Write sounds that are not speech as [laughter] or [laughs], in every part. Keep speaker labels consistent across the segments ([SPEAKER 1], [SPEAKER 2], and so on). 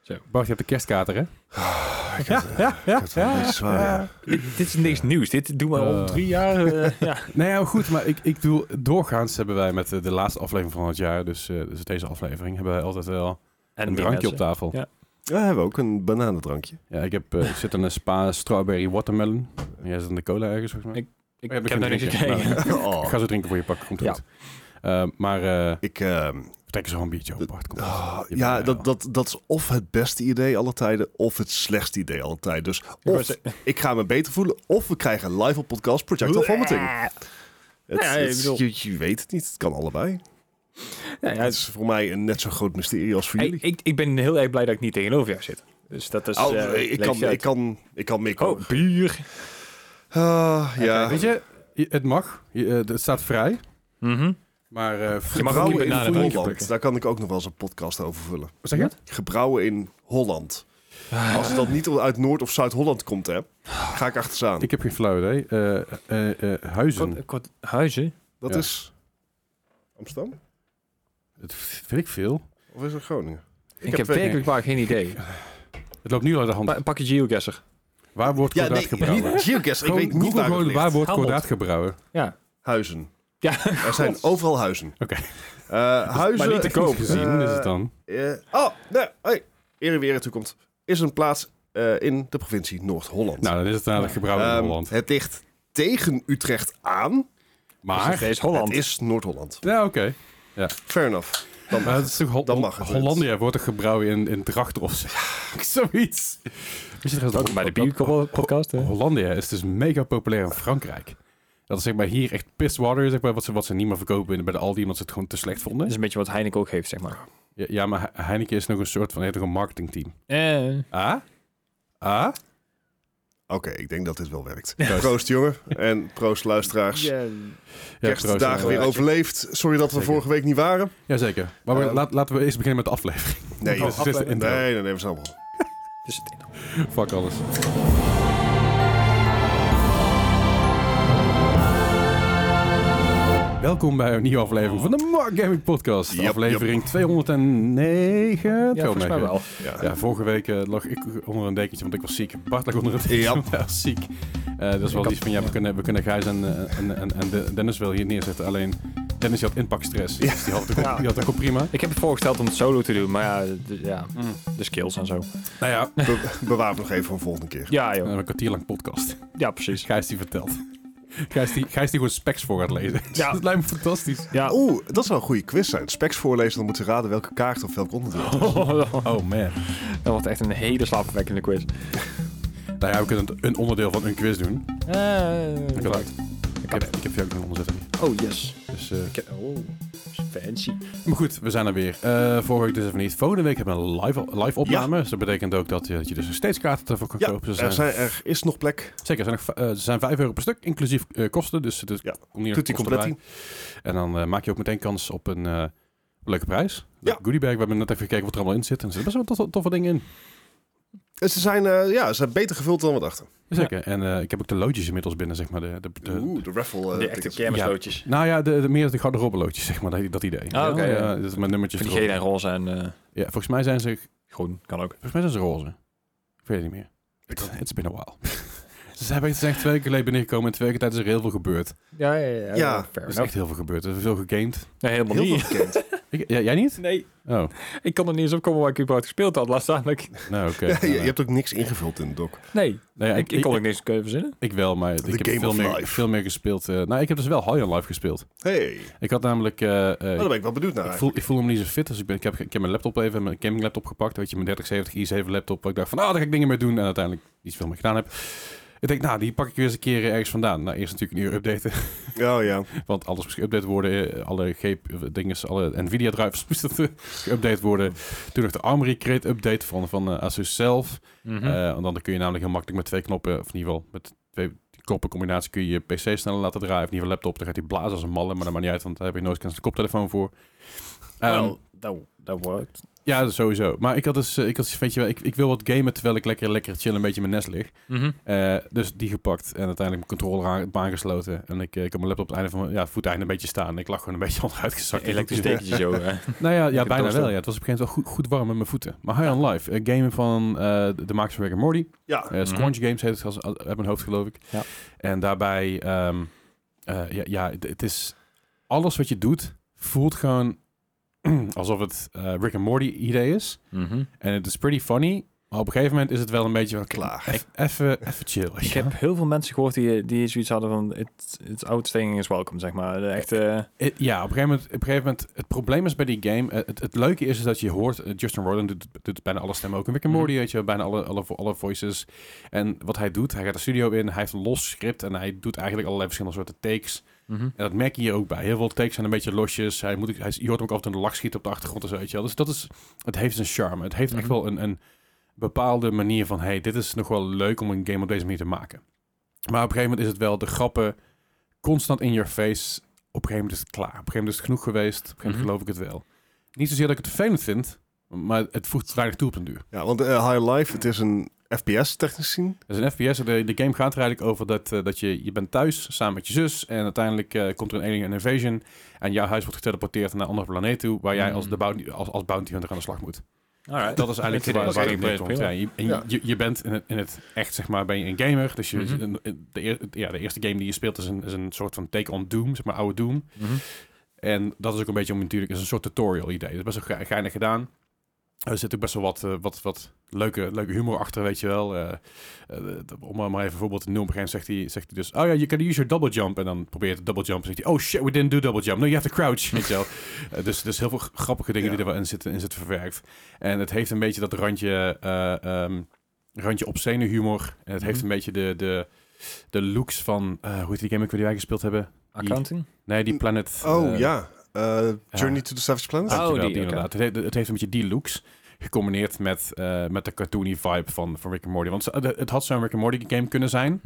[SPEAKER 1] Zo, Bart, je hebt de kerstkater, hè?
[SPEAKER 2] Ja, ja, ja.
[SPEAKER 3] Dat is wel een beetje zwaar, ja.
[SPEAKER 2] Dit, dit is niks nieuws. Dit doen we al
[SPEAKER 1] Eh.
[SPEAKER 2] drie jaar. eh, ja.
[SPEAKER 1] Nee, Nou ja, goed, maar ik, ik bedoel, doorgaans hebben wij met eh, de laatste aflevering van het jaar, dus, eh, dus deze aflevering, hebben wij altijd wel
[SPEAKER 2] En
[SPEAKER 1] een
[SPEAKER 2] die
[SPEAKER 1] drankje op
[SPEAKER 2] mensen.
[SPEAKER 1] tafel.
[SPEAKER 2] Ja.
[SPEAKER 1] Ja.
[SPEAKER 3] Ja, hebben we ook een bananendrankje.
[SPEAKER 1] ik, heb, eh, ik zit aan een spa strawberry watermelon. En jij zit aan de cola ergens, volgens mij.
[SPEAKER 2] Ik- Ik,
[SPEAKER 1] Oh, je
[SPEAKER 2] ik heb
[SPEAKER 1] hebt
[SPEAKER 2] daar
[SPEAKER 1] geen
[SPEAKER 2] niks
[SPEAKER 1] drinkje.
[SPEAKER 3] [laughs]
[SPEAKER 2] gekregen. [laughs]
[SPEAKER 3] Oh,
[SPEAKER 1] Ik ga zo drinken voor je pakken, komt
[SPEAKER 2] Ja.
[SPEAKER 1] goed. Eh, maar eh,
[SPEAKER 3] Ik, ehm,
[SPEAKER 1] we trekken zo een biertje op, Bart. Komt
[SPEAKER 2] Oh.
[SPEAKER 1] goed.
[SPEAKER 3] ah,
[SPEAKER 1] Je
[SPEAKER 3] ja,
[SPEAKER 1] bent
[SPEAKER 3] dat, dat, dat is of het beste idee alle tijden, of het slechtste idee alle tijden. Dus
[SPEAKER 2] wou
[SPEAKER 3] of ik ga me beter voelen, of we krijgen live op podcast Projectile Vomiting. Het,
[SPEAKER 2] Ja, ik
[SPEAKER 3] het-
[SPEAKER 2] bedoel-
[SPEAKER 3] je, je weet het niet, het kan allebei.
[SPEAKER 2] Ja, ja,
[SPEAKER 3] Het is voor mij een net zo groot mysterie als voor
[SPEAKER 2] Hey,
[SPEAKER 3] jullie.
[SPEAKER 2] ik, ik ben heel erg blij dat ik niet tegenover jou zit. Dus dat is.
[SPEAKER 3] Oh,
[SPEAKER 2] eh,
[SPEAKER 3] ik,
[SPEAKER 2] leef
[SPEAKER 3] kan,
[SPEAKER 2] je uit.
[SPEAKER 3] ik, kan, ik kan meer komen.
[SPEAKER 2] Oh, bier.
[SPEAKER 3] Ah, ja.
[SPEAKER 1] Weet je, je- het mag. Je, eh, het staat vrij.
[SPEAKER 2] Mhm.
[SPEAKER 1] Maar eh,
[SPEAKER 2] Je mag ook
[SPEAKER 3] Gebrouwen
[SPEAKER 2] niet
[SPEAKER 3] in
[SPEAKER 2] bananen
[SPEAKER 3] Holland,
[SPEAKER 2] plukken.
[SPEAKER 3] daar kan ik ook nog wel eens een podcast over vullen.
[SPEAKER 1] Wat zeg je?
[SPEAKER 3] Gebrouwen in Holland.
[SPEAKER 1] Ah,
[SPEAKER 3] Als het dan niet uit Noord- of Zuid-Holland komt, hè, ga ik achter ze aan.
[SPEAKER 1] Ik heb geen flauw idee. Eh, eh, eh, huizen.
[SPEAKER 2] Kort, kort huizen.
[SPEAKER 3] Dat
[SPEAKER 1] Ja.
[SPEAKER 3] is Amsterdam?
[SPEAKER 1] Het vind ik veel.
[SPEAKER 3] Of is dat Groningen?
[SPEAKER 2] Ik, heb werkelijk waar geen idee.
[SPEAKER 1] Het loopt nu uit de hand.
[SPEAKER 2] Pa pak je geoguesser.
[SPEAKER 1] waar wordt
[SPEAKER 3] Ja,
[SPEAKER 1] kordaat
[SPEAKER 3] nee,
[SPEAKER 1] gebrouwen?
[SPEAKER 3] niet Geocache. Ik
[SPEAKER 1] Gewoon
[SPEAKER 3] weet niet
[SPEAKER 1] Google
[SPEAKER 3] waar het
[SPEAKER 1] gewoon
[SPEAKER 3] ligt.
[SPEAKER 1] waar wordt
[SPEAKER 2] Helmond.
[SPEAKER 1] kordaat [laughs] gebrouwen.
[SPEAKER 2] Ja.
[SPEAKER 3] Oh, Huizen.
[SPEAKER 2] Ja,
[SPEAKER 1] [laughs]
[SPEAKER 3] Er zijn overal huizen.
[SPEAKER 1] Oké.
[SPEAKER 3] Eh, huizen...
[SPEAKER 2] niet te koop.
[SPEAKER 1] Technisch gezien
[SPEAKER 3] Eh,
[SPEAKER 1] is het dan.
[SPEAKER 3] Eh, oh, nee, hey, eer en weer in toekomst. Is een plaats eh, in de provincie Noord-Holland.
[SPEAKER 1] Nou, dan is het namelijk gebrouwen in
[SPEAKER 3] Ehm,
[SPEAKER 1] Holland.
[SPEAKER 3] Het ligt tegen Utrecht aan.
[SPEAKER 1] Maar,
[SPEAKER 2] is Holland.
[SPEAKER 3] Het is Noord-Holland.
[SPEAKER 1] ja oké.
[SPEAKER 3] Fair enough. Dan
[SPEAKER 1] Maar het is toch Hol-
[SPEAKER 3] Dan mag het. dus.
[SPEAKER 1] Hollandia wordt er gebrouwen in, in Drachten of zo. [laughs] zoiets. Weet je trouwens
[SPEAKER 2] Welkom bij de
[SPEAKER 1] dat-
[SPEAKER 2] bierpodcast. hè?
[SPEAKER 1] Hollandia is dus mega populair in Frankrijk. Dat is zeg maar hier echt pisswater, zeg maar, wat ze, wat ze niet meer verkopen in- bij de Aldi, omdat ze het gewoon te slecht vonden.
[SPEAKER 2] Dat is een beetje wat Heineken ook heeft, zeg maar.
[SPEAKER 1] Ja, ja, maar He- Heineken is nog een soort van, heeft nog een marketingteam.
[SPEAKER 2] Eh,
[SPEAKER 1] Ah? Ah?
[SPEAKER 3] Oké, ik denk dat dit wel werkt.
[SPEAKER 1] Proost.
[SPEAKER 3] Proost, jongen. En proost, luisteraars.
[SPEAKER 1] Ja,
[SPEAKER 3] Kerstdagen
[SPEAKER 1] proost.
[SPEAKER 3] weer overleefd. Sorry dat we
[SPEAKER 1] Zeker.
[SPEAKER 3] vorige week niet waren.
[SPEAKER 1] Jazeker. Maar we-
[SPEAKER 3] Ehm,
[SPEAKER 1] laat, laten we eerst beginnen met de aflevering.
[SPEAKER 3] Nee,
[SPEAKER 1] Dit is de
[SPEAKER 3] nee,
[SPEAKER 1] intro.
[SPEAKER 3] nee, nee, we zijn allemaal.
[SPEAKER 2] dus het-
[SPEAKER 1] Fuck alles. Welkom bij een nieuwe aflevering van de Mark Gaming Podcast.
[SPEAKER 3] Yep,
[SPEAKER 1] aflevering 209.
[SPEAKER 2] Ja, volgens mij wel.
[SPEAKER 3] Ja.
[SPEAKER 1] Ja, vorige week eh, lag ik onder een dekentje, want ik was ziek. Bart lag onder een dekentje, [laughs]
[SPEAKER 3] Ja.
[SPEAKER 1] want hij was ziek. Eh dat is wel
[SPEAKER 2] Ik
[SPEAKER 1] lief van, ja, we kunnen, we kunnen Gijs en, eh, en, en, en De- Dennis wel hier neerzetten. Alleen, Dennis die had inpakstress. Dus die had het ook,
[SPEAKER 2] Ja.
[SPEAKER 1] die had het ook prima.
[SPEAKER 2] Ik heb het voorgesteld om het solo te doen, maar ja, de, ja, de skills en zo.
[SPEAKER 1] Nou ja, we
[SPEAKER 3] Be- [laughs] bewaar het nog even voor een volgende keer.
[SPEAKER 2] Ja, joh.
[SPEAKER 1] hebben een kwartier lang podcast.
[SPEAKER 2] Ja, precies.
[SPEAKER 1] Gijs die vertelt. Gijs die, Gijs die gewoon specs voor gaat lezen.
[SPEAKER 2] Ja.
[SPEAKER 1] [laughs] dat lijkt me fantastisch.
[SPEAKER 2] Ja.
[SPEAKER 3] Oeh, dat zou een goede quiz zijn. Specs voorlezen, dan moeten ze raden welke kaart of welk onderdeel. het
[SPEAKER 1] Oh
[SPEAKER 3] is.
[SPEAKER 1] man.
[SPEAKER 2] [laughs] Dat wordt echt een hele slaapverwekkende quiz.
[SPEAKER 1] Nou ja, we kunnen het- een onderdeel van een quiz doen.
[SPEAKER 2] Eh,
[SPEAKER 1] Ik, had- ik heb, ik heb jou ook nog onderzetten.
[SPEAKER 2] oh, yes.
[SPEAKER 1] Dus, eh,
[SPEAKER 2] Ik- Oh, fancy.
[SPEAKER 1] maar goed, we zijn er weer. Eh, vorige week dus even niet. Volgende week hebben we een live, live opname. Dus dat betekent ook dat je, dat je dus nog steeds kaarten ervoor kan
[SPEAKER 3] Ja,
[SPEAKER 1] kopen. Ze
[SPEAKER 3] er,
[SPEAKER 1] zijn,
[SPEAKER 3] zijn, er is nog plek.
[SPEAKER 1] Zeker, er zijn, nog, v- eh, ze zijn 5 euro per stuk, inclusief eh, kosten. Dus het is-
[SPEAKER 3] Ja,
[SPEAKER 1] komt hier nog
[SPEAKER 3] Tutti
[SPEAKER 1] kosten bij.
[SPEAKER 3] completi.
[SPEAKER 1] En dan eh, maak je ook meteen kans op een eh, leuke prijs.
[SPEAKER 3] Ja.
[SPEAKER 1] Goodiebag. We hebben net even gekeken wat er allemaal in zit. En er zitten best wel toffe- toffe dingen in.
[SPEAKER 3] En Ze zijn, eh, ja, ze zijn beter gevuld dan we dachten.
[SPEAKER 1] Zeker. En eh, ik heb ook de loodjes inmiddels binnen, zeg maar. De, de, de-
[SPEAKER 3] Oeh, de raffle. eh,
[SPEAKER 2] De echte
[SPEAKER 3] tickets.
[SPEAKER 2] kermisloodjes.
[SPEAKER 1] nou ja, de, de, meer de gouden loodjes, zeg maar. Dat, dat idee.
[SPEAKER 2] Ah, oké,
[SPEAKER 1] Ja,
[SPEAKER 2] ja.
[SPEAKER 1] ja, dus met nummertjes
[SPEAKER 2] Die
[SPEAKER 1] erop.
[SPEAKER 2] gele en roze en eh,
[SPEAKER 1] Ja, volgens mij zijn ze,
[SPEAKER 2] groen kan ook.
[SPEAKER 1] volgens mij zijn ze roze. Ik weet het niet meer.
[SPEAKER 3] Ik
[SPEAKER 1] It's,
[SPEAKER 3] ook niet.
[SPEAKER 1] it's been a while. [laughs] ze zijn ze zijn echt twee weken geleden binnengekomen. En twee weken tijd is er heel veel gebeurd.
[SPEAKER 2] Ja, ja, ja. Dus
[SPEAKER 3] Ja.
[SPEAKER 1] Er
[SPEAKER 2] fair
[SPEAKER 1] is
[SPEAKER 2] enough.
[SPEAKER 1] echt heel veel gebeurd. Er is veel gegamed.
[SPEAKER 2] Nee, helemaal
[SPEAKER 3] Heel
[SPEAKER 2] niet.
[SPEAKER 3] veel bekend.
[SPEAKER 1] Ik, ja, jij niet?
[SPEAKER 2] [laughs] Nee,
[SPEAKER 1] Oh,
[SPEAKER 2] ik kan er niet eens op komen waar ik überhaupt gespeeld had, laat staan. Ik,
[SPEAKER 1] nou oké.
[SPEAKER 3] [laughs] Ja, je,
[SPEAKER 1] Nou,
[SPEAKER 3] je
[SPEAKER 1] nou.
[SPEAKER 3] hebt ook niks ingevuld in de doc.
[SPEAKER 2] nee,
[SPEAKER 1] Nou ja,
[SPEAKER 2] ik, ik kon ook niks kunnen verzinnen.
[SPEAKER 1] ik wel, maar ik heb
[SPEAKER 3] game
[SPEAKER 1] veel
[SPEAKER 3] of
[SPEAKER 1] meer,
[SPEAKER 3] life.
[SPEAKER 1] veel meer gespeeld. eh, nou, ik heb dus wel High on Life gespeeld.
[SPEAKER 3] Hey, nou,
[SPEAKER 1] Ik had namelijk... eh, eh,
[SPEAKER 3] daar ben ik wel benieuwd naar.
[SPEAKER 1] Ik voel, ik voel hem niet zo fit, dus ik, ben, ik, heb, ik heb mijn laptop even, mijn gaming laptop gepakt. Weet je, mijn 3070 i7 laptop. Waar ik dacht van, ah, daar ga ik dingen mee doen. En uiteindelijk niet zoveel meer gedaan heb. Ik denk, nou, die pak ik weer eens een keer eh, ergens vandaan. Nou, eerst natuurlijk een uur updaten. [laughs]
[SPEAKER 3] eigenlijk. Oh ja.
[SPEAKER 1] Want alles moest geüpdate worden. eh, Alle GP, dingen, alle Nvidia drivers [laughs] moesten geüpdate worden. Toen nog de Armory Crate update van, van eh, Asus zelf.
[SPEAKER 2] Mhm. ehm,
[SPEAKER 1] Eh, want dan kun je namelijk heel makkelijk met twee knoppen, of in ieder geval met twee knoppen combinatie kun je je PC sneller laten draaien. Of in ieder geval laptop, dan gaat hij blazen als een malle. Maar dat maakt niet uit, want daar heb je nooit eens een koptelefoon voor. Ehm,
[SPEAKER 3] Wel,
[SPEAKER 2] dat dat worked.
[SPEAKER 1] Ja, dat sowieso. Maar ik had dus, eh, ik had, zoiets, weet je wel, ik, ik wil wat gamen terwijl ik lekker, lekker chill een beetje in mijn nest lig.
[SPEAKER 2] Mhm.
[SPEAKER 1] Eh, dus die gepakt en uiteindelijk mijn controller aan, aangesloten. En ik, eh, ik had mijn laptop op het einde van mijn ja, voeteinde een beetje staan. En ik lag gewoon een beetje [laughs] onderuit gezakt.
[SPEAKER 2] Elektrisch dekentje zo. hè.
[SPEAKER 1] Nou ja, ja
[SPEAKER 2] Lekker
[SPEAKER 1] bijna
[SPEAKER 2] doorstoom.
[SPEAKER 1] wel. Ja. Het was op een gegeven moment wel goed, goed warm met mijn voeten. Maar High on Life, een game van eh, de- de makers van Rick and Morty.
[SPEAKER 3] Ja,
[SPEAKER 1] Eh, Squanch Games heet het als, als- uit mijn hoofd, geloof ik.
[SPEAKER 2] Mhm. Ja.
[SPEAKER 1] En daarbij, ehm, eh, ja, ja, het- het is alles wat je doet, voelt gewoon [clears throat] alsof het eh, Rick and Morty idee
[SPEAKER 2] [laughs]
[SPEAKER 1] is.
[SPEAKER 2] Mhm.
[SPEAKER 1] En het is pretty funny. Maar op een gegeven moment is het wel een beetje van klaar.
[SPEAKER 3] klaar.
[SPEAKER 1] Even even chill. weet
[SPEAKER 2] Ik
[SPEAKER 1] je wel.
[SPEAKER 2] heb heel veel mensen gehoord die, die zoiets hadden van... It, it's outstaying is welcome, zeg maar. De echte...
[SPEAKER 1] [laughs] Eh, Ja, op een, gegeven moment, op een gegeven moment, het probleem is bij die game, eh, het, het leuke is, is dat je hoort, eh, Justin Roiland doet, doet bijna alle stemmen ook in Rick and
[SPEAKER 2] Mhm.
[SPEAKER 1] Morty, weet je, wel, bijna alle, alle, vo- alle voices. En wat hij doet, hij gaat de studio in, hij heeft een los script en hij doet eigenlijk allerlei verschillende soorten takes.
[SPEAKER 2] Mhm.
[SPEAKER 1] En dat merk je hier ook bij. Heel veel takes zijn een beetje losjes. Hij moet, hij, je hoort hem ook altijd een lach schieten op de achtergrond en zo. Weet je wel. Dus dat is, het heeft zijn charme. Het heeft echt
[SPEAKER 2] Mhm.
[SPEAKER 1] wel een, een bepaalde manier van... hey, dit is nog wel leuk om een game op deze manier te maken. Maar op een gegeven moment is het wel de grappen constant in your face. Op een gegeven moment is het klaar. Op een gegeven moment is het genoeg geweest. Op een gegeven moment geloof ik het wel. Niet zozeer dat ik het vervelend vind... Maar het voegt weinig toe op een duur.
[SPEAKER 3] Ja, want eh, High Life, het is een FPS technisch gezien.
[SPEAKER 1] Dus een FPS, de, de game gaat er eigenlijk over dat, eh, dat je, je bent thuis samen met je zus. En uiteindelijk eh, komt er een alien invasion. En jouw huis wordt geteleporteerd naar een andere planeet toe. Waar jij
[SPEAKER 2] Mm.
[SPEAKER 1] als, de bounty, als, als bounty hunter aan de slag moet.
[SPEAKER 2] Alright.
[SPEAKER 1] Dat
[SPEAKER 2] [laughs]
[SPEAKER 1] is eigenlijk
[SPEAKER 2] Oké,
[SPEAKER 1] waar, waar
[SPEAKER 2] oké,
[SPEAKER 1] het mee
[SPEAKER 2] oké,
[SPEAKER 1] komt. Ja,
[SPEAKER 2] prima.
[SPEAKER 1] je, en
[SPEAKER 3] Ja.
[SPEAKER 1] je, je bent in het, in het echt, zeg maar, ben je een gamer. Dus je,
[SPEAKER 2] Mhm.
[SPEAKER 1] een- een- de, eer- ja, de eerste game die je speelt is een, is een soort van take on Doom. Zeg maar, oude Doom.
[SPEAKER 2] Mhm.
[SPEAKER 1] En dat is ook een beetje om natuurlijk is een soort tutorial idee. Dat is best wel ge- geinig gedaan. Er zit ook best wel wat, eh, wat, wat leuke, leuke humor achter, weet je wel. Eh, eh, d- om maar even een voorbeeld te noemen. Op een gegeven moment zegt hij, zegt hij dus... Oh ja, you can use your double jump. En dan probeert het double jump. En zegt hij... Oh shit, we didn't do double jump. No, you have to crouch. [laughs] Weet je wel. Eh, dus, dus heel veel g- grappige dingen
[SPEAKER 3] Ja.
[SPEAKER 1] die er wel in zitten, in zitten verwerkt. En het heeft een beetje dat randje... eh ehm randje obscene humor. En het heeft
[SPEAKER 2] Mhm.
[SPEAKER 1] een beetje de, de, de looks van... eh, hoe heet die game ook weer die wij gespeeld hebben?
[SPEAKER 2] Accounting?
[SPEAKER 1] Nee, die Planet...
[SPEAKER 3] Oh
[SPEAKER 1] eh,
[SPEAKER 3] ja, Eh, Journey to the Savage Planet.
[SPEAKER 2] Ah.
[SPEAKER 1] Dankjewel,
[SPEAKER 2] Oh, die,
[SPEAKER 1] die
[SPEAKER 2] oké.
[SPEAKER 1] inderdaad. Het, heeft, het heeft een beetje die looks gecombineerd met, eh, met de cartoony vibe van, van Rick and Morty. Want ze- eh, het het had zo'n Rick and Morty game kunnen zijn,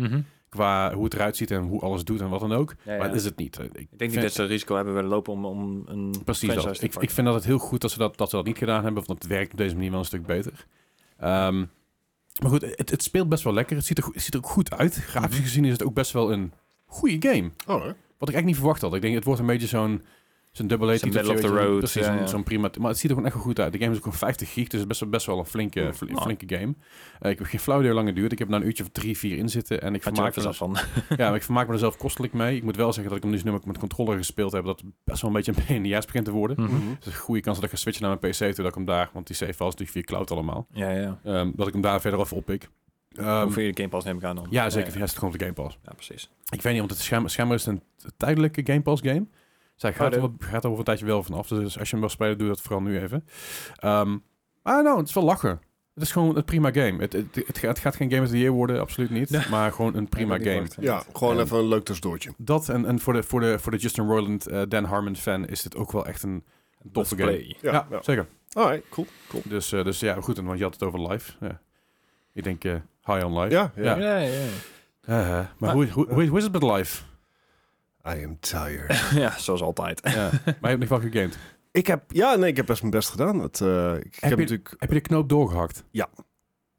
[SPEAKER 1] qua hoe het eruit ziet en hoe alles doet en wat dan ook.
[SPEAKER 2] Mhm. Ja, ja.
[SPEAKER 1] Maar dat is het niet. Eh, Ik
[SPEAKER 2] Ik denk niet dat ze het risico hebben willen lopen om, om een
[SPEAKER 1] Precies
[SPEAKER 2] franchise
[SPEAKER 1] dat.
[SPEAKER 2] te
[SPEAKER 1] Ik, ik
[SPEAKER 2] pakken.
[SPEAKER 1] vind dat het heel goed dat ze dat, dat ze dat niet gedaan hebben, want het werkt op deze manier wel een stuk beter. Ehm, maar goed, het, het speelt best wel lekker. Het ziet er, goed- het ziet er ook goed uit. Grafisch gezien is het ook best wel een goede game.
[SPEAKER 3] Oh, hè?
[SPEAKER 1] Wat ik eigenlijk niet verwacht had. Ik denk, het wordt een beetje zo'n zo'n double A
[SPEAKER 2] Zo'n
[SPEAKER 1] titel.
[SPEAKER 2] middle of the road,
[SPEAKER 1] Precies,
[SPEAKER 2] ja,
[SPEAKER 1] zo'n-
[SPEAKER 2] ja.
[SPEAKER 1] zo'n prima... Maar het ziet er gewoon echt wel goed uit. De game is ook gewoon 50 gig, dus het is best, wel- best wel een flinke,
[SPEAKER 2] Mm.
[SPEAKER 1] fl-
[SPEAKER 2] Nou.
[SPEAKER 1] flinke game. Eh, ik heb geen flauw idee hoe lang het duurt. Ik heb er nou een uurtje of drie, vier in zitten. En ik
[SPEAKER 2] Had je
[SPEAKER 1] vermaak,
[SPEAKER 2] er
[SPEAKER 1] me,
[SPEAKER 2] zelf van.
[SPEAKER 1] ja, maar ik vermaak me er zelf kostelijk mee. Ik moet wel zeggen dat ik hem dus nu ook met controller gespeeld heb. Dat best wel een beetje een [laughs] jas begint te worden.
[SPEAKER 2] Mhm.
[SPEAKER 1] Dus een goede kans dat ik ga switchen naar mijn PC, toen dat ik hem daar... Want die save files natuurlijk via cloud allemaal.
[SPEAKER 2] [laughs] Ja, ja.
[SPEAKER 1] Ehm, dat ik hem daar verder even oppik. Ehm,
[SPEAKER 2] Hoeveel je de Game Pass neem ik aan dan?
[SPEAKER 1] ja, zeker.
[SPEAKER 2] Ja,
[SPEAKER 1] Ja, het is gewoon op de Game Pass.
[SPEAKER 2] ja, precies.
[SPEAKER 1] Ik weet niet, want het schijn- schijnbaar is het een t- tijdelijke Game Pass game. Dus hij gaat,
[SPEAKER 2] Oh,
[SPEAKER 1] er, wel- gaat er over een tijdje wel vanaf. Dus als je hem wil spelen, doe dat vooral nu even. Ehm maar nou, het is wel lachen. Het is gewoon een prima game. Het, het, het, gaat, het gaat geen Game of the Year worden, absoluut niet.
[SPEAKER 2] Nee.
[SPEAKER 1] Maar gewoon een prima
[SPEAKER 2] Ik had niet
[SPEAKER 1] game.
[SPEAKER 2] verwacht,
[SPEAKER 3] Ja, gewoon
[SPEAKER 1] Ehm,
[SPEAKER 3] even een leuk tussendoortje.
[SPEAKER 1] Dat en, en voor, de, voor, de, voor de Justin Roiland, eh, Dan Harmon fan, is dit ook wel echt een toffe
[SPEAKER 2] Let's
[SPEAKER 1] game.
[SPEAKER 2] play.
[SPEAKER 3] Ja, ja.
[SPEAKER 1] zeker.
[SPEAKER 3] Alright, cool. cool.
[SPEAKER 1] Dus, eh, dus ja, goed. En want je had het over live. Ja. Ik denk eh, high on live.
[SPEAKER 3] Ja,
[SPEAKER 1] Ja.
[SPEAKER 3] ja.
[SPEAKER 2] Ja, ja,
[SPEAKER 1] [laughs]
[SPEAKER 2] ja.
[SPEAKER 1] Eh, eh, maar hoe, hoe, hoe, hoe is het met live? [laughs]
[SPEAKER 3] I am tired.
[SPEAKER 2] Ja, zoals altijd.
[SPEAKER 1] ja. Maar je hebt nog wel gegamed.
[SPEAKER 3] ik heb, ja, nee, ik heb best mijn best gedaan. Het, eh, ik heb,
[SPEAKER 1] je-
[SPEAKER 3] natuurlijk...
[SPEAKER 1] Heb je de knoop doorgehakt?
[SPEAKER 3] Ja.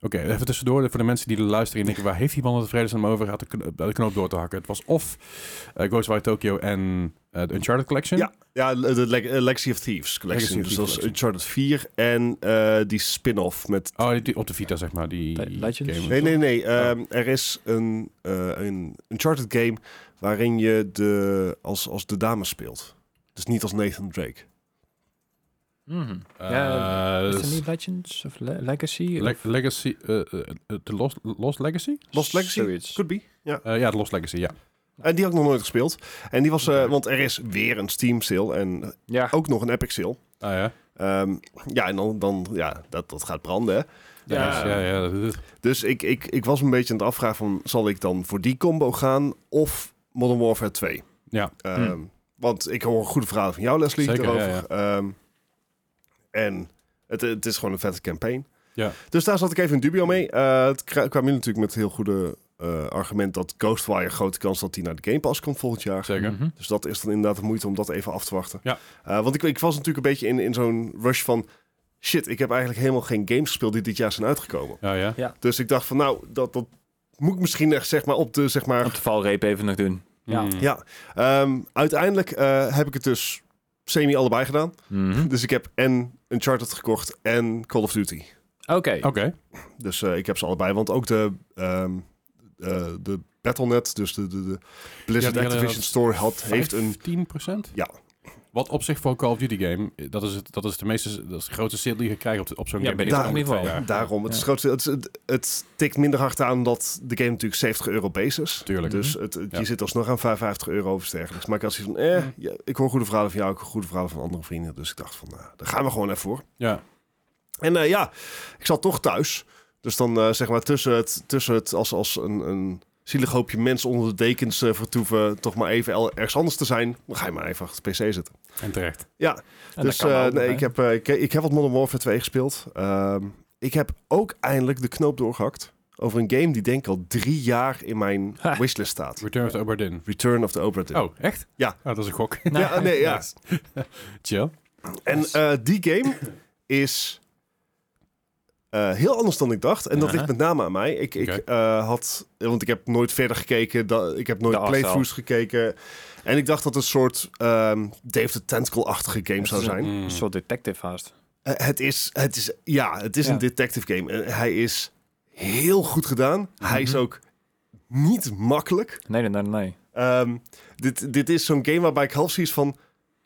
[SPEAKER 1] Oké, even tussendoor voor de mensen die er luisteren en denken... waar heeft die man het vredesnaam over gehad de, kno- de knoop door te hakken? Het was of eh, Ghostwire Tokyo en eh, de Uncharted Collection.
[SPEAKER 3] Ja, ja, de, de Leg- eh, Legacy of Thieves collection.
[SPEAKER 1] Legacy of
[SPEAKER 3] dus
[SPEAKER 1] Thieves
[SPEAKER 3] dat is
[SPEAKER 1] collection.
[SPEAKER 3] Uncharted 4 en eh, die spin-off met...
[SPEAKER 1] Oh, die, die op de Vita, zeg maar. Die
[SPEAKER 2] Le- Legends?
[SPEAKER 1] game.
[SPEAKER 3] Nee, nee, nee. ehm, er is een, eh, een Uncharted game waarin je de, als, als de dame speelt. Dus niet als Nathan Drake.
[SPEAKER 2] Mhm.
[SPEAKER 1] Eh,
[SPEAKER 2] Ja, Is
[SPEAKER 1] dat
[SPEAKER 2] het
[SPEAKER 1] is
[SPEAKER 2] niet Legends of Le- Legacy?
[SPEAKER 1] Le- Legacy... eh, eh, eh, de Lost, Lost Legacy?
[SPEAKER 3] Lost Legacy?
[SPEAKER 2] Zoiets.
[SPEAKER 3] Could be.
[SPEAKER 1] Eh, ja, de Lost Legacy, ja.
[SPEAKER 3] En Eh, die had ik nog nooit gespeeld. En die was, eh, want er is weer een Steam sale en
[SPEAKER 2] Ja.
[SPEAKER 3] ook nog een Epic sale.
[SPEAKER 1] Ah ja.
[SPEAKER 3] Ehm, ja, en dan, dan ja, dat, dat gaat branden. Hè?
[SPEAKER 1] Ja,
[SPEAKER 2] Ja.
[SPEAKER 1] ja, ja, dat is het.
[SPEAKER 3] Dus ik, ik, ik was een beetje aan het afvragen van, zal ik dan voor die combo gaan of Modern Warfare 2?
[SPEAKER 1] Ja.
[SPEAKER 3] Ehm,
[SPEAKER 2] Hm.
[SPEAKER 3] Want ik hoor goede verhalen van jou, Leslie,
[SPEAKER 1] Zeker,
[SPEAKER 3] erover.
[SPEAKER 1] ja,
[SPEAKER 3] Ehm, en het, het is gewoon een vette campaign.
[SPEAKER 1] Ja.
[SPEAKER 3] Dus daar zat ik even in dubio mee. Eh, het kra- kwamen jullie natuurlijk met heel goede eh, argument dat Ghostwire grote kans dat die naar de Game Pass komt volgend jaar.
[SPEAKER 1] Zeker.
[SPEAKER 2] Mhm.
[SPEAKER 3] Dus dat is dan inderdaad de moeite om dat even af te wachten.
[SPEAKER 1] Ja.
[SPEAKER 3] Eh, want ik, ik was natuurlijk een beetje in, in zo'n rush van... Shit, ik heb eigenlijk helemaal geen games gespeeld die dit jaar zijn uitgekomen.
[SPEAKER 1] Ja, ja.
[SPEAKER 3] Dus ik dacht van nou, dat, dat moet ik misschien echt zeg maar op de... Zeg maar,
[SPEAKER 2] Op de valreep even nog doen. Ja.
[SPEAKER 1] Mm.
[SPEAKER 3] Ja, ehm, uiteindelijk eh, heb ik het dus semi allebei gedaan.
[SPEAKER 2] Mhm.
[SPEAKER 3] Dus ik heb en Uncharted gekocht en Call of Duty.
[SPEAKER 2] Oké.
[SPEAKER 1] Oké.
[SPEAKER 3] Dus eh, ik heb ze allebei, want ook de, ehm eh, de Battle.net, dus de, de, de Blizzard
[SPEAKER 1] hadden
[SPEAKER 3] Activision
[SPEAKER 1] dat
[SPEAKER 3] Store, had, heeft een...
[SPEAKER 1] 10%?
[SPEAKER 3] Ja.
[SPEAKER 1] Wat op zich voor een Call of Duty game, eh, dat is, het, dat is de meeste, dat is de grootste sale die je krijgt op, de- op zo'n
[SPEAKER 2] Ja,
[SPEAKER 1] game.
[SPEAKER 2] ben
[SPEAKER 1] in de
[SPEAKER 3] ik
[SPEAKER 1] komende
[SPEAKER 2] ook in ieder
[SPEAKER 1] twee
[SPEAKER 2] geval.
[SPEAKER 1] jaar.
[SPEAKER 3] Daarom, het,
[SPEAKER 2] Ja.
[SPEAKER 3] is het grootste, het, het, het tikt minder hard aan dat de game natuurlijk 70 euro base is.
[SPEAKER 1] Tuurlijk. Mhm.
[SPEAKER 3] Dus het, het-
[SPEAKER 1] Ja. Mhm.
[SPEAKER 3] je zit alsnog aan 55 euro of iets dergelijks. Maar ik had zoiets van, eh, ja, ik hoor goede verhalen van jou, ik hoor goede verhalen van andere vrienden. Dus ik dacht van, nou, daar gaan we gewoon even voor.
[SPEAKER 1] Ja.
[SPEAKER 3] En eh, ja, ik zat toch thuis. Dus dan eh, zeg maar tussen het, tussen het als, als een, een zielig hoopje mensen onder de dekens eh, vertoeven, toch maar even el- ergens anders te zijn. Dan ga je maar even achter de PC zitten.
[SPEAKER 1] En terecht.
[SPEAKER 3] Ja,
[SPEAKER 2] En
[SPEAKER 3] dus
[SPEAKER 2] dat kan
[SPEAKER 3] eh,
[SPEAKER 2] ook,
[SPEAKER 3] nee,
[SPEAKER 2] hè?
[SPEAKER 3] ik, heb, eh, ik, ik heb wat Modern Warfare 2 gespeeld. Ehm, ik heb ook eindelijk de knoop doorgehakt over een game die denk ik al drie jaar in
[SPEAKER 2] [laughs]
[SPEAKER 3] mijn
[SPEAKER 2] Ha.
[SPEAKER 3] wishlist staat.
[SPEAKER 1] Return of the Obra Dinn.
[SPEAKER 3] Return of the Obra Dinn.
[SPEAKER 1] Oh, echt?
[SPEAKER 3] Ja.
[SPEAKER 1] Oh, dat is een gok.
[SPEAKER 2] Nou,
[SPEAKER 3] [laughs] Ja, nee, ja.
[SPEAKER 1] Nice. Chill.
[SPEAKER 2] Oh,
[SPEAKER 3] En eh, die
[SPEAKER 2] [laughs]
[SPEAKER 3] game is eh, heel anders dan ik dacht. En dat
[SPEAKER 2] Aha.
[SPEAKER 3] ligt met name aan mij. Ik, ik eh, had, want ik heb nooit verder gekeken. da- ik heb nooit
[SPEAKER 2] De afstijl.
[SPEAKER 3] playthroughs gekeken. En ik dacht dat het een soort ehm Dave the Tentacle-achtige game
[SPEAKER 2] Het
[SPEAKER 3] zou
[SPEAKER 2] is
[SPEAKER 3] zijn.
[SPEAKER 1] Mm.
[SPEAKER 2] Een soort detective haast.
[SPEAKER 3] Eh, het, is, het is, ja, het is
[SPEAKER 2] Ja.
[SPEAKER 3] een detective game. En hij is heel goed gedaan. Hij is
[SPEAKER 2] Mhm.
[SPEAKER 3] ook niet makkelijk.
[SPEAKER 2] Nee, nee, nee, nee.
[SPEAKER 3] Ehm, dit, dit is zo'n game waarbij ik half zoiets van...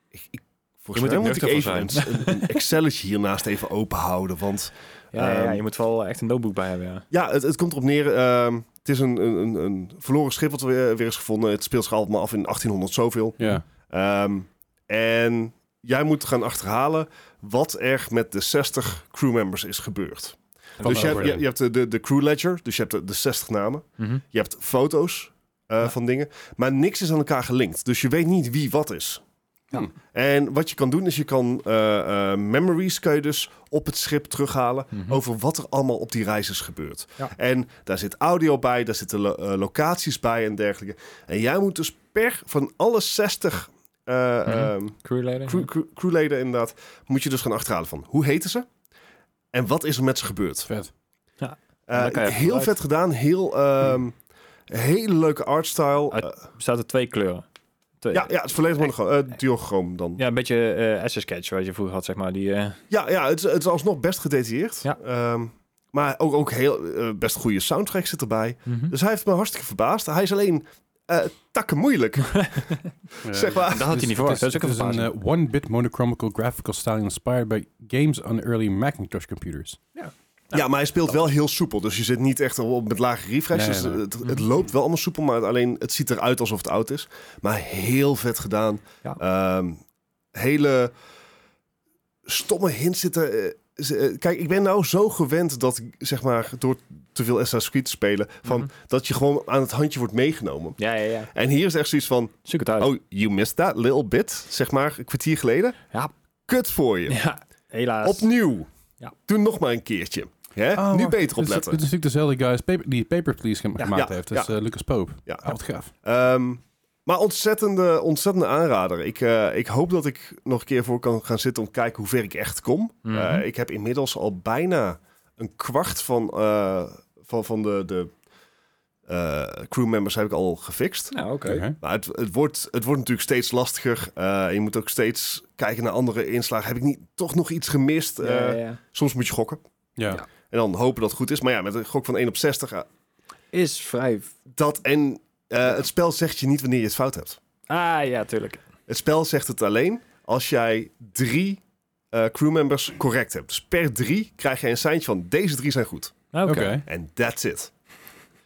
[SPEAKER 3] Ik, ik, volgens
[SPEAKER 2] Je
[SPEAKER 3] mij
[SPEAKER 2] moet
[SPEAKER 3] moet
[SPEAKER 2] er
[SPEAKER 3] ik
[SPEAKER 2] nuchter
[SPEAKER 3] even
[SPEAKER 2] voor
[SPEAKER 3] een, een Excelletje hiernaast even openhouden. Want
[SPEAKER 2] Ja, ja, ja,
[SPEAKER 3] Ehm,
[SPEAKER 2] je moet wel echt een notebook bij hebben, ja.
[SPEAKER 3] ja, het, het komt erop neer... ehm, het is een, een, een- een verloren schip wat weer, weer is gevonden. Het speelt zich allemaal af in 1800 zoveel.
[SPEAKER 1] Ja.
[SPEAKER 3] Ehm, en jij moet gaan achterhalen wat er met de 60 crewmembers is gebeurd.
[SPEAKER 1] Van
[SPEAKER 3] dus je hebt, je,
[SPEAKER 1] Overden.
[SPEAKER 3] je hebt de, de, de crew ledger, dus je hebt de, de 60 namen.
[SPEAKER 2] Mhm.
[SPEAKER 3] Je hebt foto's eh,
[SPEAKER 2] Ja.
[SPEAKER 3] van dingen, maar niks is aan elkaar gelinkt. Dus je weet niet wie wat is.
[SPEAKER 1] Ja.
[SPEAKER 3] En wat je kan doen is je kan eh, eh, memories kan je dus op het schip terughalen
[SPEAKER 2] Mhm.
[SPEAKER 3] over wat er allemaal op die reis is gebeurd.
[SPEAKER 2] Ja.
[SPEAKER 3] En daar zit audio bij, daar zitten lo- eh, locaties bij en dergelijke. En jij moet dus per van alle 60 eh,
[SPEAKER 2] Mhm.
[SPEAKER 3] ehm,
[SPEAKER 2] Crewleider?
[SPEAKER 3] crew- crew- crewleden inderdaad, moet je dus gaan achterhalen van hoe heten ze en wat is er met ze gebeurd.
[SPEAKER 1] Vet.
[SPEAKER 3] Eh,
[SPEAKER 2] Dan kan je even
[SPEAKER 3] heel
[SPEAKER 2] vooruit.
[SPEAKER 3] vet gedaan, heel, ehm, hele leuke artstyle.
[SPEAKER 2] Uit-
[SPEAKER 3] Eh,
[SPEAKER 2] Bestaat uit twee kleuren. Twee-
[SPEAKER 3] ja, ja, het is volledig monochroom, eh, duochroom dan. Ja,
[SPEAKER 2] Ja, een beetje eh Sketch, wat je vroeger had, zeg maar. Die, eh,
[SPEAKER 3] ja, het, is, het is alsnog best gedetailleerd.
[SPEAKER 2] Ja.
[SPEAKER 3] Ehm, maar ook, ook heel, eh, best goede soundtrack zit erbij. Dus hij heeft me hartstikke verbaasd. Hij is alleen eh takken
[SPEAKER 2] [laughs]
[SPEAKER 3] moeilijk.
[SPEAKER 2] Eh,
[SPEAKER 3] zeg maar.
[SPEAKER 2] Dat had je niet
[SPEAKER 1] Eh, voor.
[SPEAKER 2] verwacht. Dat is ook een
[SPEAKER 1] een
[SPEAKER 2] verbazing.
[SPEAKER 1] eh, one-bit monochromical graphical style inspired by games on early Macintosh computers.
[SPEAKER 3] Ja, maar hij speelt wel heel soepel. Dus je zit niet echt op, met lage refresh.
[SPEAKER 1] Nee,
[SPEAKER 3] dus
[SPEAKER 1] nee, nee.
[SPEAKER 3] Het, het loopt wel allemaal soepel, maar het- alleen het ziet eruit alsof het oud is. Maar heel vet gedaan.
[SPEAKER 2] Ja.
[SPEAKER 3] Ehm, hele stomme hints zitten. eh, z- eh, Kijk, ik ben nou zo gewend dat, zeg maar, door te veel Assassin's Creed te spelen, van,
[SPEAKER 2] Mhm.
[SPEAKER 3] dat je gewoon aan het handje wordt meegenomen.
[SPEAKER 2] Ja, ja, ja.
[SPEAKER 3] En hier is echt zoiets van,
[SPEAKER 2] Zoek het uit.
[SPEAKER 3] eh, oh, you missed that little bit, zeg maar, een kwartier geleden.
[SPEAKER 2] Ja. [laughs]
[SPEAKER 3] Kut voor je.
[SPEAKER 2] Ja, helaas.
[SPEAKER 3] Opnieuw.
[SPEAKER 2] Ja.
[SPEAKER 3] Doe nog maar een keertje. Hè?
[SPEAKER 1] Ah,
[SPEAKER 3] nu
[SPEAKER 1] wacht.
[SPEAKER 3] beter
[SPEAKER 1] Dit is-
[SPEAKER 3] opletten.
[SPEAKER 1] Dit is natuurlijk dezelfde guys paper- die Paper Please gem-
[SPEAKER 2] Ja.
[SPEAKER 1] gemaakt
[SPEAKER 3] Ja,
[SPEAKER 1] heeft. Dat is eh, Lucas Pope.
[SPEAKER 3] Ja.
[SPEAKER 2] Oh.
[SPEAKER 1] Oud gaaf.
[SPEAKER 3] Ehm, maar ontzettende, ontzettende aanrader. Ik, eh, ik hoop dat ik nog een keer voor kan gaan zitten om te kijken hoe ver ik echt kom.
[SPEAKER 2] Mhm.
[SPEAKER 3] Eh, ik heb inmiddels al bijna een kwart van, eh, van, van de, de eh, crewmembers heb ik al gefixt.
[SPEAKER 2] Nou, oké.
[SPEAKER 1] Oké.
[SPEAKER 3] Maar het, het, wordt, het wordt natuurlijk steeds lastiger. Eh, je moet ook steeds kijken naar andere inslagen. Heb ik niet, toch nog iets gemist?
[SPEAKER 2] Ja, ja,
[SPEAKER 3] Eh,
[SPEAKER 2] ja.
[SPEAKER 3] Soms moet je gokken.
[SPEAKER 1] Ja.
[SPEAKER 2] Ja.
[SPEAKER 3] En dan hopen dat het goed is. Maar ja, met een gok van 1 op 60. eh,
[SPEAKER 2] Is vrij...
[SPEAKER 3] dat en eh, het spel zegt je niet wanneer je het fout hebt.
[SPEAKER 2] Ah, ja, tuurlijk.
[SPEAKER 3] Het spel zegt het alleen als jij drie eh, crewmembers correct hebt. Dus per drie krijg je een seintje van deze drie zijn goed.
[SPEAKER 2] Oké.
[SPEAKER 1] Oké.
[SPEAKER 3] En that's it.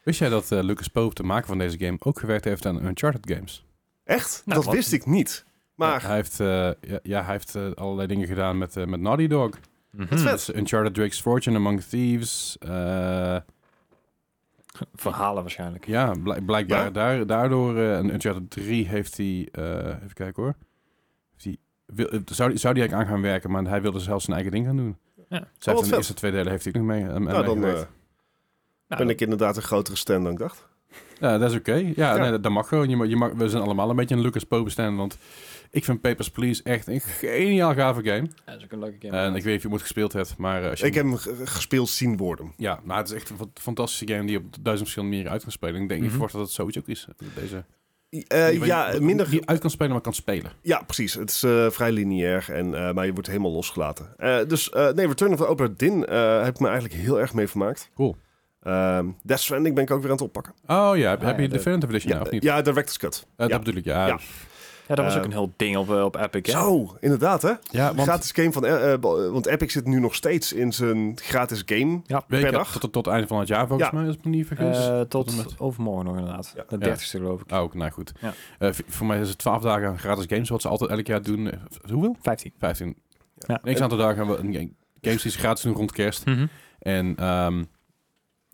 [SPEAKER 1] Wist jij dat eh, Lucas Pope, de maker van deze game, ook gewerkt heeft aan Uncharted games?
[SPEAKER 3] Echt?
[SPEAKER 2] Nou,
[SPEAKER 3] dat
[SPEAKER 2] wat-
[SPEAKER 3] wist ik niet. Maar
[SPEAKER 1] Ja, hij heeft, eh, ja, ja, hij heeft eh, allerlei dingen gedaan met, eh, met Naughty Dog.
[SPEAKER 2] Mhm.
[SPEAKER 3] Wat vet.
[SPEAKER 1] Dus Uncharted Drake's Fortune, Among Thieves. eh,
[SPEAKER 2] Verhalen waarschijnlijk.
[SPEAKER 1] ja, bl- blijkbaar
[SPEAKER 3] Ja?
[SPEAKER 1] Daar, daardoor. eh, en Uncharted 3 heeft hij. eh, even kijken hoor. Heeft hij, wil, eh, zou, zou die eigenlijk aan gaan werken, maar hij wilde zelfs zijn eigen ding gaan doen.
[SPEAKER 2] Ja.
[SPEAKER 1] Dus hij heeft in
[SPEAKER 3] Oh, vet.
[SPEAKER 1] de eerste twee delen heeft hij ook nog eh, mee. aan- aan
[SPEAKER 3] nou, dan
[SPEAKER 1] meegewerkt.
[SPEAKER 3] eh, ben ik inderdaad een grotere stand dan ik dacht.
[SPEAKER 1] Ja, dat is oké. Ja,
[SPEAKER 3] Ja.
[SPEAKER 1] Nee, dat, dat mag gewoon. Je mag, je mag, we zijn allemaal een beetje een Lucas Poe bestaan, want ik vind Papers, Please echt een geniaal gave game.
[SPEAKER 2] dat is ook een leuke
[SPEAKER 1] En ik weet niet of je hem gespeeld hebt, maar eh, als je
[SPEAKER 3] Ik heb hem ge- gespeeld zien worden.
[SPEAKER 1] Ja, nou, het is echt een fa- fantastische game die je op duizend verschillende manieren uit kan spelen. Ik denk,
[SPEAKER 2] Mhm.
[SPEAKER 1] ik verwacht dat het zoiets ook is. Deze,
[SPEAKER 3] Eh,
[SPEAKER 1] die-
[SPEAKER 3] ja,
[SPEAKER 1] die-
[SPEAKER 3] minder
[SPEAKER 1] Die uit kan spelen, maar kan spelen.
[SPEAKER 3] Ja, precies. Het is eh, vrij lineair, en, eh, maar je wordt helemaal losgelaten. Eh, dus eh, nee, Return of the Opera Din eh heb ik me eigenlijk heel erg mee vermaakt.
[SPEAKER 1] Cool.
[SPEAKER 3] Ehm Death Stranding ben ik ook weer aan het oppakken.
[SPEAKER 1] Oh ja, heb,
[SPEAKER 2] Ah,
[SPEAKER 1] heb
[SPEAKER 2] ja,
[SPEAKER 1] je de
[SPEAKER 2] dat-
[SPEAKER 1] Definitive Edition nou, of niet?
[SPEAKER 3] ja, Director's Cut.
[SPEAKER 1] Eh,
[SPEAKER 3] ja.
[SPEAKER 1] Dat bedoel ik, ja.
[SPEAKER 3] Ja.
[SPEAKER 1] Ja,
[SPEAKER 2] Ja, dat was
[SPEAKER 3] Eh,
[SPEAKER 2] ook een heel ding op, eh, op Epic. Hè?
[SPEAKER 3] Zo, inderdaad hè.
[SPEAKER 1] want
[SPEAKER 3] Gratis game van... eh, eh, want Epic zit nu nog steeds in zijn gratis game.
[SPEAKER 2] Ja,
[SPEAKER 1] weet je,
[SPEAKER 3] per dag.
[SPEAKER 1] tot, tot, tot het einde van het jaar volgens
[SPEAKER 3] Ja.
[SPEAKER 1] mij, als ik me niet vergis.
[SPEAKER 2] Eh,
[SPEAKER 1] en met-
[SPEAKER 2] tot overmorgen nog inderdaad.
[SPEAKER 3] Ja.
[SPEAKER 2] De
[SPEAKER 1] Ja.
[SPEAKER 2] 30ste geloof ik.
[SPEAKER 1] Ah, ook, nou goed.
[SPEAKER 2] Ja.
[SPEAKER 1] Eh, v- voor mij is het 12 dagen gratis games, wat ze altijd elk jaar doen. Eh, Hoeveel?
[SPEAKER 2] 15.
[SPEAKER 1] 15.
[SPEAKER 2] Ja.
[SPEAKER 1] Niks aantal dagen hebben we een- games die ze gratis doen rond kerst. En ehm,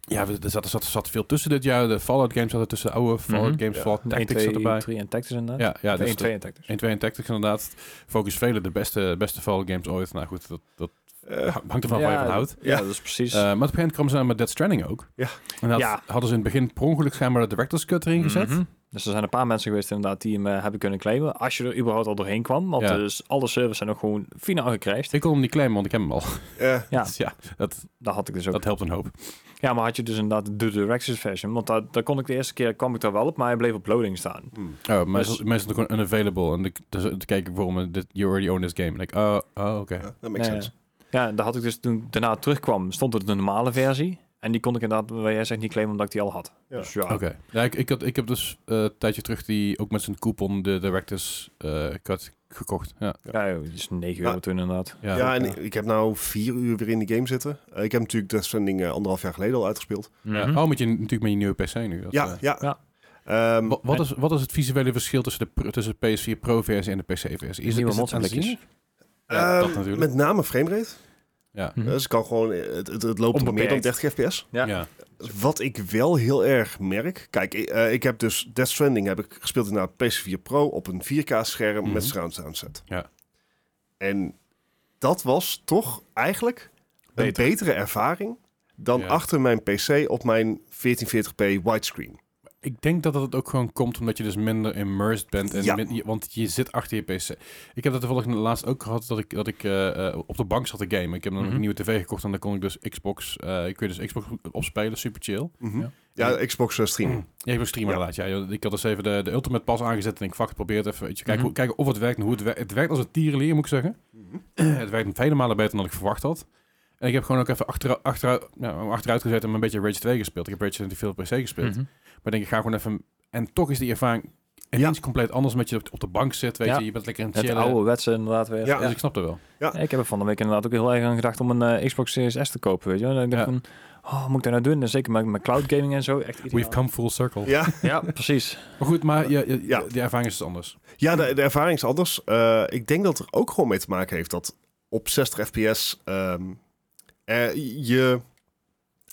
[SPEAKER 1] ja, we- er zat, er zat, er zat veel tussen dit jaar. De Fallout games zaten tussen de oude Fallout
[SPEAKER 2] Mhm.
[SPEAKER 1] games,
[SPEAKER 3] Ja.
[SPEAKER 1] Fallout
[SPEAKER 2] 1,
[SPEAKER 1] Tactics
[SPEAKER 2] 2,
[SPEAKER 1] zat erbij.
[SPEAKER 2] 3 en Tactics inderdaad.
[SPEAKER 1] Ja, ja,
[SPEAKER 2] 1,
[SPEAKER 1] dus dat-
[SPEAKER 2] 2 en Tactics.
[SPEAKER 1] 1, 2 en Tactics inderdaad. Focus velen de beste, beste Fallout games ooit. Nou goed, dat, dat [laughs]
[SPEAKER 3] Eh,
[SPEAKER 1] hangt ervan af waar je van houdt.
[SPEAKER 2] Ja,
[SPEAKER 3] Ja.
[SPEAKER 2] dat is precies.
[SPEAKER 1] Eh, maar op een gegeven moment kwamen ze aan met Dead Stranding ook.
[SPEAKER 3] Ja.
[SPEAKER 1] En dat
[SPEAKER 2] Ja.
[SPEAKER 1] hadden ze in het begin per ongeluk schijnbaar de director's cut erin gezet.
[SPEAKER 2] Mhm. Dus er zijn een paar mensen geweest inderdaad die hem eh, hebben kunnen claimen. Als je er überhaupt al doorheen kwam. Want
[SPEAKER 1] Ja.
[SPEAKER 2] dus alle servers zijn ook gewoon finaal gecrashed.
[SPEAKER 1] Ik kon hem niet claimen, want ik heb hem al.
[SPEAKER 3] eh,
[SPEAKER 2] Ja.
[SPEAKER 1] [laughs] Dus ja, dat,
[SPEAKER 2] Dat had ik dus ook.
[SPEAKER 1] dat helpt een hoop.
[SPEAKER 2] Ja, maar had je dus inderdaad de Directors version. Want daar, daar kon ik de eerste keer, kwam ik daar wel op. Maar hij bleef op loading staan.
[SPEAKER 3] hmm.
[SPEAKER 1] Oh, maar
[SPEAKER 2] Dus-
[SPEAKER 1] mensen mensen zijn gewoon unavailable. En ik- dus, dan kijk ik bijvoorbeeld, dit, you already own this game. En ik, oh, oh oké.
[SPEAKER 3] Ja, dat makes
[SPEAKER 2] Ja,
[SPEAKER 3] sense.
[SPEAKER 2] Ja, en daar had ik dus toen ik daarna terugkwam, stond er de normale versie. En die kon ik inderdaad, waar jij zegt, niet claimen omdat ik die al had.
[SPEAKER 3] Ja.
[SPEAKER 2] Dus ja,
[SPEAKER 1] Oké. Ja, ik, ik, had, ik heb dus eh, een tijdje terug die ook met zijn coupon de director's eh, cut gekocht. Ja,
[SPEAKER 2] ja joh, dus 9
[SPEAKER 3] Ja.
[SPEAKER 2] euro toen inderdaad.
[SPEAKER 1] ja.
[SPEAKER 3] Ja, en ik heb nou vier uur weer in die game zitten. Eh, ik heb natuurlijk Death Stranding eh, anderhalf jaar geleden al uitgespeeld.
[SPEAKER 1] Ja.
[SPEAKER 2] Mhm.
[SPEAKER 1] Oh, met je, natuurlijk met je nieuwe PC nu. Dat,
[SPEAKER 3] ja,
[SPEAKER 1] eh,
[SPEAKER 3] ja.
[SPEAKER 2] Ja.
[SPEAKER 3] Ehm,
[SPEAKER 1] Wa- Wat is, wat is het visuele verschil tussen de, pr- tussen de PS4 Pro-versie en de PC-versie? Is,
[SPEAKER 2] Nieuwe
[SPEAKER 1] is het
[SPEAKER 2] monsterblikjes.
[SPEAKER 1] aanzienlijk? Ja, dat
[SPEAKER 3] ehm,
[SPEAKER 1] natuurlijk.
[SPEAKER 3] met name framerate.
[SPEAKER 1] Ja.
[SPEAKER 2] Mhm.
[SPEAKER 3] Dus het kan gewoon, het, het, het loopt op meer dan
[SPEAKER 2] Onbeperkt.
[SPEAKER 3] 30 fps.
[SPEAKER 1] Ja.
[SPEAKER 2] Ja.
[SPEAKER 3] Wat ik wel heel erg merk. Kijk, ik, eh, ik heb dus Death Stranding heb ik gespeeld naar PS4 Pro op een 4K scherm
[SPEAKER 1] Mhm.
[SPEAKER 3] met surround sound set.
[SPEAKER 1] Ja.
[SPEAKER 3] En dat was toch eigenlijk een
[SPEAKER 2] Beter.
[SPEAKER 3] betere ervaring dan
[SPEAKER 1] Ja.
[SPEAKER 3] achter mijn PC op mijn 1440p widescreen.
[SPEAKER 1] Ik denk dat dat ook gewoon komt omdat je dus minder immersed bent. En
[SPEAKER 3] Ja.
[SPEAKER 1] min- je- want je zit achter je PC. Ik heb dat toevallig laatst ook gehad dat ik, dat ik eh, eh, op de bank zat te gamen. Ik heb dan
[SPEAKER 2] Mhm.
[SPEAKER 1] een nieuwe tv gekocht en dan kon ik dus Xbox, eh kun je dus Xbox opspelen. Super chill.
[SPEAKER 3] Mhm.
[SPEAKER 1] Ja.
[SPEAKER 3] Ja, de Xbox eh, stream.
[SPEAKER 1] Ja, ik ben streamer
[SPEAKER 3] Ja.
[SPEAKER 1] laat. Ja, joh. ik had dus even de, de Ultimate Pass aangezet en ik fuck, het probeer het even. Weet je, kijken,
[SPEAKER 2] Mhm.
[SPEAKER 1] hoe- kijken of het werkt en hoe het werkt. Het werkt als een tierenleer, moet ik zeggen.
[SPEAKER 3] Mhm.
[SPEAKER 1] [clears throat] het werkt vele malen beter dan ik verwacht had. En ik heb gewoon ook even achtera achteruit, nou, achteruit gezet en een beetje Rage 2 gespeeld. Ik heb Rage 2 veel op PC gespeeld.
[SPEAKER 2] Mhm.
[SPEAKER 1] Maar ik denk ik ga gewoon even... En toch is die ervaring ineens compleet anders met je op, op de bank zit. Weet
[SPEAKER 2] Ja.
[SPEAKER 1] je, je bent lekker in het
[SPEAKER 2] Het
[SPEAKER 1] chillen.
[SPEAKER 2] oude wetse inderdaad weer.
[SPEAKER 3] Ja.
[SPEAKER 1] Dus ik snap dat wel.
[SPEAKER 2] Ja, Ik heb er van de week inderdaad ook heel erg aan gedacht om een eh, Xbox Series S te kopen. Weet je? wel. En ik dacht
[SPEAKER 1] Ja.
[SPEAKER 2] van, oh, moet ik dat nou doen? En zeker met, met cloud gaming en zo. Echt ideaal.
[SPEAKER 1] We've come full circle.
[SPEAKER 3] Ja,
[SPEAKER 2] Ja, precies.
[SPEAKER 1] Maar goed, maar je, je-
[SPEAKER 3] Ja.
[SPEAKER 1] die ervaring is dus anders.
[SPEAKER 3] ja de, de ervaring is anders. Eh, ik denk dat het er ook gewoon mee te maken heeft dat op 60 fps ehm, eh, je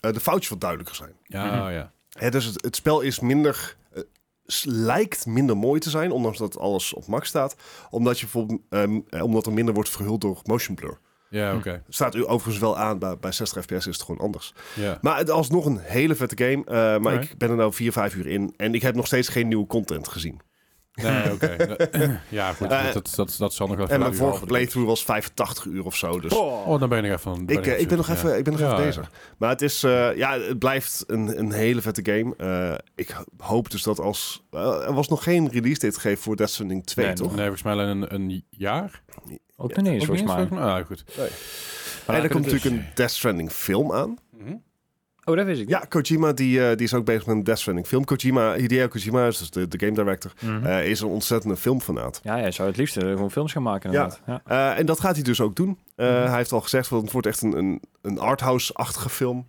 [SPEAKER 3] eh, de foutjes wat duidelijker zijn.
[SPEAKER 1] Ja,
[SPEAKER 2] Mhm.
[SPEAKER 1] ja.
[SPEAKER 3] Hè, dus het, het spel is minder. eh, s- lijkt minder mooi te zijn, ondanks dat alles op max staat. Omdat, je bijvoorbeeld, ehm, eh, omdat er minder wordt verhuld door motion blur.
[SPEAKER 1] Ja,
[SPEAKER 2] Hm.
[SPEAKER 1] oké.
[SPEAKER 3] Het staat u overigens wel aan, bij, bij 60 fps is het gewoon anders.
[SPEAKER 1] Ja.
[SPEAKER 3] Maar het alsnog een hele vette game. eh, maar
[SPEAKER 1] Alright.
[SPEAKER 3] ik ben er nou 4, 5 uur in en ik heb nog steeds geen nieuwe content gezien.
[SPEAKER 1] [laughs] Nee, oké. ja, goed.
[SPEAKER 3] Eh,
[SPEAKER 1] dat, dat, dat, dat zal nog wel
[SPEAKER 3] en
[SPEAKER 1] even
[SPEAKER 3] mijn
[SPEAKER 1] duren.
[SPEAKER 3] vorige playthrough was 85 uur of zo. Dus
[SPEAKER 1] Oh, dan ben je nog even... dan
[SPEAKER 3] ik,
[SPEAKER 1] je
[SPEAKER 3] eh, ik ben nog
[SPEAKER 1] ja.
[SPEAKER 3] even, ik ben nog
[SPEAKER 1] Ja,
[SPEAKER 3] even
[SPEAKER 1] ja.
[SPEAKER 3] bezig. Maar het, is, eh, ja, het blijft een, een hele vette game. Eh, ik ho- hoop dus dat als... eh, er was nog geen release date gegeven voor Death Stranding 2,
[SPEAKER 2] Nee,
[SPEAKER 3] toch?
[SPEAKER 1] Nee, volgens mij alleen een, een jaar.
[SPEAKER 2] Ook nog niet eens,
[SPEAKER 1] Ook niet
[SPEAKER 2] volgens mij.
[SPEAKER 1] eens, Ah, goed.
[SPEAKER 2] Maar
[SPEAKER 3] en
[SPEAKER 2] dan
[SPEAKER 3] er komt
[SPEAKER 2] kunnen
[SPEAKER 3] natuurlijk een Death Stranding film aan.
[SPEAKER 2] Oh, dat wist ik.
[SPEAKER 3] Ja, Kojima die, eh, die is ook bezig met een Death Stranding film. Kojima, Hideo Kojima, is dus de, de game director,
[SPEAKER 2] Mhm.
[SPEAKER 3] eh, is een ontzettende filmfanaat.
[SPEAKER 2] Ja, hij zou het liefst eh, gewoon films gaan maken
[SPEAKER 3] Ja.
[SPEAKER 2] inderdaad. Ja.
[SPEAKER 3] Eh, en dat gaat hij dus ook doen. Eh,
[SPEAKER 2] Mhm.
[SPEAKER 3] Hij heeft al gezegd, want het wordt echt een, een, een arthouse-achtige film.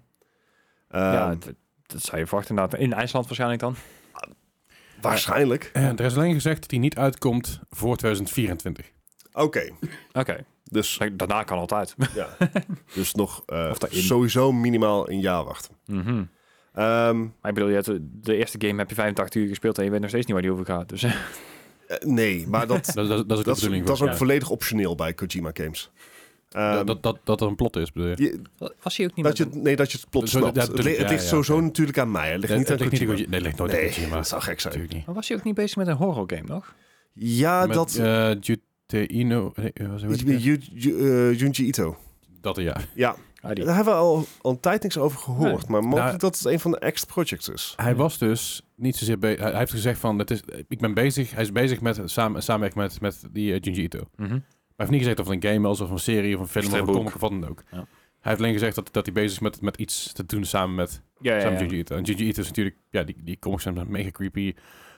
[SPEAKER 3] Eh,
[SPEAKER 2] Ja, het- dat zou je verwachten inderdaad. In IJsland waarschijnlijk dan.
[SPEAKER 3] waarschijnlijk.
[SPEAKER 1] En Eh, er is alleen gezegd dat hij niet uitkomt voor 2024.
[SPEAKER 3] Oké,
[SPEAKER 2] Oké,
[SPEAKER 3] dus,
[SPEAKER 2] Kijk, daarna kan altijd. [laughs]
[SPEAKER 1] [laughs]
[SPEAKER 3] ja. dus nog eh,
[SPEAKER 2] Of daarin.
[SPEAKER 3] sowieso minimaal een jaar wachten.
[SPEAKER 2] Mhm.
[SPEAKER 3] Ehm,
[SPEAKER 2] Maar ik bedoel, je hebt- eh, de eerste game heb je 85 uur gespeeld en je weet nog steeds niet waar die over gaat. Dus ja,
[SPEAKER 3] eh, nee, maar dat,
[SPEAKER 1] [laughs] Dat, dat, dat is ook
[SPEAKER 3] dat,
[SPEAKER 1] de
[SPEAKER 3] is,
[SPEAKER 1] bedoeling.
[SPEAKER 3] dat is ook
[SPEAKER 1] volgens mij.
[SPEAKER 3] volledig optioneel bij Kojima Games. Ehm,
[SPEAKER 1] dat, dat, dat er een plot is, bedoel je?
[SPEAKER 3] je-
[SPEAKER 2] Was hij ook niet
[SPEAKER 3] dat je,
[SPEAKER 2] met
[SPEAKER 3] het- nee, dat je het plot
[SPEAKER 1] Zo-
[SPEAKER 3] snapt.
[SPEAKER 1] ja,
[SPEAKER 3] het, li-
[SPEAKER 1] tuurlijk,
[SPEAKER 3] het
[SPEAKER 1] ja,
[SPEAKER 3] ligt
[SPEAKER 1] ja,
[SPEAKER 3] sowieso
[SPEAKER 1] oké.
[SPEAKER 3] natuurlijk aan mij. Het ligt
[SPEAKER 1] Nee,
[SPEAKER 3] niet aan
[SPEAKER 1] het ligt niet aan
[SPEAKER 3] Kojima.
[SPEAKER 1] Kojima. Nee, het ligt nooit aan
[SPEAKER 3] Nee,
[SPEAKER 1] Kojima.
[SPEAKER 3] dat zou gek zijn.
[SPEAKER 1] Natuurlijk niet.
[SPEAKER 2] Maar was hij ook niet bezig met een horror game nog?
[SPEAKER 3] Ja,
[SPEAKER 1] Met,
[SPEAKER 3] Ah, dat...
[SPEAKER 1] eh, Juteino... nee, eh, hoe heet die?
[SPEAKER 3] Ju- Ju- eh, Junji Ito.
[SPEAKER 1] Dat ja.
[SPEAKER 3] Ja,
[SPEAKER 2] Ah, die.
[SPEAKER 3] daar hebben we al, al een tijd niks over gehoord.
[SPEAKER 2] Nee.
[SPEAKER 3] Maar mogelijk
[SPEAKER 1] Nou,
[SPEAKER 3] dat het een van de ex-projects is.
[SPEAKER 1] Hij was dus niet zozeer bezig. Hij hij heeft gezegd van, het is, ik ben bezig. Hij is bezig met samen, samenwerking met, met die eh, Junji Ito.
[SPEAKER 2] Mhm.
[SPEAKER 1] Maar hij heeft niet gezegd of het een game was, of een serie, of een film, of een
[SPEAKER 2] Stripboek.
[SPEAKER 1] comic, of wat dan ook.
[SPEAKER 2] Ja.
[SPEAKER 1] Hij heeft alleen gezegd dat, dat hij bezig is met, met iets te doen samen met,
[SPEAKER 2] Ja, ja,
[SPEAKER 1] samen met
[SPEAKER 2] ja.
[SPEAKER 1] Junji Ito. En Junji Ito is natuurlijk, ja, die, die comics zijn mega creepy.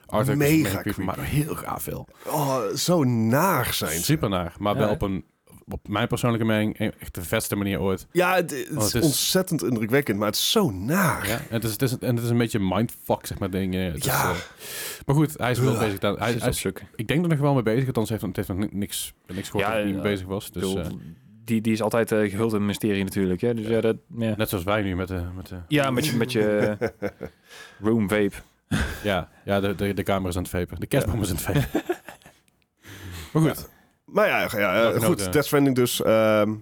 [SPEAKER 1] Art is
[SPEAKER 3] Mega
[SPEAKER 1] maar
[SPEAKER 3] creepy.
[SPEAKER 1] heel gaaf veel.
[SPEAKER 3] Oh, zo naar zijn ze.
[SPEAKER 1] Super naar, maar
[SPEAKER 2] Ja,
[SPEAKER 1] wel
[SPEAKER 2] hè?
[SPEAKER 1] op een, op mijn persoonlijke mening, een- echt de beste manier ooit.
[SPEAKER 3] Ja, het, het
[SPEAKER 1] Oh,
[SPEAKER 3] is
[SPEAKER 1] het is-
[SPEAKER 3] ontzettend indrukwekkend, maar het is zo naar.
[SPEAKER 1] Ja? En, het is, het is, en het is een beetje mindfuck, zeg maar, dingen. Het is,
[SPEAKER 3] Ja.
[SPEAKER 1] eh, maar goed, hij is wel
[SPEAKER 3] Ugh.
[SPEAKER 1] bezig. daar- Hij,
[SPEAKER 2] Zit
[SPEAKER 1] hij
[SPEAKER 2] op
[SPEAKER 1] is
[SPEAKER 2] zoek.
[SPEAKER 1] Ik denk er nog wel mee bezig, want anders heeft het heeft nog ni- niks, niks gehoord
[SPEAKER 2] Ja,
[SPEAKER 1] dat hij
[SPEAKER 2] ja.
[SPEAKER 1] mee bezig was. Dus,
[SPEAKER 2] Ik
[SPEAKER 1] eh,
[SPEAKER 2] bedoel, die, die is altijd eh, gehuld in mysterie natuurlijk. Hè? Dus ja, dat, ja.
[SPEAKER 1] eh, net zoals wij nu met de... Met de
[SPEAKER 2] ja met je, met
[SPEAKER 1] [laughs]
[SPEAKER 2] je room vape.
[SPEAKER 1] ja, ja de, de, de camera is aan het vapen. De kerstboom is aan het vapen. maar goed,
[SPEAKER 3] [laughs] Maar ja, ja, ja,
[SPEAKER 1] Welke
[SPEAKER 3] goed,
[SPEAKER 1] noten?
[SPEAKER 3] Death Stranding dus. ehm,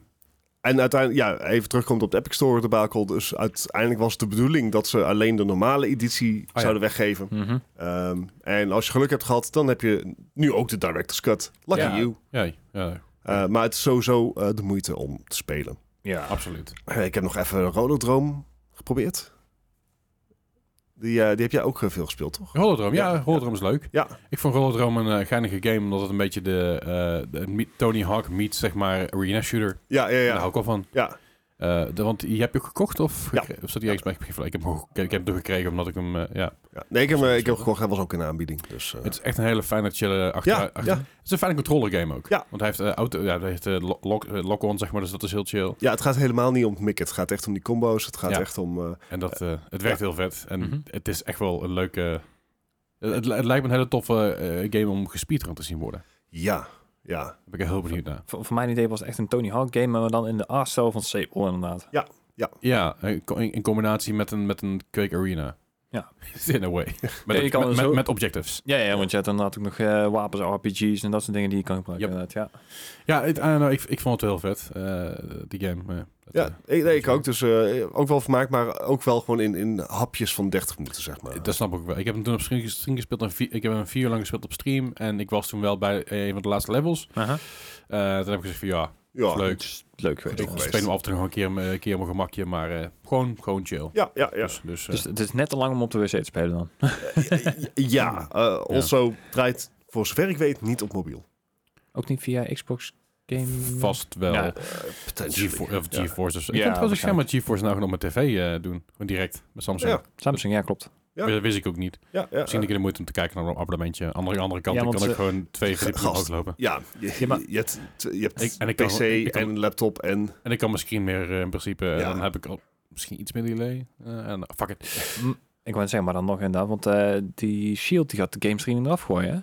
[SPEAKER 3] en uiteindelijk, ja, even terugkomt op de Epic Store debakel. Dus uiteindelijk was de bedoeling dat ze alleen de normale editie
[SPEAKER 1] Oh, ja.
[SPEAKER 3] zouden weggeven.
[SPEAKER 2] Mhm.
[SPEAKER 3] Ehm, en als je geluk hebt gehad, dan heb je nu ook de Director's Cut. Lucky
[SPEAKER 1] Ja.
[SPEAKER 3] you.
[SPEAKER 1] ja, ja
[SPEAKER 3] Eh, maar het is sowieso eh, de moeite om te spelen.
[SPEAKER 2] Ja.
[SPEAKER 1] absoluut.
[SPEAKER 3] Eh, ik heb nog even Rododrome geprobeerd. Die, eh, die heb jij ook eh, veel gespeeld, toch?
[SPEAKER 1] Holodrome, ja,
[SPEAKER 3] Ja.
[SPEAKER 1] Holodrome is leuk.
[SPEAKER 3] Ja.
[SPEAKER 1] Ik vond Holodrome een eh, geinige game, omdat het een beetje de, eh, de meet- Tony Hawk meets, zeg maar, arena shooter.
[SPEAKER 3] Ja, ja,
[SPEAKER 1] Daar hou
[SPEAKER 3] ja.
[SPEAKER 1] ik wel van.
[SPEAKER 3] Nou. Ja,
[SPEAKER 1] Eh, de- want je hebt je ook gekocht of,
[SPEAKER 3] Ja.
[SPEAKER 1] gekre- of zat die ergens bij? Ik heb, hem gek- ik heb hem gekregen omdat ik hem... eh, ja.
[SPEAKER 3] ja. Nee, ik heb, hem, eh, ik heb hem gekocht. Hij was ook in de aanbieding. Dus, eh,
[SPEAKER 1] Het is echt een hele fijne, chille achter,
[SPEAKER 3] ja,
[SPEAKER 1] achter-
[SPEAKER 3] ja.
[SPEAKER 1] Het is een fijne controller game ook.
[SPEAKER 3] Ja.
[SPEAKER 1] Want hij heeft eh, auto, ja, hij heeft eh, lo- lock, eh, lock-on, zeg maar, dus dat is heel chill.
[SPEAKER 3] ja, het gaat helemaal niet om het mikken. Het gaat echt om die combo's. Het gaat
[SPEAKER 1] Ja.
[SPEAKER 3] echt om... eh,
[SPEAKER 1] En dat, eh, het werkt heel vet. En
[SPEAKER 2] Mhm.
[SPEAKER 1] het is echt wel een leuke... Het, het li- het lijkt me een hele toffe eh, game om gespeedrun te zien worden.
[SPEAKER 3] ja, ja.
[SPEAKER 1] Daar ben ik heel benieuwd naar.
[SPEAKER 2] Voor, voor mijn idee was het echt een Tony Hawk game, maar dan in de artstijl van Sable inderdaad.
[SPEAKER 1] Ja, eh, co- in, in combinatie met een, met een Quake Arena.
[SPEAKER 2] Ja.
[SPEAKER 1] [laughs] In a way. Met,
[SPEAKER 2] je kan
[SPEAKER 1] met,
[SPEAKER 2] zo-
[SPEAKER 1] met, met objectives.
[SPEAKER 2] Ja, ja, want je hebt inderdaad ook nog eh, wapens, RPG's en dat soort dingen die je kan gebruiken.
[SPEAKER 1] Yep.
[SPEAKER 2] inderdaad, Ja.
[SPEAKER 1] Ja, het- I don't know, ik, ik vond het heel vet, eh, die game. eh, dat, eh,
[SPEAKER 3] Ja, ik, nee, ik ook. Dus eh, ook wel vermaakt, maar ook wel gewoon in, in hapjes van 30 minuten, zeg maar.
[SPEAKER 1] eh, Dat snap ik wel. Ik heb hem toen op stream stream gespeeld. En vi- ik heb hem vier uur lang gespeeld op stream. En ik was toen wel bij een van de laatste levels. Eh, toen heb ik gezegd van ja,
[SPEAKER 3] ja.
[SPEAKER 1] leuk.
[SPEAKER 2] Het is leuk geweest.
[SPEAKER 3] Goed
[SPEAKER 1] Ik
[SPEAKER 3] geweest.
[SPEAKER 1] speel hem af en toe nog een keer, eh, een keer op mijn gemakje, maar eh, gewoon, gewoon chill.
[SPEAKER 3] Ja, ja, ja.
[SPEAKER 1] Dus, dus, eh,
[SPEAKER 2] Dus het is net te lang om op de wc te spelen dan.
[SPEAKER 3] ja, eh also draait voor zover ik weet niet op mobiel.
[SPEAKER 2] Ook niet via Xbox Game...
[SPEAKER 1] vast wel
[SPEAKER 2] Ja,
[SPEAKER 3] potentially.
[SPEAKER 1] GeForce, of
[SPEAKER 3] Ja.
[SPEAKER 1] GeForce. Dus.
[SPEAKER 2] Ja,
[SPEAKER 1] ik kan trouwens ook
[SPEAKER 2] waarschijnlijk.
[SPEAKER 1] met GeForce nou gewoon op mijn tv eh, doen. Gewoon direct met Samsung.
[SPEAKER 3] Ja.
[SPEAKER 2] Samsung, ja klopt.
[SPEAKER 3] Ja.
[SPEAKER 1] Dat wist ik ook niet.
[SPEAKER 3] Ja, ja,
[SPEAKER 1] Misschien
[SPEAKER 3] ja.
[SPEAKER 1] een keer de moeite om te kijken naar een abonnementje. Andere, andere kant
[SPEAKER 2] Ja,
[SPEAKER 1] dan
[SPEAKER 2] want
[SPEAKER 1] kan ik
[SPEAKER 2] ze-
[SPEAKER 1] gewoon
[SPEAKER 3] [laughs]
[SPEAKER 1] twee verdiepingen
[SPEAKER 3] Gast.
[SPEAKER 1] omhoog lopen.
[SPEAKER 3] Ja, je,
[SPEAKER 2] Ja, maar-
[SPEAKER 3] je hebt, t- je hebt
[SPEAKER 1] Ik- en ik kan-
[SPEAKER 3] PC
[SPEAKER 1] ik kan-
[SPEAKER 3] en een laptop en...
[SPEAKER 1] En ik kan mijn screen meer eh, in principe. En
[SPEAKER 3] Ja.
[SPEAKER 1] dan heb ik al misschien iets meer delay. Eh, en, fuck it.
[SPEAKER 2] Ik wou net zeggen, maar dan nog inderdaad, want eh, die Shield die gaat de game streaming eraf gooien, hè?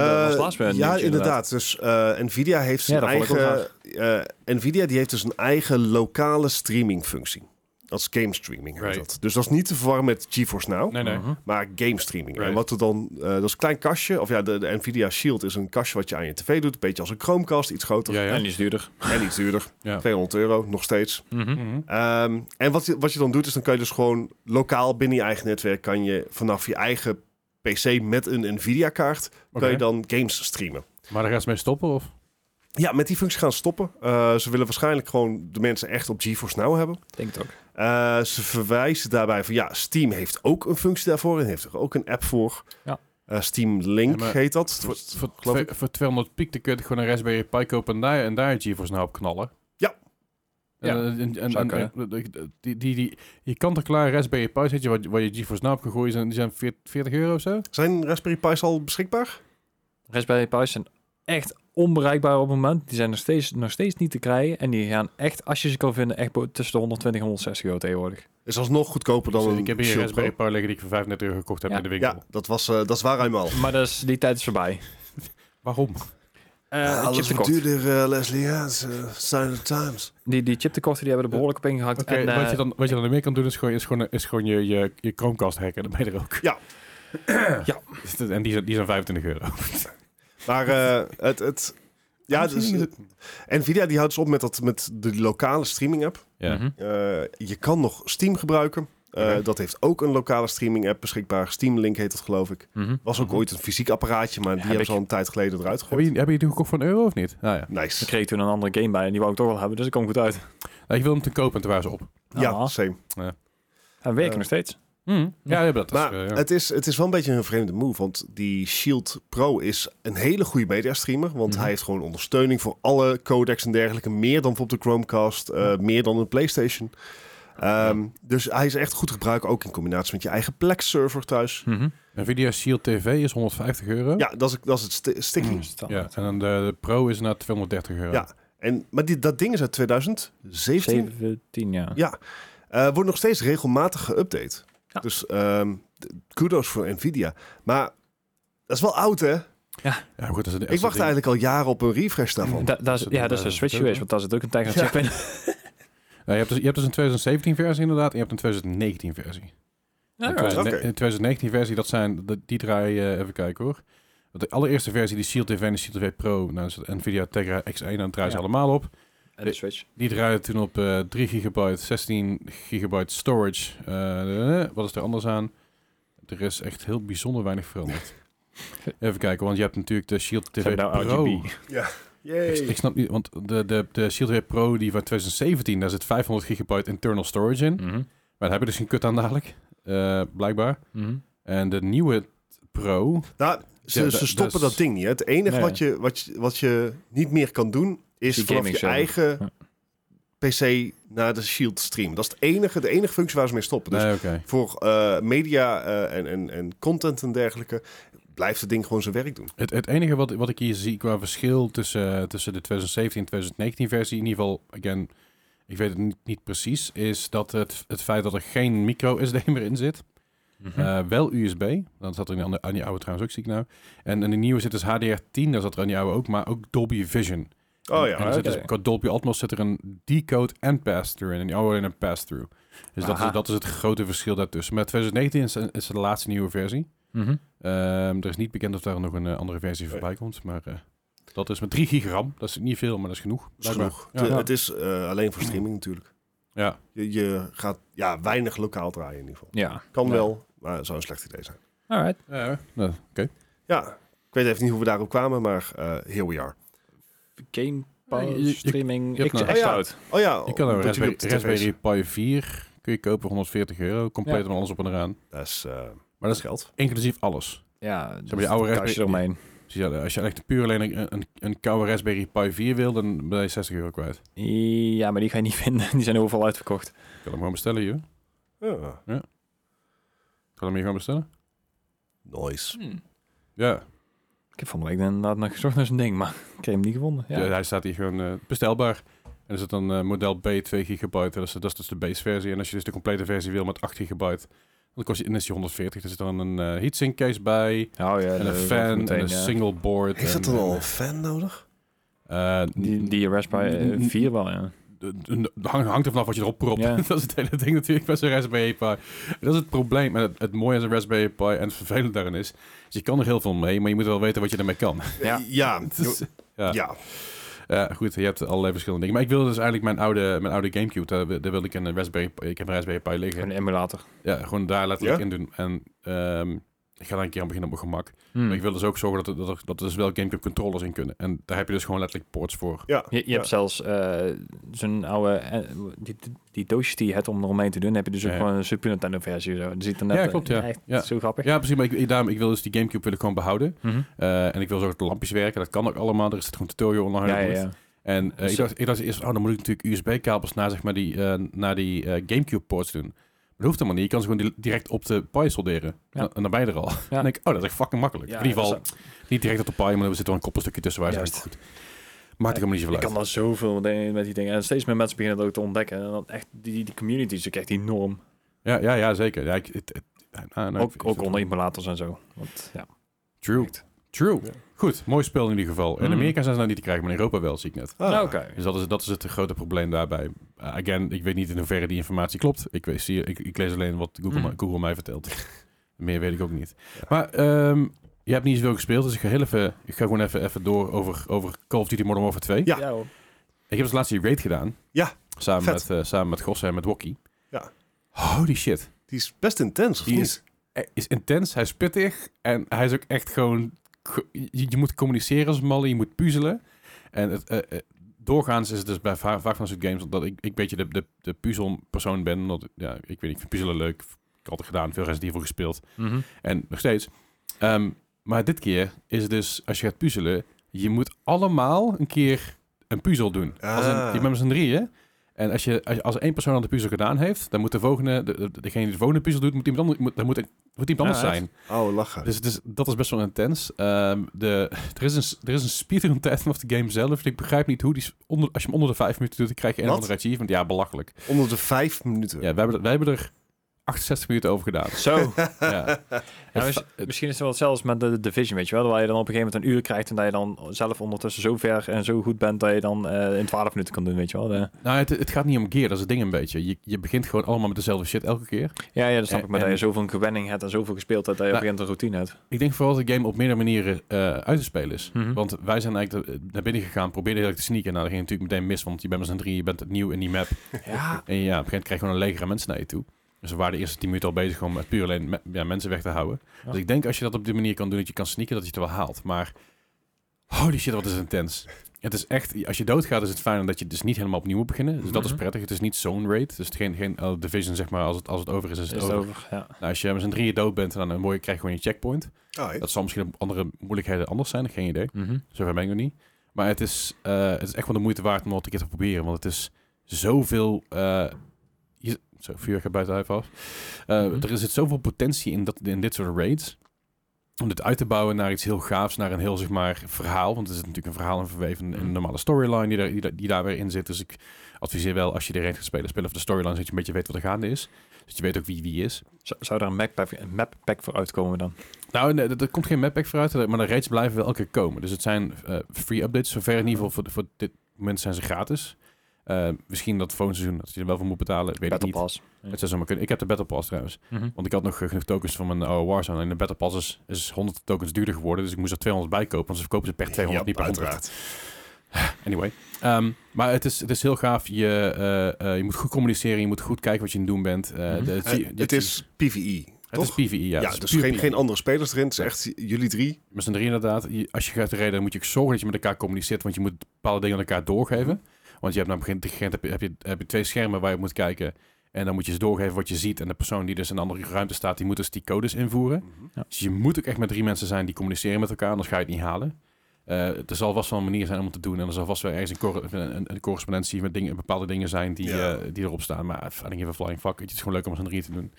[SPEAKER 2] dat was
[SPEAKER 3] Eh,
[SPEAKER 2] laatst weer een
[SPEAKER 3] ja,
[SPEAKER 2] nieuwtje,
[SPEAKER 3] inderdaad. Dus eh, Nvidia heeft
[SPEAKER 2] Ja,
[SPEAKER 3] zijn
[SPEAKER 2] dat vond ik ook
[SPEAKER 3] eigen... eh, Nvidia die heeft dus een eigen lokale streamingfunctie. Dat is game streaming. heet
[SPEAKER 1] Right.
[SPEAKER 3] Dat. Dus dat is niet te verwarren met GeForce Now.
[SPEAKER 1] Nee, nee.
[SPEAKER 2] Mhm.
[SPEAKER 3] maar game streaming. En
[SPEAKER 1] Right.
[SPEAKER 3] wat er dan, eh, dat is een klein kastje, of ja, de, de Nvidia Shield is een kastje wat je aan je tv doet, een beetje als een Chromecast, iets groter
[SPEAKER 1] Ja, ja.
[SPEAKER 2] En die is duurder.
[SPEAKER 3] en iets duurder,
[SPEAKER 1] Ja.
[SPEAKER 3] 200 euro nog steeds.
[SPEAKER 2] Mhm.
[SPEAKER 1] Mhm.
[SPEAKER 3] Ehm, en wat je, wat je dan doet is dan kan je dus gewoon lokaal binnen je eigen netwerk kan je vanaf je eigen PC met een Nvidia kaart
[SPEAKER 1] Oké.
[SPEAKER 3] kan je dan games streamen.
[SPEAKER 1] Maar daar gaan ze mee stoppen of?
[SPEAKER 3] Ja, met die functie gaan ze stoppen. Eh, ze willen waarschijnlijk gewoon de mensen echt op GeForce Now hebben.
[SPEAKER 2] Ik Denk het ook.
[SPEAKER 3] Eh, ze verwijzen daarbij van ja, Steam heeft ook een functie daarvoor en heeft er ook een app voor.
[SPEAKER 2] Ja.
[SPEAKER 3] Eh, Steam Link
[SPEAKER 1] Ja, maar
[SPEAKER 3] heet dat.
[SPEAKER 1] Voor,
[SPEAKER 3] Dat-
[SPEAKER 1] voor,
[SPEAKER 3] Dus geloof
[SPEAKER 1] twee- voor 200 piek dan kun je gewoon een Raspberry Pi kopen en daar, en daar een GeForce nou op knallen.
[SPEAKER 3] Ja.
[SPEAKER 1] En, eh,
[SPEAKER 2] Ja,
[SPEAKER 1] en, en,
[SPEAKER 2] zou
[SPEAKER 1] en-
[SPEAKER 2] kunnen.
[SPEAKER 1] en- die, die, die, je kan er klaar Raspberry Pi's zetje waar, waar je GeForce nou op gegooid is en die zijn 40, 40 euro of zo.
[SPEAKER 3] Zijn Raspberry Pi's al beschikbaar?
[SPEAKER 2] Raspberry Pi's zijn echt onbereikbaar op het moment. Die zijn nog steeds, nog steeds niet te krijgen. En die gaan echt, als je ze kan vinden, echt bo- tussen de 120 en 160 euro tegenwoordig.
[SPEAKER 3] Is alsnog goedkoper dan
[SPEAKER 1] Dus
[SPEAKER 3] een
[SPEAKER 1] ik heb hier een
[SPEAKER 3] Shield
[SPEAKER 1] Raspberry
[SPEAKER 3] Pro.
[SPEAKER 1] Pi liggen die ik voor 35 euro gekocht heb
[SPEAKER 2] Ja.
[SPEAKER 1] in de winkel.
[SPEAKER 3] Ja, dat, was, eh, dat is waar ruim al.
[SPEAKER 2] Maar dat is, die tijd is voorbij.
[SPEAKER 1] Waarom?
[SPEAKER 2] Eh chiptekort.
[SPEAKER 3] duurder, eh, Leslie. Ja, sign of times.
[SPEAKER 2] Die, die chiptekorten die hebben er behoorlijk op ingehakt.
[SPEAKER 1] Oké,
[SPEAKER 2] en,
[SPEAKER 1] wat,
[SPEAKER 2] eh,
[SPEAKER 1] je dan, wat je dan meer kan doen is gewoon, is gewoon, is gewoon je, je, je Chromecast hacken, dan ben je er ook. [clears throat]
[SPEAKER 3] Ja.
[SPEAKER 1] ja. En die zijn, die zijn 25 euro.
[SPEAKER 3] Maar eh, het, het, Ja, dus, eh, Nvidia die houdt dus op met, dat, met de lokale streaming app.
[SPEAKER 1] Ja.
[SPEAKER 2] Mhm.
[SPEAKER 3] Eh, je kan nog Steam gebruiken. Eh,
[SPEAKER 1] Oké.
[SPEAKER 3] Dat heeft ook een lokale streaming app beschikbaar. Steam Link heet dat geloof ik.
[SPEAKER 2] Mhm.
[SPEAKER 3] Was ook ooit een fysiek apparaatje, maar die
[SPEAKER 2] heb
[SPEAKER 3] hebben ze
[SPEAKER 2] ik.
[SPEAKER 3] al een tijd geleden eruit gegooid.
[SPEAKER 1] Hebben jullie heb je die gekocht voor een euro of niet? Nou ja.
[SPEAKER 3] Nice.
[SPEAKER 2] Ik kreeg toen een andere game bij en die wou ik toch wel hebben, dus ik kwam goed uit.
[SPEAKER 1] Nou, ik wil hem te kopen en toen waren ze op.
[SPEAKER 3] Ja,
[SPEAKER 2] Ah.
[SPEAKER 3] same.
[SPEAKER 2] En werken
[SPEAKER 3] Eh,
[SPEAKER 2] nog steeds.
[SPEAKER 1] Ja, ja, dat is...
[SPEAKER 3] Maar
[SPEAKER 1] eh, ja.
[SPEAKER 3] het, is, het is wel een beetje een vreemde move. Want die Shield Pro is een hele goede mediastreamer. Want
[SPEAKER 2] Mhm.
[SPEAKER 3] hij heeft gewoon ondersteuning voor alle codecs en dergelijke. Meer dan op de Chromecast. eh, Meer dan een PlayStation. Ehm, Dus hij is echt goed gebruikt. Ook in combinatie met je eigen Plex server thuis.
[SPEAKER 2] Mhm.
[SPEAKER 1] Nvidia Shield TV is 150 euro.
[SPEAKER 3] Ja, dat is, dat is het sti- sticky.
[SPEAKER 1] Hm.
[SPEAKER 2] Dus dat-
[SPEAKER 1] Ja, en dan de, de Pro is naar 230 euro.
[SPEAKER 3] Ja. En, maar die, dat ding is uit 2017.
[SPEAKER 2] 17 jaar.
[SPEAKER 3] Ja. Eh, wordt nog steeds regelmatig geüpdate.
[SPEAKER 2] Ja.
[SPEAKER 3] Dus ehm, kudos voor Nvidia. Maar dat is wel oud, hè?
[SPEAKER 1] Ja, goed, dat is een,
[SPEAKER 3] Ik wacht
[SPEAKER 1] eigenlijk.
[SPEAKER 3] eigenlijk al jaren op een refresh daarvan.
[SPEAKER 2] Da- daar is,
[SPEAKER 1] Is het
[SPEAKER 2] ja, dat is een Switch
[SPEAKER 1] 2007?
[SPEAKER 2] geweest, want daar zit ook een Tiger
[SPEAKER 3] [laughs] Ja.
[SPEAKER 2] chip in.
[SPEAKER 1] je, hebt dus, je hebt dus een 2017 versie inderdaad en je hebt een 2019 versie. En
[SPEAKER 2] Alright.
[SPEAKER 1] de
[SPEAKER 3] Oké.
[SPEAKER 1] 2019 versie, dat zijn, de- die draai je eh, even kijken hoor. De allereerste versie, die Shield TV en de Shield TV Pro, nou, is het Nvidia Tegra X1, en dat draaien ze
[SPEAKER 2] Ja.
[SPEAKER 1] allemaal op.
[SPEAKER 2] En de Switch.
[SPEAKER 1] Die draaide toen op eh 3 gigabyte, 16 gigabyte storage. Eh, eh, wat is er anders aan? Er is echt heel bijzonder
[SPEAKER 2] [laughs]
[SPEAKER 1] weinig veranderd. Even kijken, want je hebt natuurlijk de Shield TV
[SPEAKER 2] Ze hebben nou
[SPEAKER 1] Pro.
[SPEAKER 2] RGB.
[SPEAKER 1] Ik, ik snap niet, want de, de, de Shield TV Pro die van 2017, daar zit 500 gigabyte internal storage in.
[SPEAKER 2] Mhm.
[SPEAKER 1] Maar daar heb je dus geen kut aan dadelijk, eh, blijkbaar.
[SPEAKER 2] Mhm.
[SPEAKER 1] En de nieuwe Pro,
[SPEAKER 3] Nou, ze,
[SPEAKER 1] Ja,
[SPEAKER 3] ze
[SPEAKER 1] da-
[SPEAKER 3] stoppen
[SPEAKER 1] dus-
[SPEAKER 3] dat ding niet. hè. Het enige
[SPEAKER 2] Nee.
[SPEAKER 3] wat, je, wat, je, wat je niet meer kan doen, is
[SPEAKER 2] Die
[SPEAKER 3] vanaf je
[SPEAKER 2] gaming server.
[SPEAKER 3] eigen PC naar de Shield stream. Dat is het enige, de enige functie waar ze mee stoppen. Dus
[SPEAKER 1] nee, oké.
[SPEAKER 3] voor eh, media eh, en, en, en content en dergelijke blijft het ding gewoon zijn werk doen.
[SPEAKER 1] Het, het enige wat, wat ik hier zie qua verschil tussen, eh, tussen de 2017 en 2019 versie, in ieder geval, again, ik weet het niet, niet precies, is dat het, het feit dat er geen micro [laughs] SD meer in zit.
[SPEAKER 2] Mhm.
[SPEAKER 1] Eh, wel USB, dat zat er in die andere- aan die oude trouwens ook, zie ik nou. En, en de nieuwe zit dus HDR10, daar zat er aan die oude ook, maar ook Dolby Vision.
[SPEAKER 3] Oh
[SPEAKER 1] en er
[SPEAKER 3] ja,
[SPEAKER 1] zit
[SPEAKER 2] oké.
[SPEAKER 1] dus qua Dolby Atmos zit er een decode en pass-through in. En die oude alleen een pass-through. Dus dat
[SPEAKER 2] Aha.
[SPEAKER 1] is, dat is het grote verschil daartussen. Maar 2019 is, is de laatste nieuwe versie.
[SPEAKER 2] Mhm.
[SPEAKER 1] Ehm, er is niet bekend of daar nog een eh, andere versie voorbij komt. Maar eh, dat is met 3 gigram. Dat is niet veel, maar dat is genoeg.
[SPEAKER 3] dat is
[SPEAKER 1] blijkbaar.
[SPEAKER 3] genoeg.
[SPEAKER 1] Ja.
[SPEAKER 3] De-
[SPEAKER 1] Ja.
[SPEAKER 3] Het is eh, alleen voor streaming natuurlijk.
[SPEAKER 1] Ja.
[SPEAKER 3] Je, je gaat ja, weinig lokaal draaien in ieder geval.
[SPEAKER 2] Ja.
[SPEAKER 3] Kan
[SPEAKER 1] Ja.
[SPEAKER 3] wel, maar het zou een slecht idee zijn.
[SPEAKER 2] Alright.
[SPEAKER 1] Ja, ja. Nou, Oké.
[SPEAKER 3] Ja, ik weet even niet hoe we daarop kwamen, maar eh here we are.
[SPEAKER 2] Game
[SPEAKER 1] Ja,
[SPEAKER 2] Pass,
[SPEAKER 1] je- je-
[SPEAKER 2] streaming,
[SPEAKER 1] je hebt
[SPEAKER 2] ik
[SPEAKER 1] nou-
[SPEAKER 2] echt
[SPEAKER 3] Oh ja.
[SPEAKER 2] oud.
[SPEAKER 3] Oh ja,
[SPEAKER 1] Je kan een
[SPEAKER 3] omdat jullie
[SPEAKER 1] Raspberry,
[SPEAKER 3] op de tv's-
[SPEAKER 1] Raspberry Pi 4 kun je kopen voor 140 euro. Compleet van alles op en eraan.
[SPEAKER 3] Dat is, eh,
[SPEAKER 1] Maar dat is
[SPEAKER 3] geld.
[SPEAKER 1] inclusief alles.
[SPEAKER 2] Ja,
[SPEAKER 1] Zeg maar die oude
[SPEAKER 2] kastje
[SPEAKER 1] Raspberry...
[SPEAKER 2] eromheen.
[SPEAKER 1] Dus ja, als je echt puur alleen een, een, een koude Raspberry Pi 4 wil, dan ben je 60 euro kwijt. Ik
[SPEAKER 2] Ja, maar die ga je niet [laughs] vinden. Die zijn overal uitverkocht.
[SPEAKER 1] kan hem gewoon bestellen, joh. Ik
[SPEAKER 3] Ja,
[SPEAKER 1] kan hem hier gewoon bestellen.
[SPEAKER 3] nice.
[SPEAKER 1] Ja,
[SPEAKER 2] Ik heb van de week inderdaad nog gezocht naar zo'n ding, maar ik heb hem niet gevonden. Ja.
[SPEAKER 1] Ja, hij staat hier gewoon eh, bestelbaar. En er zit dan eh, model B 2 gigabyte. Dat is, dat is dus de base versie. En als je dus de complete versie wil met 8 gigabyte, dan kost je dan is die 140. Er zit dan een eh, heatsink case bij.
[SPEAKER 2] Oh ja,
[SPEAKER 1] En een
[SPEAKER 2] dat-
[SPEAKER 1] fan
[SPEAKER 2] meteen, eh,
[SPEAKER 1] en een
[SPEAKER 2] ja.
[SPEAKER 1] single board.
[SPEAKER 3] Heeft
[SPEAKER 1] en,
[SPEAKER 3] dat dan al een fan nodig?
[SPEAKER 1] eh,
[SPEAKER 2] Die, die Raspberry eh, 4 wel, ja.
[SPEAKER 1] de- de- de- hang, hangt er vanaf wat je erop propt.
[SPEAKER 2] Ja.
[SPEAKER 1] [laughs] dat is het hele ding natuurlijk bij zo'n Raspberry Pi. Dat is het probleem. En het, het mooie aan zo'n Raspberry Pi en het vervelend daarin is, is je kan er heel veel mee, maar je moet wel weten wat je ermee kan.
[SPEAKER 2] Ja.
[SPEAKER 1] [laughs]
[SPEAKER 3] ja. [laughs]
[SPEAKER 1] Het is-
[SPEAKER 3] Dus, ja.
[SPEAKER 1] ja. Ja, goed, je hebt allerlei verschillende dingen. Maar ik wilde dus eigenlijk mijn oude, mijn oude Gamecube, daar, wi- daar wilde ik een Raspberry Pi, ik heb een Raspberry Pi liggen.
[SPEAKER 2] Een emulator.
[SPEAKER 1] Ja, gewoon daar letterlijk
[SPEAKER 3] Ja?
[SPEAKER 1] in doen. En ehm, ik ga daar een keer aan beginnen op mijn gemak.
[SPEAKER 2] Hmm.
[SPEAKER 1] Maar ik wil dus ook zorgen dat er, dat, er, dat er dus wel Gamecube controllers in kunnen. En daar heb je dus gewoon letterlijk ports voor.
[SPEAKER 3] Ja.
[SPEAKER 2] Je, je
[SPEAKER 3] Ja.
[SPEAKER 2] hebt zelfs eh, zo'n oude... eh, die, die- die doosjes die je hebt om eromheen te doen, heb je dus ook
[SPEAKER 1] Ja.
[SPEAKER 2] gewoon een Super Nintendo versie. Zo. Die ziet er net,
[SPEAKER 1] Ja, klopt, ja.
[SPEAKER 2] eh, echt
[SPEAKER 1] Ja.
[SPEAKER 2] Zo grappig.
[SPEAKER 1] Ja, precies. Maar ik, ik- daarom, ik wil dus die Gamecube wil ik gewoon behouden.
[SPEAKER 2] Mhm.
[SPEAKER 1] Eh, en ik wil zorgen dat de lampjes werken. Dat kan ook allemaal. Er is gewoon tutorial online.
[SPEAKER 2] ja,
[SPEAKER 1] dat
[SPEAKER 2] ja,
[SPEAKER 1] moet.
[SPEAKER 2] ja.
[SPEAKER 1] En eh,
[SPEAKER 2] Dus-
[SPEAKER 1] ik, dacht, ik dacht eerst, oh, dan moet ik natuurlijk USB-kabels naar, zeg maar, die, eh, naar die eh, Gamecube-ports doen. Maar dat hoeft helemaal niet. Je kan ze gewoon di- direct op de Pi solderen.
[SPEAKER 2] Ja.
[SPEAKER 1] En, en dan ben je er al. [laughs] Dan denk ik, oh, dat is echt fucking makkelijk.
[SPEAKER 2] Ja,
[SPEAKER 1] in ieder geval,
[SPEAKER 2] dat is-
[SPEAKER 1] niet direct op de Pi, maar er zit wel een koppelstukje tussen. Waar
[SPEAKER 2] Juist.
[SPEAKER 1] is goed. Maakt er helemaal niet
[SPEAKER 2] Je
[SPEAKER 1] zoveel
[SPEAKER 2] kan
[SPEAKER 1] uit.
[SPEAKER 2] daar zoveel dingen met die dingen. En steeds meer mensen beginnen dat ook te ontdekken. En dan echt, die, die community is ook echt enorm.
[SPEAKER 1] Ja, ja, ja zeker. Ja, ik, het, het- nou, nou, ik vind
[SPEAKER 2] ook ook
[SPEAKER 1] het-
[SPEAKER 2] onder emulators en zo. Want, ja.
[SPEAKER 1] True.
[SPEAKER 2] Echt.
[SPEAKER 1] True. Goed, mooi spel in ieder geval. In
[SPEAKER 2] Mm.
[SPEAKER 1] Amerika zijn ze nou niet te krijgen, maar in Europa wel, zie ik net.
[SPEAKER 3] Ah.
[SPEAKER 2] Nou, Oké.
[SPEAKER 1] Dus dat is, dat is het grote probleem daarbij. Uh, again, ik weet niet in hoeverre die informatie klopt. Ik, weet,
[SPEAKER 3] Hmm.
[SPEAKER 1] zie, ik, ik lees alleen wat Google,
[SPEAKER 2] Mm.
[SPEAKER 3] [laughs]
[SPEAKER 1] mij- Google mij vertelt. Meer weet ik ook niet. Maar ehm, Je hebt niet zoveel gespeeld, dus ik ga, heel even, ik ga gewoon even, even door over, over Call of Duty Modern Warfare 2.
[SPEAKER 3] Ja.
[SPEAKER 2] hoor.
[SPEAKER 1] Ik heb als laatste die raid gedaan.
[SPEAKER 3] Ja,
[SPEAKER 1] Samen
[SPEAKER 3] vet.
[SPEAKER 1] met, eh samen met Gosse en met Wokkie.
[SPEAKER 3] Ja.
[SPEAKER 1] Holy shit.
[SPEAKER 3] Die is best intens, of
[SPEAKER 1] Die
[SPEAKER 3] niet?
[SPEAKER 1] is, hij is intens, hij is pittig en hij is ook echt gewoon... ge- Je, je moet communiceren als een malle, je moet puzzelen. En het, eh, eh, doorgaans is het dus bij va- vaak van dat soort games dat ik, ik een beetje de, de, de puzzelpersoon ben. Omdat, ja, ik weet niet, ik vind puzzelen leuk. Ik heb altijd gedaan, veel Resident Evil gespeeld.
[SPEAKER 2] [laughs] Mhm.
[SPEAKER 1] En nog steeds. Ehm, maar dit keer is het dus, als je gaat puzzelen, je moet allemaal een keer een puzzel doen. Als in,
[SPEAKER 3] Ah.
[SPEAKER 1] je bent met z'n drieën. En als, je, als, je- als één persoon aan de puzzel gedaan heeft, dan moet de volgende, de, de- degene die de volgende puzzel doet, moet iemand anders, moet, dan moet, moet iemand anders
[SPEAKER 2] Ja, echt?
[SPEAKER 1] zijn.
[SPEAKER 3] Oh, lachen.
[SPEAKER 1] Dus, het is- dat is best wel intens. Ehm, de, er is een, s- er is een speedrun tijd vanaf de game zelf. Ik begrijp niet hoe die, s- onder, als je hem onder de vijf minuten doet, dan krijg je een of
[SPEAKER 3] Wat?
[SPEAKER 1] andere achievement. Ja, belachelijk.
[SPEAKER 3] Onder de vijf minuten.
[SPEAKER 1] Ja, wij, hebben, er- wij hebben er 68 minuten over gedaan.
[SPEAKER 2] Zo.
[SPEAKER 1] ja.
[SPEAKER 2] Ja,
[SPEAKER 1] Het-
[SPEAKER 2] mis- misschien is het wel hetzelfde met de, de Division, weet je wel. Waar je dan op een gegeven moment een uur krijgt en dat je dan zelf ondertussen zo ver en zo goed bent dat je dan eh, in 12 minuten kan doen, weet je wel. Eh, De-
[SPEAKER 1] Nou, het, het gaat niet om gear, dat is het ding een beetje. Je, je begint gewoon allemaal met dezelfde shit elke keer.
[SPEAKER 2] ja, ja, dat snap
[SPEAKER 1] En-
[SPEAKER 2] ik. Maar dat
[SPEAKER 1] en-
[SPEAKER 2] je zoveel een gewenning hebt en zoveel gespeeld hebt dat je op een gegeven moment een routine hebt.
[SPEAKER 1] Ik denk vooral dat de game op meerdere manieren eh, uit te spelen is.
[SPEAKER 2] Mhm.
[SPEAKER 1] Want wij zijn eigenlijk de- naar binnen gegaan, probeerden heel erg te sneaken. Nou, dat ging natuurlijk meteen mis, want je bent met z'n drie, je bent nieuw in die map.
[SPEAKER 2] Ja,
[SPEAKER 1] En ja, op een gegeven moment krijg je gewoon een legere mensen naar je toe. Dus we waren de eerste tien minuten al bezig om met puur alleen me- ja, mensen weg te houden.
[SPEAKER 2] Ja.
[SPEAKER 1] Dus ik denk als je dat op die manier kan doen, dat je kan sneaken, dat je het wel haalt. Maar holy shit, wat is het intens. Het is echt, als je doodgaat is het fijn dat je dus niet helemaal opnieuw moet beginnen. Dus dat is
[SPEAKER 2] Mhm.
[SPEAKER 1] prettig. Het is niet zone raid. Dus het geen, geen eh, division zeg maar, als het, als het over is, is
[SPEAKER 2] is
[SPEAKER 1] het
[SPEAKER 2] het
[SPEAKER 1] over.
[SPEAKER 2] over. Ja.
[SPEAKER 1] Nou, als je met z'n drieën dood bent, dan een mooie, krijg je gewoon je checkpoint.
[SPEAKER 3] Ah, hè?
[SPEAKER 1] Dat zal misschien op andere moeilijkheden anders zijn, geen idee.
[SPEAKER 2] Mhm.
[SPEAKER 1] Zover ben ik nog niet. Maar het is, eh, het is echt wel de moeite waard om dat een keer te proberen. Want het is zoveel... eh je, zo, vuur gaat buiten huis af. Eh,
[SPEAKER 2] Mhm.
[SPEAKER 1] Er zit zoveel potentie in, dat, in dit soort raids. Om dit uit te bouwen naar iets heel gaafs, naar een heel zeg maar, verhaal. Want er zit natuurlijk een verhaal in verweven, een- een normale storyline die daar, die, daar- die daar weer in zit. Dus ik adviseer wel, als je de raid gaat spelen, speel even de storyline, zodat je een beetje weet wat er gaande is. Zodat je weet ook wie wie is.
[SPEAKER 2] Zou, zou daar een map pack, een map pack voor uitkomen dan?
[SPEAKER 1] Nou, nee, er er komt geen mappack vooruit, maar de raids blijven wel elke keer komen. Dus het zijn eh, free updates, zover in ieder geval voor, voor dit moment zijn ze gratis. Eh, misschien dat volgend seizoen, dat je er wel voor moet betalen, weet ik
[SPEAKER 2] Battle
[SPEAKER 1] niet.
[SPEAKER 2] Pass.
[SPEAKER 1] Het zou zomaar kunnen. Ik heb de Battle Pass trouwens.
[SPEAKER 2] Mhm.
[SPEAKER 1] Want ik had nog eh, genoeg tokens van mijn oude Warzone. En de Battle Pass is, is 100 tokens duurder geworden, dus ik moest er 200 bij kopen. Want ze verkopen ze per 200, niet per 100. Anyway. Ehm, maar het is, het is heel gaaf. Je, eh, eh, je moet goed communiceren, je moet goed kijken wat je aan het doen bent. Eh,
[SPEAKER 2] Mhm.
[SPEAKER 1] de-
[SPEAKER 3] Eh, het is PvE,
[SPEAKER 1] het is
[SPEAKER 3] toch?
[SPEAKER 1] PvE, E, ja.
[SPEAKER 3] ja,
[SPEAKER 1] Het is
[SPEAKER 3] dus
[SPEAKER 1] puur
[SPEAKER 3] geen,
[SPEAKER 1] PvE.
[SPEAKER 3] geen andere spelers erin. Het is echt jullie drie.
[SPEAKER 1] Met z'n drie inderdaad. Je- Als je gaat reden, moet je ook zorgen dat je met elkaar communiceert. Want je moet bepaalde dingen aan elkaar doorgeven. Want je hebt namelijk geen dirigent, heb je, heb, je, heb je twee schermen waar je op moet kijken. En dan moet je eens doorgeven wat je ziet. En de persoon die dus in een andere ruimte staat, die moet dus die codes invoeren.
[SPEAKER 3] Mhm.
[SPEAKER 2] Ja.
[SPEAKER 1] Dus je moet ook echt met drie mensen zijn die communiceren met elkaar, anders ga je het niet halen. Eh, er zal vast wel een manier zijn om het te doen. En er zal vast wel ergens een, corre- een- een correspondentie met dingen, bepaalde dingen zijn die,
[SPEAKER 3] Ja.
[SPEAKER 1] eh, die erop staan. Maar I don't give a flying fuck. Het is gewoon leuk om eens een drie te doen.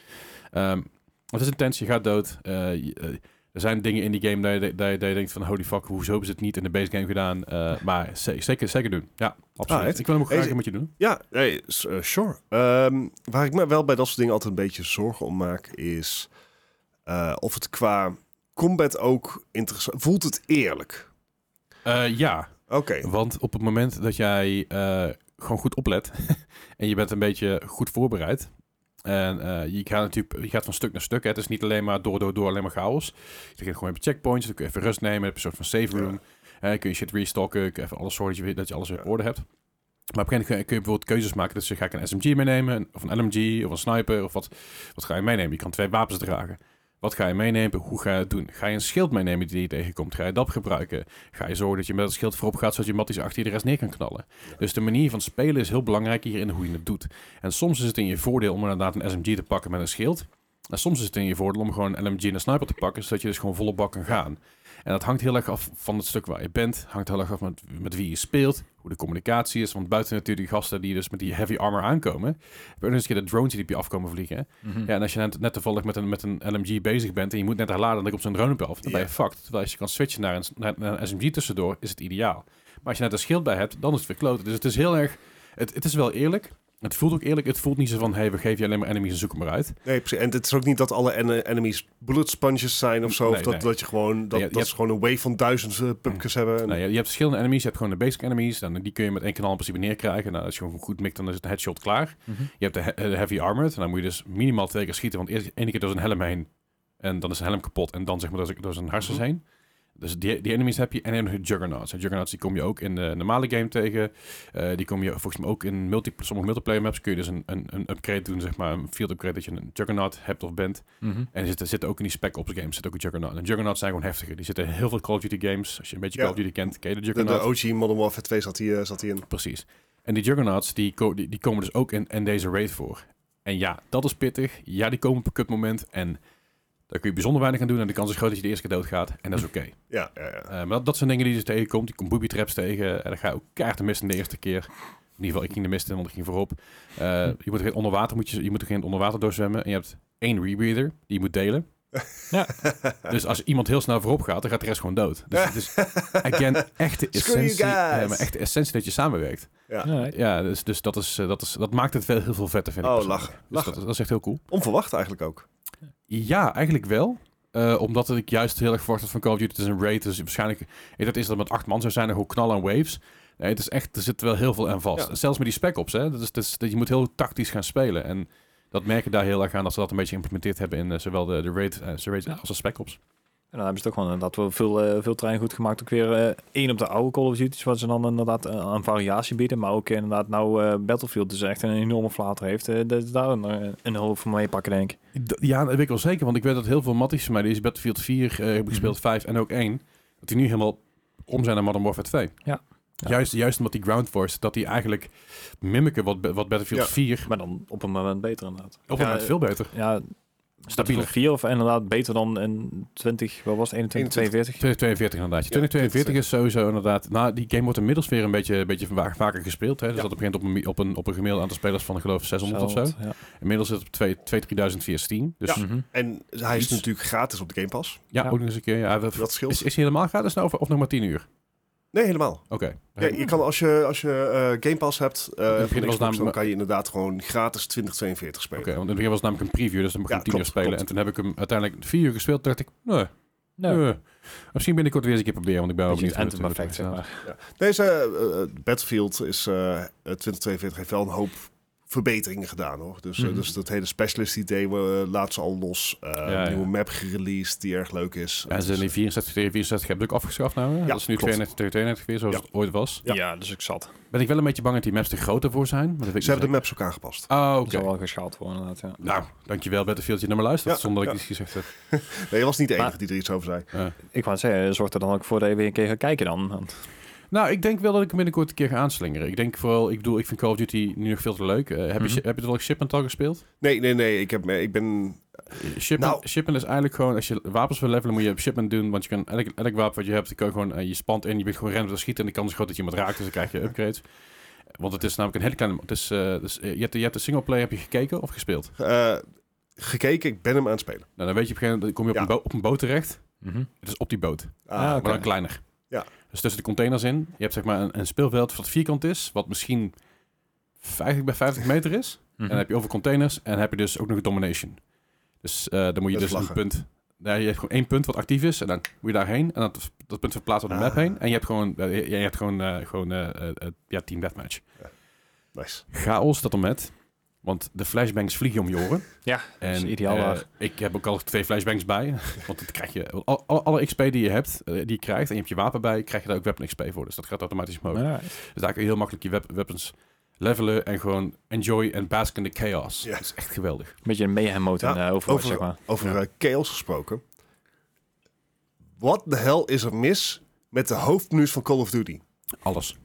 [SPEAKER 1] Ehm, het is intens, je gaat dood. Eh, je- eh, er zijn dingen in die game dat je, dat je, dat je denkt van holy fuck, hoezo hebben ze het niet in de base game gedaan? Eh, maar ze- zeker, zeker doen. Ja, absoluut.
[SPEAKER 3] Alright.
[SPEAKER 1] Ik wil hem ook graag
[SPEAKER 3] Hey,
[SPEAKER 1] een beetje doen.
[SPEAKER 3] Ja, nee, s- eh, sure. Ehm, waar ik me wel bij dat soort dingen altijd een beetje zorgen om maak, is eh, of het qua combat ook interessant... Voelt het eerlijk?
[SPEAKER 1] Eh, ja,
[SPEAKER 3] Oké.
[SPEAKER 1] Want op het moment dat jij eh, gewoon goed oplet [laughs] en je bent een beetje goed voorbereid. En eh, je gaat natuurlijk je gaat van stuk naar stuk. Hè. Het is niet alleen maar door, door, door, alleen maar chaos. Je begint gewoon even checkpoints, dan kun je even rust nemen, heb je een soort van save room. Hè, kun je shit restocken, kun je even alles zorgen dat je, dat je alles weer op
[SPEAKER 3] Ja.
[SPEAKER 1] orde hebt. Maar op een gegeven moment kun je- kun je bijvoorbeeld keuzes maken. Dus ga ik een SMG meenemen, een- of een LMG, of een sniper, of wat, wat ga je meenemen? Je kan twee wapens dragen. Wat ga je meenemen? Hoe ga je het doen? Ga je een schild meenemen die je tegenkomt? Ga je dat gebruiken? Ga je zorgen dat je met het schild voorop gaat, zodat je matties achter je de rest neer kan knallen? Dus de manier van spelen is heel belangrijk hierin hoe je het doet. En soms is het in je voordeel om inderdaad een SMG te pakken met een schild. En soms is het in je voordeel om gewoon een LMG en een sniper te pakken, zodat je dus gewoon volle bak kan gaan. En dat hangt heel erg af van het stuk waar je bent. Hangt heel erg af met, met wie je speelt, hoe de communicatie is. Want buiten natuurlijk die gasten die dus met die heavy armor aankomen, heb je ook nog eens een keer de drones die op je afkomen vliegen. hè. Ja, en als je net, net toevallig met een, met een LMG bezig bent en je moet net herladen en dan komt zo'n drone op je af, dan ben je
[SPEAKER 3] Ja.
[SPEAKER 1] fucked. Terwijl als je kan switchen naar een, naar, naar een SMG tussendoor, is het ideaal. Maar als je net een schild bij hebt, dan is het weer kloten. Dus het is heel erg, het, het is wel eerlijk. Het voelt ook eerlijk. Het voelt niet zo van, hey, we geven je alleen maar enemies en zoek hem maar uit.
[SPEAKER 3] Nee, precies. En het is ook niet dat alle en- enemies bullet sponges zijn of zo.
[SPEAKER 1] Nee,
[SPEAKER 3] of dat,
[SPEAKER 1] nee.
[SPEAKER 3] dat je gewoon dat,
[SPEAKER 1] je- je
[SPEAKER 3] dat
[SPEAKER 1] hebt-
[SPEAKER 3] ze gewoon een wave van duizend eh, pupkes hebben. En-
[SPEAKER 1] Nou, je, je hebt verschillende enemies. Je hebt gewoon de basic enemies. Dan, die kun je met één kanaal in principe neerkrijgen. Nou, als je gewoon goed mikt, dan is het een headshot
[SPEAKER 2] Mhm.
[SPEAKER 1] eh, klaar. Je hebt de, he- de heavy armored. En dan moet je dus minimaal twee keer schieten. Want eerst één keer door zijn helm heen. En dan is zijn helm kapot. En dan zeg maar door zijn- door zijn hersens
[SPEAKER 3] Mhm.
[SPEAKER 1] heen. Dus die, die enemies heb je. En dan nog de juggernauts. En juggernauts die kom je ook in de normale game tegen. Eh, die kom je volgens mij ook in multi, sommige multiplayer maps. Kun je dus een, een, een upgrade doen, zeg maar. Een field upgrade dat je een juggernaut hebt of bent.
[SPEAKER 2] Mhm.
[SPEAKER 1] En er zitten, zitten ook in die Spec Ops games zit ook een Juggernaut. En Juggernauts zijn gewoon heftiger. Die zitten in heel veel Call of Duty games. Als je een beetje
[SPEAKER 3] Ja.
[SPEAKER 1] Call of Duty kent, ken je de
[SPEAKER 3] De,
[SPEAKER 1] Juggernaut.
[SPEAKER 3] de OG Modern Warfare 2 zat hier, eh, zat hier in.
[SPEAKER 1] Precies. En die Juggernauts, die, ko- die, die komen dus ook in, in deze raid voor. En ja, dat is pittig. Ja, die komen op een kut moment. En daar kun je bijzonder weinig aan doen. En de kans is groot dat je de eerste keer doodgaat. En dat is oké.
[SPEAKER 3] Ja, ja, ja.
[SPEAKER 1] [laughs] Eh, maar dat, dat zijn dingen die je dus tegenkomt. Die komt booby traps tegen. En dan ga je ook keihard de mist in de eerste keer. In ieder geval, ik ging de mist in, want ik ging voorop. Eh, je moet er geen onder water, moet je, je moet er geen onder water doorzwemmen. En je hebt één rebreather die je moet delen.
[SPEAKER 2] Ja.
[SPEAKER 1] Dus als iemand heel snel voorop gaat, dan gaat de rest gewoon dood. Dus het
[SPEAKER 3] [laughs]
[SPEAKER 1] is, again, echt de
[SPEAKER 3] Screw you
[SPEAKER 1] essentie,
[SPEAKER 3] guys.
[SPEAKER 1] ja, maar echt de essentie dat je samenwerkt.
[SPEAKER 2] Alright.
[SPEAKER 1] Ja, dus, dus, dat, is, eh, dat, is, dat maakt het wel heel veel vetter, vind ik.
[SPEAKER 3] Oh,
[SPEAKER 1] persoonlijk.
[SPEAKER 3] lachen,
[SPEAKER 1] Dus
[SPEAKER 3] lachen.
[SPEAKER 1] dat, dat is echt heel cool.
[SPEAKER 3] Onverwacht eigenlijk ook.
[SPEAKER 1] Ja, eigenlijk wel. Eh, omdat ik juist heel erg verwacht had van Call of Duty. Het is een raid, dus waarschijnlijk... Ik dacht eerst dat het met acht man zou zijn en gewoon knallen en waves. Nee, het is echt... Er zit wel heel veel aan vast.
[SPEAKER 3] Ja.
[SPEAKER 1] Zelfs met die spec-ops, hè. Dat is, dat is- dat je moet heel tactisch gaan spelen. En dat merk je daar heel erg aan dat ze dat een beetje geïmplementeerd hebben in eh, zowel de, de raid, eh, ze raid als de spec-ops.
[SPEAKER 2] En dan hebben ze het ook gewoon inderdaad wel veel, eh, veel terrein goed gemaakt. Ook weer eh, één op de oude Call of Duty's, wat ze dan inderdaad eh, aan variatie bieden. Maar ook inderdaad nou eh, Battlefield dus echt een enorme flater heeft. eh, dat ze daar een, eh, een hoop van mee pakken, denk ik.
[SPEAKER 1] D- Ja, dat weet ik wel zeker. Want ik weet dat heel veel matties van mij... Die is Battlefield 4 eh,
[SPEAKER 2] Mhm.
[SPEAKER 1] hebben gespeeld, 5 en ook 1. Dat die nu helemaal om zijn naar Modern Warfare 2.
[SPEAKER 2] Ja. Ja.
[SPEAKER 1] Juist, juist omdat die Ground Force... Dat die eigenlijk mimiken wat, wat Battlefield
[SPEAKER 3] Ja.
[SPEAKER 1] 4...
[SPEAKER 2] Maar dan op een moment beter inderdaad.
[SPEAKER 1] Op het
[SPEAKER 2] Ja,
[SPEAKER 1] moment
[SPEAKER 2] eh,
[SPEAKER 1] veel beter.
[SPEAKER 2] Ja,
[SPEAKER 1] Stabieler.
[SPEAKER 2] stabieler. 4 of inderdaad beter dan in 20, wat was het, 21, 42?
[SPEAKER 1] 2042 inderdaad. Ja, 2042 is sowieso inderdaad. Nou, die game wordt inmiddels weer een beetje, een beetje va- vaker gespeeld. Hè? Dus
[SPEAKER 3] Ja.
[SPEAKER 1] dat begint op een, op, een, op een gemiddeld aantal spelers van, ik geloof, 600 of zo.
[SPEAKER 2] Ja.
[SPEAKER 1] Inmiddels zit het op 2 2 3000 via Steam. Dus ja,
[SPEAKER 2] Mhm.
[SPEAKER 3] En hij is
[SPEAKER 1] Iets.
[SPEAKER 3] natuurlijk gratis op de Game Pass.
[SPEAKER 2] Ja.
[SPEAKER 1] ook nog eens een keer. Ja, we-
[SPEAKER 3] Dat scheelt.
[SPEAKER 1] is, is hij helemaal gratis nou of, of nog maar 10 uur?
[SPEAKER 3] Nee, helemaal.
[SPEAKER 1] Oké.
[SPEAKER 3] Ja, je kan, als je, als je eh, Game Pass hebt, eh,
[SPEAKER 1] begin
[SPEAKER 3] van
[SPEAKER 1] was
[SPEAKER 3] Xbox,
[SPEAKER 1] namelijk-
[SPEAKER 3] dan kan je inderdaad gewoon gratis 2042 spelen.
[SPEAKER 1] Oké, want in het begin was het namelijk een preview, dus dan mocht ik
[SPEAKER 3] Ja,
[SPEAKER 1] 10 uur
[SPEAKER 3] klopt,
[SPEAKER 1] spelen.
[SPEAKER 3] klopt.
[SPEAKER 1] En toen heb ik hem uiteindelijk 4 uur gespeeld. Toen dacht ik, nee,
[SPEAKER 2] Nee,
[SPEAKER 1] nee. misschien binnenkort weer eens een keer proberen, want ik ben wel
[SPEAKER 2] beetje
[SPEAKER 1] benieuwd.
[SPEAKER 2] het
[SPEAKER 1] hoe het-
[SPEAKER 2] anthem
[SPEAKER 1] hoe het
[SPEAKER 2] effect, zeg
[SPEAKER 1] gaat.
[SPEAKER 2] maar.
[SPEAKER 3] Deze eh, Battlefield is eh, eh, 2042 heeft wel een hoop verbeteringen gedaan hoor. Dus, eh,
[SPEAKER 2] Mhm.
[SPEAKER 3] dus dat hele specialist idee we laat ze al los. Eh,
[SPEAKER 1] Ja,
[SPEAKER 3] nieuwe
[SPEAKER 1] ja.
[SPEAKER 3] map gereleased die erg leuk is. Dus
[SPEAKER 1] Ja, en ze zijn die 64, 64 hebben ze ook afgeschaft nou. hè?
[SPEAKER 3] Ja,
[SPEAKER 1] dat is nu
[SPEAKER 3] klopt.
[SPEAKER 1] 32 tegen 32 weer, zoals
[SPEAKER 3] Ja.
[SPEAKER 1] het ooit was.
[SPEAKER 3] Ja.
[SPEAKER 2] Ja. dus ik zat.
[SPEAKER 1] Ben ik wel een beetje bang dat die maps te groter voor zijn. Maar dat weet ik
[SPEAKER 3] Ze hebben de
[SPEAKER 1] niet
[SPEAKER 3] maps ook aangepast.
[SPEAKER 1] zeker. Ah,
[SPEAKER 2] Dat
[SPEAKER 1] oké.
[SPEAKER 2] zal dus wel geschaald worden inderdaad, ja.
[SPEAKER 1] Nou, dankjewel Battlefield, je naar me luistert,
[SPEAKER 3] Ja,
[SPEAKER 1] zonder dat
[SPEAKER 3] ja.
[SPEAKER 1] ik iets gezegd heb.
[SPEAKER 3] Nee, je was niet de
[SPEAKER 2] Maar-
[SPEAKER 3] enige die er iets over zei.
[SPEAKER 2] Ik wou zeggen, zorg er dan ook voor dat je weer een keer gaat kijken dan. Want-
[SPEAKER 1] Nou, ik denk wel dat ik hem binnenkort een keer ga aanslingeren. Ik denk vooral, ik bedoel, ik vind Call of Duty nu nog veel te leuk. Eh, heb, je,
[SPEAKER 2] Mhm.
[SPEAKER 1] heb je toevallig Shipment al gespeeld?
[SPEAKER 3] Nee, nee, nee. Ik, heb, me- ik ben
[SPEAKER 1] Shipment,
[SPEAKER 3] Nou-
[SPEAKER 1] shipment is eigenlijk gewoon, als je wapens wil levelen, moet je Shipment doen. Want je kan elk, elk wapen wat je hebt, kan je gewoon, eh, je spant in, je bent gewoon rennen te schieten. En de kans is groot dat je iemand raakt, dus dan krijg je upgrades. Want het is namelijk een hele kleine... Het is, eh, dus, eh, je, hebt, de- je hebt de singleplayer, heb je gekeken of gespeeld?
[SPEAKER 3] eh, gekeken. Ik ben hem aan het spelen.
[SPEAKER 1] Nou, dan weet je op een gegeven moment, dan kom je op,
[SPEAKER 3] Ja.
[SPEAKER 1] een, bo- op een boot terecht.
[SPEAKER 2] Mhm.
[SPEAKER 1] Het is op die boot.
[SPEAKER 3] Ah,
[SPEAKER 2] Ah,
[SPEAKER 1] Maar dan kleiner.
[SPEAKER 3] Ja.
[SPEAKER 1] Dus tussen de containers in. Je hebt zeg maar een, een speelveld wat vierkant is. Wat misschien 50 bij 50 meter is.
[SPEAKER 2] Mhm.
[SPEAKER 1] En dan heb je over containers. En dan heb je dus ook nog een domination. Dus eh, dan moet je
[SPEAKER 3] Dat is
[SPEAKER 1] dus een
[SPEAKER 3] lachen.
[SPEAKER 1] punt... Nee, je hebt gewoon één punt wat actief is. En dan moet je daarheen. En dat, dat punt verplaatst op de map
[SPEAKER 3] Ah.
[SPEAKER 1] heen. En je hebt gewoon, eh, je, je hebt gewoon, eh, gewoon eh, eh, eh, ja, team deathmatch.
[SPEAKER 3] nice.
[SPEAKER 1] Chaos dat er met. Want de flashbangs vliegen om je oren.
[SPEAKER 2] [laughs] Ja,
[SPEAKER 1] en,
[SPEAKER 2] is ideaal
[SPEAKER 1] eh,
[SPEAKER 2] daar.
[SPEAKER 1] ik heb ook al twee flashbangs bij. [laughs] Want dat krijg je. Al, al- alle XP die je hebt, eh, die je krijgt. En je hebt je wapen bij, krijg je daar ook weapon XP voor. Dus dat gaat automatisch omhoog.
[SPEAKER 2] Alright.
[SPEAKER 1] Dus daar kun je heel makkelijk je wep- weapons levelen. En gewoon enjoy en bask in the chaos.
[SPEAKER 3] Ja.
[SPEAKER 1] Dat is echt geweldig.
[SPEAKER 2] Een beetje een mayhem mode in
[SPEAKER 3] Ja,
[SPEAKER 2] eh, Overwatch,
[SPEAKER 3] over-
[SPEAKER 2] zeg maar.
[SPEAKER 3] Over
[SPEAKER 1] Ja.
[SPEAKER 3] eh, chaos gesproken. Wat de hel is er mis met de hoofdmenu's van Call of Duty?
[SPEAKER 1] Alles.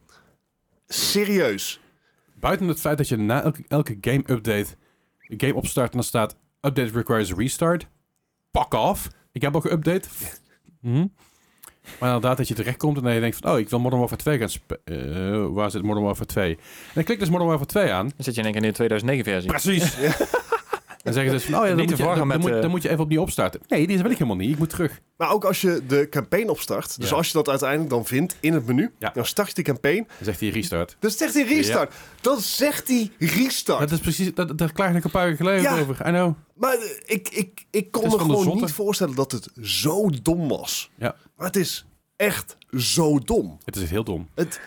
[SPEAKER 3] Serieus.
[SPEAKER 1] Buiten het feit dat je na elke, elke game update. Een game opstart en dan staat. Update requires a restart. Pak off. Ik heb al geüpdate. Mhm. Maar inderdaad dat je terechtkomt en dan je denkt van... Oh, ik wil Modern Warfare 2 gaan spe- eh, Waar zit Modern Warfare 2? En dan klik dus Modern Warfare 2 aan.
[SPEAKER 2] Dan zit je in één keer in de 2009 versie.
[SPEAKER 1] Precies. Dan zeggen ze dus van, oh ja,
[SPEAKER 2] Niet
[SPEAKER 1] dan
[SPEAKER 2] te
[SPEAKER 1] moet, je, dan,
[SPEAKER 2] verwarren
[SPEAKER 1] dan
[SPEAKER 2] met,
[SPEAKER 1] moet,
[SPEAKER 2] eh,
[SPEAKER 1] dan moet je even opnieuw opstarten. Nee, die wil ik helemaal niet. Ik moet terug.
[SPEAKER 3] Maar ook als je de campaign opstart, dus
[SPEAKER 1] Ja.
[SPEAKER 3] als je dat uiteindelijk dan vindt in het menu,
[SPEAKER 1] Ja.
[SPEAKER 3] dan start je de campaign,
[SPEAKER 1] Dan zegt hij restart.
[SPEAKER 3] dan zegt hij restart. Dan zegt hij restart.
[SPEAKER 1] Dat is precies, dat, daar klaagde ik een paar uur geleden
[SPEAKER 3] Ja.
[SPEAKER 1] over. I know.
[SPEAKER 3] Maar eh, ik, ik, ik kon
[SPEAKER 1] Het is
[SPEAKER 3] me
[SPEAKER 1] van de
[SPEAKER 3] gewoon
[SPEAKER 1] zotte.
[SPEAKER 3] niet voorstellen dat het zo dom was.
[SPEAKER 1] Ja.
[SPEAKER 3] Maar het is echt zo dom.
[SPEAKER 1] Het is heel dom.
[SPEAKER 3] Het,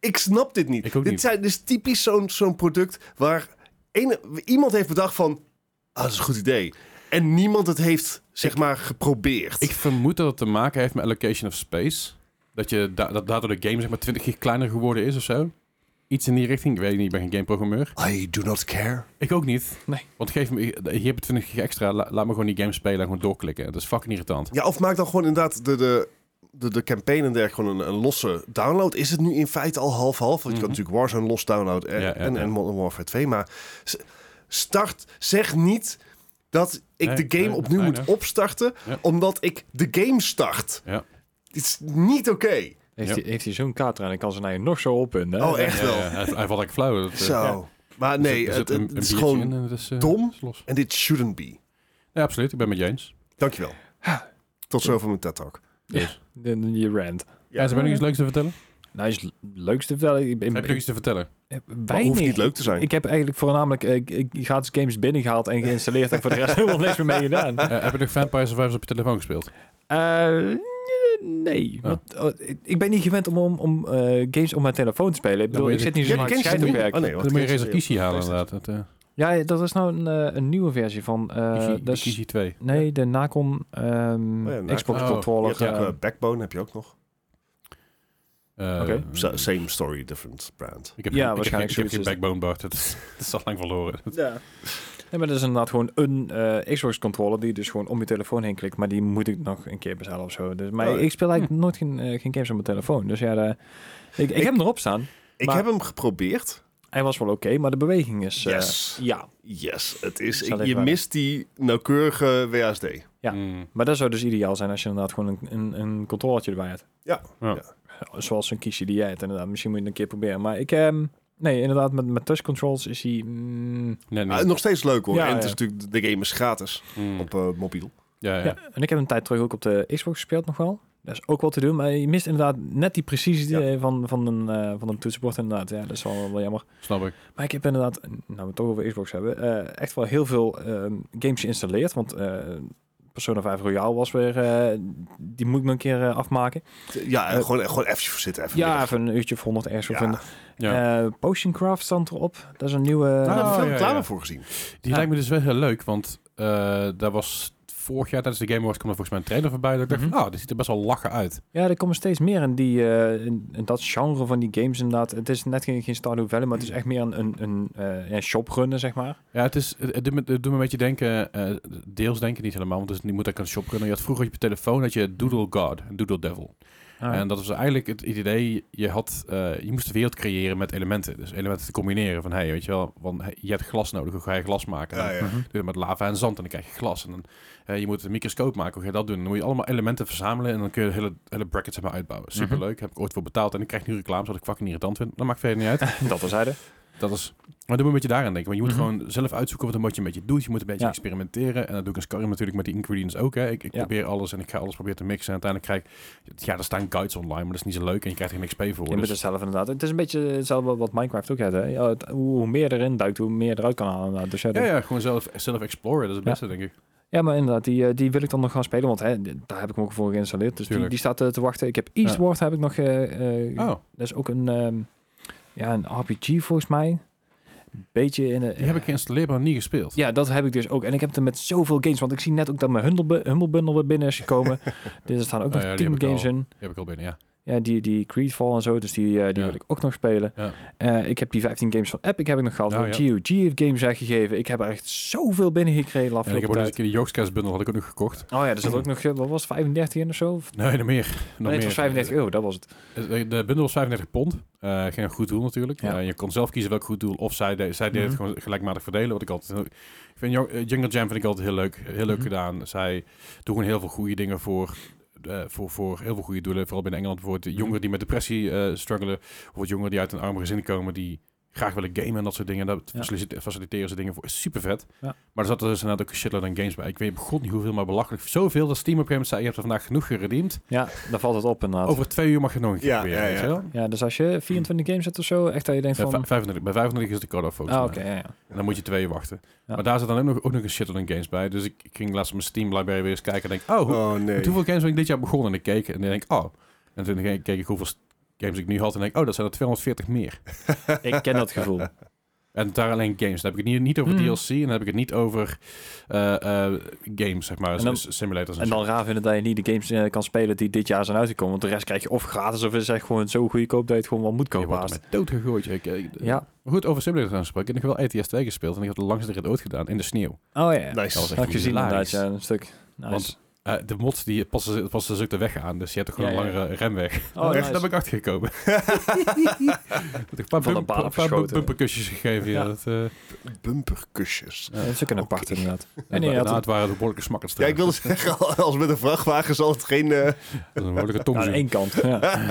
[SPEAKER 3] ik snap dit niet.
[SPEAKER 1] Ik ook
[SPEAKER 3] dit,
[SPEAKER 1] niet.
[SPEAKER 3] Zijn, dit is typisch zo'n zo'n product waar ene- iemand heeft bedacht van... Ah, dat is een goed idee. En niemand het heeft, zeg maar, geprobeerd.
[SPEAKER 1] Ik vermoed dat het te maken heeft met allocation of space. Dat, je da- dat daardoor de game zeg maar 20 keer kleiner geworden is of zo. Iets in die richting. Ik weet het niet, ik ben geen gameprogrammeur.
[SPEAKER 3] I do not care.
[SPEAKER 1] Ik ook niet.
[SPEAKER 2] Nee.
[SPEAKER 1] Want geef me, hier heb je 20 gig extra. La- laat me gewoon die game spelen en gewoon doorklikken. Dat is fucking irritant.
[SPEAKER 3] Ja, of maak dan gewoon inderdaad de, de, de, de campaign en dergelijke gewoon een, een losse download. Is het nu in feite al half-half? Want je
[SPEAKER 1] Mhm.
[SPEAKER 3] kan natuurlijk Warzone los download en,
[SPEAKER 1] Ja, ja,
[SPEAKER 3] en,
[SPEAKER 1] ja.
[SPEAKER 3] en Modern Warfare 2. Maar s- start, zeg niet dat ik
[SPEAKER 1] Nee,
[SPEAKER 3] de game
[SPEAKER 1] nee,
[SPEAKER 3] opnieuw
[SPEAKER 1] nee,
[SPEAKER 3] moet
[SPEAKER 1] nee.
[SPEAKER 3] opstarten,
[SPEAKER 1] Ja.
[SPEAKER 3] omdat ik de game start.
[SPEAKER 1] Ja.
[SPEAKER 3] Dit is niet oké.
[SPEAKER 2] Heeft,
[SPEAKER 1] Ja.
[SPEAKER 2] hij, heeft hij zo'n kater en dan kan ze naar je nog zo oppunnen. hè?
[SPEAKER 3] Oh, echt
[SPEAKER 1] Ja,
[SPEAKER 3] wel.
[SPEAKER 1] ja, hij, hij valt echt flauw. Dat, eh,
[SPEAKER 3] Zo.
[SPEAKER 1] er
[SPEAKER 3] Maar
[SPEAKER 1] zit-
[SPEAKER 3] nee,
[SPEAKER 1] er
[SPEAKER 3] het,
[SPEAKER 1] zit een-
[SPEAKER 3] het
[SPEAKER 1] een
[SPEAKER 3] is
[SPEAKER 1] biertje in
[SPEAKER 3] gewoon...
[SPEAKER 1] en het is, eh,
[SPEAKER 3] dom.
[SPEAKER 1] is los.
[SPEAKER 3] En dit shouldn't be.
[SPEAKER 1] Ja, absoluut. Ik ben met James.
[SPEAKER 3] Dankjewel. Tot zover mijn TED Talk.
[SPEAKER 2] De- de- Je rant.
[SPEAKER 1] Ja, ze hebben nog iets leuks te vertellen.
[SPEAKER 2] Nou, is het leukste wel. Ik ben
[SPEAKER 1] Heb je nog iets te vertellen?
[SPEAKER 3] Maar
[SPEAKER 2] weinig.
[SPEAKER 3] hoeft niet leuk te zijn.
[SPEAKER 2] Ik heb eigenlijk voornamelijk eh, ik- ik gratis games binnengehaald en geïnstalleerd en voor de rest [laughs] helemaal niks meer mee gedaan.
[SPEAKER 1] Eh, heb je nog Vampire Survivors op je telefoon gespeeld?
[SPEAKER 2] Eh, nee,
[SPEAKER 1] Ja.
[SPEAKER 2] want, eh, ik- ik ben niet gewend om, om, om eh, games op mijn telefoon te spelen. Ik, bedoel,
[SPEAKER 1] moet
[SPEAKER 2] ik
[SPEAKER 1] je
[SPEAKER 2] zit niet zo
[SPEAKER 3] Ken-
[SPEAKER 2] hard
[SPEAKER 3] ken je
[SPEAKER 2] scheid
[SPEAKER 3] die?
[SPEAKER 2] op werk.
[SPEAKER 3] Oh, nee, wacht,
[SPEAKER 1] Dan moet je
[SPEAKER 3] ken
[SPEAKER 1] Razer
[SPEAKER 3] ze-
[SPEAKER 1] Kishi halen
[SPEAKER 3] Razer-
[SPEAKER 1] inderdaad. Het, eh,
[SPEAKER 2] Ja, dat is nou een, eh, een nieuwe versie van... eh,
[SPEAKER 1] Kishi-
[SPEAKER 2] dat is-
[SPEAKER 1] Kishi 2.
[SPEAKER 2] nee, de Nacon ehm,
[SPEAKER 3] Oh ja, Nacon.
[SPEAKER 2] Xbox
[SPEAKER 1] Oh,
[SPEAKER 3] Je
[SPEAKER 2] controller.
[SPEAKER 3] hebt ook
[SPEAKER 2] eh,
[SPEAKER 3] eh, Backbone, heb je ook nog.
[SPEAKER 1] Eh,
[SPEAKER 2] Oké.
[SPEAKER 3] Sa- Same story, different brand.
[SPEAKER 1] Ik heb,
[SPEAKER 2] Ja,
[SPEAKER 1] geen- ik heb, geen-
[SPEAKER 2] waarschijnlijk
[SPEAKER 1] ik heb geen
[SPEAKER 2] zoiets is
[SPEAKER 1] backbone, Bart. Dat is, [laughs] dat is al lang verloren.
[SPEAKER 2] Ja. Nee, maar dat is inderdaad gewoon een eh, Xbox-controller die je dus gewoon om je telefoon heen klikt. Maar die moet ik nog een keer bestellen of zo. Dus, maar
[SPEAKER 3] Oh, ja.
[SPEAKER 2] ik speel eigenlijk nooit geen, eh, geen games op mijn telefoon. Dus ja, daar- ik, ik, heb hem erop staan.
[SPEAKER 3] Ik
[SPEAKER 2] Maar-
[SPEAKER 3] heb hem geprobeerd.
[SPEAKER 2] Hij was wel oké, maar de beweging is... eh,
[SPEAKER 3] Yes.
[SPEAKER 2] ja,
[SPEAKER 3] Yes, het is.
[SPEAKER 2] Ik zal
[SPEAKER 3] ik-
[SPEAKER 2] even
[SPEAKER 3] je
[SPEAKER 2] aan.
[SPEAKER 3] mist die nauwkeurige WASD.
[SPEAKER 2] Ja.
[SPEAKER 1] Mm.
[SPEAKER 2] maar dat zou dus ideaal zijn als je inderdaad gewoon een, een, een controllertje erbij hebt.
[SPEAKER 3] Ja,
[SPEAKER 1] Ja.
[SPEAKER 2] Zoals een kiesje die jij hebt inderdaad. Misschien moet je het een keer proberen. Maar ik... ehm, nee, inderdaad, met, met touch controls is hij... mm,
[SPEAKER 1] Nee, nee.
[SPEAKER 3] Ah, nog steeds leuk hoor.
[SPEAKER 2] Ja,
[SPEAKER 3] en het
[SPEAKER 2] ja.
[SPEAKER 3] is natuurlijk de game is gratis
[SPEAKER 1] Mm.
[SPEAKER 3] op eh, mobiel.
[SPEAKER 1] Ja, ja.
[SPEAKER 2] Ja. En ik heb een tijd terug ook op de Xbox gespeeld nog wel. Dat is ook wel te doen, maar je mist inderdaad net die precisie
[SPEAKER 3] Ja.
[SPEAKER 2] eh, van, van, een, eh, van een toetsenbord inderdaad. Ja, dat is wel, wel jammer.
[SPEAKER 1] Snap ik.
[SPEAKER 2] Maar ik heb inderdaad, nou we het toch over Xbox hebben, eh, echt wel heel veel ehm, games geïnstalleerd. Want eh, Persona 5 Royale was weer, eh, die moet ik me een keer eh, afmaken.
[SPEAKER 3] Ja, en
[SPEAKER 2] Eh,
[SPEAKER 3] gewoon, gewoon even voor zitten. Even
[SPEAKER 2] Ja, eh,
[SPEAKER 3] middag.
[SPEAKER 2] even een uurtje of 100 ergens. of
[SPEAKER 3] Ja.
[SPEAKER 2] een-
[SPEAKER 1] Ja.
[SPEAKER 2] eh, Potion Craft stond erop, dat is een nieuwe... eh,
[SPEAKER 3] Daar heb ik
[SPEAKER 1] Oh,
[SPEAKER 3] veel
[SPEAKER 1] ja,
[SPEAKER 3] reclame
[SPEAKER 1] ja.
[SPEAKER 3] voor gezien.
[SPEAKER 1] Die
[SPEAKER 2] Ja.
[SPEAKER 1] lijkt me dus wel heel leuk, want eh daar was vorig jaar tijdens de Game Awards kwam er volgens mij een trailer voorbij. Dat ik dacht,
[SPEAKER 2] Mhm.
[SPEAKER 1] van, ah, dit ziet er best wel lachen uit.
[SPEAKER 2] Ja, er komen steeds meer in, die, eh, in, in dat genre van die games inderdaad. Het is net geen, geen Stardew Valley, maar het is echt meer een, een, een eh, ja, shoprunner, zeg maar.
[SPEAKER 1] Ja, het, is, het, het doet, me, het doet me een beetje denken, eh, deels denken niet helemaal, want dus, je moet ook aan de shop kunnen. Je had vroeger op je telefoon dat je Doodle God en Doodle Devil.
[SPEAKER 2] Ah,
[SPEAKER 1] En dat was eigenlijk het idee, je, had, eh, je moest de wereld creëren met elementen. Dus elementen te combineren van, hey, weet je wel, van, hey, je hebt glas nodig, hoe ga je glas maken?
[SPEAKER 3] Ja, ja.
[SPEAKER 2] Mhm.
[SPEAKER 1] Doe het met lava en zand en dan krijg je glas. En dan, eh, je moet een microscoop maken, hoe ga je dat doen? Dan moet je allemaal elementen verzamelen en dan kun je de hele, hele bracket zeg maar,
[SPEAKER 2] Mhm.
[SPEAKER 1] uitbouwen. Superleuk, heb ik ooit voor betaald. En ik krijg nu reclames wat ik fucking irritant vind. Dat maakt verder niet
[SPEAKER 2] [laughs]
[SPEAKER 1] uit.
[SPEAKER 2] [laughs] dat was hij.
[SPEAKER 1] Dat is, maar dan moet je een beetje daaraan denken. Want je moet
[SPEAKER 2] Mhm.
[SPEAKER 1] gewoon zelf uitzoeken wat een motje met je doet. Je moet een beetje
[SPEAKER 2] Ja.
[SPEAKER 1] experimenteren. En dat doe ik als Karim natuurlijk met die ingredients ook. Hè. Ik, ik
[SPEAKER 2] Ja.
[SPEAKER 1] probeer alles en ik ga alles proberen te mixen. En uiteindelijk krijg ik... Ja, er staan guides online, maar dat is niet zo leuk. En je krijgt er geen XP voor.
[SPEAKER 2] Je moet
[SPEAKER 1] Dus,
[SPEAKER 2] het zelf inderdaad. Het is een beetje hetzelfde wat Minecraft ook had. Hè? Ja, het- hoe, hoe meer erin duikt, hoe meer je eruit kan halen. inderdaad. Dus ja,
[SPEAKER 1] ja,
[SPEAKER 2] dat-
[SPEAKER 1] ja, gewoon zelf, zelf exploren. Dat is het beste, denk ik.
[SPEAKER 2] ja, maar inderdaad, die, eh, die wil ik dan nog gaan spelen. Want hè, d- daar heb ik hem ook voor geïnstalleerd. Dus die,
[SPEAKER 1] Tuurlijk.
[SPEAKER 2] die staat eh, te wachten. Ik heb Eastward heb ik nog. eh, eh,
[SPEAKER 1] Oh,
[SPEAKER 2] Dat is ook een, ehm, ja, een RPG volgens mij. Beetje in de.
[SPEAKER 1] die heb ik geïnstalleerd, maar nog niet gespeeld.
[SPEAKER 2] Ja, dat heb ik dus ook. En ik heb het er met zoveel games. Want ik zie net ook dat mijn Humble, Bu- Humble Bundle weer binnen is
[SPEAKER 1] [laughs]
[SPEAKER 2] gekomen. dus er staan ook
[SPEAKER 1] Oh
[SPEAKER 2] nog
[SPEAKER 1] ja, die
[SPEAKER 2] tien
[SPEAKER 1] heb ik
[SPEAKER 2] games
[SPEAKER 1] al.
[SPEAKER 2] in.
[SPEAKER 1] Die heb ik al binnen, ja.
[SPEAKER 2] Ja, die, die Creedfall en zo. Dus die, eh, die
[SPEAKER 1] Ja.
[SPEAKER 2] wil ik ook nog spelen.
[SPEAKER 1] Ja.
[SPEAKER 2] Eh, ik heb die 15 games van Epic heb ik nog gehad.
[SPEAKER 1] Nou,
[SPEAKER 2] van
[SPEAKER 1] ja.
[SPEAKER 2] GOG heeft games uitgegeven. Ik heb er echt zoveel binnen gekregen de
[SPEAKER 1] En ik heb
[SPEAKER 2] afgelopen
[SPEAKER 1] ook nog een
[SPEAKER 2] tijd.
[SPEAKER 1] keer de Yogscast bundel had ik ook nog gekocht.
[SPEAKER 2] Oh ja, er zat ook nog, eh, wat was het, 35 in of zo? Of-
[SPEAKER 1] Nee, nog meer. Nog
[SPEAKER 2] nee, het
[SPEAKER 1] meer.
[SPEAKER 2] was 35 euro, dat was het.
[SPEAKER 1] De, Eh, de bundel was 35 pond. Eh, geen goed doel natuurlijk.
[SPEAKER 2] Ja.
[SPEAKER 1] Eh, je kon zelf kiezen welk goed doel. Of zij, de, zij deed
[SPEAKER 2] Mhm.
[SPEAKER 1] het gewoon gelijkmatig verdelen. Wat ik altijd. heel- Ik vind Jo- eh, Jungle Jam vind ik altijd heel leuk. Heel leuk
[SPEAKER 2] Mhm.
[SPEAKER 1] gedaan. Zij doen gewoon heel veel goede dingen voor. eh, voor, voor heel veel goede doelen. Vooral binnen Engeland. Bijvoorbeeld de
[SPEAKER 2] Mhm.
[SPEAKER 1] jongeren die met depressie eh struggelen. Bijvoorbeeld jongeren die uit een arme gezin komen. Die graag willen gamen en dat soort dingen. Dat
[SPEAKER 2] Ja.
[SPEAKER 1] facilite- faciliteren ze dingen voor. Is super vet.
[SPEAKER 2] Ja.
[SPEAKER 1] Maar er zat er dus inderdaad ook shitload aan games bij. Ik weet god niet hoeveel, maar belachelijk. Zoveel dat Steam op een gegeven moment zei... je hebt er vandaag genoeg geredeemd.
[SPEAKER 2] Ja, daar valt het op inderdaad.
[SPEAKER 1] Over twee uur mag je nog een keer
[SPEAKER 3] Ja,
[SPEAKER 1] proberen,
[SPEAKER 3] ja,
[SPEAKER 1] weet je
[SPEAKER 3] ja.
[SPEAKER 1] wel?
[SPEAKER 2] Ja, dus als je 24 games hebt of zo, echt dat je denkt
[SPEAKER 1] Ja,
[SPEAKER 2] van...
[SPEAKER 1] vijf- 25, bij 25 is de cut-off volgens
[SPEAKER 2] Ah,
[SPEAKER 1] mij.
[SPEAKER 2] oké, ja, ja.
[SPEAKER 1] En dan moet je twee uur wachten.
[SPEAKER 2] Ja.
[SPEAKER 1] Maar daar zit dan ook nog, ook nog een shit aan games bij. Dus ik, ik ging laatst op mijn Steam library weer eens kijken en denk, oh, hoe,
[SPEAKER 3] Oh nee.
[SPEAKER 1] met hoeveel games ben ik dit jaar begonnen? En ik keek en dan denk ik, oh. En toen [laughs] ging- keek ik hoeveel games ik nu had en denk ik, oh, dat zijn er 240 meer.
[SPEAKER 2] Ik ken dat gevoel.
[SPEAKER 1] En daar alleen games. Dan heb ik het niet, niet over
[SPEAKER 2] Hmm.
[SPEAKER 1] DLC en dan heb ik het niet over eh, eh, games, zeg maar.
[SPEAKER 2] En dan-
[SPEAKER 1] s- simulators en,
[SPEAKER 2] En
[SPEAKER 1] zo.
[SPEAKER 2] dan raar vinden dat je niet de games eh, kan spelen die dit jaar zijn uitgekomen. Want de rest krijg je of gratis of is het echt gewoon zo goedkoop dat je het gewoon wel moet
[SPEAKER 1] Je
[SPEAKER 2] kopen.
[SPEAKER 1] wordt
[SPEAKER 2] haast.
[SPEAKER 1] ermee doodgegooid. Ik, ik,
[SPEAKER 2] Ja.
[SPEAKER 1] Maar Goed, over simulators aanspraken. Ik heb wel E ETS 2 gespeeld en ik heb de langste rit ooit gedaan in de sneeuw.
[SPEAKER 2] Oh ja,
[SPEAKER 1] Dat
[SPEAKER 3] Nice.
[SPEAKER 1] was
[SPEAKER 2] dat
[SPEAKER 1] echt
[SPEAKER 2] had ik gezien inderdaad.
[SPEAKER 1] hilarisch.
[SPEAKER 2] Ja, een stuk. Nice.
[SPEAKER 1] Want- Eh, de mods die passen, passen dus ook de weg aan, dus je hebt ook gewoon
[SPEAKER 2] Ja,
[SPEAKER 1] een
[SPEAKER 2] ja, ja.
[SPEAKER 1] langere remweg.
[SPEAKER 2] Oh,
[SPEAKER 1] Echt,
[SPEAKER 2] nice.
[SPEAKER 1] daar ben ik achter
[SPEAKER 2] [laughs]
[SPEAKER 1] gekomen. een paar,
[SPEAKER 2] Van de
[SPEAKER 1] bump,
[SPEAKER 2] baan
[SPEAKER 1] een paar bump-
[SPEAKER 2] afgeschoten.
[SPEAKER 1] bumperkusjes gegeven. Ja.
[SPEAKER 2] Ja.
[SPEAKER 1] Dat, eh,
[SPEAKER 3] Bumperkusjes.
[SPEAKER 2] Ja, dat is ook een apart inderdaad. En je
[SPEAKER 1] nou,
[SPEAKER 2] had
[SPEAKER 1] nou,
[SPEAKER 2] het
[SPEAKER 1] het waren de behoorlijke smakkers.
[SPEAKER 3] Ja, ik
[SPEAKER 1] trouwens.
[SPEAKER 3] wilde zeggen, [laughs] als met een vrachtwagen zal het geen... eh,
[SPEAKER 1] Dat is een behoorlijke
[SPEAKER 2] aan
[SPEAKER 1] tongzoen.
[SPEAKER 2] één
[SPEAKER 1] [laughs]
[SPEAKER 2] kant. Ja. Ah,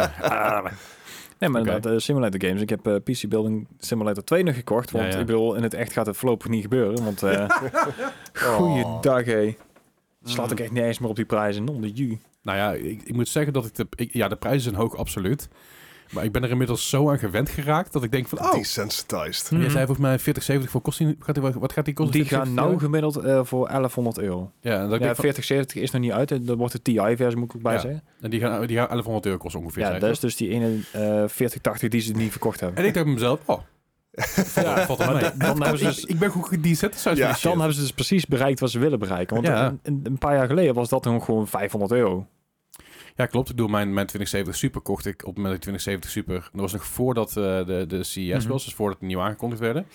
[SPEAKER 2] maar- Nee, maar
[SPEAKER 1] Oké.
[SPEAKER 2] inderdaad, eh, simulator games. Ik heb eh, PC Building Simulator 2 nog gekocht. Want
[SPEAKER 1] Ja, ja.
[SPEAKER 2] ik bedoel, in het echt gaat het voorlopig niet gebeuren. Want eh
[SPEAKER 1] [laughs] Oh.
[SPEAKER 2] goeiedag, hé.
[SPEAKER 1] Mm.
[SPEAKER 2] Het Slaat ik echt niet eens meer op die prijzen. Non de ju.
[SPEAKER 1] Nou ja, ik, ik moet zeggen dat ik de... ik- ja, de prijzen zijn hoog, absoluut. Maar ik ben er inmiddels zo aan gewend geraakt dat ik denk van... Oh,
[SPEAKER 3] Desensitized.
[SPEAKER 2] Mhm.
[SPEAKER 1] jij zei volgens mij 40, 70 voor kost die, gaat die, Wat gaat die kosten?
[SPEAKER 2] Die
[SPEAKER 1] 40,
[SPEAKER 2] gaan
[SPEAKER 1] 70?
[SPEAKER 2] nou gemiddeld eh, voor 1100 euro.
[SPEAKER 1] Ja, en, dat ik
[SPEAKER 2] Ja,
[SPEAKER 1] denk van-
[SPEAKER 2] 4070 is nog niet uit. eh, Dat wordt de TI-versie, moet ik ook bij
[SPEAKER 1] Ja,
[SPEAKER 2] zeggen.
[SPEAKER 1] en die, gaan, die gaan 1100 euro kosten ongeveer.
[SPEAKER 2] Ja,
[SPEAKER 1] zei
[SPEAKER 2] dat
[SPEAKER 1] ik.
[SPEAKER 2] is dus die ene eh 4080 die ze niet verkocht
[SPEAKER 1] [laughs]
[SPEAKER 2] hebben.
[SPEAKER 1] En ik dacht bij mezelf, oh,
[SPEAKER 2] Ja,
[SPEAKER 1] valt er
[SPEAKER 2] maar
[SPEAKER 1] mee.
[SPEAKER 2] dan- dan hebben ze dus
[SPEAKER 1] Ik, ik ben goed gedesensitized
[SPEAKER 3] Ja.
[SPEAKER 1] ja,
[SPEAKER 2] Dan hebben ze dus precies bereikt wat ze willen bereiken. Want
[SPEAKER 1] Ja.
[SPEAKER 2] een, een- een paar jaar geleden was dat dan gewoon 500 euro.
[SPEAKER 1] Ja, klopt. Ik bedoel, mijn, mijn 2070 Super kocht ik op mijn 2070 Super. En Dat was nog voordat eh, de, de CES
[SPEAKER 2] Mhm.
[SPEAKER 1] was, dus voordat die nieuw aangekondigd werden.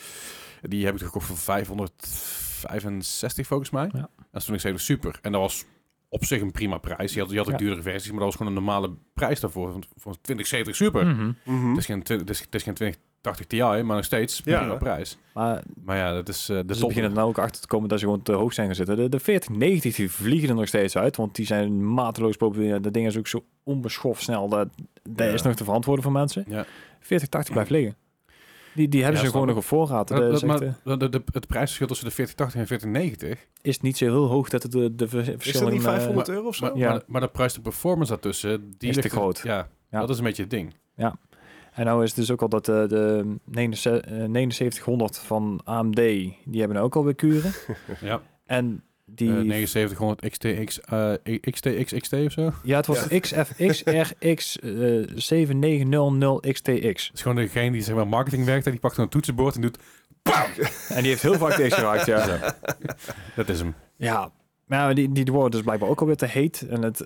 [SPEAKER 1] Die heb ik gekocht voor 565 volgens mij.
[SPEAKER 2] Ja.
[SPEAKER 1] Dat is 2070 Super. En dat was op zich een prima prijs. Die had, die had ook
[SPEAKER 2] Ja.
[SPEAKER 1] duurdere versies, maar dat was gewoon een normale prijs daarvoor. Van, van 2070 Super.
[SPEAKER 2] Mhm.
[SPEAKER 3] Dus
[SPEAKER 1] Het, is geen, twi- het, is, het is geen 2080 Ti, maar nog steeds
[SPEAKER 3] Ja.
[SPEAKER 1] prima prijs.
[SPEAKER 2] Maar
[SPEAKER 1] Maar ja, dat is eh, Mhm. de
[SPEAKER 2] dus ze
[SPEAKER 1] top.
[SPEAKER 2] beginnen er nou ook achter te komen dat ze gewoon te hoog zijn gaan zitten. De, de 4090 die vliegen er nog steeds uit, want die zijn mateloos populair. Dat ding is ook zo onbeschoft snel. Dat, dat
[SPEAKER 3] Ja.
[SPEAKER 2] is nog te verantwoorden voor mensen.
[SPEAKER 1] Ja. Mhm.
[SPEAKER 2] 4080 blijft liggen. Die, die hebben
[SPEAKER 1] Ja,
[SPEAKER 2] ze gewoon
[SPEAKER 1] snap
[SPEAKER 2] nog op voorraad. Dat,
[SPEAKER 1] Dat-
[SPEAKER 2] is,
[SPEAKER 1] dat- maar
[SPEAKER 2] echt, eh,
[SPEAKER 1] dat- dat- dat- het prijsverschil tussen de 4080 en 4090
[SPEAKER 2] is niet zo heel hoog dat het de, de vers-
[SPEAKER 3] Is dat
[SPEAKER 2] verschillen...
[SPEAKER 3] niet
[SPEAKER 2] eh,
[SPEAKER 3] 500 euro of zo?
[SPEAKER 1] Maar,
[SPEAKER 2] Ja.
[SPEAKER 1] maar, maar de prijs de performance daartussen... Die
[SPEAKER 2] Is te
[SPEAKER 1] ligt er-
[SPEAKER 2] groot.
[SPEAKER 1] Ja,
[SPEAKER 2] Ja.
[SPEAKER 1] dat is een beetje het ding.
[SPEAKER 2] En nou is het dus ook al dat eh, de 79- eh, 7900 van AMD, die hebben ook alweer kuren.
[SPEAKER 1] Ja. Eh,
[SPEAKER 2] En
[SPEAKER 1] Die...
[SPEAKER 2] die...
[SPEAKER 1] 7900 XTX, eh, XTXXT of zo. Het
[SPEAKER 2] ja, het was eh, XFXRX7900XTX.
[SPEAKER 1] is gewoon degene die zeg maar marketing werkt... en die pakt een toetsenbord en doet...
[SPEAKER 2] en die heeft heel vaak deze geraakt, ja. [laughs] Ja,
[SPEAKER 1] Dat is hem.
[SPEAKER 2] maar die, die worden dus blijkbaar ook alweer te heet. En het,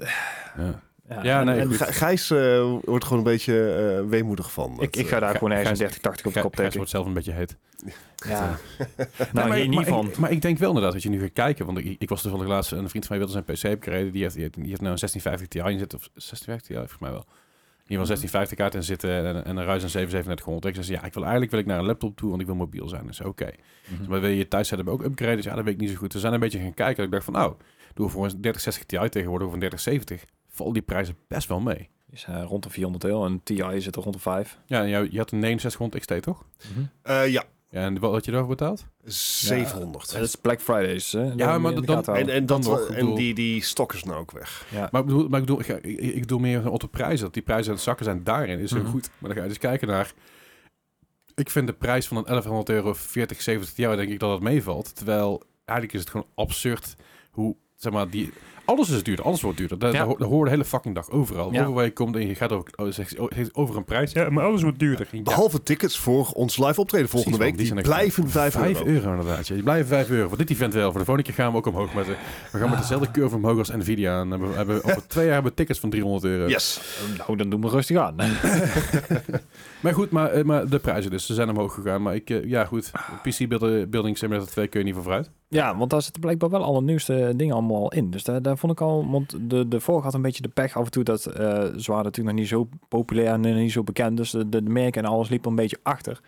[SPEAKER 1] Ja.
[SPEAKER 2] ja,
[SPEAKER 1] Ja,
[SPEAKER 2] en-
[SPEAKER 1] nee,
[SPEAKER 2] en
[SPEAKER 1] goed.
[SPEAKER 3] Gij- Gijs eh, wordt gewoon een beetje eh, weemoedig van.
[SPEAKER 2] ik,
[SPEAKER 3] Het, eh,
[SPEAKER 2] ik ga daar
[SPEAKER 1] Gij-
[SPEAKER 2] gewoon ergens een
[SPEAKER 1] Gijs-
[SPEAKER 2] 3080 op de
[SPEAKER 1] Gij-
[SPEAKER 2] kop Nou,
[SPEAKER 1] Gijs
[SPEAKER 2] tekenen.
[SPEAKER 1] wordt zelf een beetje heet.
[SPEAKER 2] Ja.
[SPEAKER 1] Nee,
[SPEAKER 2] [laughs] Nou, hier niet
[SPEAKER 1] maar,
[SPEAKER 2] van.
[SPEAKER 1] Ik, maar ik denk wel inderdaad dat je nu gaat kijken. Want ik, ik was toevallig laatst... een vriend van mij wilde zijn PC upgraden. Die heeft, die heeft, die heeft nou een 1650 Ti in zitten. Of 1650 Ti, volgens mij wel. In
[SPEAKER 2] Hmm.
[SPEAKER 1] ieder geval 1650 kaart in zitten en, en een Ryzen 7 3700 X. Hij zei, ja, ik wil eigenlijk wil ik naar een laptop toe, want ik wil mobiel zijn. Dus oké.
[SPEAKER 2] Mhm.
[SPEAKER 1] Maar wil je thuis hebben ook upgraden? Dus ja, dat weet ik niet zo goed. We zijn een beetje gaan kijken. Dat ik dacht van, nou, doe voor een 3060 Ti tegenwoordig of een 3070. Vallen die prijzen best wel mee.
[SPEAKER 2] Is eh, rond de 400 euro en TI zit er rond de 5.
[SPEAKER 1] Ja, en jou, je had een 6900 XT, toch?
[SPEAKER 2] Mhm.
[SPEAKER 3] eh, ja,
[SPEAKER 1] Ja, en wat had je daarvoor betaald?
[SPEAKER 3] 700.
[SPEAKER 2] Dat is Black Fridays. Hè?
[SPEAKER 1] Ja, maar dan-
[SPEAKER 3] en eh, en,
[SPEAKER 1] dan
[SPEAKER 3] dat,
[SPEAKER 1] nog, ik
[SPEAKER 3] en
[SPEAKER 1] bedoel-
[SPEAKER 3] die, die stok is nou ook weg.
[SPEAKER 1] Maar ik bedoel, maar ik, bedoel, ik, ga- ik, ik bedoel meer op de prijzen. Dat die prijzen aan het zakken zijn daarin is heel
[SPEAKER 2] Mhm.
[SPEAKER 1] goed. Maar dan ga je dus kijken naar... Ik vind de prijs van een 1100 euro 40, 70 Ti, denk ik dat dat meevalt. Terwijl eigenlijk is het gewoon absurd hoe, zeg maar, die... Alles is duurder, alles wordt duurder. Dat,
[SPEAKER 2] Ja.
[SPEAKER 1] dat ho- dat hoor je de hele fucking dag overal.
[SPEAKER 2] Ja.
[SPEAKER 1] Overal waar je komt en je gaat ook, oh, zegt- oh, zegt over een prijs. Ja, maar alles wordt duurder. Ja,
[SPEAKER 3] Behalve tickets voor ons live optreden volgende
[SPEAKER 1] Precies,
[SPEAKER 3] week.
[SPEAKER 1] want die
[SPEAKER 3] Die,
[SPEAKER 1] zijn echt-
[SPEAKER 3] blijven 5
[SPEAKER 1] 5
[SPEAKER 3] euro.
[SPEAKER 1] euro. inderdaad. Ja. Die blijven 5 euro. Voor dit event wel. Voor de volgende keer gaan we ook omhoog. Met de, we gaan met dezelfde curve omhoog als Nvidia. En hebben, we- hebben, we- over twee jaar hebben we tickets van 300 euro.
[SPEAKER 3] Yes.
[SPEAKER 2] Nou, dan doen we rustig aan. [laughs]
[SPEAKER 1] Maar goed, maar, eh, maar de prijzen dus. Ze zijn omhoog gegaan. Maar ik, eh, ja goed. PC build- Building Simulator 2 kun je niet voor vooruit.
[SPEAKER 2] Ja, want daar zitten blijkbaar wel alle nieuwste dingen allemaal al in. Dus daar, daar vond ik al, want de, de vorige had een beetje de pech af en toe dat eh, ze waren natuurlijk nog niet zo populair en nog niet zo bekend. Dus de, de merken en alles liepen een beetje achter.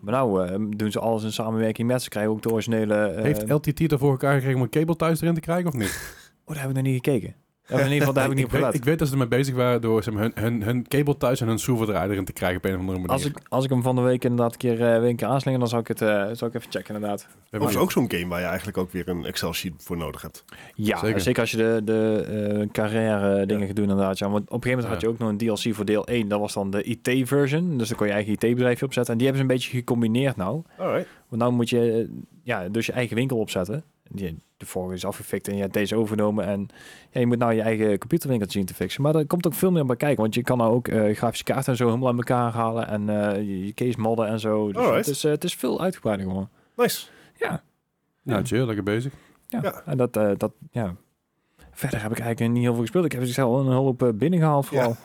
[SPEAKER 2] Maar nou eh, doen ze alles in samenwerking met ze, krijgen ook de originele... eh,
[SPEAKER 1] Heeft LTT ervoor elkaar gekregen om een kabel thuis erin te krijgen of niet?
[SPEAKER 2] Oh, daar heb ik nog niet gekeken. Of in ieder geval, daar
[SPEAKER 1] [laughs]
[SPEAKER 2] heb ik niet op
[SPEAKER 1] weet,
[SPEAKER 2] gelet.
[SPEAKER 1] ik weet dat ze ermee bezig waren door zeg maar, hun, hun, hun kabel thuis en hun soeverdraai erin te krijgen op een of andere manier.
[SPEAKER 2] Als ik, als ik hem van de week inderdaad een keer, eh, weer een keer aanslinger, dan zou ik het eh, zou ik even checken inderdaad.
[SPEAKER 1] We hebben
[SPEAKER 3] Dat is
[SPEAKER 1] nu-
[SPEAKER 3] ook zo'n game waar je eigenlijk ook weer een Excel-sheet voor nodig hebt.
[SPEAKER 2] Ja,
[SPEAKER 1] Zeker.
[SPEAKER 2] zeker, als je de, de eh, carrière eh, dingen gaat doen inderdaad. Ja. Want op een gegeven moment had
[SPEAKER 1] Ja.
[SPEAKER 2] je ook nog een DLC voor deel 1. Dat was dan de IT-version. Dus dan kon je eigen IT-bedrijfje opzetten. En die hebben ze een beetje gecombineerd nou.
[SPEAKER 3] Alright.
[SPEAKER 2] Want nou moet je eh, ja, dus je eigen winkel opzetten. Die- De vorige is afgefikt en je hebt deze overgenomen. En ja, je moet nou je eigen computerwinkel zien te fixen. Maar er komt ook veel meer bij kijken. Want je kan nou ook eh, grafische kaarten en zo helemaal aan elkaar halen. En eh, je- je case modden en zo. Dus
[SPEAKER 3] Alright.
[SPEAKER 2] het, is, eh, het is veel uitgebreider gewoon.
[SPEAKER 3] Nice.
[SPEAKER 2] Ja.
[SPEAKER 1] Nou, chill, lekker bezig.
[SPEAKER 2] Ja,
[SPEAKER 3] Ja.
[SPEAKER 2] en dat, eh, dat, ja. Verder heb ik eigenlijk niet heel veel gespeeld. Ik heb zelf een hoop eh, binnengehaald vooral.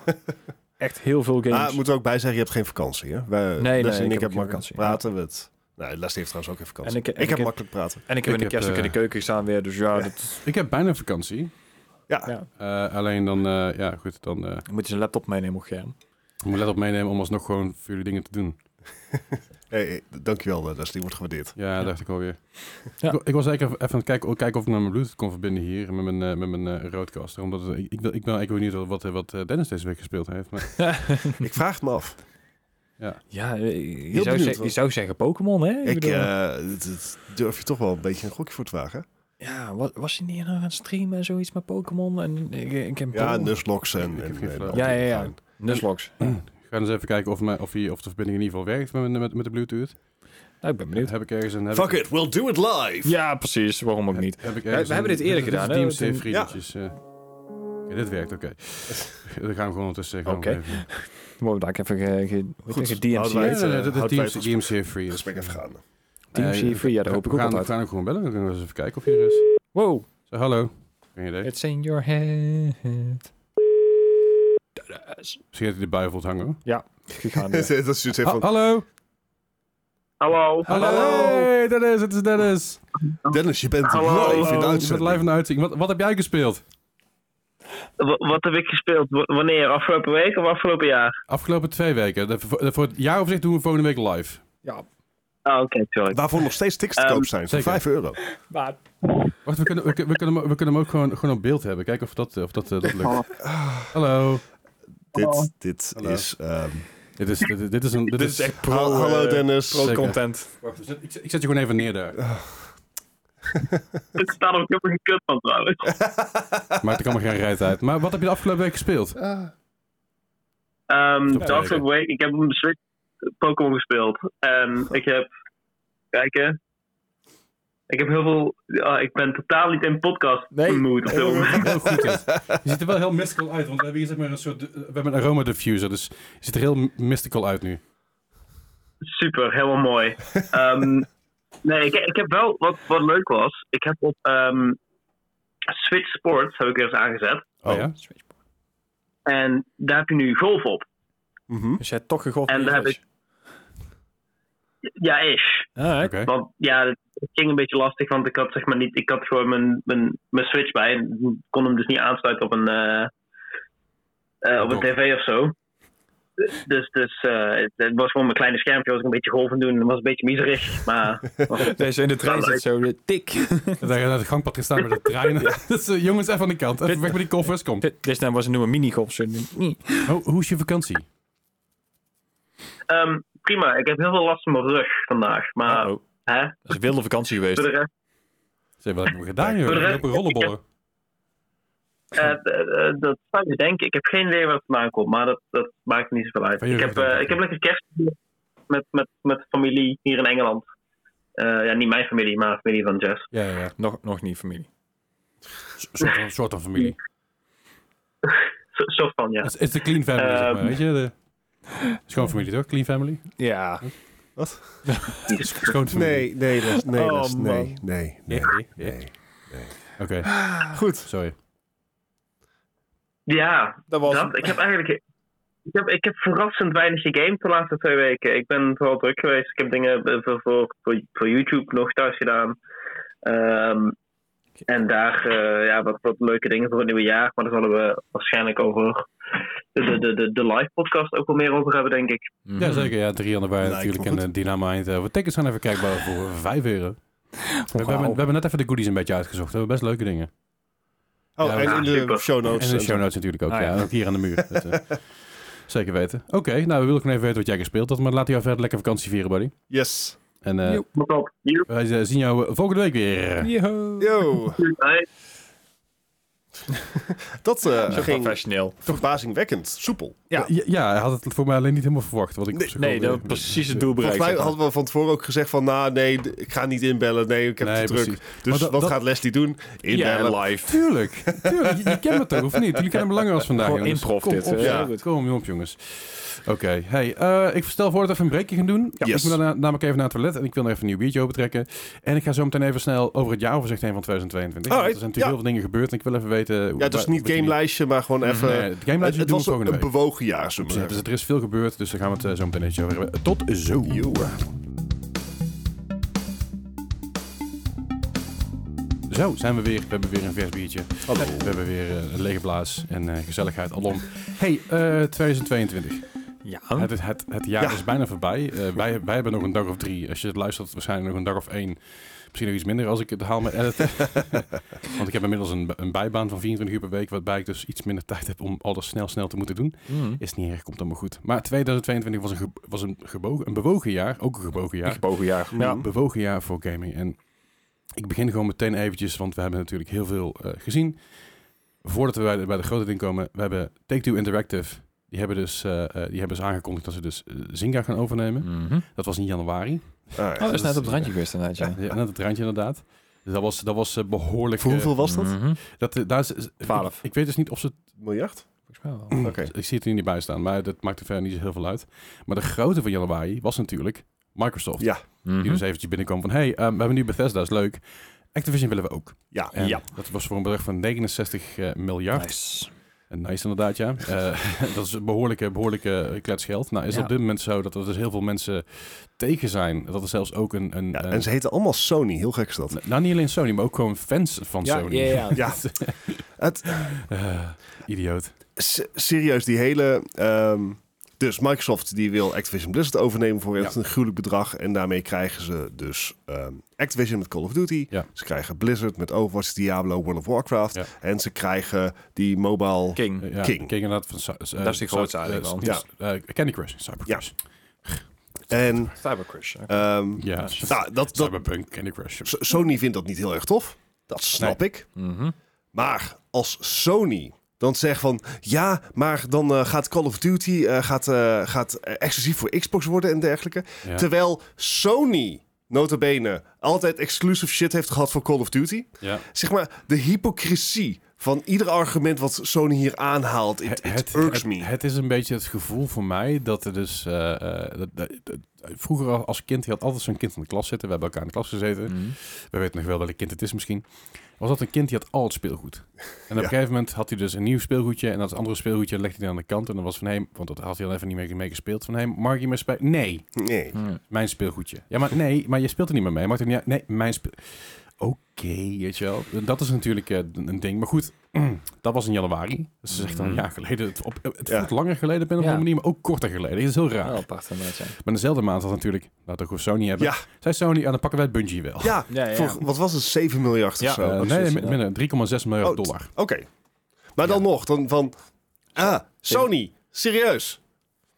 [SPEAKER 2] Echt heel veel games.
[SPEAKER 3] Ah, moet er ook bij zeggen, je hebt geen vakantie, hè? Wij,
[SPEAKER 2] nee,
[SPEAKER 3] Leslie
[SPEAKER 2] ik
[SPEAKER 3] en
[SPEAKER 2] heb
[SPEAKER 3] ik, heb
[SPEAKER 2] geen
[SPEAKER 3] makkelijk
[SPEAKER 2] vakantie,
[SPEAKER 3] praten. Met... Nee, Leslie heeft trouwens ook geen vakantie.
[SPEAKER 2] En ik-
[SPEAKER 3] ik,
[SPEAKER 2] en ik
[SPEAKER 3] heb
[SPEAKER 2] heb-
[SPEAKER 3] makkelijk praten.
[SPEAKER 2] en ik heb
[SPEAKER 1] Ik
[SPEAKER 2] in
[SPEAKER 1] heb,
[SPEAKER 2] de kerst ook in de
[SPEAKER 1] eh,
[SPEAKER 2] keuken staan weer. Dus ja, dat
[SPEAKER 1] Ik heb bijna vakantie.
[SPEAKER 3] Ja.
[SPEAKER 2] Ja.
[SPEAKER 1] Eh, alleen dan, eh, ja goed, dan eh
[SPEAKER 2] moet je zijn laptop meenemen op Germ.
[SPEAKER 1] ik moet let op meenemen om alsnog gewoon voor jullie dingen te doen.
[SPEAKER 3] Hey, hey, dankjewel, eh, Leslie. Wordt
[SPEAKER 1] [laughs]
[SPEAKER 3] gewaardeerd.
[SPEAKER 1] Ja, dacht ik alweer.
[SPEAKER 2] Ja.
[SPEAKER 1] Ik, ik was eigenlijk even aan het kijken, kijken of ik met mijn Bluetooth kon verbinden hier met mijn, eh, met mijn eh, roodcaster. Omdat het- ik, ik, ben- ik ben eigenlijk benieuwd wat, eh, wat eh, Dennis deze week gespeeld heeft. Maar
[SPEAKER 3] ik vraag het me af.
[SPEAKER 2] Ja, eh, je,
[SPEAKER 3] benieuwd
[SPEAKER 2] zou, zeg-
[SPEAKER 3] wel.
[SPEAKER 2] je zou zeggen Pokémon, hè?
[SPEAKER 3] Ik
[SPEAKER 2] bedoel-
[SPEAKER 3] eh, het- het durf je toch wel een beetje een gokje voor te wagen.
[SPEAKER 2] ja, was, was je niet nog aan het streamen en zoiets met Pokémon? En ik, eh, ik heb Oh.
[SPEAKER 3] Ja,
[SPEAKER 2] Pokémon-
[SPEAKER 3] Nuzlocks en...
[SPEAKER 1] Ik heb
[SPEAKER 3] en-
[SPEAKER 1] geen
[SPEAKER 3] en
[SPEAKER 1] flauw.
[SPEAKER 3] al
[SPEAKER 2] Ja,
[SPEAKER 3] die
[SPEAKER 2] ja, ja.
[SPEAKER 3] fijn.
[SPEAKER 2] Nuzlocke.
[SPEAKER 1] ik ga eens even kijken of, mijn, of, die, of de verbinding in ieder geval werkt met, met, met de Bluetooth.
[SPEAKER 2] Nou, ik ben benieuwd.
[SPEAKER 1] Heb ik ergens een... Heb
[SPEAKER 3] Fuck
[SPEAKER 1] ik,
[SPEAKER 3] it, we'll do it live!
[SPEAKER 2] Ja, precies. Waarom ook niet?
[SPEAKER 1] Heb ik
[SPEAKER 2] we hebben dit eerder gedaan, hè,
[SPEAKER 1] DMC
[SPEAKER 2] toen-
[SPEAKER 1] vriendjes. eh. Oké, dit werkt, oké. [laughs] Dan gaan we gewoon ondertussen... eh, gaan we
[SPEAKER 2] Oké.
[SPEAKER 1] even-
[SPEAKER 2] Wow, daar heb ik even ge, ge, hoe
[SPEAKER 3] Goed,
[SPEAKER 2] heet het, DMC.
[SPEAKER 3] houden
[SPEAKER 1] Ja,
[SPEAKER 3] wij-
[SPEAKER 2] DMC
[SPEAKER 3] Weet,
[SPEAKER 1] nee, nee,
[SPEAKER 3] eh,
[SPEAKER 1] dat is
[SPEAKER 3] houdt bij
[SPEAKER 1] DMC, DMC free.
[SPEAKER 3] Het
[SPEAKER 1] dus-
[SPEAKER 3] gesprek even [laughs] gaan.
[SPEAKER 2] free, ja, daar hoop ik
[SPEAKER 1] we
[SPEAKER 2] ook
[SPEAKER 1] gaan,
[SPEAKER 2] wat uit.
[SPEAKER 1] We gaan ook gewoon bellen. Dan kunnen we eens even kijken of hij er is.
[SPEAKER 2] Wow,
[SPEAKER 1] Zo, hallo. Geen idee.
[SPEAKER 2] it's in your head.
[SPEAKER 1] Misschien dat hij de bui voelt hangen. hoor.
[SPEAKER 2] Gegaan, ja.
[SPEAKER 3] [laughs] Dat is zoiets
[SPEAKER 1] Ha-
[SPEAKER 3] van...
[SPEAKER 1] hallo.
[SPEAKER 4] Hallo.
[SPEAKER 1] Hallo.
[SPEAKER 3] Hallo.
[SPEAKER 1] Hey, Dennis. Het is Dennis.
[SPEAKER 3] Dennis, je bent
[SPEAKER 4] oh. Hallo,
[SPEAKER 3] live in de
[SPEAKER 4] hallo.
[SPEAKER 1] Je bent
[SPEAKER 3] uitzending.
[SPEAKER 1] live in de uitzending. Wat, wat heb jij gespeeld?
[SPEAKER 4] W- wat heb ik gespeeld? W- wanneer? Afgelopen week of afgelopen jaar?
[SPEAKER 1] Afgelopen twee weken. De- voor- de- voor het jaaroverzicht doen we volgende week live.
[SPEAKER 2] ja,
[SPEAKER 4] Ah, oké, sorry.
[SPEAKER 3] Waarvoor nog steeds tickets te
[SPEAKER 4] Ehm,
[SPEAKER 3] koop zijn. Voor
[SPEAKER 1] zeker.
[SPEAKER 3] 5 euro.
[SPEAKER 2] maar...
[SPEAKER 1] Wacht, we kunnen, we, kunnen- we kunnen, hem- we kunnen hem ook gewoon, gewoon op beeld hebben. Kijken of dat, of dat, eh, dat lukt.
[SPEAKER 3] Ah.
[SPEAKER 1] Hallo.
[SPEAKER 3] Dit, dit
[SPEAKER 1] Hallo.
[SPEAKER 3] is... ehm,
[SPEAKER 1] Dit is, dit, dit is een... Dit,
[SPEAKER 2] Dit is echt pro,
[SPEAKER 3] Hallo, hallo
[SPEAKER 2] eh,
[SPEAKER 3] Dennis.
[SPEAKER 2] pro
[SPEAKER 1] Zeker.
[SPEAKER 2] content.
[SPEAKER 1] Wacht, ik zet- ik, zet, ik zet je gewoon even neer daar.
[SPEAKER 4] Ik sta er ook helemaal geen kut van trouwens.
[SPEAKER 1] Maakt er allemaal geen reet uit. Maar wat heb je de afgelopen week gespeeld?
[SPEAKER 3] Ah.
[SPEAKER 4] Ehm,
[SPEAKER 1] Vertel
[SPEAKER 4] de afgelopen week, ik heb op mijn Switch Pokémon gespeeld. En ik heb... Kijken. Ik heb heel veel... ah, ik ben totaal niet in podcast
[SPEAKER 2] Nee.
[SPEAKER 4] mood op dit moment.
[SPEAKER 1] Heel goed. is. Je ziet er wel heel mystical uit, want we hebben hier zeg maar een soort... We hebben een aroma diffuser, dus je ziet er heel m- mystical uit nu.
[SPEAKER 4] Super, helemaal mooi. Ehm, nee, ik, ik heb wel... Wat, wat leuk was, ik heb op ehm, Switch Sports, heb ik er eens aangezet.
[SPEAKER 1] Oh, ja?
[SPEAKER 4] En daar heb je nu golf op.
[SPEAKER 3] mhm.
[SPEAKER 2] Dus jij hebt toch gegolfd
[SPEAKER 4] En
[SPEAKER 2] met
[SPEAKER 4] daar heb
[SPEAKER 2] Switch?
[SPEAKER 4] Ja, ish.
[SPEAKER 2] Ah,
[SPEAKER 1] Oké.
[SPEAKER 4] Want ja, het ging een beetje lastig, want ik had zeg maar niet, ik had gewoon mijn, mijn, mijn switch bij en kon hem dus niet aansluiten op een, eh, eh, op een
[SPEAKER 1] Dok.
[SPEAKER 4] tv of zo. Dus, dus eh, het, het was gewoon mijn kleine schermpje, was ik een beetje golven doen, het was een beetje
[SPEAKER 2] [laughs]
[SPEAKER 4] miserig, maar
[SPEAKER 2] [laughs] Deze in de trein zit zo weer [laughs] tik.
[SPEAKER 1] Dat je naar het gangpad gaat staan met
[SPEAKER 4] [laughs]
[SPEAKER 1] de trein. [laughs] Dat is, eh, jongens, even aan de kant. Even weg met die koffers, kom.
[SPEAKER 2] Dit dit is nou was een nieuwe minigolf. zo.
[SPEAKER 1] Ho- hoe is je vakantie?
[SPEAKER 4] ehm, prima. Ik heb heel veel last van mijn rug vandaag, maar
[SPEAKER 2] Uh-oh.
[SPEAKER 4] hè,
[SPEAKER 2] Oh, Dat is een wilde vakantie geweest.
[SPEAKER 4] voor de rest...
[SPEAKER 1] Zeg, wat hebben we gedaan, joh? We lopen rollenbollen.
[SPEAKER 4] Eh, d- eh, dat zou je denken. Ik heb geen idee waar het vandaan komt, maar dat, dat maakt niet zoveel uit.
[SPEAKER 1] Van je
[SPEAKER 4] Ik heb,
[SPEAKER 1] rug,
[SPEAKER 4] eh,
[SPEAKER 1] denk ik.
[SPEAKER 4] ik heb lekker kerst met, met, met familie hier in Engeland. Eh, ja, niet mijn familie, maar familie van Jess.
[SPEAKER 1] Ja, ja, ja.
[SPEAKER 2] Nog, nog niet, familie.
[SPEAKER 1] Een soort van, soort van familie.
[SPEAKER 4] Zo- Soort
[SPEAKER 1] [laughs]
[SPEAKER 4] van, ja.
[SPEAKER 1] Het is de clean family, zeg maar.
[SPEAKER 4] Ehm.
[SPEAKER 1] Weet je? De... Schoonfamilie, toch? Clean family?
[SPEAKER 2] Ja.
[SPEAKER 3] Wat?
[SPEAKER 1] Schoonfamilie.
[SPEAKER 3] Nee, nee, Les, nee,
[SPEAKER 2] Oh,
[SPEAKER 3] Les, nee,
[SPEAKER 2] man.
[SPEAKER 3] nee, nee,
[SPEAKER 1] Ja, ja.
[SPEAKER 3] nee.
[SPEAKER 1] Oké,
[SPEAKER 3] Goed.
[SPEAKER 1] sorry.
[SPEAKER 4] Ja,
[SPEAKER 2] Dat was
[SPEAKER 4] dat. Ik heb eigenlijk... Ik heb, ik heb verrassend weinig gegamed de laatste twee weken. Ik ben vooral druk geweest. Ik heb dingen eh, voor, voor, voor, voor YouTube nog thuis gedaan. Ehm, en daar eh, ja, wat, wat leuke dingen voor het nieuwe jaar. Maar daar zullen we waarschijnlijk over de, de, de, de, de live podcast ook wel meer over hebben, denk ik.
[SPEAKER 2] Mhm.
[SPEAKER 1] Ja, zeker. Ja, 3 januari
[SPEAKER 3] Lijkt me
[SPEAKER 1] natuurlijk
[SPEAKER 3] goed.
[SPEAKER 1] en eh, Dynamite. eh, Wat tickets zijn even kijkbaar voor 5 euro. We, we hebben, we hebben net even de goodies een beetje uitgezocht. We hebben best leuke dingen.
[SPEAKER 3] Oh,
[SPEAKER 1] Ja,
[SPEAKER 3] en
[SPEAKER 4] ja,
[SPEAKER 3] in de
[SPEAKER 4] super.
[SPEAKER 3] show notes. eh,
[SPEAKER 1] En de show notes natuurlijk ook,
[SPEAKER 2] Ah,
[SPEAKER 1] ja.
[SPEAKER 2] ja.
[SPEAKER 1] Ook hier aan de muur. Dat, eh, [laughs] zeker weten. Oké, nou, we willen gewoon even weten wat jij gespeeld hebt. Maar laat jou verder lekker vakantie vieren, buddy.
[SPEAKER 3] Yes.
[SPEAKER 1] En eh,
[SPEAKER 2] Joep.
[SPEAKER 4] Wat op. Hier.
[SPEAKER 1] wij eh, zien jou eh, volgende week weer.
[SPEAKER 2] Yo.
[SPEAKER 3] Yo.
[SPEAKER 4] Hey.
[SPEAKER 3] Dat eh,
[SPEAKER 2] Zo
[SPEAKER 3] ging
[SPEAKER 2] professioneel.
[SPEAKER 3] verbazingwekkend soepel.
[SPEAKER 2] Ja.
[SPEAKER 1] Ja. hij had het voor mij alleen niet helemaal verwacht. Wat ik op
[SPEAKER 3] Nee,
[SPEAKER 1] zich
[SPEAKER 2] Nee,
[SPEAKER 1] wel,
[SPEAKER 2] dat
[SPEAKER 1] eh,
[SPEAKER 2] precies het
[SPEAKER 1] eh,
[SPEAKER 2] doel bereikt.
[SPEAKER 3] Volgens mij
[SPEAKER 2] zeg maar.
[SPEAKER 3] hadden we van tevoren ook gezegd van... Nou, nee, d- ik ga niet inbellen. Nee, ik heb
[SPEAKER 1] Nee,
[SPEAKER 3] te druk.
[SPEAKER 1] precies.
[SPEAKER 3] Dus
[SPEAKER 1] Maar dat-
[SPEAKER 3] wat
[SPEAKER 1] dat-
[SPEAKER 3] gaat Leslie doen? Inbellen.
[SPEAKER 2] Ja, live.
[SPEAKER 1] Tuurlijk, tuurlijk. Je, je kent me toch, of niet? Jullie kennen me langer als vandaag.
[SPEAKER 2] Gewoon
[SPEAKER 1] jongens.
[SPEAKER 2] improv
[SPEAKER 1] kom
[SPEAKER 2] dit,
[SPEAKER 1] Op,
[SPEAKER 2] hè?
[SPEAKER 3] eh. Ja.
[SPEAKER 1] ja. Kom op, jongens. Oké, hey, eh, ik stel voor dat we even een breakje gaan doen.
[SPEAKER 3] Yes.
[SPEAKER 1] Ik moet daarna, namelijk even naar het toilet en ik wil nog even een nieuw biertje opentrekken. En ik ga zo meteen even snel over het jaaroverzicht heen van 2022.
[SPEAKER 3] Alright,
[SPEAKER 1] Want er zijn natuurlijk
[SPEAKER 3] ja.
[SPEAKER 1] heel veel dingen gebeurd en ik wil even weten... hoe-
[SPEAKER 3] Ja, dus
[SPEAKER 1] waar-
[SPEAKER 3] niet
[SPEAKER 1] wat jullie-
[SPEAKER 3] gamelijstje, maar gewoon even...
[SPEAKER 1] Nee, het game
[SPEAKER 3] het,
[SPEAKER 1] doen
[SPEAKER 3] het
[SPEAKER 1] we
[SPEAKER 3] was een,
[SPEAKER 1] volgende
[SPEAKER 3] een
[SPEAKER 1] week.
[SPEAKER 3] bewogen jaar, zullen we
[SPEAKER 1] Precies,
[SPEAKER 3] zeggen.
[SPEAKER 1] dus er is veel gebeurd, dus daar gaan we het eh, zo meteen eventjes over hebben. Tot zo! Zo, zijn we weer. We hebben weer een vers biertje.
[SPEAKER 3] Hallo.
[SPEAKER 1] We hebben weer eh, een lege blaas en eh, gezelligheid alom. hey, eh, 2022.
[SPEAKER 2] Ja.
[SPEAKER 1] Het, het, het, het jaar
[SPEAKER 3] Ja.
[SPEAKER 1] is bijna voorbij. Eh, wij, wij hebben nog een dag of drie. Als je het luistert, waarschijnlijk nog een dag of één. Misschien nog iets minder als ik het haal met editen. Want ik heb inmiddels een, een bijbaan van 24 uur per week. Waarbij ik dus iets minder tijd heb om alles snel, snel te moeten doen.
[SPEAKER 2] Mm.
[SPEAKER 1] Is niet erg, komt allemaal goed. Maar 2022 was een, ge- was een, gebogen, een bewogen jaar. Ook een gebogen jaar.
[SPEAKER 2] Gebogen jaar.
[SPEAKER 1] Een
[SPEAKER 2] Ja.
[SPEAKER 3] Hm?
[SPEAKER 1] bewogen jaar voor gaming. En ik begin gewoon meteen eventjes, want we hebben natuurlijk heel veel eh, gezien. Voordat we bij de, bij de grote ding komen, we hebben Take-Two Interactive. Die hebben, dus, eh, eh, die hebben dus aangekondigd dat ze dus eh, Zynga gaan
[SPEAKER 3] Hm.
[SPEAKER 1] overnemen.
[SPEAKER 2] Mhm.
[SPEAKER 1] Dat was in januari.
[SPEAKER 3] Ah, ja.
[SPEAKER 2] Oh, dat is
[SPEAKER 1] dat
[SPEAKER 2] net op
[SPEAKER 1] is-
[SPEAKER 2] het randje geweest inderdaad, ja.
[SPEAKER 1] Ja, net het randje inderdaad. Dus dat was, dat was eh, behoorlijk...
[SPEAKER 3] Voor
[SPEAKER 1] eh,
[SPEAKER 3] hoeveel was dat?
[SPEAKER 2] Mhm.
[SPEAKER 1] dat, eh, daar is, is-
[SPEAKER 2] Twaalf.
[SPEAKER 1] Ik, ik weet dus niet of ze...
[SPEAKER 3] Miljard?
[SPEAKER 2] Volgens mij wel.
[SPEAKER 3] Oké.
[SPEAKER 1] Ik zie het er niet bij staan, maar dat maakt er verder niet zo heel veel uit. Maar de grote van januari was natuurlijk Microsoft.
[SPEAKER 3] Ja.
[SPEAKER 2] Mhm.
[SPEAKER 3] Mhm.
[SPEAKER 1] Die dus eventjes binnenkwam van... hey, eh, we hebben nu Bethesda, is leuk. Activision willen we ook.
[SPEAKER 3] Ja.
[SPEAKER 1] En
[SPEAKER 2] Ja.
[SPEAKER 1] Dat was voor een bedrag van 69 eh, miljard.
[SPEAKER 2] Nice.
[SPEAKER 1] En Nice. inderdaad, ja. Eh, [laughs] dat is een behoorlijke, behoorlijke kletsgeld. Nou, is
[SPEAKER 2] Ja.
[SPEAKER 1] op dit moment zo dat er dus heel veel mensen tegen zijn. Dat er zelfs ook een... een
[SPEAKER 3] Ja,
[SPEAKER 1] eh,
[SPEAKER 3] en ze heten allemaal Sony. Heel gek is dat.
[SPEAKER 1] nou, niet alleen Sony, maar ook gewoon fans van
[SPEAKER 2] Ja,
[SPEAKER 1] Sony.
[SPEAKER 2] ja, ja.
[SPEAKER 3] Ja. Het,
[SPEAKER 1] [laughs] Eh, idioot.
[SPEAKER 3] s- serieus, die hele... ehm, dus Microsoft die wil Activision Blizzard overnemen voor echt
[SPEAKER 1] Ja.
[SPEAKER 3] een gruwelijk bedrag. En daarmee krijgen ze dus ehm, Activision met Call of Duty.
[SPEAKER 1] Ja.
[SPEAKER 3] Ze krijgen Blizzard met Overwatch, Diablo, World of Warcraft.
[SPEAKER 1] Ja.
[SPEAKER 3] En ze krijgen die mobile...
[SPEAKER 2] King.
[SPEAKER 1] Eh, ja,
[SPEAKER 3] King.
[SPEAKER 1] King inderdaad. Van, Sa- eh,
[SPEAKER 2] Dat is die
[SPEAKER 1] Sa-
[SPEAKER 2] grootste eigenlijk
[SPEAKER 1] eh,
[SPEAKER 2] wel.
[SPEAKER 1] Sa- eh, Candy Crush, Cyber
[SPEAKER 3] Ja.
[SPEAKER 1] Crush.
[SPEAKER 3] En
[SPEAKER 2] Cybercrush. hè.
[SPEAKER 3] ehm,
[SPEAKER 1] Ja,
[SPEAKER 3] nou, dat, dat,
[SPEAKER 1] Cyberpunk, Candy Crush.
[SPEAKER 3] S- Sony vindt dat niet heel erg tof. Dat snap ik.
[SPEAKER 2] Mhm.
[SPEAKER 3] Maar als Sony dan zegt van ja, maar dan eh, gaat Call of Duty eh, gaat, eh, gaat eh, exclusief voor Xbox worden en dergelijke.
[SPEAKER 1] Ja.
[SPEAKER 3] Terwijl Sony notabene altijd exclusive shit heeft gehad voor Call of Duty.
[SPEAKER 1] Ja.
[SPEAKER 3] Zeg maar de hypocrisie van ieder argument wat Sony hier aanhaalt, it, it irks me.
[SPEAKER 1] het- het is een beetje het gevoel voor mij dat er dus... eh, eh, dat- dat- dat- vroeger al- als kind, je had altijd zo'n kind in de klas zitten. We hebben elkaar in de klas gezeten.
[SPEAKER 2] Mhm.
[SPEAKER 1] We weten nog wel welk kind het is misschien. Was dat een kind die had al het speelgoed. En
[SPEAKER 3] [laughs]
[SPEAKER 1] op een gegeven moment had hij dus een nieuw speelgoedje. En dat andere speelgoedje legde hij dan aan de kant. En dan was van, hé, want dat had hij al even niet mee, mee gespeeld. Van, hé, mag ik hier mee spelen? Nee,
[SPEAKER 3] Nee.
[SPEAKER 1] mijn speelgoedje. Ja, maar nee, maar je speelt er niet meer mee. Mag het niet uit? Nee, mijn speel... Oké, weet je wel. Dat is natuurlijk eh, een ding. Maar goed, [clears throat] dat was in januari. Dus Dat is echt al een jaar geleden. Het, op, het
[SPEAKER 3] Mm. Ja.
[SPEAKER 1] voelt langer geleden op een of
[SPEAKER 2] Ja.
[SPEAKER 1] andere manier, maar ook korter geleden. Dat is heel raar.
[SPEAKER 2] Wel apart inderdaad, ja.
[SPEAKER 1] Maar dezelfde maand had natuurlijk, laten we Sony hebben.
[SPEAKER 3] Ja.
[SPEAKER 1] Zij Sony, aan dan pakken wij het Bungie wel.
[SPEAKER 3] Ja, Oh,
[SPEAKER 2] Ja, ja, ja.
[SPEAKER 3] voor- wat was het? 7 miljard
[SPEAKER 2] Ja,
[SPEAKER 3] of zo.
[SPEAKER 1] Eh,
[SPEAKER 2] precies,
[SPEAKER 1] nee,
[SPEAKER 2] ja.
[SPEAKER 1] min- minder 3,6 miljard
[SPEAKER 3] Oh, t-
[SPEAKER 1] dollar.
[SPEAKER 3] Oké. Maar dan nog, dan van... Ah, Sony, serieus.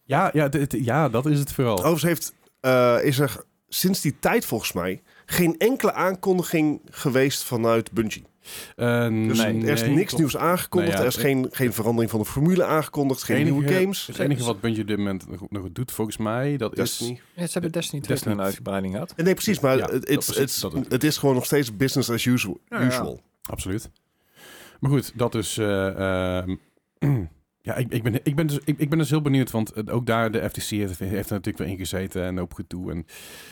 [SPEAKER 1] Ja, ja, dit- dit- ja, dat is het vooral.
[SPEAKER 3] Overigens heeft, eh, is er sinds die tijd volgens mij geen enkele aankondiging geweest vanuit Bungie.
[SPEAKER 1] Eh,
[SPEAKER 3] Dus
[SPEAKER 1] nee,
[SPEAKER 3] er is
[SPEAKER 1] nee,
[SPEAKER 3] niks
[SPEAKER 1] klopt.
[SPEAKER 3] nieuws aangekondigd.
[SPEAKER 1] Nee, ja,
[SPEAKER 3] er is
[SPEAKER 1] het-
[SPEAKER 3] geen, geen verandering van de formule aangekondigd. Geen nieuwe
[SPEAKER 1] Enige-
[SPEAKER 3] games.
[SPEAKER 1] Het enige wat Bungie op dit moment nog- nog doet, volgens mij, dat is...
[SPEAKER 3] Destiny.
[SPEAKER 2] Ja, ze hebben Destiny 2
[SPEAKER 1] Destiny
[SPEAKER 2] een uitgebreiding gehad.
[SPEAKER 3] Nee, precies. Maar
[SPEAKER 1] Ja,
[SPEAKER 3] het,
[SPEAKER 1] dat
[SPEAKER 3] it's-
[SPEAKER 1] precies,
[SPEAKER 3] it's-
[SPEAKER 1] dat het-
[SPEAKER 3] het is gewoon nog steeds business as usual.
[SPEAKER 2] Ja, ja.
[SPEAKER 3] usual.
[SPEAKER 1] Absoluut. Maar goed, dat is... eh, ehm, [clears throat] ja, ik, ik, ben, ik, ben dus, ik, ik ben dus heel benieuwd, want eh, ook daar, de FTC heeft, heeft er natuurlijk weer in gezeten en op gedoe. En,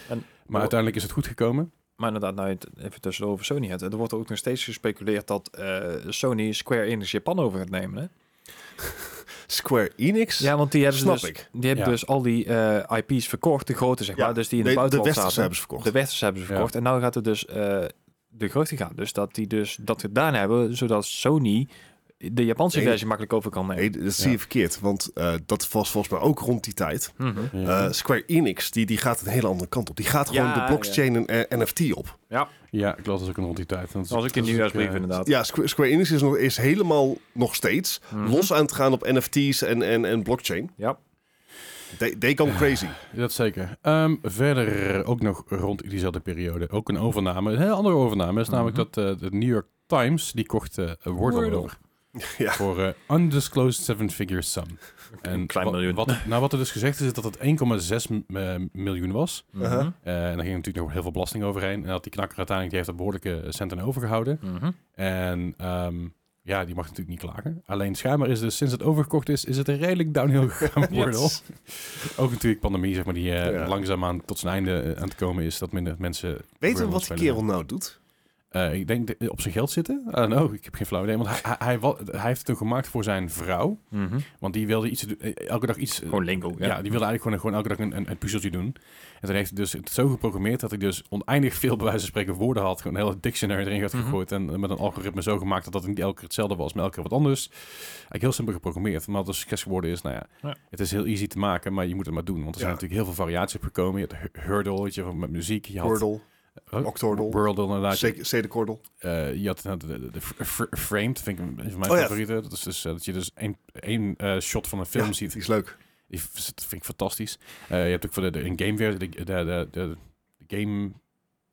[SPEAKER 2] En-
[SPEAKER 1] maar uiteindelijk is het goed gekomen.
[SPEAKER 2] Maar inderdaad, nou je het even tussendoor over Sony hebt. Er wordt ook nog steeds gespeculeerd dat eh, Sony Square Enix Japan over gaat nemen. Hè?
[SPEAKER 3] Square Enix.
[SPEAKER 2] Ja, want die hebben,
[SPEAKER 3] Snap
[SPEAKER 2] dus,
[SPEAKER 3] ik.
[SPEAKER 2] Die hebben
[SPEAKER 1] Ja.
[SPEAKER 2] dus al die eh, IP's verkocht, de grote zeg
[SPEAKER 3] Ja,
[SPEAKER 2] maar, dus die in
[SPEAKER 3] nee,
[SPEAKER 2] het
[SPEAKER 3] de
[SPEAKER 2] buitenland
[SPEAKER 3] Westerse
[SPEAKER 2] zaten.
[SPEAKER 3] hebben ze verkocht.
[SPEAKER 2] De Westerse hebben ze
[SPEAKER 1] Ja.
[SPEAKER 2] verkocht. En nou gaat het dus eh, de grote gaan. Dus dat die dus dat gedaan hebben, zodat Sony de Japanse
[SPEAKER 3] Nee.
[SPEAKER 2] versie makkelijk over kan nemen.
[SPEAKER 3] Nee, dat zie
[SPEAKER 1] Ja.
[SPEAKER 3] je verkeerd. Want eh, dat was volgens mij ook rond die tijd.
[SPEAKER 2] Mhm.
[SPEAKER 1] Ja.
[SPEAKER 3] Eh, Square Enix, die, die gaat een hele andere kant op. Die gaat gewoon
[SPEAKER 2] Ja,
[SPEAKER 3] de blockchain en eh, NFT op.
[SPEAKER 2] Ja,
[SPEAKER 1] ja, ik las dus ook een rond die tijd. Dat is-
[SPEAKER 2] dat was ook in de
[SPEAKER 1] dat is ook,
[SPEAKER 2] nieuwsbrief
[SPEAKER 1] eh,
[SPEAKER 2] inderdaad.
[SPEAKER 3] Ja, Square, Square Enix is, nog, is helemaal nog steeds
[SPEAKER 2] Mhm.
[SPEAKER 3] los aan het gaan op NFT's en, en, en blockchain.
[SPEAKER 2] Ja.
[SPEAKER 3] They, they come crazy.
[SPEAKER 1] Dat zeker. Ehm,
[SPEAKER 2] Mhm.
[SPEAKER 1] verder ook nog rond diezelfde periode ook een overname. Een heel andere overname is namelijk dat eh, de New York Times die kocht eh Wordle,
[SPEAKER 2] Wordle. [laughs]
[SPEAKER 1] over.
[SPEAKER 3] Ja.
[SPEAKER 1] Voor eh, undisclosed seven-figure sum. En
[SPEAKER 2] klein
[SPEAKER 1] wat-
[SPEAKER 2] miljoen. [laughs]
[SPEAKER 1] Wat, nou, wat er dus gezegd is, is dat het 1,6 m- eh, miljoen was.
[SPEAKER 2] Mhm.
[SPEAKER 3] Uh-huh.
[SPEAKER 1] Eh, en daar ging natuurlijk nog heel veel belasting overheen. En dat die knakker uiteindelijk, die heeft er behoorlijke eh, centen overgehouden.
[SPEAKER 2] Mhm.
[SPEAKER 1] En ehm, ja, die mag natuurlijk niet klagen. Alleen schijnbaar is dus sinds het overgekocht is, is het een redelijk downhill [laughs] gegaan met Wordle.
[SPEAKER 2] Yes.
[SPEAKER 1] Ook natuurlijk pandemie, zeg maar, die eh,
[SPEAKER 3] Ja.
[SPEAKER 1] langzaamaan tot zijn einde eh, aan het komen is. Dat minder mensen...
[SPEAKER 3] Weten we
[SPEAKER 1] Wordle
[SPEAKER 3] wat die
[SPEAKER 1] spelen.
[SPEAKER 3] kerel nou doet?
[SPEAKER 1] Eh, ik denk de- op zijn geld zitten. I don't know, ik heb geen flauw idee. Want hij, hij, hij, wa- hij heeft het toen gemaakt voor zijn vrouw.
[SPEAKER 2] Mhm.
[SPEAKER 1] Want die wilde iets, te doen- eh, elke dag iets... eh,
[SPEAKER 2] Gewoon lingo.
[SPEAKER 1] ja.
[SPEAKER 2] Ja.
[SPEAKER 1] die wilde eigenlijk gewoon, gewoon elke dag een, een, een puzzeltje doen. En toen heeft hij dus het zo geprogrammeerd dat hij dus oneindig veel bij wijze van spreken woorden had. Gewoon een hele dictionary erin had
[SPEAKER 2] Mhm.
[SPEAKER 1] gegooid. En eh, met een algoritme zo gemaakt dat dat niet elke keer hetzelfde was, maar elke keer wat anders. Eigenlijk heel simpel geprogrammeerd. Maar wat een succes geworden is, nou ja,
[SPEAKER 2] Ja.
[SPEAKER 1] het is heel easy te maken, maar je moet het maar doen. Want er zijn
[SPEAKER 3] Ja.
[SPEAKER 1] natuurlijk heel veel variaties op gekomen. Je had hu- Hurdle, weet je, van- met muziek. Je had
[SPEAKER 3] Wordle,
[SPEAKER 1] Huh?
[SPEAKER 3] Octordle,
[SPEAKER 1] Wordle inderdaad.
[SPEAKER 3] Cedekordel.
[SPEAKER 1] Eh, je had inderdaad de, de, de fr- fr- Framed, vind ik een van mijn
[SPEAKER 3] Oh ja.
[SPEAKER 1] favorieten. Dat is dus eh, dat je dus één, één eh, shot van een film
[SPEAKER 3] Ja,
[SPEAKER 1] ziet.
[SPEAKER 3] die is leuk.
[SPEAKER 1] Die v- dat vind ik fantastisch. Eh, je hebt ook voor de, de in gameversie de, de, de, de, de game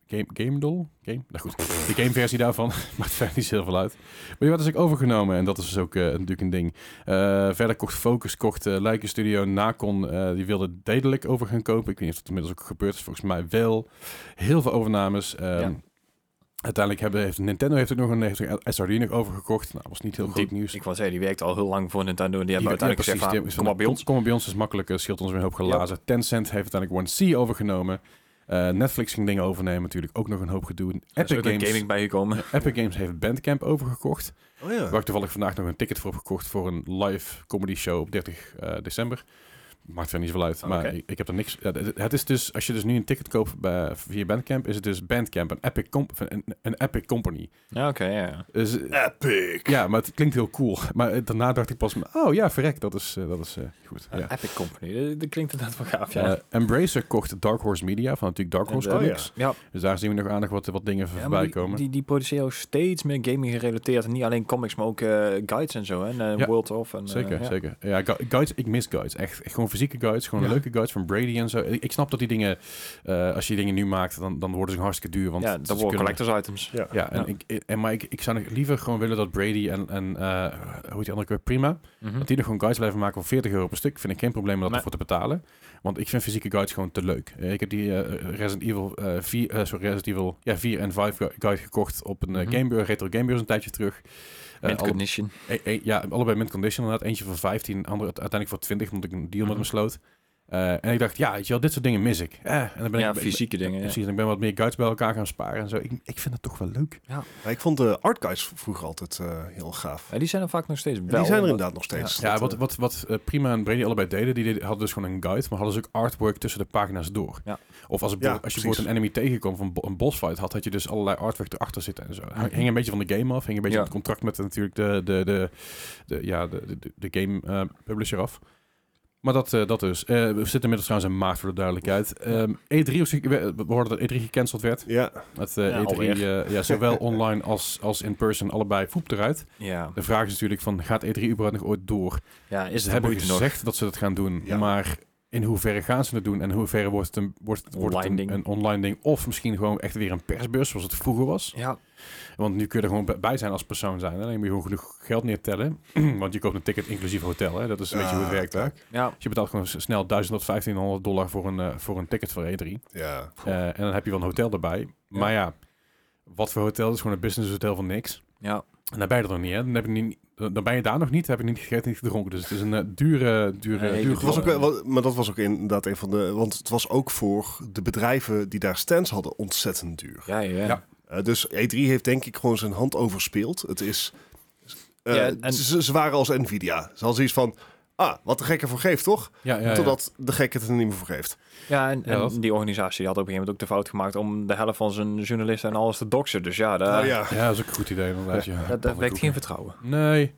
[SPEAKER 1] game game doll game. Nou goed, de gameversie daarvan [laughs] maakt verder niet zo heel veel uit. Maar die werd dus ook overgenomen en dat is dus ook eh, natuurlijk een ding. Eh, verder kocht Focus, kocht eh Lijken Studio, Nacon, eh, die wilde dedelijk over gaan kopen. Ik weet niet of dat inmiddels ook gebeurd is. Volgens mij wel. Heel veel overnames. Ehm,
[SPEAKER 2] Ja.
[SPEAKER 1] Uiteindelijk hebben, heeft Nintendo heeft ook nog een heeft ook SRD nog overgekocht. Nou, was niet heel goed nieuws.
[SPEAKER 2] Ik wou zeggen, die werkt al heel lang voor Nintendo. En die
[SPEAKER 1] Ja,
[SPEAKER 2] hebben uiteindelijk
[SPEAKER 1] ja,
[SPEAKER 2] gezegd,
[SPEAKER 1] precies.
[SPEAKER 2] van,
[SPEAKER 1] Die
[SPEAKER 2] kom maar bij ons.
[SPEAKER 1] Kom maar bij ons, is makkelijk. eh, scheelt ons weer een hoop glazen. Tencent heeft uiteindelijk One C overgenomen. Eh, Netflix ging dingen overnemen, natuurlijk ook nog een hoop gedoe.
[SPEAKER 2] Er is
[SPEAKER 1] Epic
[SPEAKER 2] ook een
[SPEAKER 1] Games,
[SPEAKER 2] gaming bijgekomen.
[SPEAKER 1] [laughs] Epic Games heeft Bandcamp overgekocht.
[SPEAKER 3] Oh ja.
[SPEAKER 1] Waar ik toevallig vandaag nog een ticket voor heb gekocht voor een live comedy show op 30 eh, december. Maakt verder niet zoveel uit,
[SPEAKER 2] Oh,
[SPEAKER 1] maar
[SPEAKER 2] oké.
[SPEAKER 1] ik, ik heb er niks... ja, het- het is dus, als je dus nu een ticket koopt bij, via Bandcamp, is het dus Bandcamp, een Epic, comp- een, een Epic Company.
[SPEAKER 2] Ja, oké. ja, ja.
[SPEAKER 1] Dus,
[SPEAKER 3] Epic.
[SPEAKER 1] ja, maar het klinkt heel cool. Maar eh, daarna dacht ik pas, oh ja, verrek, dat is, eh, dat is eh, goed. Ja.
[SPEAKER 2] Epic Company. Dat- Dat klinkt inderdaad wel gaaf, ja.
[SPEAKER 1] Eh, Embracer kocht Dark Horse Media van natuurlijk Dark Horse
[SPEAKER 2] En, eh,
[SPEAKER 1] Comics.
[SPEAKER 2] ja.
[SPEAKER 1] Dus daar zien we nog aardig wat, wat dingen
[SPEAKER 2] Ja, maar
[SPEAKER 1] voorbij
[SPEAKER 2] die-
[SPEAKER 1] komen.
[SPEAKER 2] Die, die produceren ook steeds meer gaming gerelateerd. En niet alleen comics, maar ook eh, guides en zo. Hè? En eh,
[SPEAKER 1] Ja,
[SPEAKER 2] World of. En, eh,
[SPEAKER 1] zeker,
[SPEAKER 2] ja.
[SPEAKER 1] zeker. Ja, gu- guides, ik mis guides. Echt, echt gewoon fysieke guides, gewoon
[SPEAKER 2] Ja.
[SPEAKER 1] leuke guides van Brady en zo. Ik, ik snap dat die dingen, eh, als je die dingen nu maakt, dan, dan worden ze hartstikke duur. Want
[SPEAKER 2] ja,
[SPEAKER 1] ze
[SPEAKER 2] dat worden
[SPEAKER 1] kunnen-
[SPEAKER 2] collectors items.
[SPEAKER 3] Ja.
[SPEAKER 1] Ja, en
[SPEAKER 2] Ja.
[SPEAKER 1] Ik, ik- en, maar ik, ik zou nog liever gewoon willen dat Brady en, en eh, hoe heet die andere keer, Prima,
[SPEAKER 2] Mhm.
[SPEAKER 1] dat die nog gewoon guides blijven maken voor 40 euro per stuk. Vind ik geen probleem om dat
[SPEAKER 2] Nee.
[SPEAKER 1] ervoor te betalen. Want ik vind fysieke guides gewoon te leuk. Eh, ik heb die eh, Resident Evil eh 4, eh, sorry, Resident Evil ja, 4 en 5 gu- guide gekocht op een eh,
[SPEAKER 2] Mhm.
[SPEAKER 1] Game Boy, retro Game Boy een tijdje terug. Eh,
[SPEAKER 2] Mint
[SPEAKER 1] alle-
[SPEAKER 2] condition.
[SPEAKER 1] eh, eh, ja, allebei mint condition inderdaad. Eentje voor 15, andere uite- uiteindelijk voor 20, omdat ik een deal met
[SPEAKER 2] Mhm.
[SPEAKER 1] hem sloot. Eh, en ik dacht, ja, weet je wel, dit soort dingen mis ik. Eh, en dan ben
[SPEAKER 2] Ja,
[SPEAKER 1] ik,
[SPEAKER 2] fysieke dingen. Ja.
[SPEAKER 1] Precies, en ik ben wat meer guides bij elkaar gaan sparen en zo. Ik, ik vind het toch wel leuk.
[SPEAKER 3] Ja, ik vond de art guides vroeger altijd eh, heel gaaf.
[SPEAKER 2] En die zijn er vaak nog steeds
[SPEAKER 3] En
[SPEAKER 2] wel.
[SPEAKER 3] die zijn
[SPEAKER 2] omdat-
[SPEAKER 3] er inderdaad nog steeds.
[SPEAKER 1] Ja,
[SPEAKER 3] Dat,
[SPEAKER 1] wat,
[SPEAKER 3] eh,
[SPEAKER 1] wat, wat eh, Prima en Brady allebei deden, die deden- hadden dus gewoon een guide, maar hadden ze ook artwork tussen de pagina's door.
[SPEAKER 2] Ja.
[SPEAKER 1] Of als, het
[SPEAKER 3] Ja,
[SPEAKER 1] bijvoorbeeld- als je
[SPEAKER 3] precies.
[SPEAKER 1] bijvoorbeeld een enemy tegenkwam van bo- een bossfight had, had je dus allerlei artwork erachter zitten en zo. Hang- Hing een beetje van de game af, hing een beetje
[SPEAKER 2] Ja.
[SPEAKER 1] op het contract met natuurlijk de, de, de, de, ja, de, de, de game eh, publisher af. Maar dat, eh, dat dus. Eh, we zitten inmiddels trouwens in maart voor de duidelijkheid. Ehm, E3, was ge- we we hoorden dat E3 gecanceld werd.
[SPEAKER 3] Ja,
[SPEAKER 1] Het eh,
[SPEAKER 2] Ja,
[SPEAKER 1] E3,
[SPEAKER 2] alweer.
[SPEAKER 1] eh, ja, zowel online als, als in person, allebei voep eruit.
[SPEAKER 2] Ja.
[SPEAKER 1] De vraag is natuurlijk van, gaat E3 überhaupt nog ooit door?
[SPEAKER 2] ja, is
[SPEAKER 1] Ze
[SPEAKER 2] het
[SPEAKER 1] hebben
[SPEAKER 2] hebben nog?
[SPEAKER 1] gezegd dat ze dat gaan doen,
[SPEAKER 3] Ja.
[SPEAKER 1] maar in hoeverre gaan ze het doen en in hoeverre wordt het een, wordt, het- wordt het
[SPEAKER 2] Online
[SPEAKER 1] een,
[SPEAKER 2] ding.
[SPEAKER 1] een online ding of misschien gewoon echt weer een persbeurs zoals het vroeger was.
[SPEAKER 2] Ja,
[SPEAKER 1] Want nu kun je er gewoon bij- bij zijn als persoon zijn. Alleen moet je gewoon genoeg geld neertellen, [clears throat] want je koopt een ticket inclusief hotel. Hè? Dat is een beetje hoe het
[SPEAKER 3] Ah,
[SPEAKER 1] werkt daar.
[SPEAKER 2] ja.
[SPEAKER 1] Dus je betaalt gewoon s- snel 1000 tot 1500 dollar voor een, eh, voor een ticket voor E3.
[SPEAKER 3] ja.
[SPEAKER 1] Eh, en dan heb je wel een hotel erbij. Maar ja, wat voor hotel? Dat is gewoon een business hotel van niks.
[SPEAKER 2] ja.
[SPEAKER 1] En daar ben je er nog niet, hè? Dan, heb je niet, dan ben je daar nog niet, heb je niet gegeten, niet gedronken. Dus het is een eh, dure, dure,
[SPEAKER 2] Een hele
[SPEAKER 1] duur
[SPEAKER 3] Het was ook,
[SPEAKER 1] geval.
[SPEAKER 3] wel- wat- maar dat was ook inderdaad een van de... Want het was ook voor de bedrijven die daar stands hadden ontzettend duur.
[SPEAKER 2] Ja, ja, ja.
[SPEAKER 1] Ja.
[SPEAKER 3] Eh, dus E3 heeft denk ik gewoon zijn hand overspeeld. Het is... eh,
[SPEAKER 2] Ja, en-
[SPEAKER 3] ze, ze waren als Nvidia. Ze hadden zoiets van... Ah, wat de gekke voor geeft, toch?
[SPEAKER 1] Ja, ja, ja.
[SPEAKER 3] Totdat de gekke het er niet meer voor geeft.
[SPEAKER 2] Ja, en,
[SPEAKER 1] Ja,
[SPEAKER 2] en
[SPEAKER 1] dat-
[SPEAKER 2] die organisatie die had op een gegeven moment ook de fout gemaakt om de helft van zijn journalisten en alles te doxen. Dus ja, daar,
[SPEAKER 3] Nou ja.
[SPEAKER 1] Oh, Ja, dat is ook een goed idee inderdaad. Ja.
[SPEAKER 2] dat, dat wekt geen vertrouwen.
[SPEAKER 1] Nee.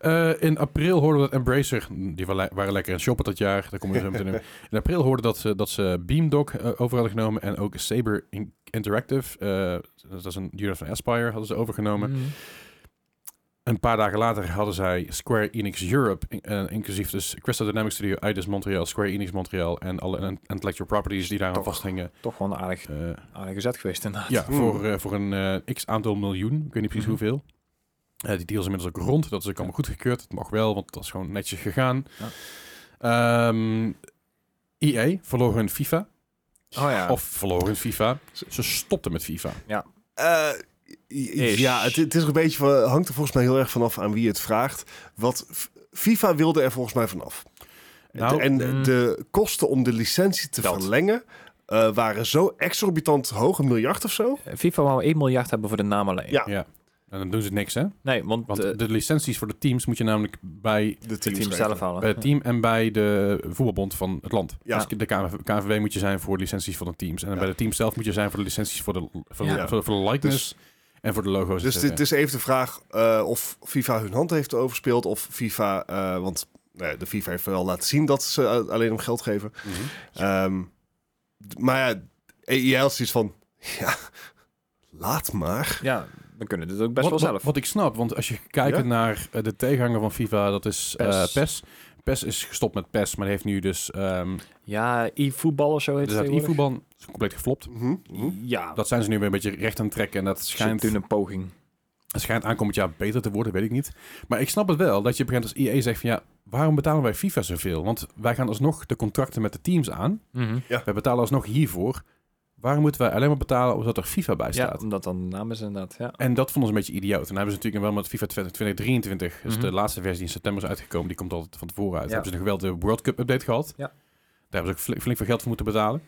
[SPEAKER 1] Eh, in april hoorden we dat Embracer... Die wa- waren lekker aan het shoppen dat jaar. Daar komen we zo meteen
[SPEAKER 2] [laughs]
[SPEAKER 1] in. In april hoorden we dat ze, dat ze Beamdog eh, over hadden genomen. En ook Saber In-
[SPEAKER 2] Mm.
[SPEAKER 1] Interactive. eh, dat is een unit van Aspire hadden ze overgenomen. Een paar dagen later hadden zij Square Enix Europe, in- eh, inclusief dus Crystal Dynamics Studio, IDES Montreal, Square Enix Montreal en alle in- intellectual properties die daaraan
[SPEAKER 2] Toch.
[SPEAKER 1] vasthingen.
[SPEAKER 2] Toch wel een aardig,
[SPEAKER 1] eh,
[SPEAKER 2] aardige zet geweest inderdaad.
[SPEAKER 1] ja, voor, eh, voor een eh, x aantal miljoen, ik weet niet precies
[SPEAKER 2] Mhm.
[SPEAKER 1] hoeveel. Eh, die deal is inmiddels ook rond, dat is ook allemaal goedgekeurd. Het mag wel, want dat is gewoon netjes gegaan. Ehm E EA verloor hun FIFA,
[SPEAKER 2] Oh ja.
[SPEAKER 1] of verloor hun FIFA. Ze stopten met FIFA.
[SPEAKER 3] Eh, i-
[SPEAKER 2] Is.
[SPEAKER 3] ja, het, het is een beetje, van- hangt er volgens mij heel erg vanaf aan wie het vraagt. Wat F- FIFA wilde er volgens mij vanaf.
[SPEAKER 1] Nou,
[SPEAKER 3] en
[SPEAKER 2] mm.
[SPEAKER 3] de kosten om de licentie te
[SPEAKER 2] Dat.
[SPEAKER 3] verlengen eh, waren zo exorbitant hoog, een miljard of zo.
[SPEAKER 2] Eh, FIFA wou 1 miljard hebben voor de naam alleen.
[SPEAKER 3] Ja.
[SPEAKER 1] En dan doen ze niks, hè?
[SPEAKER 2] Nee, want,
[SPEAKER 1] Want
[SPEAKER 2] eh,
[SPEAKER 1] de licenties voor de teams moet je namelijk bij
[SPEAKER 3] De
[SPEAKER 2] het team
[SPEAKER 3] geven.
[SPEAKER 2] zelf halen.
[SPEAKER 1] bij het team en bij de voetbalbond van het land.
[SPEAKER 3] Ja.
[SPEAKER 1] Dus de KNV KNVB moet je zijn voor de licenties van de teams. En
[SPEAKER 3] Ja.
[SPEAKER 1] bij de team zelf moet je zijn voor de licenties voor de, voor
[SPEAKER 2] Ja.
[SPEAKER 1] de, voor de, voor de likeness en voor de logo's.
[SPEAKER 3] Dus
[SPEAKER 1] et
[SPEAKER 3] het
[SPEAKER 1] cetera.
[SPEAKER 3] is even de vraag eh, of FIFA hun hand heeft overspeeld. Of FIFA, eh, want nou ja, de FIFA heeft wel laten zien dat ze eh, alleen om geld geven.
[SPEAKER 1] Mhm.
[SPEAKER 3] Ehm, d- maar ja, E jij had zoiets van, ja, laat maar.
[SPEAKER 2] Ja, we kunnen dit ook best
[SPEAKER 1] wat,
[SPEAKER 2] wel
[SPEAKER 1] wat-
[SPEAKER 2] zelf.
[SPEAKER 1] wat ik snap, want als je kijkt
[SPEAKER 3] Ja?
[SPEAKER 1] naar eh, de tegenhanger van FIFA, dat is eh,
[SPEAKER 2] PES.
[SPEAKER 1] PES. PES. is gestopt met PES, maar die heeft nu dus... ehm
[SPEAKER 2] Ja, e-voetbal of zo heet
[SPEAKER 1] dus
[SPEAKER 2] het
[SPEAKER 1] dat
[SPEAKER 2] tegenwoordig. Hm?
[SPEAKER 1] e-voetbal is compleet geflopt.
[SPEAKER 3] Mhm, mhm.
[SPEAKER 2] Ja, dat
[SPEAKER 1] Dat zijn ze nu weer een beetje recht aan het trekken. En dat
[SPEAKER 2] schijnt
[SPEAKER 1] schijnt
[SPEAKER 2] toen een poging.
[SPEAKER 1] Het schijnt aankomend jaar beter te worden, weet ik niet. Maar ik snap het wel, dat je begint als EA zegt van ja, waarom betalen wij FIFA zoveel? Want wij gaan alsnog de contracten met de teams aan.
[SPEAKER 2] Mhm.
[SPEAKER 1] Wij betalen alsnog hiervoor. Waarom moeten wij alleen maar betalen omdat er FIFA bij
[SPEAKER 2] Ja,
[SPEAKER 1] staat?
[SPEAKER 2] omdat dan de naam is inderdaad. Ja.
[SPEAKER 1] En dat vonden ze een beetje idioot. En dan hebben ze natuurlijk wel met FIFA 2023, dus
[SPEAKER 2] Mhm.
[SPEAKER 1] de laatste versie die in september is uitgekomen, die komt altijd van tevoren uit.
[SPEAKER 2] Ja.
[SPEAKER 1] Hebben ze nog wel de World Cup update gehad.
[SPEAKER 2] Ja.
[SPEAKER 1] Daar hebben ze ook flink, flink veel geld voor moeten betalen.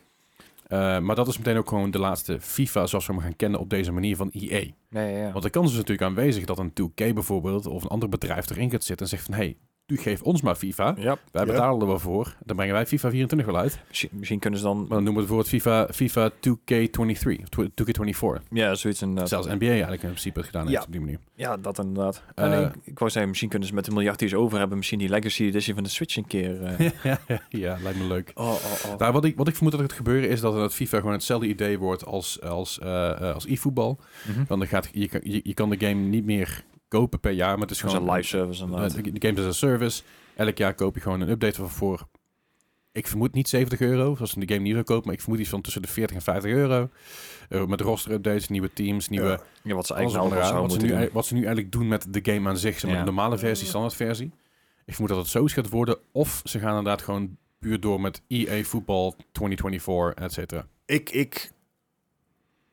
[SPEAKER 1] Eh, maar dat is meteen ook gewoon de laatste FIFA zoals we hem gaan kennen op deze manier van EA.
[SPEAKER 2] Nee, ja, ja.
[SPEAKER 1] Want de kans is natuurlijk aanwezig dat een 2K bijvoorbeeld of een ander bedrijf erin gaat zitten en zegt van hé, hey, u geeft ons maar FIFA.
[SPEAKER 2] ja.
[SPEAKER 1] Wij
[SPEAKER 3] Ja.
[SPEAKER 1] betalen er wel voor. Dan brengen wij FIFA 24 wel uit. Maar
[SPEAKER 2] Misschien, misschien kunnen ze dan...
[SPEAKER 1] dan noemen we het bijvoorbeeld FIFA, FIFA 2K23 of 2K24.
[SPEAKER 2] Ja, zoiets inderdaad.
[SPEAKER 1] Zelfs NBA eigenlijk in principe het gedaan heeft
[SPEAKER 2] Ja.
[SPEAKER 1] op die manier.
[SPEAKER 2] Ja, dat inderdaad. Ah,
[SPEAKER 1] Eh,
[SPEAKER 2] en ik, ik wou zeggen, misschien kunnen ze met de miljard die ze over hebben... misschien die Legacy Edition van de Switch een keer... eh,
[SPEAKER 1] [laughs] ja, lijkt me leuk.
[SPEAKER 2] [laughs] oh, oh, oh.
[SPEAKER 1] Nou, wat, ik, wat ik vermoed dat het gebeuren is dat het FIFA gewoon hetzelfde idee wordt als, als, eh, eh, als e-voetbal.
[SPEAKER 2] Mhm.
[SPEAKER 1] Want dan gaat, je, kan- je, je kan de game niet meer kopen per jaar, maar het is
[SPEAKER 2] Dat is
[SPEAKER 1] gewoon Eh,
[SPEAKER 2] een live service inderdaad.
[SPEAKER 1] De, de Games as a Service. Elk jaar koop je gewoon een update voor, voor ik vermoed niet 70 euro, zoals in de game niet zo koop, maar ik vermoed iets van tussen de 40 en 50 euro. Eh, met roster updates, nieuwe teams, nieuwe...
[SPEAKER 3] Ja.
[SPEAKER 2] ja, wat ze
[SPEAKER 1] alles
[SPEAKER 2] eigenlijk
[SPEAKER 1] op
[SPEAKER 2] nou
[SPEAKER 1] elkaar.
[SPEAKER 2] zouden
[SPEAKER 1] wat, ze
[SPEAKER 2] moeten
[SPEAKER 1] nu,
[SPEAKER 2] doen.
[SPEAKER 1] eigenlijk- wat ze nu eigenlijk doen met de game aan zich, zeg maar
[SPEAKER 2] Ja.
[SPEAKER 1] de normale versie, standaardversie. Ik vermoed dat het zoiets gaat worden. Of ze gaan inderdaad gewoon puur door met EA Voetbal 2024, et cetera.
[SPEAKER 3] Ik, ik,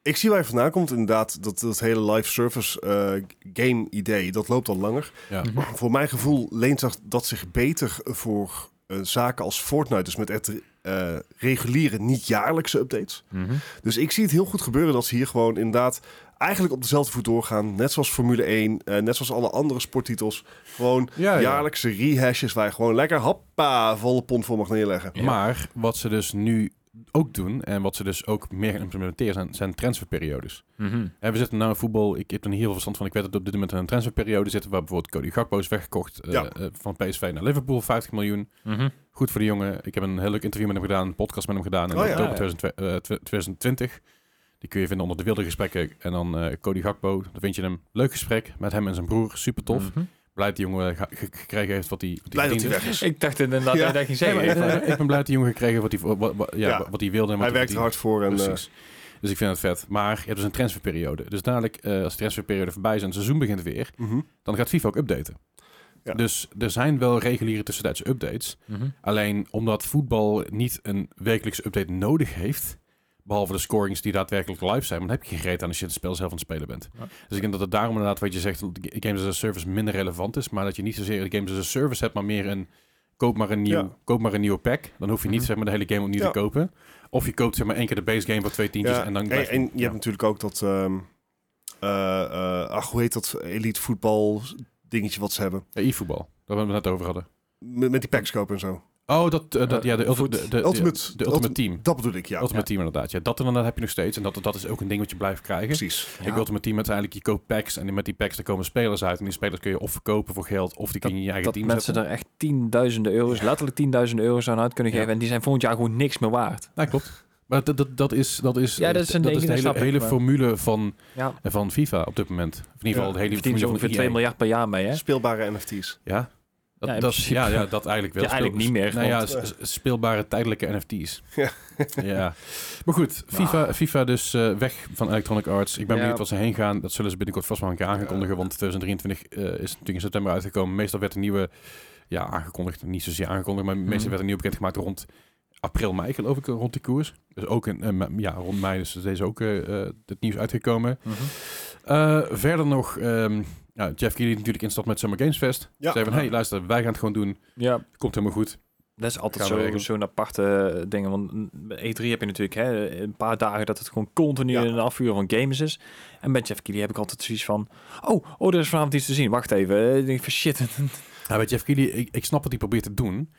[SPEAKER 3] ik zie waar je vandaan komt inderdaad. Dat, dat hele live service eh, game idee, dat loopt al langer.
[SPEAKER 1] Ja.
[SPEAKER 2] Mhm.
[SPEAKER 3] Voor mijn gevoel leent zich- dat zich beter voor eh, zaken als Fortnite. Dus met echt eh, reguliere, niet jaarlijkse updates.
[SPEAKER 2] Mhm.
[SPEAKER 3] Dus ik zie het heel goed gebeuren dat ze hier gewoon inderdaad eigenlijk op dezelfde voet doorgaan. Net zoals Formule 1, eh, net zoals alle andere sporttitels. Gewoon
[SPEAKER 1] Ja,
[SPEAKER 3] jaarlijkse rehashes waar je gewoon lekker hoppa volle pond voor mag neerleggen.
[SPEAKER 2] Ja.
[SPEAKER 1] Maar wat ze dus nu ook doen, en wat ze dus ook meer gaan implementeren, zijn, zijn transferperiodes.
[SPEAKER 2] Mhm.
[SPEAKER 1] Hè, we zitten nou in voetbal. Ik heb er niet heel veel verstand van. Ik weet dat we op dit moment in een transferperiode zitten. Waar bijvoorbeeld Cody Gakpo is weggekocht. eh,
[SPEAKER 3] Ja.
[SPEAKER 1] eh, van PSV naar Liverpool. 50 miljoen.
[SPEAKER 2] Mhm.
[SPEAKER 1] Goed voor de jongen. Ik heb een heel leuk interview met hem gedaan. Een podcast met hem gedaan. In
[SPEAKER 3] Oh ja.
[SPEAKER 1] oktober
[SPEAKER 2] Ja.
[SPEAKER 1] 2020, eh, tw- 2020. Die kun je vinden onder de wilde gesprekken. En dan eh, Cody Gakpo. Dan vind je hem. Leuk gesprek met hem en zijn broer. Super tof.
[SPEAKER 2] Mhm.
[SPEAKER 1] Blij dat die jongen ge- ge- gekregen heeft wat hij wat hij
[SPEAKER 3] Blij dat hij
[SPEAKER 1] verdiende.
[SPEAKER 3] weg is.
[SPEAKER 2] Ik dacht inderdaad,
[SPEAKER 3] Ja.
[SPEAKER 2] dat je dat ging
[SPEAKER 1] Nee,
[SPEAKER 2] zeggen.
[SPEAKER 1] maar,
[SPEAKER 2] [laughs] Ik dacht,
[SPEAKER 1] eh, ik ben blij dat die jongen gekregen wat hij, wat, wat- ja,
[SPEAKER 3] Ja.
[SPEAKER 1] wat hij wilde. En wat
[SPEAKER 3] Hij werkt er
[SPEAKER 1] verdiende.
[SPEAKER 3] hard voor. En, eh,
[SPEAKER 1] Precies. Dus ik vind het vet. Maar je hebt dus een transferperiode. Dus dadelijk, eh, als de transferperiode voorbij is en het seizoen begint weer,
[SPEAKER 3] mhm.
[SPEAKER 1] dan gaat FIFA ook updaten.
[SPEAKER 3] Ja.
[SPEAKER 1] Dus er zijn wel reguliere tussentijdse updates.
[SPEAKER 2] mhm.
[SPEAKER 1] Alleen omdat voetbal niet een wekelijkse update nodig heeft, behalve de scorings die daadwerkelijk live zijn, want dan heb je geen reet aan als je het spel zelf aan het spelen bent.
[SPEAKER 2] Ja.
[SPEAKER 1] Dus ik denk dat het daarom inderdaad, wat je zegt, dat de Games as a Service minder relevant is, maar dat je niet zozeer de Games as a Service hebt, maar meer een koop maar een, nieuw,
[SPEAKER 3] Ja.
[SPEAKER 1] koop maar een nieuwe pack. Dan hoef je niet
[SPEAKER 2] Mhm.
[SPEAKER 1] zeg maar, de hele game opnieuw
[SPEAKER 3] Ja.
[SPEAKER 1] te kopen. Of je koopt zeg maar één keer de base game voor twee tientjes
[SPEAKER 3] Ja,
[SPEAKER 1] en dan
[SPEAKER 3] en,
[SPEAKER 1] blijft-
[SPEAKER 3] je hebt natuurlijk ook dat... ehm, eh, eh, ach, hoe heet dat elite voetbal dingetje wat ze hebben?
[SPEAKER 1] Ja, e-voetbal. Daar waar we het net over hadden.
[SPEAKER 3] Met, met die packs en zo.
[SPEAKER 1] Oh, dat, eh, dat,
[SPEAKER 2] Eh,
[SPEAKER 1] ja, de, ulti-
[SPEAKER 2] voet.
[SPEAKER 1] de, de, de-
[SPEAKER 3] Ultimate-
[SPEAKER 1] de Ultimate Team.
[SPEAKER 3] Dat bedoel ik, ja.
[SPEAKER 1] Ultimate Team inderdaad. Ja, dat inderdaad heb je nog steeds. En dat, dat is ook een ding wat je blijft krijgen.
[SPEAKER 3] Precies.
[SPEAKER 1] Ik Ultimate Team uiteindelijk, je koopt packs. En met die packs, daar komen spelers uit. En die spelers kun je of verkopen voor geld, of die kun je in je eigen
[SPEAKER 2] dat
[SPEAKER 1] team
[SPEAKER 2] mensen
[SPEAKER 1] zetten.
[SPEAKER 2] er echt tienduizenden euro's, letterlijk tienduizenden euro's aan uit kunnen
[SPEAKER 1] Ja.
[SPEAKER 2] geven. En die zijn volgend jaar gewoon niks meer waard.
[SPEAKER 1] Ja, klopt. Maar dat, dat, dat is, dat is,
[SPEAKER 2] Ja, dat is een ding,
[SPEAKER 1] de
[SPEAKER 2] dat
[SPEAKER 1] hele,
[SPEAKER 2] snap ik,
[SPEAKER 1] hele
[SPEAKER 2] maar-
[SPEAKER 1] formule van,
[SPEAKER 2] Ja.
[SPEAKER 1] van FIFA op dit moment. Of in ieder geval
[SPEAKER 3] Ja,
[SPEAKER 1] de hele
[SPEAKER 2] verdienen
[SPEAKER 1] formule
[SPEAKER 2] ze
[SPEAKER 1] van
[SPEAKER 2] ongeveer
[SPEAKER 1] EA.
[SPEAKER 2] 2 miljard per jaar mee, hè?
[SPEAKER 3] Speelbare NFT's.
[SPEAKER 1] Ja. Dat,
[SPEAKER 2] Ja, in
[SPEAKER 1] dat,
[SPEAKER 2] principe.
[SPEAKER 1] ja, ja, dat eigenlijk wel.
[SPEAKER 2] Ja, eigenlijk
[SPEAKER 1] Speel-
[SPEAKER 2] niet meer,
[SPEAKER 1] Nou ja,
[SPEAKER 2] want- eh,
[SPEAKER 1] s- s- speelbare tijdelijke NFT's.
[SPEAKER 3] Ja.
[SPEAKER 1] [laughs] ja. Maar goed, FIFA, FIFA dus eh, weg van Electronic Arts. Ik ben
[SPEAKER 3] Ja.
[SPEAKER 1] benieuwd waar ze heen gaan. Dat zullen ze binnenkort vast wel een keer aankondigen. Want 2023 eh, is natuurlijk in september uitgekomen. Meestal werd een nieuwe, ja, aangekondigd. Niet zozeer aangekondigd, maar meestal
[SPEAKER 2] Mhm.
[SPEAKER 1] werd een nieuw bekend gemaakt rond april, mei geloof ik, rond die koers. Dus ook in, eh, ma- ja, rond mei dus deze ook eh, eh, het nieuws uitgekomen.
[SPEAKER 3] Mhm.
[SPEAKER 1] Eh, verder nog, ehm nou, Jeff Keighley natuurlijk instapt met Summer Games Fest.
[SPEAKER 3] Ja.
[SPEAKER 1] Zei van, hey, luister, wij gaan het gewoon doen.
[SPEAKER 2] Ja,
[SPEAKER 1] Komt helemaal goed.
[SPEAKER 2] dat is altijd
[SPEAKER 1] Gaan we
[SPEAKER 2] zo-
[SPEAKER 1] regelen.
[SPEAKER 2] zo'n aparte eh, ding. Want mm, bij E3 heb je natuurlijk hè, een paar dagen dat het gewoon continu
[SPEAKER 3] Ja.
[SPEAKER 2] een afvuur van games is. En bij Jeff Keighley heb ik altijd zoiets van... Oh, oh, er is vanavond iets te zien. Wacht even. eh, Ik denk van shit. [laughs]
[SPEAKER 1] Nou, weet Jeff Keighley, ik, ik snap wat hij probeert te doen.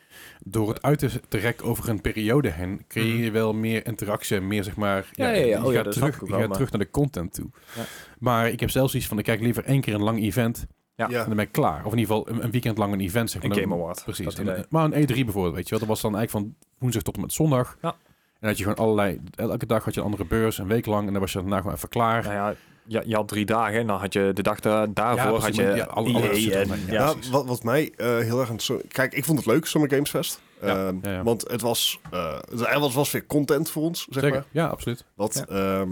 [SPEAKER 1] Door het uit te, te rekken over een periode heen, creëer je wel meer interactie en meer, zeg maar...
[SPEAKER 2] Mhm. Ja, ja, ja.
[SPEAKER 1] Je
[SPEAKER 2] Oh,
[SPEAKER 1] gaat,
[SPEAKER 2] ja, dat snap
[SPEAKER 1] terug,
[SPEAKER 2] ik ook
[SPEAKER 1] je
[SPEAKER 2] wel,
[SPEAKER 1] gaat
[SPEAKER 2] maar-
[SPEAKER 1] terug naar de content toe.
[SPEAKER 2] Ja.
[SPEAKER 1] Maar ik heb zelfs iets van, ik kijk liever één keer een lang event
[SPEAKER 2] Ja.
[SPEAKER 1] en dan ben ik klaar. Of in ieder geval een, een weekend lang een event, zeg maar.
[SPEAKER 2] Een
[SPEAKER 1] Dan-
[SPEAKER 2] Game Award.
[SPEAKER 1] Precies.
[SPEAKER 2] Dat idee.
[SPEAKER 1] En- maar een E3 bijvoorbeeld, weet je wel. Dat was dan eigenlijk van woensdag tot en met zondag.
[SPEAKER 2] Ja.
[SPEAKER 1] En had je gewoon allerlei... Elke dag had je een andere beurs, een week lang. En dan was je daarna gewoon even klaar.
[SPEAKER 2] Nou ja, je, je had drie dagen. En dan had je de dag daar- daarvoor
[SPEAKER 1] precies,
[SPEAKER 2] had je
[SPEAKER 1] maar ja, alle-
[SPEAKER 2] EA
[SPEAKER 1] alles zit
[SPEAKER 2] en-
[SPEAKER 1] eromheen, ja.
[SPEAKER 2] ja,
[SPEAKER 3] Ja, wat, wat mij eh, heel erg aan het zo- Kijk, ik vond het leuk, Summer Games Fest.
[SPEAKER 1] Ja,
[SPEAKER 3] Ehm,
[SPEAKER 1] ja, ja.
[SPEAKER 3] Want het was, eh, er was, was weer content voor ons, zeg
[SPEAKER 1] Zeker.
[SPEAKER 3] maar.
[SPEAKER 1] Ja, absoluut.
[SPEAKER 3] Wat, ehm,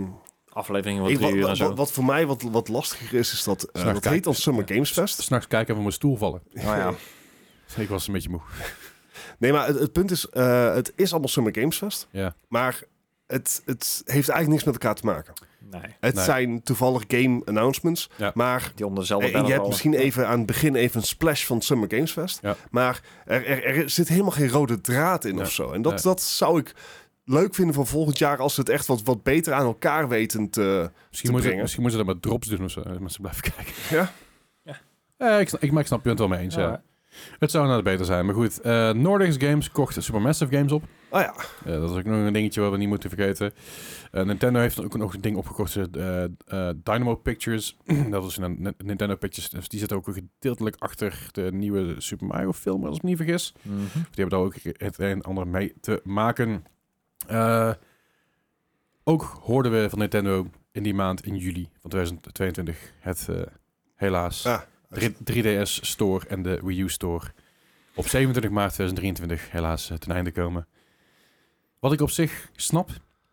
[SPEAKER 2] afleveringen van
[SPEAKER 3] ik-
[SPEAKER 2] drie uur en
[SPEAKER 3] wat,
[SPEAKER 2] zo.
[SPEAKER 3] wat, wat voor mij wat, wat lastiger is, is dat... eh,
[SPEAKER 1] Snap ik.
[SPEAKER 3] dat heet dan Summer Games Fest.
[SPEAKER 1] S'nachts kijken of we mijn stoel vallen. Dus
[SPEAKER 2] Nou ja.
[SPEAKER 1] Ik was een beetje moe.
[SPEAKER 3] Nee, maar het, het punt is, eh, het is allemaal Summer Games Fest.
[SPEAKER 1] Ja.
[SPEAKER 3] Maar het, het heeft eigenlijk niks met elkaar te maken.
[SPEAKER 2] Nee,
[SPEAKER 3] Het
[SPEAKER 1] Nee.
[SPEAKER 3] zijn toevallig game announcements.
[SPEAKER 1] Ja.
[SPEAKER 3] Maar
[SPEAKER 2] die onder dezelfde
[SPEAKER 3] en Eh, je hebt
[SPEAKER 2] bellenvallen.
[SPEAKER 3] misschien E- even aan het begin even een splash van het Summer Games Fest.
[SPEAKER 1] Ja.
[SPEAKER 3] Maar er, er, er zit helemaal geen rode draad in
[SPEAKER 1] Nee.
[SPEAKER 3] of zo. En dat,
[SPEAKER 1] Nee.
[SPEAKER 3] dat zou ik leuk vinden van volgend jaar als ze het echt wat, wat beter aan elkaar eh, weten te...
[SPEAKER 1] Misschien moeten,
[SPEAKER 3] brengen.
[SPEAKER 1] misschien moeten ze dat met drops doen of zo. eh, Mensen blijven [laughs] kijken.
[SPEAKER 3] Ja.
[SPEAKER 1] Eh, ik, snap- ik, maar ik snap je punt wel mee eens. ja.
[SPEAKER 2] Ja.
[SPEAKER 1] Het zou nou beter zijn. Maar goed, eh Nordics Games kocht Supermassive Games op.
[SPEAKER 3] Oh ja,
[SPEAKER 1] Eh, dat is ook nog een dingetje wat we niet moeten vergeten. Eh, Nintendo heeft ook nog een ding opgekocht. eh, eh, Dynamo Pictures. [clears throat] dat is een N- Nintendo Pictures. Dus die zit ook gedeeltelijk achter de nieuwe Super Mario film, als ik me niet vergis.
[SPEAKER 2] Mhm.
[SPEAKER 1] Die hebben daar ook het een en ander mee te maken. Eh, ook hoorden we van Nintendo in die maand in juli van 2022 het eh, helaas
[SPEAKER 3] Ah,
[SPEAKER 1] drie- 3DS Store en de Wii U Store op 27 maart 2023 helaas eh, ten einde komen. Wat ik op zich snap,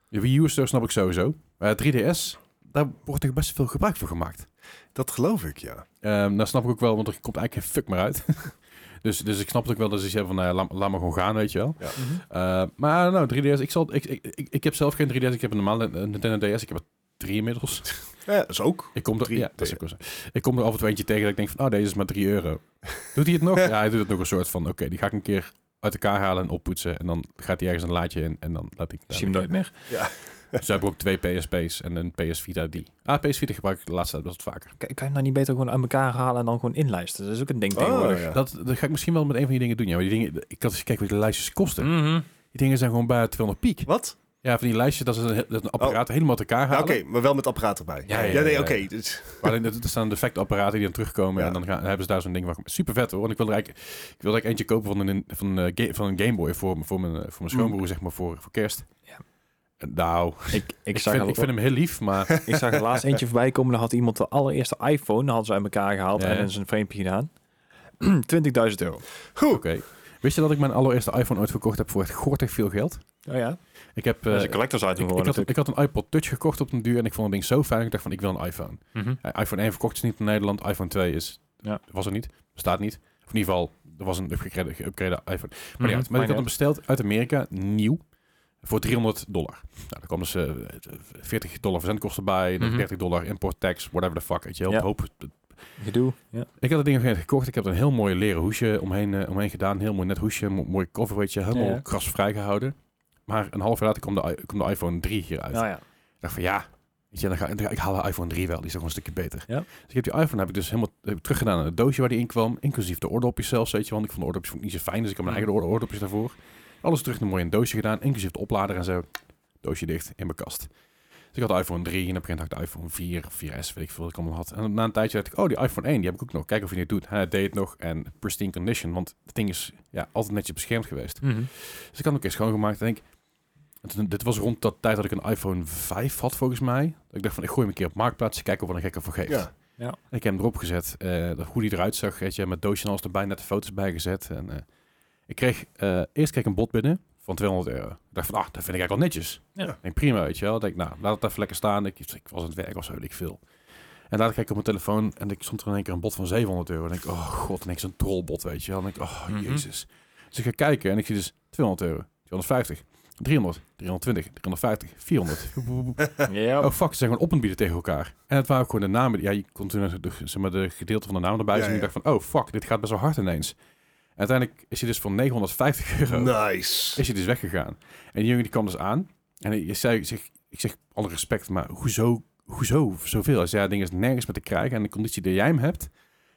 [SPEAKER 1] de Wii U Store snap ik sowieso, maar 3DS, daar wordt toch best veel gebruik van gemaakt.
[SPEAKER 3] dat geloof ik, ja.
[SPEAKER 1] Ehm dat snap ik ook wel, want er komt eigenlijk geen fuck meer uit. [laughs] dus, dus ik snap het ook wel dat ze zeggen van, nou ja, laat, laat maar gewoon gaan, weet je wel.
[SPEAKER 3] Ja.
[SPEAKER 2] Mhm.
[SPEAKER 1] Eh, maar nou, 3DS, ik, zal, ik, ik, ik, ik heb zelf geen 3DS, ik heb een normale eh, Nintendo DS, ik heb er drie inmiddels.
[SPEAKER 3] Ja, dat is ook.
[SPEAKER 1] Ik kom er,
[SPEAKER 3] 3DS.
[SPEAKER 1] ja, dat is ook wel zo. Ik kom er af en toe eentje tegen dat ik denk van, oh, deze is maar 3 euro. Doet hij het nog? ja, hij doet het nog een soort van, oké, die ga ik een keer uit elkaar halen en oppoetsen. En dan gaat hij ergens een laadje in en dan laat ik het daar
[SPEAKER 2] Misschien nooit meer.
[SPEAKER 1] liggen. Zo heb ik ook twee PSP's en een PS Vita die. Ah, PS Vita gebruik ik de laatste tijd best wat vaker.
[SPEAKER 2] Kan, kan je hem nou niet beter gewoon aan elkaar halen en dan gewoon inlijsten? Dat is ook een ding tegenwoordig.
[SPEAKER 3] Oh, ja.
[SPEAKER 1] Dat, dat ga ik misschien wel met een van die dingen doen, ja. Maar die dingen, ik had eens gekeken wat de lijstjes kosten.
[SPEAKER 2] Mhm.
[SPEAKER 1] Die dingen zijn gewoon bijna 200 piek.
[SPEAKER 3] Wat?
[SPEAKER 1] Ja, van die lijstjes, dat is een, dat is een
[SPEAKER 2] Oh.
[SPEAKER 1] apparaat helemaal uit elkaar
[SPEAKER 3] Ja,
[SPEAKER 1] halen.
[SPEAKER 3] oké, maar wel met apparaat erbij.
[SPEAKER 1] Ja,
[SPEAKER 3] Ja,
[SPEAKER 1] ja,
[SPEAKER 3] nee,
[SPEAKER 1] ja, ja.
[SPEAKER 3] oké. dus-
[SPEAKER 1] Maar alleen, er er staan defectapparaten die dan terugkomen
[SPEAKER 3] Ja.
[SPEAKER 1] en dan, gaan, dan hebben ze daar zo'n ding van. Super vet hoor. Want ik wilde eigenlijk, ik wilde eigenlijk eentje kopen van een, van, eh, ga- van een Game Boy voor, m- voor, mijn, eh, voor mijn schoonbroer, zeg maar, voor, voor kerst.
[SPEAKER 2] Hm. Ja.
[SPEAKER 1] En Nou, ik,
[SPEAKER 2] Ik, ik, zag
[SPEAKER 1] vind,
[SPEAKER 2] al-
[SPEAKER 1] ik vind hem heel lief, maar
[SPEAKER 2] [laughs] Ik zag er
[SPEAKER 1] [laughs]
[SPEAKER 2] laatst eentje voorbij komen. Dan had iemand de allereerste iPhone dan hadden ze uit elkaar gehaald
[SPEAKER 1] Ja, ja.
[SPEAKER 2] en in zijn frame gedaan. [clears throat] 20.000 euro.
[SPEAKER 1] oké. Wist je dat ik mijn allereerste iPhone ooit verkocht heb voor echt gortig veel geld?
[SPEAKER 2] Oh ja.
[SPEAKER 1] Ik heb... eh,
[SPEAKER 2] Dat is een collectors item
[SPEAKER 1] ik, ik,
[SPEAKER 2] geworden
[SPEAKER 1] had,
[SPEAKER 2] natuurlijk.
[SPEAKER 1] ik had een iPod Touch gekocht op een duur en ik vond het ding zo fijn. Ik dacht van, ik wil een iPhone.
[SPEAKER 2] Mhm.
[SPEAKER 1] Eh, iPhone 1 verkocht is niet in Nederland. iPhone 2 is,
[SPEAKER 2] Ja.
[SPEAKER 1] was er niet. Bestaat niet. Of in ieder geval, er was een upgrade, geüpgrade iPhone. Maar,
[SPEAKER 2] Mhm,
[SPEAKER 1] ja, maar ik
[SPEAKER 2] maakt
[SPEAKER 1] had hem
[SPEAKER 2] niet
[SPEAKER 1] besteld uit Amerika, nieuw, voor 300 dollar. Nou, daar kwam dus eh, 40 dollar verzendkosten bij,
[SPEAKER 2] Mhm.
[SPEAKER 1] 30 dollar import tax, whatever the fuck. Weet je, heel
[SPEAKER 2] Ja.
[SPEAKER 1] hoop.
[SPEAKER 2] uit. Gedoe. Ja.
[SPEAKER 1] Ik had het ding op een gegeven moment gekocht. Ik heb er een heel mooi leren hoesje omheen, eh, omheen gedaan. Heel mooi net hoesje, mo- mooi cover, weet je. Helemaal
[SPEAKER 2] Ja, ja.
[SPEAKER 1] krasvrij gehouden. Maar een half jaar later kwam de, i- kwam de iPhone 3 hier uit.
[SPEAKER 2] Nou ja.
[SPEAKER 1] Ik dacht van ja, weet je, dan ga, dan ga- ik haal de iPhone 3 wel, die is toch een stukje beter.
[SPEAKER 2] Ja.
[SPEAKER 1] Dus ik heb die iPhone heb ik dus helemaal heb ik teruggedaan aan het doosje waar die in kwam, inclusief de oordopjes zelfs, weet je, want ik vond de oordopjes vond ik niet zo fijn, dus ik heb mijn
[SPEAKER 2] Mhm.
[SPEAKER 1] eigen oor- oordopjes daarvoor. Alles terug naar mooi in een doosje gedaan, inclusief de oplader en zo. Doosje dicht in mijn kast. Dus ik had de iPhone 3 en op een gegeven moment had ik de iPhone 4 of 4S, weet ik veel wat ik allemaal had. En na een tijdje dacht ik, oh, die iPhone 1, die heb ik ook nog. Kijk of hij het doet. Hij deed het nog en pristine Mhm. condition, want het ding is ja, altijd netjes beschermd geweest. Dus ik had hem ook eens schoongemaakt en denk, En toen- dit was rond dat tijd dat ik een iPhone 5 had, volgens mij. Dat ik dacht van, ik gooi hem een keer op Marktplaats, ik kijk of wat een gekke voor geeft.
[SPEAKER 3] Ja.
[SPEAKER 2] Ja.
[SPEAKER 1] En ik heb hem erop gezet. eh, dat hoe die eruit zag, weet je, met doosje en alles erbij, net de foto's bijgezet. En, eh, ik kreeg, eh, eerst kreeg ik een bod binnen van 200 euro. Ik dacht van, ah, dat vind ik eigenlijk wel netjes.
[SPEAKER 2] Ja.
[SPEAKER 1] Ik denk, prima, weet je wel. Ik denk, nou, laat het even lekker staan. Ik, ik was aan het werk of zo, weet ik veel. En later kijk ik op mijn telefoon en ik stond er in één keer een bod van 700 euro. En ik denk, oh god, en ik zo'n trollbot, weet je wel. En ik, oh
[SPEAKER 2] Mhm.
[SPEAKER 1] jezus. Dus ik ga kijken en ik zie dus 200 euro, 250, 300, 320, 350, 400.
[SPEAKER 2] [laughs] Ja.
[SPEAKER 1] Oh fuck, ze zijn gewoon op en bieden tegen elkaar. En het waren ook gewoon de namen. die- Ja, je kon toen eh, de, zeg maar, de gedeelte van de naam erbij
[SPEAKER 3] Ja,
[SPEAKER 1] zien. En ik
[SPEAKER 3] ja.
[SPEAKER 1] dacht van, oh fuck, dit gaat best wel hard ineens. En uiteindelijk is hij dus voor 950 euro
[SPEAKER 3] Nice.
[SPEAKER 1] is hij dus weggegaan. En die jongen die kwam dus aan. En je zei, ik zeg, ik zeg alle respect, maar hoezo, hoezo zoveel? Hij zei, ja, ding is nergens meer te krijgen. En de conditie die jij hem hebt,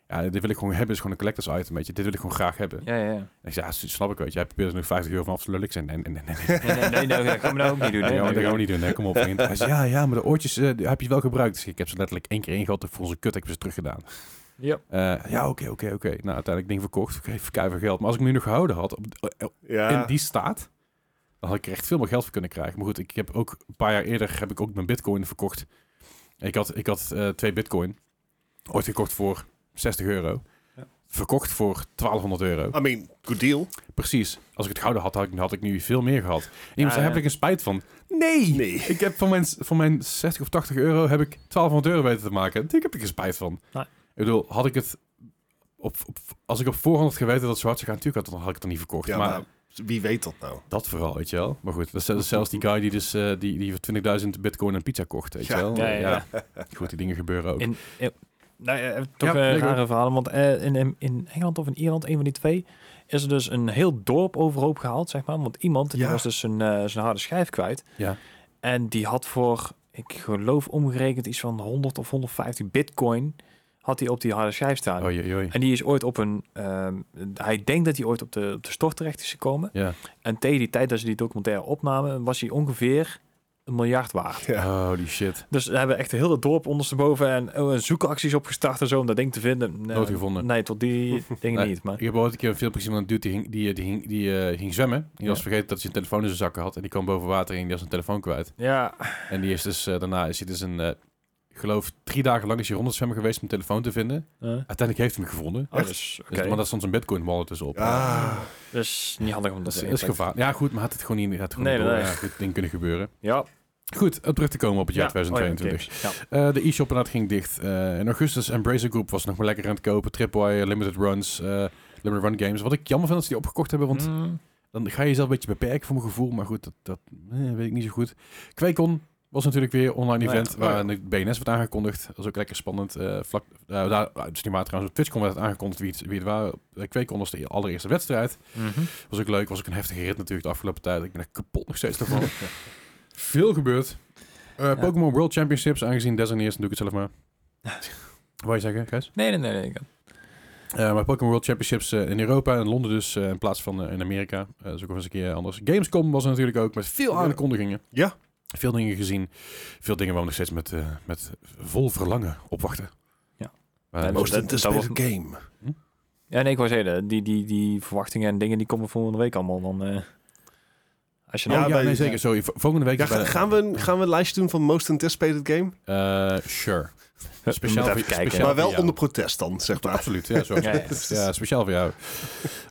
[SPEAKER 1] ja, dit wil ik gewoon hebben. is gewoon een collectors item, weet je. Dit wil ik gewoon graag hebben.
[SPEAKER 2] Ja, ja, ja.
[SPEAKER 1] En ik zei, ja, snap ik, weet je. Hij probeert er nog 50 euro van af te lullen. Ik zei, nee, nee, nee, nee. nee.
[SPEAKER 2] Nee, nee, nee, nee, dat gaan we nou ook niet doen.
[SPEAKER 1] Ja,
[SPEAKER 2] hè?
[SPEAKER 1] maar dat gaan we niet doen, hè. kom
[SPEAKER 2] [laughs]
[SPEAKER 1] op. vriend. Hij zei, ja, ja, maar de oortjes eh, die heb je wel gebruikt. Dus ik heb ze letterlijk één keer ingehad. en Voor onze kut heb ik ze teruggedaan.
[SPEAKER 2] Ja.
[SPEAKER 1] Eh, ja, oké, oké, oké. Nou, uiteindelijk ding verkocht. Oké, voor keiveel geld. Maar als ik hem nu nog gehouden had, op, eh, in
[SPEAKER 2] Eh.
[SPEAKER 3] Ja.
[SPEAKER 1] die staat, dan had ik er echt veel meer geld voor kunnen krijgen. Maar goed, ik heb ook een paar jaar eerder heb ik ook mijn bitcoin verkocht. Ik had, ik had eh, twee bitcoin. Ooit gekocht voor 60 euro.
[SPEAKER 2] Ja.
[SPEAKER 1] Verkocht voor 1200 euro.
[SPEAKER 3] I mean, good deal.
[SPEAKER 1] Precies. Als ik het gouden had, had ik, had ik nu veel meer gehad. En iemand
[SPEAKER 2] Ja,
[SPEAKER 1] zei, heb
[SPEAKER 2] ja.
[SPEAKER 1] ik een spijt van? Nee!
[SPEAKER 3] Nee.
[SPEAKER 1] Ik heb van mijn, van mijn 60 of 80 euro heb ik 1200 euro weten te maken. Daar heb ik geen spijt van.
[SPEAKER 2] Nee.
[SPEAKER 1] Ik bedoel, had ik het... Op, op, als ik op voorhand had geweten dat het zo hard zou gaan, natuurlijk had, dan had ik het dan niet verkocht.
[SPEAKER 3] Ja,
[SPEAKER 1] maar
[SPEAKER 3] maar wie weet dat nou?
[SPEAKER 1] dat vooral, weet je wel. Maar goed, dat is zelfs- zelfs die guy die, dus, eh, die, die voor 20.000 bitcoin en pizza kocht, weet je
[SPEAKER 3] Ja.
[SPEAKER 1] wel.
[SPEAKER 2] Ja, ja,
[SPEAKER 1] Goed, die dingen gebeuren ook.
[SPEAKER 2] In, in- nou ja, toch eh,
[SPEAKER 1] Ja, nee,
[SPEAKER 2] rare verhalen. Want eh, in- in, in Engeland of in Ierland, een van die twee, is er dus een heel dorp overhoop gehaald, zeg maar. Want iemand, die
[SPEAKER 3] Ja.
[SPEAKER 2] was dus zijn, eh, zijn harde schijf kwijt.
[SPEAKER 1] Ja.
[SPEAKER 2] En die had voor, ik geloof omgerekend, iets van 100 of 150 bitcoin, had hij op die harde schijf staan.
[SPEAKER 1] Oei, oei, oei.
[SPEAKER 2] En die is ooit op een. ehm, hij denkt dat hij ooit op de, op de stort terecht is gekomen.
[SPEAKER 1] Ja.
[SPEAKER 2] En tegen die tijd dat ze die documentaire opnamen, was hij ongeveer een miljard waard.
[SPEAKER 3] Ja.
[SPEAKER 1] Holy shit.
[SPEAKER 2] Dus we hebben echt heel het dorp ondersteboven en oh, en zoekacties opgestart en zo om dat ding te vinden. Nee,
[SPEAKER 1] Nooit
[SPEAKER 2] [laughs]
[SPEAKER 1] gevonden.
[SPEAKER 2] Nee, tot die dingen
[SPEAKER 1] Nee.
[SPEAKER 2] niet. Maar
[SPEAKER 1] Ik heb ooit een keer een filmpje gezien van een dude die ging, die, eh, die, ging, die eh, ging zwemmen. Die was
[SPEAKER 2] Ja.
[SPEAKER 1] vergeten dat hij zijn telefoon in zijn zakken had. En die kwam boven water en die was zijn telefoon kwijt.
[SPEAKER 2] ja,
[SPEAKER 1] En die is dus eh, daarna, is hij dus een, eh, ik geloof drie dagen lang is hij rond het zwemmen geweest om zijn telefoon te vinden.
[SPEAKER 2] eh,
[SPEAKER 1] Uiteindelijk heeft hij hem gevonden.
[SPEAKER 2] oh, dus,
[SPEAKER 1] Dus,
[SPEAKER 2] oké.
[SPEAKER 1] maar daar stond zijn bitcoin wallet dus op.
[SPEAKER 3] Ah,
[SPEAKER 2] Dus niet handig om
[SPEAKER 1] Dat
[SPEAKER 2] dat
[SPEAKER 1] is,
[SPEAKER 2] te
[SPEAKER 1] dat is
[SPEAKER 2] weten.
[SPEAKER 1] gevaar. Ja, goed, maar had het gewoon niet. Had het gewoon
[SPEAKER 2] Nee,
[SPEAKER 1] niet door.
[SPEAKER 2] nee.
[SPEAKER 1] Ja, goed, dingen kunnen gebeuren.
[SPEAKER 2] Ja.
[SPEAKER 1] Goed, om terug te komen op het jaar
[SPEAKER 2] Ja. Oh, ja,
[SPEAKER 1] 2022.
[SPEAKER 2] games. Ja.
[SPEAKER 1] Eh, de e-shop inderdaad ging dicht. Eh, in augustus Embracer Group was nog maar lekker aan het kopen. Tripwire, Limited Runs, eh, Limited Run Games. Wat ik jammer vind dat ze die opgekocht hebben, want
[SPEAKER 2] Mm,
[SPEAKER 1] dan ga je jezelf een beetje beperken voor mijn gevoel. Maar goed, dat, dat eh, weet ik niet zo goed. Quakecon was natuurlijk weer een online
[SPEAKER 2] Oh ja.
[SPEAKER 1] event
[SPEAKER 3] Oh ja.
[SPEAKER 1] waar de BNS werd aangekondigd. Dat was ook lekker spannend. Eh, vlak, eh, daar, het is niet waar trouwens. Op TwitchCon werd het aangekondigd wie het, wie het waren. Eh, Quakecon was de allereerste wedstrijd.
[SPEAKER 2] mhm.
[SPEAKER 1] Was ook leuk. Was ook een heftige rit natuurlijk de afgelopen tijd. Ik ben echt kapot nog
[SPEAKER 2] [laughs]
[SPEAKER 1] steeds daarvan. Veel gebeurd. Eh, Pokémon World Championships, aangezien Des en eerst, doe ik het zelf maar. Wat je zeggen, Gijs?
[SPEAKER 2] Nee, nee, nee. nee. ik-
[SPEAKER 1] Eh, maar Pokémon World Championships eh, in Europa en Londen dus, eh, in plaats van eh, in Amerika. Eh, dat is ook wel eens een keer anders. Gamescom was er natuurlijk ook, met veel
[SPEAKER 3] Ja.
[SPEAKER 1] aankondigingen.
[SPEAKER 3] Ja.
[SPEAKER 1] Veel dingen gezien. Veel dingen waar we nog steeds met, eh, met vol verlangen op wachten.
[SPEAKER 2] Ja.
[SPEAKER 1] Maar- Oh,
[SPEAKER 2] Ja,
[SPEAKER 3] most
[SPEAKER 2] dat-
[SPEAKER 3] anticipated
[SPEAKER 2] dat
[SPEAKER 3] game.
[SPEAKER 2] Ja, nee, ik wou zeggen, die, die, die verwachtingen en dingen die komen volgende week allemaal dan. eh, als je
[SPEAKER 1] Oh,
[SPEAKER 2] nou,
[SPEAKER 1] ja,
[SPEAKER 3] Ja, wij-
[SPEAKER 1] nee, zeker. Sorry, v- volgende week...
[SPEAKER 3] Ja,
[SPEAKER 1] is bij
[SPEAKER 3] ga-
[SPEAKER 1] de-
[SPEAKER 3] gaan, we een, gaan we een lijstje doen van most anticipated game?
[SPEAKER 1] Eh, sure. Speciaal
[SPEAKER 2] even
[SPEAKER 1] voor-
[SPEAKER 2] kijken.
[SPEAKER 1] speciaal
[SPEAKER 2] Ja,
[SPEAKER 1] voor
[SPEAKER 3] maar wel
[SPEAKER 1] jou.
[SPEAKER 3] onder protest dan, zeg maar.
[SPEAKER 1] Absoluut, ja, zo.
[SPEAKER 2] Ja, ja.
[SPEAKER 1] Ja, speciaal voor jou.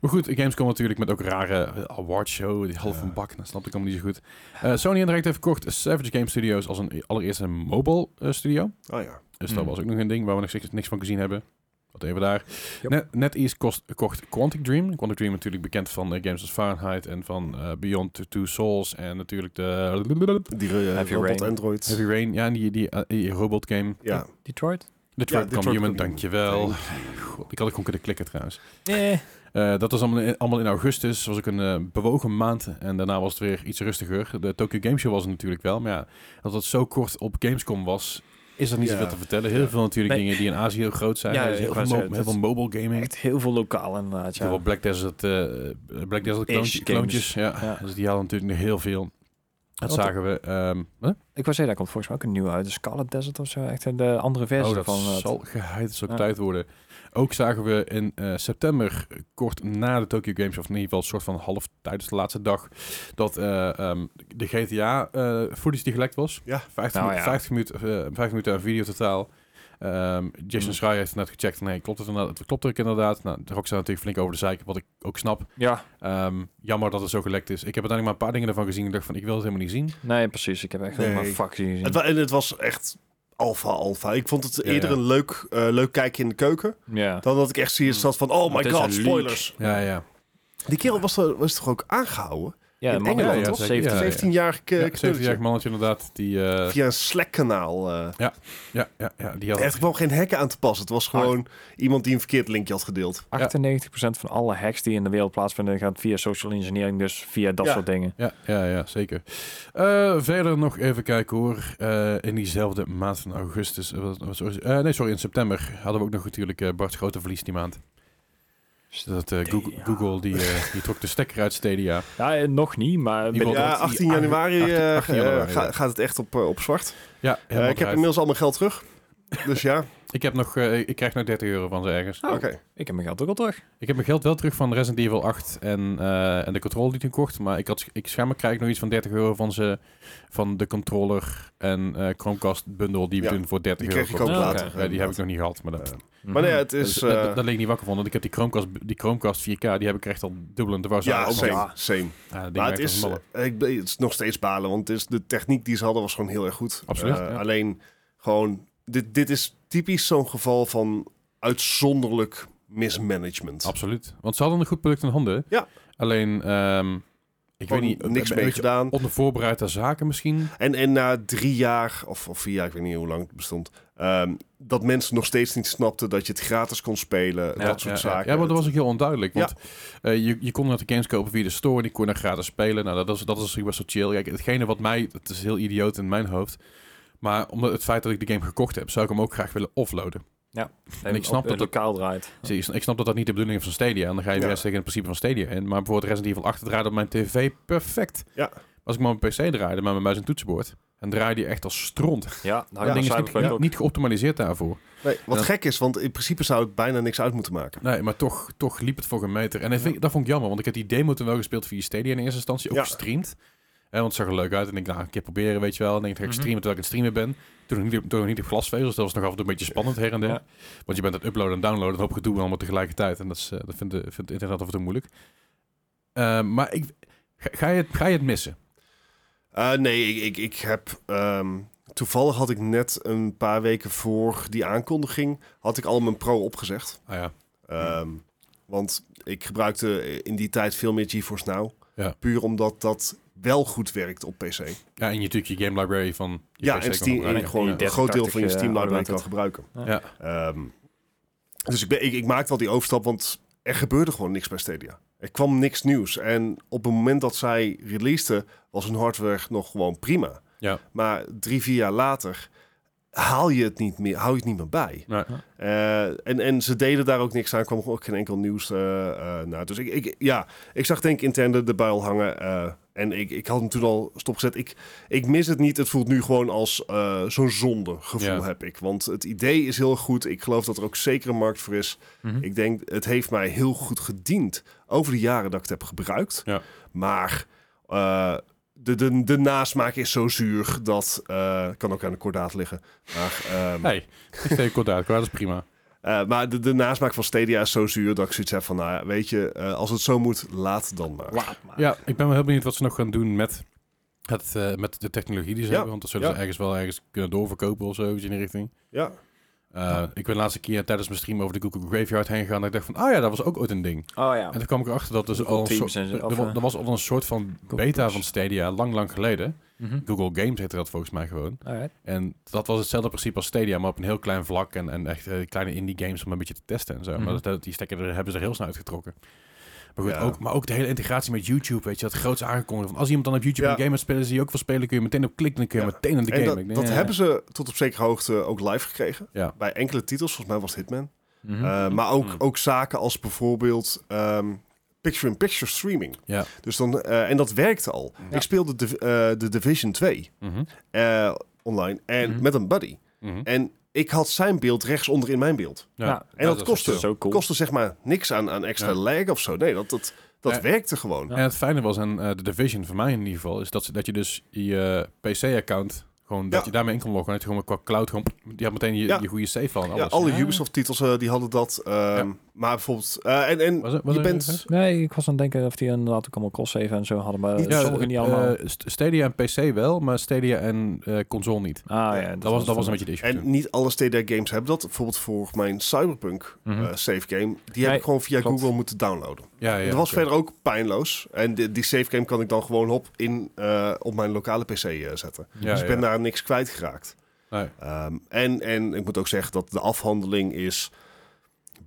[SPEAKER 1] Maar goed, Gamescom natuurlijk met ook een rare awardshow. Die half van bak, dat snap ik allemaal niet zo goed. Eh, Sony indirect heeft verkocht Savage Game Studios als een allereerste mobile eh, studio.
[SPEAKER 3] Oh ja.
[SPEAKER 1] Dus dat
[SPEAKER 2] Hmm.
[SPEAKER 1] was ook nog een ding waar we nog steeds niks van gezien hebben. Wat even daar.
[SPEAKER 2] Yep.
[SPEAKER 1] Net, NetEase kost, kocht Quantic Dream. Quantic Dream natuurlijk bekend van eh, games als Fahrenheit en van eh, Beyond Two, Two Souls. En natuurlijk de
[SPEAKER 3] Die eh,
[SPEAKER 2] Heavy
[SPEAKER 3] robot
[SPEAKER 2] Rain.
[SPEAKER 3] Android.
[SPEAKER 1] Heavy Rain. Ja, en die, die, eh, die robot game.
[SPEAKER 3] Ja.
[SPEAKER 2] Detroit?
[SPEAKER 1] Detroit Become
[SPEAKER 3] Detroit
[SPEAKER 1] Human,
[SPEAKER 3] Become
[SPEAKER 1] dankjewel.
[SPEAKER 3] Human.
[SPEAKER 1] God, ik had ook gewoon kunnen klikken trouwens.
[SPEAKER 2] Nee.
[SPEAKER 1] Eh, dat was allemaal in, allemaal in augustus. was ook een eh, bewogen maand. En daarna was het weer iets rustiger. De Tokyo Game Show was er natuurlijk wel. Maar ja, dat het zo kort op Gamescom was, is er niet
[SPEAKER 3] Ja.
[SPEAKER 1] zoveel te vertellen. Heel veel natuurlijk
[SPEAKER 2] Nee.
[SPEAKER 1] dingen die in Azië heel groot zijn.
[SPEAKER 2] Ja,
[SPEAKER 1] Er is
[SPEAKER 2] ik
[SPEAKER 1] heel, veel
[SPEAKER 2] wou
[SPEAKER 1] mo-
[SPEAKER 2] zeggen,
[SPEAKER 1] heel
[SPEAKER 2] dat
[SPEAKER 1] veel mobile gaming.
[SPEAKER 2] Echt heel veel lokaal inderdaad. Ja.
[SPEAKER 1] Heel veel Black Desert, eh Black Desert kloontje-
[SPEAKER 2] games.
[SPEAKER 1] kloontjes. Ja.
[SPEAKER 2] Ja.
[SPEAKER 1] Dus die hadden natuurlijk nog heel veel. Dat
[SPEAKER 2] Wat-
[SPEAKER 1] zagen we. ehm, hè?
[SPEAKER 2] Ik was zeggen, daar komt volgens mij ook een nieuwe uit. De Scarlet Desert of zo. Echt de andere versie
[SPEAKER 1] Oh, dat
[SPEAKER 2] van. eh,
[SPEAKER 1] zal geheid zal
[SPEAKER 2] Ja.
[SPEAKER 1] tijd worden. Ook zagen we in eh, september, kort na de Tokyo Games, of in ieder geval een soort van half tijdens de laatste dag, dat eh, ehm, de GTA eh footage die gelekt was.
[SPEAKER 3] Ja.
[SPEAKER 1] 50,
[SPEAKER 2] Nou
[SPEAKER 1] minu-
[SPEAKER 2] ja.
[SPEAKER 1] 50 minuten, eh, 50 minuten aan video totaal. Ehm, Jason
[SPEAKER 2] Hmm.
[SPEAKER 1] Schreier heeft net gecheckt. Nee, klopt het inderdaad? Het Klopt ook inderdaad. Nou, de Rockstar natuurlijk flink over de zeik, wat ik ook snap.
[SPEAKER 2] Ja,
[SPEAKER 1] Ehm, jammer dat het zo gelekt is. Ik heb uiteindelijk maar een paar dingen ervan gezien en dacht van, ik wil het helemaal niet zien.
[SPEAKER 2] nee, precies. Ik heb echt
[SPEAKER 3] Nee.
[SPEAKER 2] helemaal fuck zien.
[SPEAKER 3] Het, wa- en het was echt alfa, alfa. Ik vond het
[SPEAKER 1] Ja,
[SPEAKER 3] eerder
[SPEAKER 1] ja.
[SPEAKER 3] een leuk, eh, leuk kijkje in de keuken.
[SPEAKER 2] Ja.
[SPEAKER 3] Dan dat ik echt zie zat van, oh
[SPEAKER 2] Hmm. Het
[SPEAKER 3] my
[SPEAKER 2] is
[SPEAKER 3] god,
[SPEAKER 2] een leak.
[SPEAKER 3] spoilers.
[SPEAKER 1] Ja, ja.
[SPEAKER 3] Die kerel was, er- was toch ook aangehouden?
[SPEAKER 2] ja,
[SPEAKER 3] in
[SPEAKER 2] de man-
[SPEAKER 3] Engeland,
[SPEAKER 2] ja,
[SPEAKER 1] toch?
[SPEAKER 2] ja,
[SPEAKER 1] Zeker, ja.
[SPEAKER 3] 17-jarig eh,
[SPEAKER 1] ja
[SPEAKER 3] knulletje.
[SPEAKER 1] 70-jarig mannetje inderdaad, die... eh,
[SPEAKER 3] Via een Slack-kanaal. eh.
[SPEAKER 1] ja, ja, ja, die had
[SPEAKER 3] Er kwam geen hekken aan te passen. Het was gewoon iemand die een verkeerd linkje had gedeeld.
[SPEAKER 2] 98% van alle hacks die in de wereld plaatsvinden gaat via social engineering, dus via dat
[SPEAKER 3] Ja.
[SPEAKER 2] soort dingen.
[SPEAKER 1] Ja, ja, ja zeker. Eh, verder nog even kijken hoor. Eh, in diezelfde maand van augustus. eh, wat- wat- sorry, eh, nee, sorry, in september hadden we ook nog natuurlijk eh Bart Grote verlies die maand. Dus Dat eh, Google, Google die, eh, die trok de stekker uit Stadia.
[SPEAKER 2] Ja, eh, nog niet, maar
[SPEAKER 1] Die wil-
[SPEAKER 2] ja.
[SPEAKER 3] Ja,
[SPEAKER 1] dat-
[SPEAKER 3] 18 januari,
[SPEAKER 1] 18
[SPEAKER 3] eh,
[SPEAKER 1] januari,
[SPEAKER 3] eh, ga-
[SPEAKER 1] ja.
[SPEAKER 3] gaat het echt op, eh, op zwart.
[SPEAKER 1] Ja,
[SPEAKER 3] Eh,
[SPEAKER 1] helemaal
[SPEAKER 3] ik heb
[SPEAKER 1] eruit.
[SPEAKER 3] inmiddels al mijn geld terug.
[SPEAKER 1] [laughs]
[SPEAKER 3] Dus ja,
[SPEAKER 1] ik, heb nog, eh, ik krijg nog 30 euro van ze ergens.
[SPEAKER 3] oké.
[SPEAKER 2] ik heb mijn geld ook al terug.
[SPEAKER 1] Ik heb mijn geld wel terug van Resident Evil 8 en, eh, en de controller die ik toen kocht. Maar ik, had, ik schaammer krijg ik nog iets van 30 euro van ze. Van de controller en eh Chromecast bundle die we
[SPEAKER 3] Ja,
[SPEAKER 1] toen voor 30
[SPEAKER 3] die
[SPEAKER 1] euro
[SPEAKER 3] kreeg ik ook Eh,
[SPEAKER 1] kochten.
[SPEAKER 2] later,
[SPEAKER 1] Ja, die heb ik nog niet gehad, maar dat...
[SPEAKER 3] Maar
[SPEAKER 2] Mhm.
[SPEAKER 3] nee, het
[SPEAKER 1] Dat
[SPEAKER 3] is...
[SPEAKER 1] is- Dus, dat-
[SPEAKER 3] eh,
[SPEAKER 1] dat leek niet wakker van, want ik heb die Chromecast, die Chromecast 4K, die heb ik echt al dubbel en te was.
[SPEAKER 3] ja, same,
[SPEAKER 1] ja,
[SPEAKER 3] same.
[SPEAKER 1] dat ding
[SPEAKER 3] Maar
[SPEAKER 1] werkt als
[SPEAKER 3] het is,
[SPEAKER 1] een malle.
[SPEAKER 3] eh, ik, ben- het is nog steeds balen, want het is, de techniek die ze hadden was gewoon heel erg goed.
[SPEAKER 1] Absoluut,
[SPEAKER 3] Eh,
[SPEAKER 1] ja.
[SPEAKER 3] Alleen gewoon, dit, dit is typisch zo'n geval van uitzonderlijk mismanagement.
[SPEAKER 1] Absoluut. Want ze hadden een goed product in handen.
[SPEAKER 3] Ja.
[SPEAKER 1] Alleen, ehm, ik weet
[SPEAKER 3] Gewoon
[SPEAKER 1] niet,
[SPEAKER 3] niks
[SPEAKER 1] een
[SPEAKER 3] mee
[SPEAKER 1] beetje
[SPEAKER 3] gedaan.
[SPEAKER 1] ondervoorbereid aan zaken misschien.
[SPEAKER 3] En, en na drie jaar, of, of vier jaar, ik weet niet hoe lang het bestond, ehm, dat mensen nog steeds niet snapten dat je het gratis kon spelen,
[SPEAKER 1] Ja,
[SPEAKER 3] dat soort
[SPEAKER 1] ja, ja.
[SPEAKER 3] zaken.
[SPEAKER 1] Eh, Ja, maar dat was ook heel onduidelijk.
[SPEAKER 3] Ja.
[SPEAKER 1] Want eh, je, je kon dat de games kopen via de store, die kon je dan gratis spelen. Nou, dat is, dat is best wel chill. Kijk, hetgene wat mij, het is heel idioot in mijn hoofd. Maar omdat het feit dat ik de game gekocht heb, zou ik hem ook graag willen offloaden.
[SPEAKER 2] En ik snap dat het lokaal draait.
[SPEAKER 1] Zie, Ik ik snap dat dat niet de bedoeling is van Stadia. En dan ga je
[SPEAKER 3] Ja.
[SPEAKER 1] weer eens tegen het principe van Stadia in. Maar bijvoorbeeld Resident Evil 8 draaide op mijn tv perfect.
[SPEAKER 3] Ja.
[SPEAKER 1] Als ik maar op mijn PC draaide, maar met muis en toetsenbord. En draaide die echt als stront.
[SPEAKER 2] Ja, nou,
[SPEAKER 1] Dat
[SPEAKER 2] ja,
[SPEAKER 1] ding is niet,
[SPEAKER 2] Cyberpunk
[SPEAKER 1] niet-
[SPEAKER 2] ook.
[SPEAKER 1] niet geoptimaliseerd daarvoor.
[SPEAKER 3] Nee, wat
[SPEAKER 1] Ja.
[SPEAKER 3] gek is, want in principe zou het bijna niks uit moeten maken.
[SPEAKER 1] Nee, maar toch, toch liep het voor een meter. En dat, vind ik- dat vond ik jammer, want ik heb die demo toen wel gespeeld via Stadia in eerste instantie. Ook
[SPEAKER 3] Ja.
[SPEAKER 1] gestreamd. Eh, want het zag er leuk uit. En ik denk, nou, een keer proberen, weet je wel. En dan denk ik, ga ik
[SPEAKER 2] Mhm.
[SPEAKER 1] streamen terwijl ik aan het streamen ben. Toen nog niet, op- toen nog niet op glasvezel, dus dat was nog af en toe een beetje
[SPEAKER 3] [laughs]
[SPEAKER 1] spannend her en der.
[SPEAKER 2] Ja.
[SPEAKER 1] Want je bent aan het uploaden en downloaden, een hoop gedoe allemaal tegelijkertijd. En dat, is, eh, dat vindt, de, vindt het internet af en toe moeilijk. Eh, maar ik, ga, ga je, het- ga je het missen?
[SPEAKER 3] Eh, nee, ik, ik, ik heb. ehm, toevallig had ik net een paar weken voor die aankondiging. had ik al mijn pro opgezegd.
[SPEAKER 1] Ah ja,
[SPEAKER 3] Ehm, Want ik gebruikte in die tijd veel meer GeForce Now.
[SPEAKER 1] Ja.
[SPEAKER 3] Puur omdat dat wel goed werkt op PC.
[SPEAKER 1] ja en je, natuurlijk je game library van je
[SPEAKER 3] ja,
[SPEAKER 1] PC
[SPEAKER 3] en
[SPEAKER 1] kan
[SPEAKER 3] Steam,
[SPEAKER 1] gebruiken.
[SPEAKER 3] en gewoon
[SPEAKER 2] Ja.
[SPEAKER 3] een groot deel van je
[SPEAKER 2] 30, eh,
[SPEAKER 3] Steam
[SPEAKER 2] abonnement
[SPEAKER 3] library kan
[SPEAKER 2] het.
[SPEAKER 3] gebruiken.
[SPEAKER 1] Ja.
[SPEAKER 3] Ehm, dus ik, ben, ik, ik maakte al die overstap, want er gebeurde gewoon niks bij Stadia. Er kwam niks nieuws. En op het moment dat zij releaseden, was hun hardware nog gewoon prima.
[SPEAKER 1] Ja.
[SPEAKER 3] Maar drie, vier jaar later haal je het niet meer, hou je het niet meer bij.
[SPEAKER 1] Nee.
[SPEAKER 3] Eh, en, en ze deden daar ook niks aan, kwam ook geen enkel nieuws eh eh, naar. Dus ik, ik, ja, ik zag denk ik interne de buil hangen. eh, en ik, ik had hem toen al stopgezet. Ik, ik mis het niet. Het voelt nu gewoon als eh, zo'n zonde gevoel
[SPEAKER 1] Ja.
[SPEAKER 3] heb ik. Want het idee is heel goed. Ik geloof dat er ook zeker een markt voor is.
[SPEAKER 2] Mhm.
[SPEAKER 3] Ik denk, het heeft mij heel goed gediend over de jaren dat ik het heb gebruikt.
[SPEAKER 1] Ja.
[SPEAKER 3] Maar eh, de, de, de nasmaak is zo zuur dat... eh, kan ook aan de kordaat liggen. Maar, ehm,
[SPEAKER 1] Nee, ik steek kort uit. Dat is prima.
[SPEAKER 3] eh, maar de, de nasmaak van Stadia is zo zuur dat ik zoiets heb van... Nou, ja, weet je, eh, als het zo moet, laat dan maar.
[SPEAKER 2] Laat maar.
[SPEAKER 1] Ja, ik ben wel heel benieuwd wat ze nog gaan doen met, het, eh, met de technologie die ze
[SPEAKER 3] Ja.
[SPEAKER 1] hebben. Want dat zullen
[SPEAKER 3] Ja.
[SPEAKER 1] ze ergens wel ergens kunnen doorverkopen of zo, iets in die richting.
[SPEAKER 3] Ja,
[SPEAKER 1] Eh, Ik ben de laatste keer tijdens mijn stream over de Google Graveyard heen gegaan. En ik dacht van, ah ja, dat was ook ooit een ding.
[SPEAKER 2] Oh ja.
[SPEAKER 1] En toen kwam ik erachter dat dus
[SPEAKER 2] Google
[SPEAKER 1] al een
[SPEAKER 2] Teams
[SPEAKER 1] soort,
[SPEAKER 2] en zo,
[SPEAKER 1] er,
[SPEAKER 2] of,
[SPEAKER 1] wa-
[SPEAKER 2] eh,
[SPEAKER 1] er was al een soort van
[SPEAKER 2] Google
[SPEAKER 1] beta
[SPEAKER 2] Plus.
[SPEAKER 1] van Stadia, lang, lang geleden.
[SPEAKER 2] Mhm.
[SPEAKER 1] Google Games heette dat volgens mij gewoon.
[SPEAKER 2] Alright.
[SPEAKER 1] En dat was hetzelfde principe als Stadia, maar op een heel klein vlak. En, en echt eh, kleine indie games om een beetje te testen en zo.
[SPEAKER 2] Mhm.
[SPEAKER 1] Maar dat, die stekker er- hebben ze er heel snel uitgetrokken. Maar goed,
[SPEAKER 3] Ja.
[SPEAKER 1] ook, maar ook de hele integratie met YouTube, weet je, dat groots aangekondigd. Want als iemand dan op YouTube
[SPEAKER 3] Ja.
[SPEAKER 1] een game gaat spelen, zie je ook veel spelen, kun je meteen op klikken, dan kun je
[SPEAKER 3] Ja.
[SPEAKER 1] meteen aan de
[SPEAKER 3] en
[SPEAKER 1] game.
[SPEAKER 3] dat,
[SPEAKER 1] Ik denk,
[SPEAKER 3] dat
[SPEAKER 1] ja.
[SPEAKER 3] hebben ze tot op zekere hoogte ook live gekregen.
[SPEAKER 1] Ja.
[SPEAKER 3] Bij enkele titels, volgens mij was het Hitman.
[SPEAKER 2] Mhm.
[SPEAKER 3] Eh, maar ook,
[SPEAKER 1] Mhm.
[SPEAKER 3] ook zaken als bijvoorbeeld ehm, picture-in-picture streaming.
[SPEAKER 1] Ja.
[SPEAKER 3] Dus dan, eh, en dat werkte al. Ik speelde de, eh, de Division 2
[SPEAKER 1] Mhm.
[SPEAKER 3] eh, online en
[SPEAKER 2] Mhm.
[SPEAKER 3] met een buddy.
[SPEAKER 1] Mhm.
[SPEAKER 3] En ik had zijn beeld rechtsonder in mijn beeld.
[SPEAKER 1] Ja.
[SPEAKER 2] Ja,
[SPEAKER 3] En dat,
[SPEAKER 1] Nou, is
[SPEAKER 3] kostte,
[SPEAKER 1] wel chill.
[SPEAKER 2] zo cool.
[SPEAKER 3] kostte zeg maar niks aan, aan extra
[SPEAKER 1] Ja.
[SPEAKER 3] lag of zo. Nee, dat, dat, dat
[SPEAKER 1] Ja.
[SPEAKER 3] werkte gewoon.
[SPEAKER 1] En het fijne was aan eh, de Division, voor mij in ieder geval, is dat, ze- dat je dus je PC-account, gewoon dat
[SPEAKER 3] Ja.
[SPEAKER 1] je daarmee in kon loggen. En dat je gewoon qua cloud, gewoon, je had meteen je,
[SPEAKER 3] Ja.
[SPEAKER 1] je goede save al en alles.
[SPEAKER 3] Ja, alle Ubisoft-titels eh, die hadden dat. ehm, Maar bijvoorbeeld... eh, en en
[SPEAKER 1] Was er- was
[SPEAKER 3] je
[SPEAKER 1] er-
[SPEAKER 3] bent...
[SPEAKER 2] Nee, ik was aan het denken of die inderdaad ook allemaal cross-save en zo hadden, maar
[SPEAKER 1] Ja,
[SPEAKER 2] sommigen niet
[SPEAKER 1] eh,
[SPEAKER 2] allemaal.
[SPEAKER 1] eh, St- Stadia en PC wel, maar Stadia en eh, console niet.
[SPEAKER 2] ah ja,
[SPEAKER 1] Dat was, dat was een beetje de issue.
[SPEAKER 3] En
[SPEAKER 1] toen.
[SPEAKER 3] niet alle Stadia-games hebben dat. Bijvoorbeeld voor mijn Cyberpunk
[SPEAKER 2] Mhm.
[SPEAKER 3] eh, save game. Die
[SPEAKER 2] Nee,
[SPEAKER 3] heb ik gewoon via
[SPEAKER 2] klopt.
[SPEAKER 3] Google moeten downloaden.
[SPEAKER 1] Ja, ja,
[SPEAKER 3] dat was
[SPEAKER 1] oké.
[SPEAKER 3] verder ook pijnloos. En die, die save game kan ik dan gewoon op, in, eh, op mijn lokale PC eh, zetten.
[SPEAKER 1] Ja,
[SPEAKER 3] dus ik ben
[SPEAKER 1] ja.
[SPEAKER 3] daar niks kwijtgeraakt.
[SPEAKER 1] Nee.
[SPEAKER 3] Ehm, en, en ik moet ook zeggen dat de afhandeling is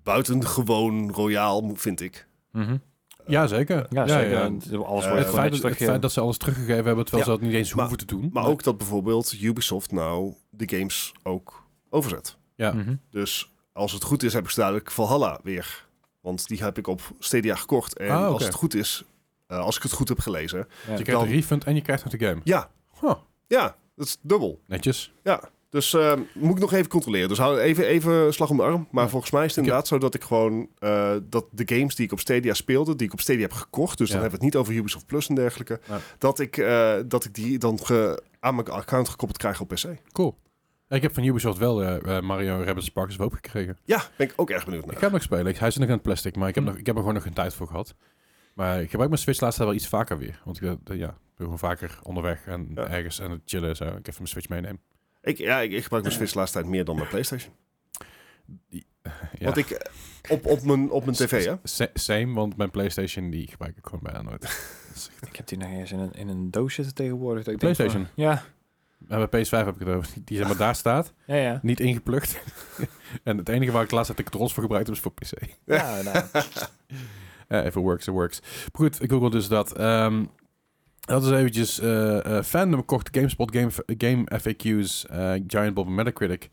[SPEAKER 3] buitengewoon royaal, mo- vind ik.
[SPEAKER 2] Mhm.
[SPEAKER 1] Ja, zeker.
[SPEAKER 2] Ja, zeker. En Alles
[SPEAKER 3] Eh,
[SPEAKER 2] wordt gewoon
[SPEAKER 1] Het feit, dat,
[SPEAKER 2] extra
[SPEAKER 1] het feit dat ze alles teruggegeven hebben, terwijl
[SPEAKER 3] Ja.
[SPEAKER 1] ze dat niet eens
[SPEAKER 3] Maar-
[SPEAKER 1] hoeven te doen.
[SPEAKER 3] Maar ook dat bijvoorbeeld Ubisoft nou de games ook overzet.
[SPEAKER 1] Ja.
[SPEAKER 2] Mhm.
[SPEAKER 3] Dus als het goed is, heb ik ze dadelijk Valhalla weer. Want die heb ik op Stadia gekocht. En
[SPEAKER 1] Ah, oké.
[SPEAKER 3] als het goed is, eh, als ik het goed heb gelezen.
[SPEAKER 1] Dus je krijgt
[SPEAKER 3] dan-
[SPEAKER 1] een refund en je krijgt nog de game.
[SPEAKER 3] Ja,
[SPEAKER 1] Huh,
[SPEAKER 3] ja, dat is dubbel.
[SPEAKER 1] netjes.
[SPEAKER 3] Ja, dus eh, moet ik nog even controleren. Dus hou even, even slag om de arm. Maar volgens mij is het
[SPEAKER 1] Ik heb-
[SPEAKER 3] inderdaad zo dat ik gewoon... eh, dat de games die ik op Stadia speelde, die ik op Stadia heb gekocht... dus
[SPEAKER 1] Ja.
[SPEAKER 3] dan hebben we het niet over Ubisoft Plus en dergelijke...
[SPEAKER 1] Ja.
[SPEAKER 3] dat, ik, eh, dat ik die dan ge- aan mijn account gekoppeld krijg op PC.
[SPEAKER 1] Cool. Ik heb van Ubisoft wel eh, eh, Mario Rabbids Sparks of Hope gekregen.
[SPEAKER 3] Ja, ben ik ook erg benieuwd naar.
[SPEAKER 1] Ik ga hem nog spelen. Ik- Hij zit nog aan het plastic, maar ik heb,
[SPEAKER 2] Hm.
[SPEAKER 1] nog, ik heb er gewoon nog geen tijd voor gehad. Maar ik gebruik mijn Switch laatst wel iets vaker weer. Want ik eh, ja, ik ben gewoon vaker onderweg en
[SPEAKER 3] Ja.
[SPEAKER 1] ergens en het chillen. en Zo. Ik even mijn Switch meenemen.
[SPEAKER 3] Ik, ja, ik, ik gebruik mijn Switch de laatste tijd meer dan mijn PlayStation.
[SPEAKER 1] Ja.
[SPEAKER 3] Want ik... eh, Op, op, mijn, op mijn tv, hè?
[SPEAKER 1] Sa- Same, want mijn PlayStation die gebruik ik gewoon bijna nooit. [laughs]
[SPEAKER 2] Ik heb die nog eens in een, in een doos zitten tegenwoordig. dat ik denk
[SPEAKER 1] PlayStation.
[SPEAKER 2] van- ja,
[SPEAKER 1] En bij PS5 heb ik het over. Die zeg maar daar staat,
[SPEAKER 2] ja, ja.
[SPEAKER 1] niet ingeplukt. [laughs] en het enige waar ik laatst heb de controls voor gebruikt heb is voor PC.
[SPEAKER 2] [laughs] ja nou,
[SPEAKER 1] Eh, if it works, it works. Maar goed, ik google dus dat. Ehm, dat is eventjes eh, eh, fandom kocht GameSpot Game, game FAQ's eh, Giant Bob en Metacritic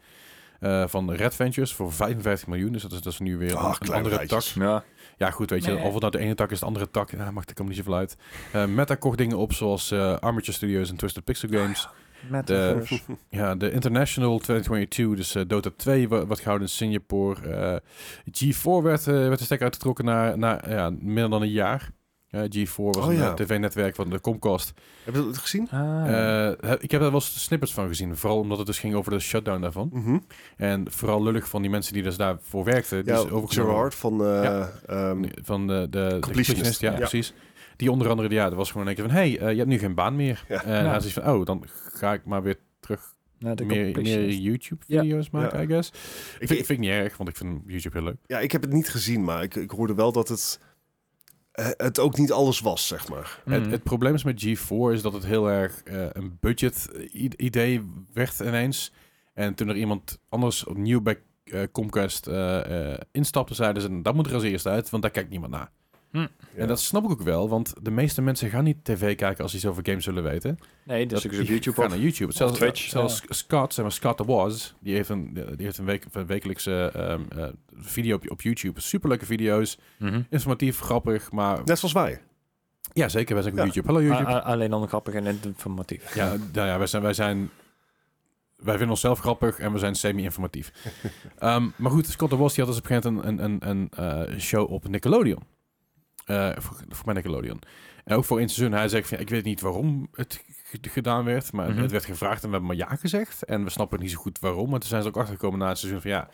[SPEAKER 1] eh, van Red Ventures voor 55 miljoen. Dus dat is, dat is nu weer een-
[SPEAKER 3] Ah,
[SPEAKER 1] een
[SPEAKER 3] kleine
[SPEAKER 1] andere
[SPEAKER 3] rijtjes.
[SPEAKER 1] tak.
[SPEAKER 2] ja.
[SPEAKER 1] Ja, goed, weet je,
[SPEAKER 2] Nee.
[SPEAKER 1] of het nou de ene tak is, de andere tak, ja, maakt er allemaal niet zoveel uit. Eh, Meta kocht dingen op zoals eh Armature Studios en Twisted Pixel Games.
[SPEAKER 2] Met
[SPEAKER 1] De- Ja, de International 2022, dus eh, Dota 2 wa- werd gehouden in Singapore. Eh, G4 werd, eh, werd de stekker uitgetrokken na, na ja, minder dan een jaar. Eh, G4 was
[SPEAKER 3] Oh,
[SPEAKER 1] een
[SPEAKER 3] ja.
[SPEAKER 1] eh, tv-netwerk van de Comcast.
[SPEAKER 3] Heb je dat gezien?
[SPEAKER 2] Ah,
[SPEAKER 1] Eh, he- ik heb daar wel eens snippets van gezien. Vooral omdat het dus ging over de shutdown daarvan.
[SPEAKER 3] Mhm.
[SPEAKER 1] En vooral lullig van die mensen die dus daarvoor werkten. Die is
[SPEAKER 3] Ja,
[SPEAKER 1] overgenomen.
[SPEAKER 3] Gerard van... eh,
[SPEAKER 1] Ja.
[SPEAKER 3] ehm,
[SPEAKER 1] Van de, de, de completionist, ja,
[SPEAKER 3] Ja.
[SPEAKER 1] precies. Die onder andere, ja, er was gewoon een keer van... hey, eh, je hebt nu geen baan meer.
[SPEAKER 3] Ja.
[SPEAKER 1] En hij had zoiets van, oh, dan ga ik maar weer terug
[SPEAKER 2] nou, de
[SPEAKER 1] meer, meer
[SPEAKER 2] completionist. Ja.
[SPEAKER 1] YouTube-video's maken, I guess. Ik
[SPEAKER 3] ik,
[SPEAKER 1] vind, ik vind het niet erg, want ik vind YouTube heel leuk.
[SPEAKER 3] ja, ik heb het niet gezien, maar ik, ik hoorde wel dat het... eh, het ook niet alles was, zeg maar.
[SPEAKER 2] Mm. Mhm.
[SPEAKER 1] Het, het probleem is met G4 is dat het heel erg eh, een budget-idee werd ineens. En toen er iemand anders opnieuw bij eh, Comcast eh, eh, instapte, zeiden ze... dat moet er als eerste uit, want daar kijkt niemand naar.
[SPEAKER 3] Ja.
[SPEAKER 1] En dat snap ik ook wel, want de meeste mensen gaan niet tv kijken... als ze iets over games willen weten.
[SPEAKER 2] nee, dus
[SPEAKER 1] dat
[SPEAKER 2] ik is op [laughs] YouTube
[SPEAKER 1] gaan
[SPEAKER 2] ook.
[SPEAKER 1] naar YouTube. Zelfs,
[SPEAKER 2] Twitch,
[SPEAKER 1] zelfs Scott, zeg maar Scott The Was, die heeft een, die heeft een, week, een wekelijkse ehm, eh, video op, op YouTube. Superleuke video's,
[SPEAKER 2] Mhm.
[SPEAKER 1] informatief, grappig, maar
[SPEAKER 3] Net zoals wij.
[SPEAKER 1] Ja, zeker. Wij zijn ook
[SPEAKER 3] Ja.
[SPEAKER 1] op YouTube. Hallo YouTube.
[SPEAKER 2] A- a- alleen dan grappig en informatief.
[SPEAKER 1] Ja, nou ja, wij zijn, wij zijn... Wij vinden onszelf grappig en we zijn semi-informatief. Ehm, maar goed, Scott de Wos die had dus op een gegeven moment een, een, een eh, show op Nickelodeon. Eh, voor, voor mij Nickelodeon. En ook voor één seizoen. Hij zegt, van, ja, ik weet niet waarom het g- gedaan werd, maar
[SPEAKER 2] Mhm.
[SPEAKER 1] het werd gevraagd en we hebben maar ja gezegd. En we snappen niet zo goed waarom. Maar toen zijn ze ook achtergekomen na het seizoen van, ja,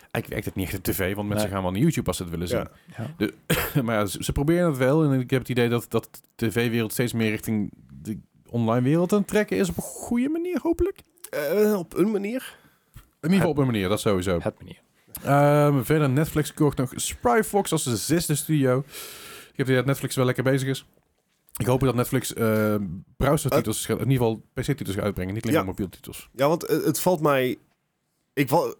[SPEAKER 1] eigenlijk werkt het niet echt op tv, want mensen
[SPEAKER 2] Nee.
[SPEAKER 1] gaan wel naar YouTube als ze het willen zien.
[SPEAKER 3] Ja.
[SPEAKER 2] Ja.
[SPEAKER 1] Ja, [laughs] maar ja, ze, ze proberen het wel. En ik heb het idee dat, dat de tv-wereld steeds meer richting de online wereld aan het trekken is. Op een goede manier, hopelijk. In
[SPEAKER 3] Eh, op een manier.
[SPEAKER 1] ieder geval op een manier, dat sowieso.
[SPEAKER 2] Het manier.
[SPEAKER 1] Ehm, verder, Netflix kocht nog Spyfox als de zesde studio. Ik heb het idee dat Netflix wel lekker bezig is. Ik hoop dat Netflix eh browser-titels, gaat- in ieder geval PC-titels gaat uitbrengen. Niet alleen
[SPEAKER 3] Ja.
[SPEAKER 1] maar mobiel titels.
[SPEAKER 3] Ja, want eh, het valt mij... Ik, wa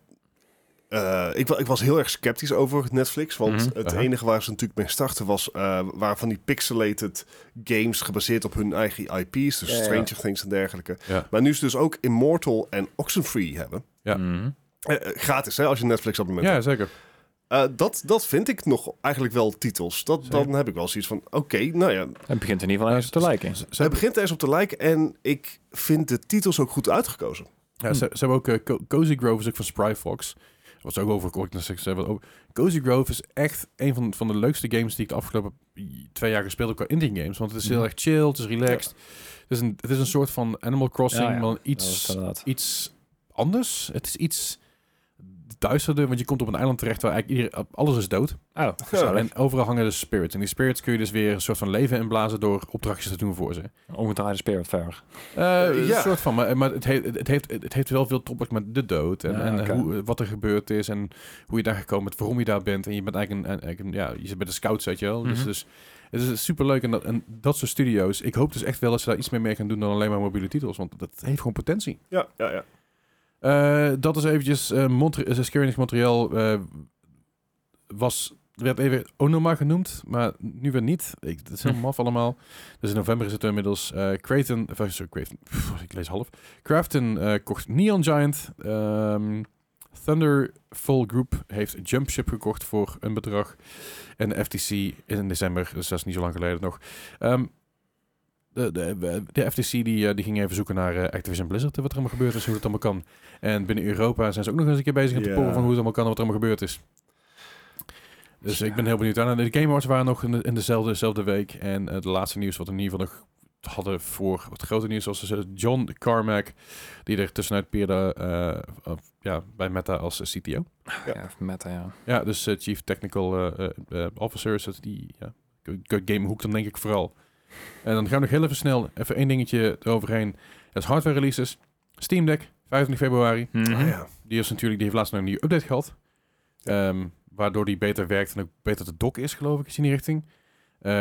[SPEAKER 3] eh, ik, wa- ik was heel erg sceptisch over Netflix. Want
[SPEAKER 2] Mhm.
[SPEAKER 3] het
[SPEAKER 1] Aha.
[SPEAKER 3] enige waar ze natuurlijk mee starten was... eh waren van die pixelated games gebaseerd op hun eigen IP's. Dus
[SPEAKER 2] Ja, ja.
[SPEAKER 3] Stranger Things en dergelijke.
[SPEAKER 1] Ja.
[SPEAKER 3] Maar nu ze dus ook Immortal en Oxenfree hebben.
[SPEAKER 1] Ja.
[SPEAKER 2] Mhm.
[SPEAKER 3] Eh, eh, gratis, hè, als je een Netflix abonnement
[SPEAKER 1] Ja, zeker.
[SPEAKER 3] Eh, dat, dat vind ik nog eigenlijk wel titels. Dat,
[SPEAKER 1] Zeker.
[SPEAKER 3] dan heb ik wel zoiets van, oké, nou ja.
[SPEAKER 2] Het begint in ieder geval ergens op te lijken.
[SPEAKER 3] Zij begint ergens op te lijken en ik vind de titels ook goed uitgekozen.
[SPEAKER 1] Ja, ze, ze hebben ook eh, Co- Cozy Grove is ook van Spryfox. Dat was ook overgekocht naar Six Seven. Ook- Cozy Grove is echt een van, van de leukste games die ik de afgelopen twee jaar gespeeld heb qua indie games. Want het is heel
[SPEAKER 2] Mhm.
[SPEAKER 1] erg chill, het is relaxed. Het, is een, het is een soort van Animal Crossing,
[SPEAKER 2] Ja, ja.
[SPEAKER 1] maar dan
[SPEAKER 2] Dat
[SPEAKER 1] iets,
[SPEAKER 2] is inderdaad.
[SPEAKER 1] iets anders. Het is iets duisterder, want je komt op een eiland terecht waar eigenlijk ieder, alles is dood.
[SPEAKER 2] Oh,
[SPEAKER 1] En overal hangen de spirits. En die spirits kun je dus weer een soort van leven inblazen door opdrachtjes te doen voor ze.
[SPEAKER 2] Een Omgedraaide spirit verder.
[SPEAKER 1] Eh,
[SPEAKER 3] Eh, ja.
[SPEAKER 1] Een soort van, maar, maar het, heeft, het, heeft, het heeft wel veel topic met de dood en,
[SPEAKER 2] Ja,
[SPEAKER 1] en
[SPEAKER 2] oké.
[SPEAKER 1] hoe, wat er gebeurd is en hoe je daar gekomen bent, waarom je daar bent. En je bent eigenlijk een, een- eigenlijk een- ja, je zit bij de scouts, weet je wel. Dus,
[SPEAKER 2] Mhm.
[SPEAKER 1] dus het is superleuk en dat, en dat soort studio's. Ik hoop dus echt wel dat ze daar iets meer mee gaan doen dan alleen maar mobiele titels, want dat heeft gewoon potentie.
[SPEAKER 3] Ja, ja, ja.
[SPEAKER 1] Eh, dat is eventjes eh Montre eh, Square Enix Montreal eh, was werd even Onoma genoemd, maar nu weer niet. Ik, dat is heel
[SPEAKER 2] Hm.
[SPEAKER 1] maf allemaal. Dus in november is het inmiddels eh Creighton, of, eh, sorry, Creighton, pff, ik lees half. Crafton eh, kocht Neon Giant. ehm Thunderfall Group heeft Jumpship gekocht voor een bedrag. En de FTC in december, dus dat is niet zo lang geleden nog. Ehm, de, de, de FTC die, eh, die ging even zoeken naar eh, Activision Blizzard en wat er allemaal gebeurd is, hoe het allemaal kan. En binnen Europa zijn ze ook nog eens een keer bezig om te
[SPEAKER 3] Ja.
[SPEAKER 1] porren van hoe het allemaal kan en wat er allemaal gebeurd is. Dus ik ben heel benieuwd. En de Game Awards waren nog in, de- in dezelfde, dezelfde week. En het de laatste nieuws wat we in ieder geval nog hadden voor het grote nieuws was dus, eh, John Carmack, die er tussenuit peerde eh, of, ja, bij Meta als eh, CTO.
[SPEAKER 3] Ja.
[SPEAKER 2] Ja, Ah, meta, ja.
[SPEAKER 1] Ja, dus eh, Chief Technical eh, eh, eh, Officer is dat die ja, Good Game Hoek dan denk ik vooral. En dan gaan we nog heel even snel even één dingetje eroverheen. Dat is hardware releases. Steam Deck, 25 februari.
[SPEAKER 2] Mhm.
[SPEAKER 3] Ah, ja.
[SPEAKER 1] Die, is natuurlijk, die heeft laatst nog een nieuwe update gehad. Ehm, waardoor die beter werkt en ook beter te dock is, geloof ik, is in die richting. Eh,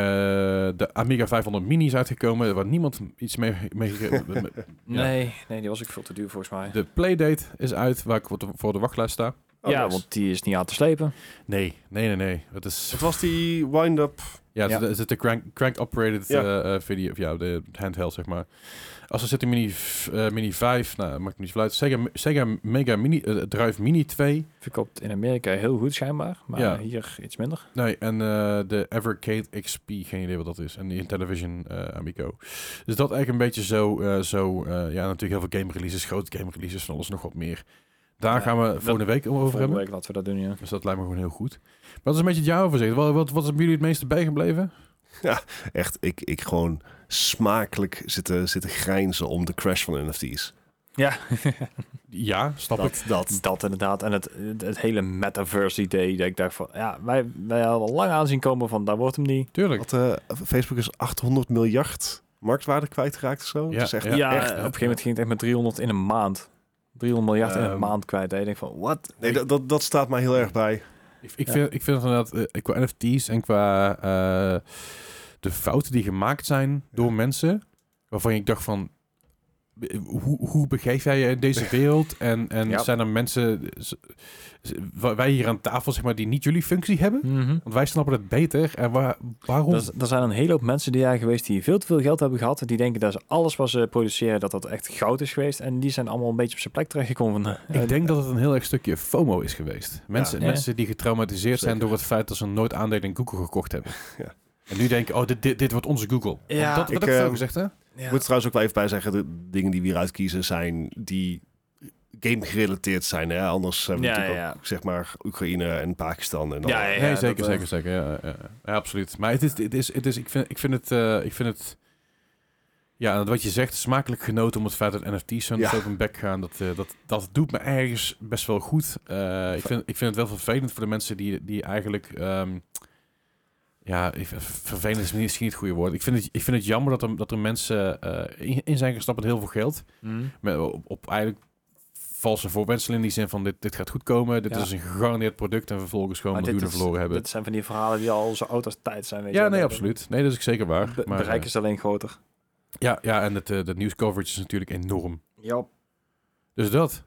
[SPEAKER 1] de Amiga 500 Mini is uitgekomen, waar niemand iets mee... mee
[SPEAKER 3] [laughs]
[SPEAKER 1] mee-
[SPEAKER 2] Nee, nee, die was ook veel te duur volgens mij.
[SPEAKER 1] de Playdate is uit, waar ik voor de- voor de wachtlijst sta.
[SPEAKER 3] Oh,
[SPEAKER 2] ja,
[SPEAKER 3] nice.
[SPEAKER 2] want die is niet aan te slepen.
[SPEAKER 1] Nee, nee, nee, nee. Het is
[SPEAKER 3] Wat was die wind-up?
[SPEAKER 1] Ja, het
[SPEAKER 2] Ja.
[SPEAKER 1] is de- het is de crank, crank-operated
[SPEAKER 3] Ja.
[SPEAKER 1] eh, eh, video, of ja, de handheld, zeg maar. Als er zit een Mini, v- eh, mini 5, nou, maakt niet zoveel uit. Sega, Sega Mega Mini, eh, Drive Mini 2.
[SPEAKER 2] Verkoopt in Amerika heel goed schijnbaar, maar
[SPEAKER 1] Ja.
[SPEAKER 2] hier iets minder.
[SPEAKER 1] Nee, en eh, de Evercade XP, geen idee wat dat is. En die Intellivision eh Amico. Dus dat eigenlijk een beetje zo, eh, zo eh, ja, natuurlijk heel veel game releases, grote game releases, van alles nog wat meer. Daar
[SPEAKER 2] Ja,
[SPEAKER 1] gaan we volgende week over
[SPEAKER 2] Volgende
[SPEAKER 1] hebben.
[SPEAKER 2] week laten we dat doen, ja.
[SPEAKER 1] Dus dat lijkt me gewoon heel goed. Maar dat is een beetje het jaaroverzicht. Wat, wat, wat is bij jullie het meeste bijgebleven?
[SPEAKER 3] Echt, ik, ik gewoon smakelijk zitten, zitten grijnzen om de crash van NFT's.
[SPEAKER 2] Ja, [laughs]
[SPEAKER 1] Ja, snap ik.
[SPEAKER 2] dat, dat. dat inderdaad. En het, het, het hele metaverse idee, dat ik dacht van, ja, wij, wij hadden lang aanzien komen van, daar wordt hem niet.
[SPEAKER 1] Tuurlijk.
[SPEAKER 3] Wat, eh, Facebook is 800 miljard marktwaarde kwijtgeraakt of zo.
[SPEAKER 1] Ja,
[SPEAKER 3] dat is echt
[SPEAKER 2] Ja,
[SPEAKER 1] echt.
[SPEAKER 2] op een gegeven moment ging het echt met 300 in een maand. 300 miljard in een
[SPEAKER 1] Ehm.
[SPEAKER 2] maand kwijt. En ik denk van, wat?
[SPEAKER 3] Nee, dat, dat, dat staat mij heel erg bij.
[SPEAKER 1] Ik, ik,
[SPEAKER 2] Ja.
[SPEAKER 1] vind, ik vind het inderdaad, eh, qua NFT's en qua eh, de fouten die gemaakt zijn door mensen, waarvan ik dacht van, eh, hoe, hoe begeef jij je in
[SPEAKER 3] [laughs]
[SPEAKER 1] deze wereld? En, en
[SPEAKER 2] Ja.
[SPEAKER 1] zijn er mensen, z- z- wa- wij hier aan tafel, zeg maar, die niet jullie functie hebben? Want wij snappen het beter. En waar, waarom?
[SPEAKER 2] Er, er zijn een hele hoop mensen die daar geweest die veel te veel geld hebben gehad. Die denken dat ze alles wat ze produceren, dat dat echt goud is geweest. En die zijn allemaal een beetje op zijn plek terechtgekomen. Van, eh,
[SPEAKER 1] ik denk dat het een heel erg stukje FOMO is geweest. Mensen,
[SPEAKER 2] Ja.
[SPEAKER 1] mensen die getraumatiseerd zijn
[SPEAKER 3] Zeker.
[SPEAKER 1] door het feit dat ze nooit aandelen in Google gekocht hebben.
[SPEAKER 3] [laughs] Ja.
[SPEAKER 1] En nu denken, oh, dit, dit, dit wordt onze Google.
[SPEAKER 2] Ja.
[SPEAKER 1] Want dat
[SPEAKER 3] Ik,
[SPEAKER 1] wordt ook veel
[SPEAKER 3] ehm,
[SPEAKER 1] gezegd, hè?
[SPEAKER 2] [laughs] ja.
[SPEAKER 3] Ik moet er trouwens ook wel even bij zeggen, de dingen die we hieruit kiezen zijn die game gerelateerd zijn. Hè? Anders hebben we
[SPEAKER 2] Ja,
[SPEAKER 3] natuurlijk
[SPEAKER 2] ja.
[SPEAKER 3] ook, zeg maar, Oekraïne en Pakistan. En dan,
[SPEAKER 2] Ja, ja.
[SPEAKER 1] nee, zeker,
[SPEAKER 2] dat, eh,
[SPEAKER 1] zeker, zeker. Ja, ja, ja, absoluut. Maar het is, het is, het is, ik, vind, ik vind het, eh, ik vind het, ja, wat je zegt, smakelijk genoten om het feit dat NFT's zo'n
[SPEAKER 3] Ja.
[SPEAKER 1] zo op hun bek gaan. Dat, eh, dat, dat doet me ergens best wel goed. Eh, ik, vind, ik vind het wel vervelend voor de mensen die, die eigenlijk, ehm, ja, ik vind- vervelend is misschien niet het goede woord. Ik vind het, ik vind het jammer dat er, dat er mensen eh, in, in zijn gestapt met heel veel geld.
[SPEAKER 2] Mhm.
[SPEAKER 1] Met, op, op eigenlijk valse voorwenselen in die zin van dit, dit gaat goed komen, dit
[SPEAKER 2] Ja.
[SPEAKER 1] is een gegarandeerd product en vervolgens gewoon
[SPEAKER 2] Maar dit
[SPEAKER 1] miljoenen
[SPEAKER 2] is-
[SPEAKER 1] verloren hebben.
[SPEAKER 2] Dit zijn van die verhalen die al zo oud als tijd zijn. Weet je
[SPEAKER 1] Ja,
[SPEAKER 2] wel.
[SPEAKER 1] nee,
[SPEAKER 2] Dat-
[SPEAKER 1] absoluut. Nee, dat is ook zeker waar.
[SPEAKER 2] Be-
[SPEAKER 1] maar,
[SPEAKER 2] bereik
[SPEAKER 1] eh,
[SPEAKER 2] is alleen groter.
[SPEAKER 1] ja, ja, en het, eh dat nieuwscoverage is natuurlijk enorm.
[SPEAKER 2] Ja.
[SPEAKER 1] Dus dat.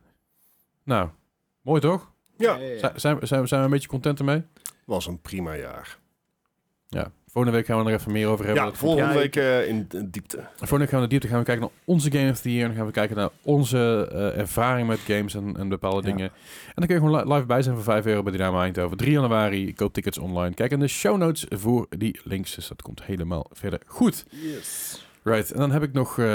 [SPEAKER 1] Nou, mooi toch?
[SPEAKER 3] Ja.
[SPEAKER 1] Zijn, zijn, we- zijn we een beetje content ermee?
[SPEAKER 3] was een prima jaar.
[SPEAKER 1] Ja, Volgende week gaan we er even meer over hebben.
[SPEAKER 3] Ja,
[SPEAKER 1] Dat-
[SPEAKER 3] volgende
[SPEAKER 2] Ja, ik-
[SPEAKER 3] week eh, in in diepte.
[SPEAKER 1] Volgende week gaan we naar diepte. Gaan we kijken naar onze Game of the Year. En dan gaan we kijken naar onze eh, ervaring met games en, en bepaalde
[SPEAKER 2] Ja.
[SPEAKER 1] dingen. En dan kun je gewoon li- live bij zijn voor 5 euro bij Dynamo Eindhoven. 3 januari. Koop tickets online. Kijk in de show notes voor die links. Dus dat komt helemaal verder goed. Right. En dan heb ik nog, eh,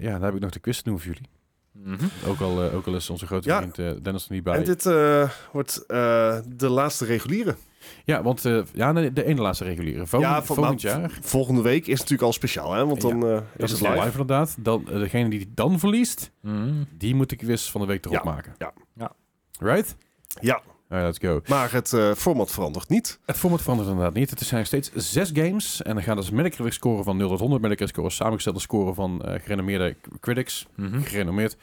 [SPEAKER 1] ja, dan heb ik nog de quiz te doen voor jullie.
[SPEAKER 2] Mhm.
[SPEAKER 1] Ook al, eh, ook al is onze grote
[SPEAKER 3] Ja.
[SPEAKER 1] vriend eh, Dennis er niet bij.
[SPEAKER 3] En dit eh, wordt eh, de laatste reguliere.
[SPEAKER 1] Ja, want eh, ja, nee, de ene laatste reguliere. Volgend,
[SPEAKER 3] Ja, van-
[SPEAKER 1] volgend
[SPEAKER 3] nou,
[SPEAKER 1] jaar.
[SPEAKER 3] Volgende week is natuurlijk al speciaal, hè? Want
[SPEAKER 1] Ja,
[SPEAKER 3] dan eh,
[SPEAKER 1] Dat is live, inderdaad. Dan, eh, degene die dan verliest, die moet de quiz van de week erop
[SPEAKER 3] Ja,
[SPEAKER 1] maken.
[SPEAKER 3] ja.
[SPEAKER 2] Ja.
[SPEAKER 1] Right?
[SPEAKER 3] Ja.
[SPEAKER 1] Alright, let's go.
[SPEAKER 3] Maar het eh, format verandert niet.
[SPEAKER 1] Het format verandert inderdaad niet. Het zijn nog steeds zes games. En dan gaan dus Metacritic scoren van 0 tot 100. Metacritic score is samengesteld door scoren van eh, gerenommeerde k- critics.
[SPEAKER 2] Hm?
[SPEAKER 1] Gerenommeerd.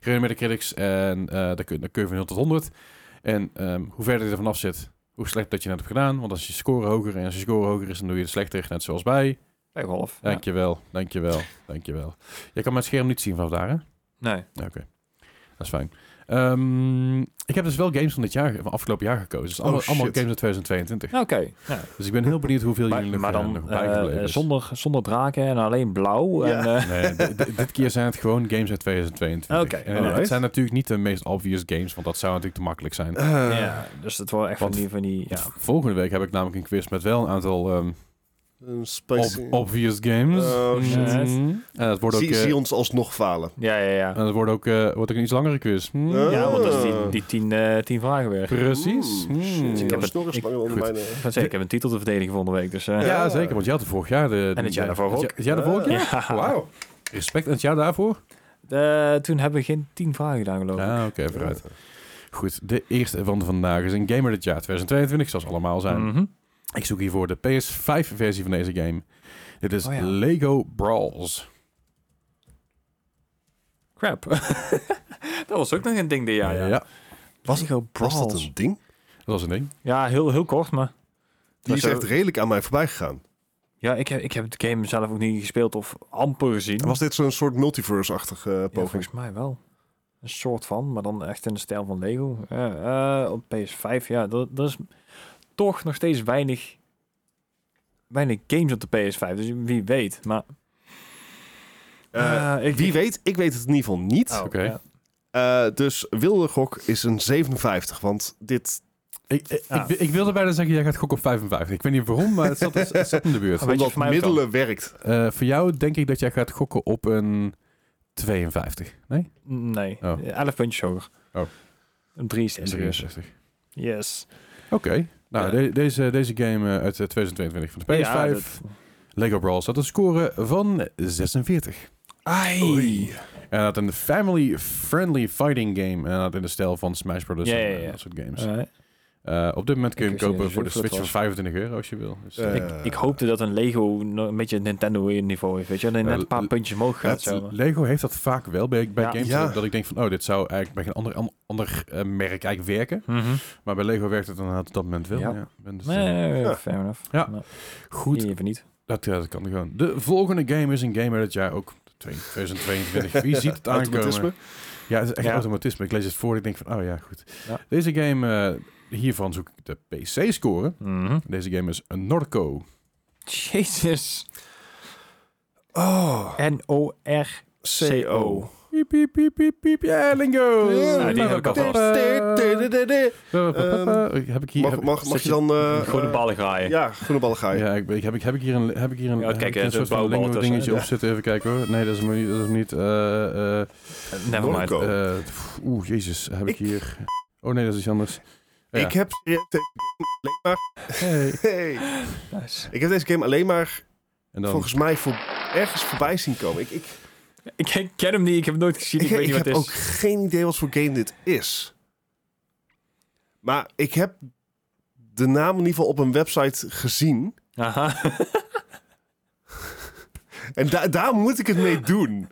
[SPEAKER 1] Gerenommeerde critics. En eh daar, kun, daar kun je van 0 tot 100. En ehm, hoe verder je er vanaf zit, hoe slecht dat je net hebt gedaan. Want als je score hoger en als je score hoger is, dan doe je het slechter. Net zoals bij.
[SPEAKER 2] Bij Golf. Ja.
[SPEAKER 1] Dankjewel, dankjewel, dankjewel. Je kan mijn scherm niet zien vanaf daar, hè?
[SPEAKER 2] Nee.
[SPEAKER 1] Ja, Oké, dat is fijn. Ehm, ik heb dus wel games van dit jaar, van afgelopen jaar gekozen. Dus allemaal,
[SPEAKER 3] Oh,
[SPEAKER 1] allemaal
[SPEAKER 3] shit.
[SPEAKER 1] games uit 2022.
[SPEAKER 2] Ja, Nou, Oké. Ja.
[SPEAKER 1] Dus ik ben heel benieuwd hoeveel
[SPEAKER 2] Maar,
[SPEAKER 1] jullie nog,
[SPEAKER 2] maar
[SPEAKER 1] eh,
[SPEAKER 2] dan
[SPEAKER 1] nog
[SPEAKER 2] eh,
[SPEAKER 1] bijgebleven is.
[SPEAKER 2] zonder, zonder draken en alleen blauw.
[SPEAKER 3] Ja.
[SPEAKER 2] En, eh,
[SPEAKER 1] Nee, d- d- dit keer zijn het gewoon games uit 2022.
[SPEAKER 2] Oké,
[SPEAKER 1] En
[SPEAKER 2] alright.
[SPEAKER 1] Het zijn natuurlijk niet de meest obvious games, want dat zou natuurlijk te makkelijk zijn.
[SPEAKER 3] Eh,
[SPEAKER 2] ja, dus het wordt echt van
[SPEAKER 1] Want-
[SPEAKER 2] die... Van die ja.
[SPEAKER 1] Volgende week heb ik namelijk een quiz met wel een aantal ehm,
[SPEAKER 3] een
[SPEAKER 1] ob-
[SPEAKER 3] space-
[SPEAKER 1] obvious games.
[SPEAKER 3] Oh, shit.
[SPEAKER 1] Mhm. En dat wordt ook,
[SPEAKER 3] zie,
[SPEAKER 1] eh,
[SPEAKER 3] zie ons alsnog falen.
[SPEAKER 2] ja, ja, ja.
[SPEAKER 1] en dat wordt ook, eh, wordt ook een iets langere quiz. Hm?
[SPEAKER 3] Eh,
[SPEAKER 2] Ja, want dat is die, die tien, eh, tien vragen weer.
[SPEAKER 1] Precies.
[SPEAKER 3] Mm, shit,
[SPEAKER 1] Hmm.
[SPEAKER 3] Ik heb het nog
[SPEAKER 2] ik-
[SPEAKER 3] onder
[SPEAKER 1] goed.
[SPEAKER 3] mijn... eh,
[SPEAKER 2] Ik, wou zeggen, ik heb een titel te verdedigen volgende week, dus... eh,
[SPEAKER 1] Ja,
[SPEAKER 3] Ja.
[SPEAKER 1] zeker. Want je had er vorig jaar de...
[SPEAKER 2] En het jaar
[SPEAKER 1] de-
[SPEAKER 2] daarvoor ook.
[SPEAKER 1] Het, jaar daarvoor ook, ja.
[SPEAKER 2] [laughs] ja.
[SPEAKER 1] Wauw. Respect. En het jaar daarvoor?
[SPEAKER 2] Eh, toen hebben we geen tien vragen gedaan, geloof ik.
[SPEAKER 1] Ja, oké, vooruit.
[SPEAKER 3] eh,
[SPEAKER 1] Goed, de eerste van vandaag is een gamer dit jaar 2022, zoals allemaal zijn.
[SPEAKER 2] Mhm.
[SPEAKER 1] Ik zoek hiervoor de PS5-versie van deze game. Dit is
[SPEAKER 2] Oh ja.
[SPEAKER 1] Lego Brawls.
[SPEAKER 2] Crap. [laughs] dat was ook nog een ding dit jaar, ja. Was Lego
[SPEAKER 3] Was dat
[SPEAKER 2] Brawls.
[SPEAKER 3] een ding?
[SPEAKER 1] dat was een ding.
[SPEAKER 2] Ja, heel, heel kort, maar...
[SPEAKER 3] Die
[SPEAKER 2] Maar
[SPEAKER 3] is
[SPEAKER 2] zo-
[SPEAKER 3] echt redelijk aan mij voorbij gegaan.
[SPEAKER 2] Ja, ik heb, ik heb de game zelf ook niet gespeeld of amper gezien.
[SPEAKER 3] Was dit zo'n soort multiverse-achtige eh,
[SPEAKER 2] Ja,
[SPEAKER 3] poging?
[SPEAKER 2] volgens mij wel. Een soort van, maar dan echt in de stijl van Lego. Ja, eh, op PS5, ja, dat, dat is toch nog steeds weinig, weinig games op de PS5. Dus wie weet, maar...
[SPEAKER 3] Eh,
[SPEAKER 2] eh, ik,
[SPEAKER 3] Wie weet, ik weet het in ieder geval niet.
[SPEAKER 2] Oh,
[SPEAKER 1] [laughs] Oké.
[SPEAKER 2] ja.
[SPEAKER 3] Eh, dus wilde gok is een 57, want dit...
[SPEAKER 1] Ik, eh, Ah.
[SPEAKER 2] Ja.
[SPEAKER 1] ik, ik, ik wilde bijna zeggen, jij gaat gokken op 55. Ik weet niet waarom, maar het zat, het zat in de [laughs] buurt.
[SPEAKER 2] Weet je,
[SPEAKER 3] Omdat
[SPEAKER 2] voor mij ook
[SPEAKER 3] middelen werkt.
[SPEAKER 1] Eh, voor jou denk ik dat jij gaat gokken op een 52. Nee?
[SPEAKER 2] Nee,
[SPEAKER 1] Oh.
[SPEAKER 2] 11 puntjes hoger.
[SPEAKER 1] Oh.
[SPEAKER 2] Een 3 is serieus.
[SPEAKER 1] 63.
[SPEAKER 2] Yes.
[SPEAKER 1] Oké. Nou,
[SPEAKER 2] Ja.
[SPEAKER 1] de- deze, deze game eh, uit eh, 2022 van de PS5.
[SPEAKER 2] Ja, dat-
[SPEAKER 1] Lego Brawls had een score van 46.
[SPEAKER 3] Oei.
[SPEAKER 1] En dat een family-friendly fighting game. En dat in de stijl van Smash Bros.
[SPEAKER 2] Ja,
[SPEAKER 1] en
[SPEAKER 2] ja,
[SPEAKER 1] eh,
[SPEAKER 2] ja.
[SPEAKER 1] dat soort games.
[SPEAKER 2] eh,
[SPEAKER 1] Eh, op dit moment kun je
[SPEAKER 2] Ik
[SPEAKER 1] hem
[SPEAKER 2] wist niet
[SPEAKER 1] kopen
[SPEAKER 2] eens
[SPEAKER 1] voor de
[SPEAKER 2] hoeveel
[SPEAKER 1] Switch voor
[SPEAKER 2] het
[SPEAKER 1] 25 euro als je wil. Dus, eh,
[SPEAKER 2] ik,
[SPEAKER 3] Eh,
[SPEAKER 2] ik hoopte dat een Lego nog een beetje Nintendo niveau heeft, weet je. Dat hij
[SPEAKER 1] Eh,
[SPEAKER 2] net een paar
[SPEAKER 1] l-
[SPEAKER 2] puntjes omhoog gaat.
[SPEAKER 1] het-
[SPEAKER 2] Zo. maar-
[SPEAKER 1] Lego heeft dat vaak wel bij, bij
[SPEAKER 2] Ja.
[SPEAKER 1] games.
[SPEAKER 3] Ja.
[SPEAKER 1] Dat, dat ik denk van, oh, dit zou eigenlijk bij geen ander, an- ander eh, merk eigenlijk werken.
[SPEAKER 2] Mhm.
[SPEAKER 1] Maar bij Lego werkt het inderdaad op dat moment wel.
[SPEAKER 2] Ja.
[SPEAKER 1] Ja. En dus, eh,
[SPEAKER 2] Nee,
[SPEAKER 3] Ja.
[SPEAKER 2] fair enough.
[SPEAKER 1] Ja.
[SPEAKER 2] Maar
[SPEAKER 1] Goed,
[SPEAKER 2] hier Even niet.
[SPEAKER 1] dat, ja, dat kan gewoon. De volgende game is een game uit het jaar ook
[SPEAKER 2] [laughs]
[SPEAKER 1] 2022. Wie ziet het aankomen?
[SPEAKER 3] Eh, Automatisme.
[SPEAKER 1] Ja, het is echt
[SPEAKER 2] Ja.
[SPEAKER 1] automatisme. Ik lees het voor en ik denk van, oh ja, goed.
[SPEAKER 2] Ja.
[SPEAKER 1] Deze game, eh, hiervan zoek ik de PC-score.
[SPEAKER 2] Mhm.
[SPEAKER 1] Deze game is een Norco.
[SPEAKER 2] Jezus.
[SPEAKER 3] Oh,
[SPEAKER 2] N-O-R-C-O.
[SPEAKER 1] Piep, piep, piep, piep, piep. Ja, lingo! Nou,
[SPEAKER 3] Ja, nou,
[SPEAKER 2] die heb ik alvast.
[SPEAKER 1] Eh, Ehm, Heb ik hier... heb
[SPEAKER 3] Mag,
[SPEAKER 1] ik-
[SPEAKER 3] mag, mag
[SPEAKER 1] zet
[SPEAKER 3] je dan... eh,
[SPEAKER 2] Gewoon
[SPEAKER 3] eh,
[SPEAKER 2] ballen graaien.
[SPEAKER 3] Ja, groene ballen ga je.
[SPEAKER 1] Ja, ik, ben- ik heb, ik heb ik hier een, heb ik hier een,
[SPEAKER 2] Ja,
[SPEAKER 1] heb
[SPEAKER 2] kijk,
[SPEAKER 1] ik hier
[SPEAKER 2] er
[SPEAKER 1] een
[SPEAKER 2] is
[SPEAKER 1] soort
[SPEAKER 2] een
[SPEAKER 1] van
[SPEAKER 2] blauwe
[SPEAKER 1] lingo
[SPEAKER 2] bal tussen,
[SPEAKER 1] dingetje
[SPEAKER 3] hè?
[SPEAKER 1] op zitten. Even kijken hoor. Nee, dat is hem niet. Dat is hem niet. Eh, eh,
[SPEAKER 2] Never mind.
[SPEAKER 3] Norco.
[SPEAKER 1] eh, pff, Oeh, jezus. Heb ik
[SPEAKER 3] Ik-
[SPEAKER 1] hier... Oh nee, dat is iets anders. Ja.
[SPEAKER 3] Ik heb serieus deze game alleen maar...
[SPEAKER 2] Eh,
[SPEAKER 1] Hey.
[SPEAKER 3] [laughs] Hey.
[SPEAKER 2] Nice.
[SPEAKER 3] Ik heb deze game alleen maar
[SPEAKER 1] En dan...
[SPEAKER 3] volgens mij voor, ergens voorbij zien komen. Ik, ik,
[SPEAKER 2] Ik, ik ken hem niet, ik heb hem nooit gezien, ik,
[SPEAKER 3] Ik,
[SPEAKER 2] weet
[SPEAKER 3] ik
[SPEAKER 2] niet wat
[SPEAKER 3] heb
[SPEAKER 2] het
[SPEAKER 3] ook
[SPEAKER 2] is.
[SPEAKER 3] geen idee wat voor game dit is. Maar ik heb de naam in ieder geval op een website gezien.
[SPEAKER 2] Aha. [laughs]
[SPEAKER 3] En da- daar moet ik het mee doen.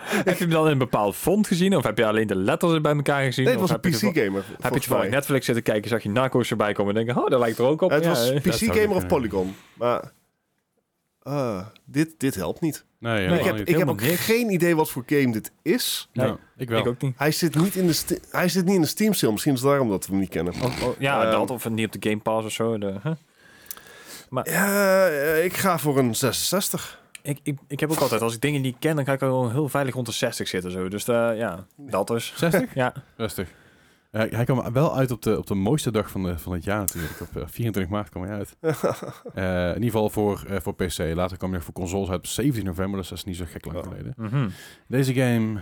[SPEAKER 2] heb je hem dan in een bepaald font gezien? Of heb je alleen de letters bij elkaar gezien?
[SPEAKER 3] Nee, het
[SPEAKER 2] Of
[SPEAKER 3] was een
[SPEAKER 2] heb je toeval-
[SPEAKER 3] PC-gamer.
[SPEAKER 2] Heb je toevallig Netflix zitten kijken, zag je Narcos erbij komen en denken, oh, dat lijkt er ook op.
[SPEAKER 3] Het
[SPEAKER 2] Ja,
[SPEAKER 3] was
[SPEAKER 2] hè.
[SPEAKER 3] PC-gamer of
[SPEAKER 1] kunnen.
[SPEAKER 3] Polygon. Maar eh, dit, dit helpt niet.
[SPEAKER 1] Nee,
[SPEAKER 2] Nee,
[SPEAKER 1] helemaal
[SPEAKER 3] ik heb,
[SPEAKER 1] niet.
[SPEAKER 3] ik heb
[SPEAKER 2] helemaal
[SPEAKER 3] ook
[SPEAKER 2] niks.
[SPEAKER 3] geen idee wat voor game dit is.
[SPEAKER 2] Nee.
[SPEAKER 1] Nou, ik wel.
[SPEAKER 2] Ik ook niet.
[SPEAKER 3] Hij zit niet in de, Ste- hij zit niet in de Steam
[SPEAKER 2] Oh.
[SPEAKER 3] sale. Misschien is het daarom dat we hem niet kennen.
[SPEAKER 2] Ja,
[SPEAKER 3] Ehm,
[SPEAKER 2] dat of niet op de Game Pass of zo. De, huh? Maar
[SPEAKER 3] Eh, ik ga voor een 66.
[SPEAKER 2] ik, ik, ik heb ook altijd, als ik dingen niet ken, dan ga ik al heel veilig rond de 60 zitten. Zo. Dus eh, ja, dat dus.
[SPEAKER 1] 60?
[SPEAKER 2] Ja,
[SPEAKER 1] Rustig. Eh, hij kwam wel uit op de, op de mooiste dag van, de, van het jaar natuurlijk. Op eh, 24 maart kwam hij
[SPEAKER 3] [laughs]
[SPEAKER 1] uit. Eh, in ieder geval voor, eh, voor PC. Later kwam hij nog voor consoles uit op 17 november. Dus dat is niet zo gek lang
[SPEAKER 3] Ja.
[SPEAKER 1] geleden.
[SPEAKER 2] Mhm.
[SPEAKER 1] Deze game...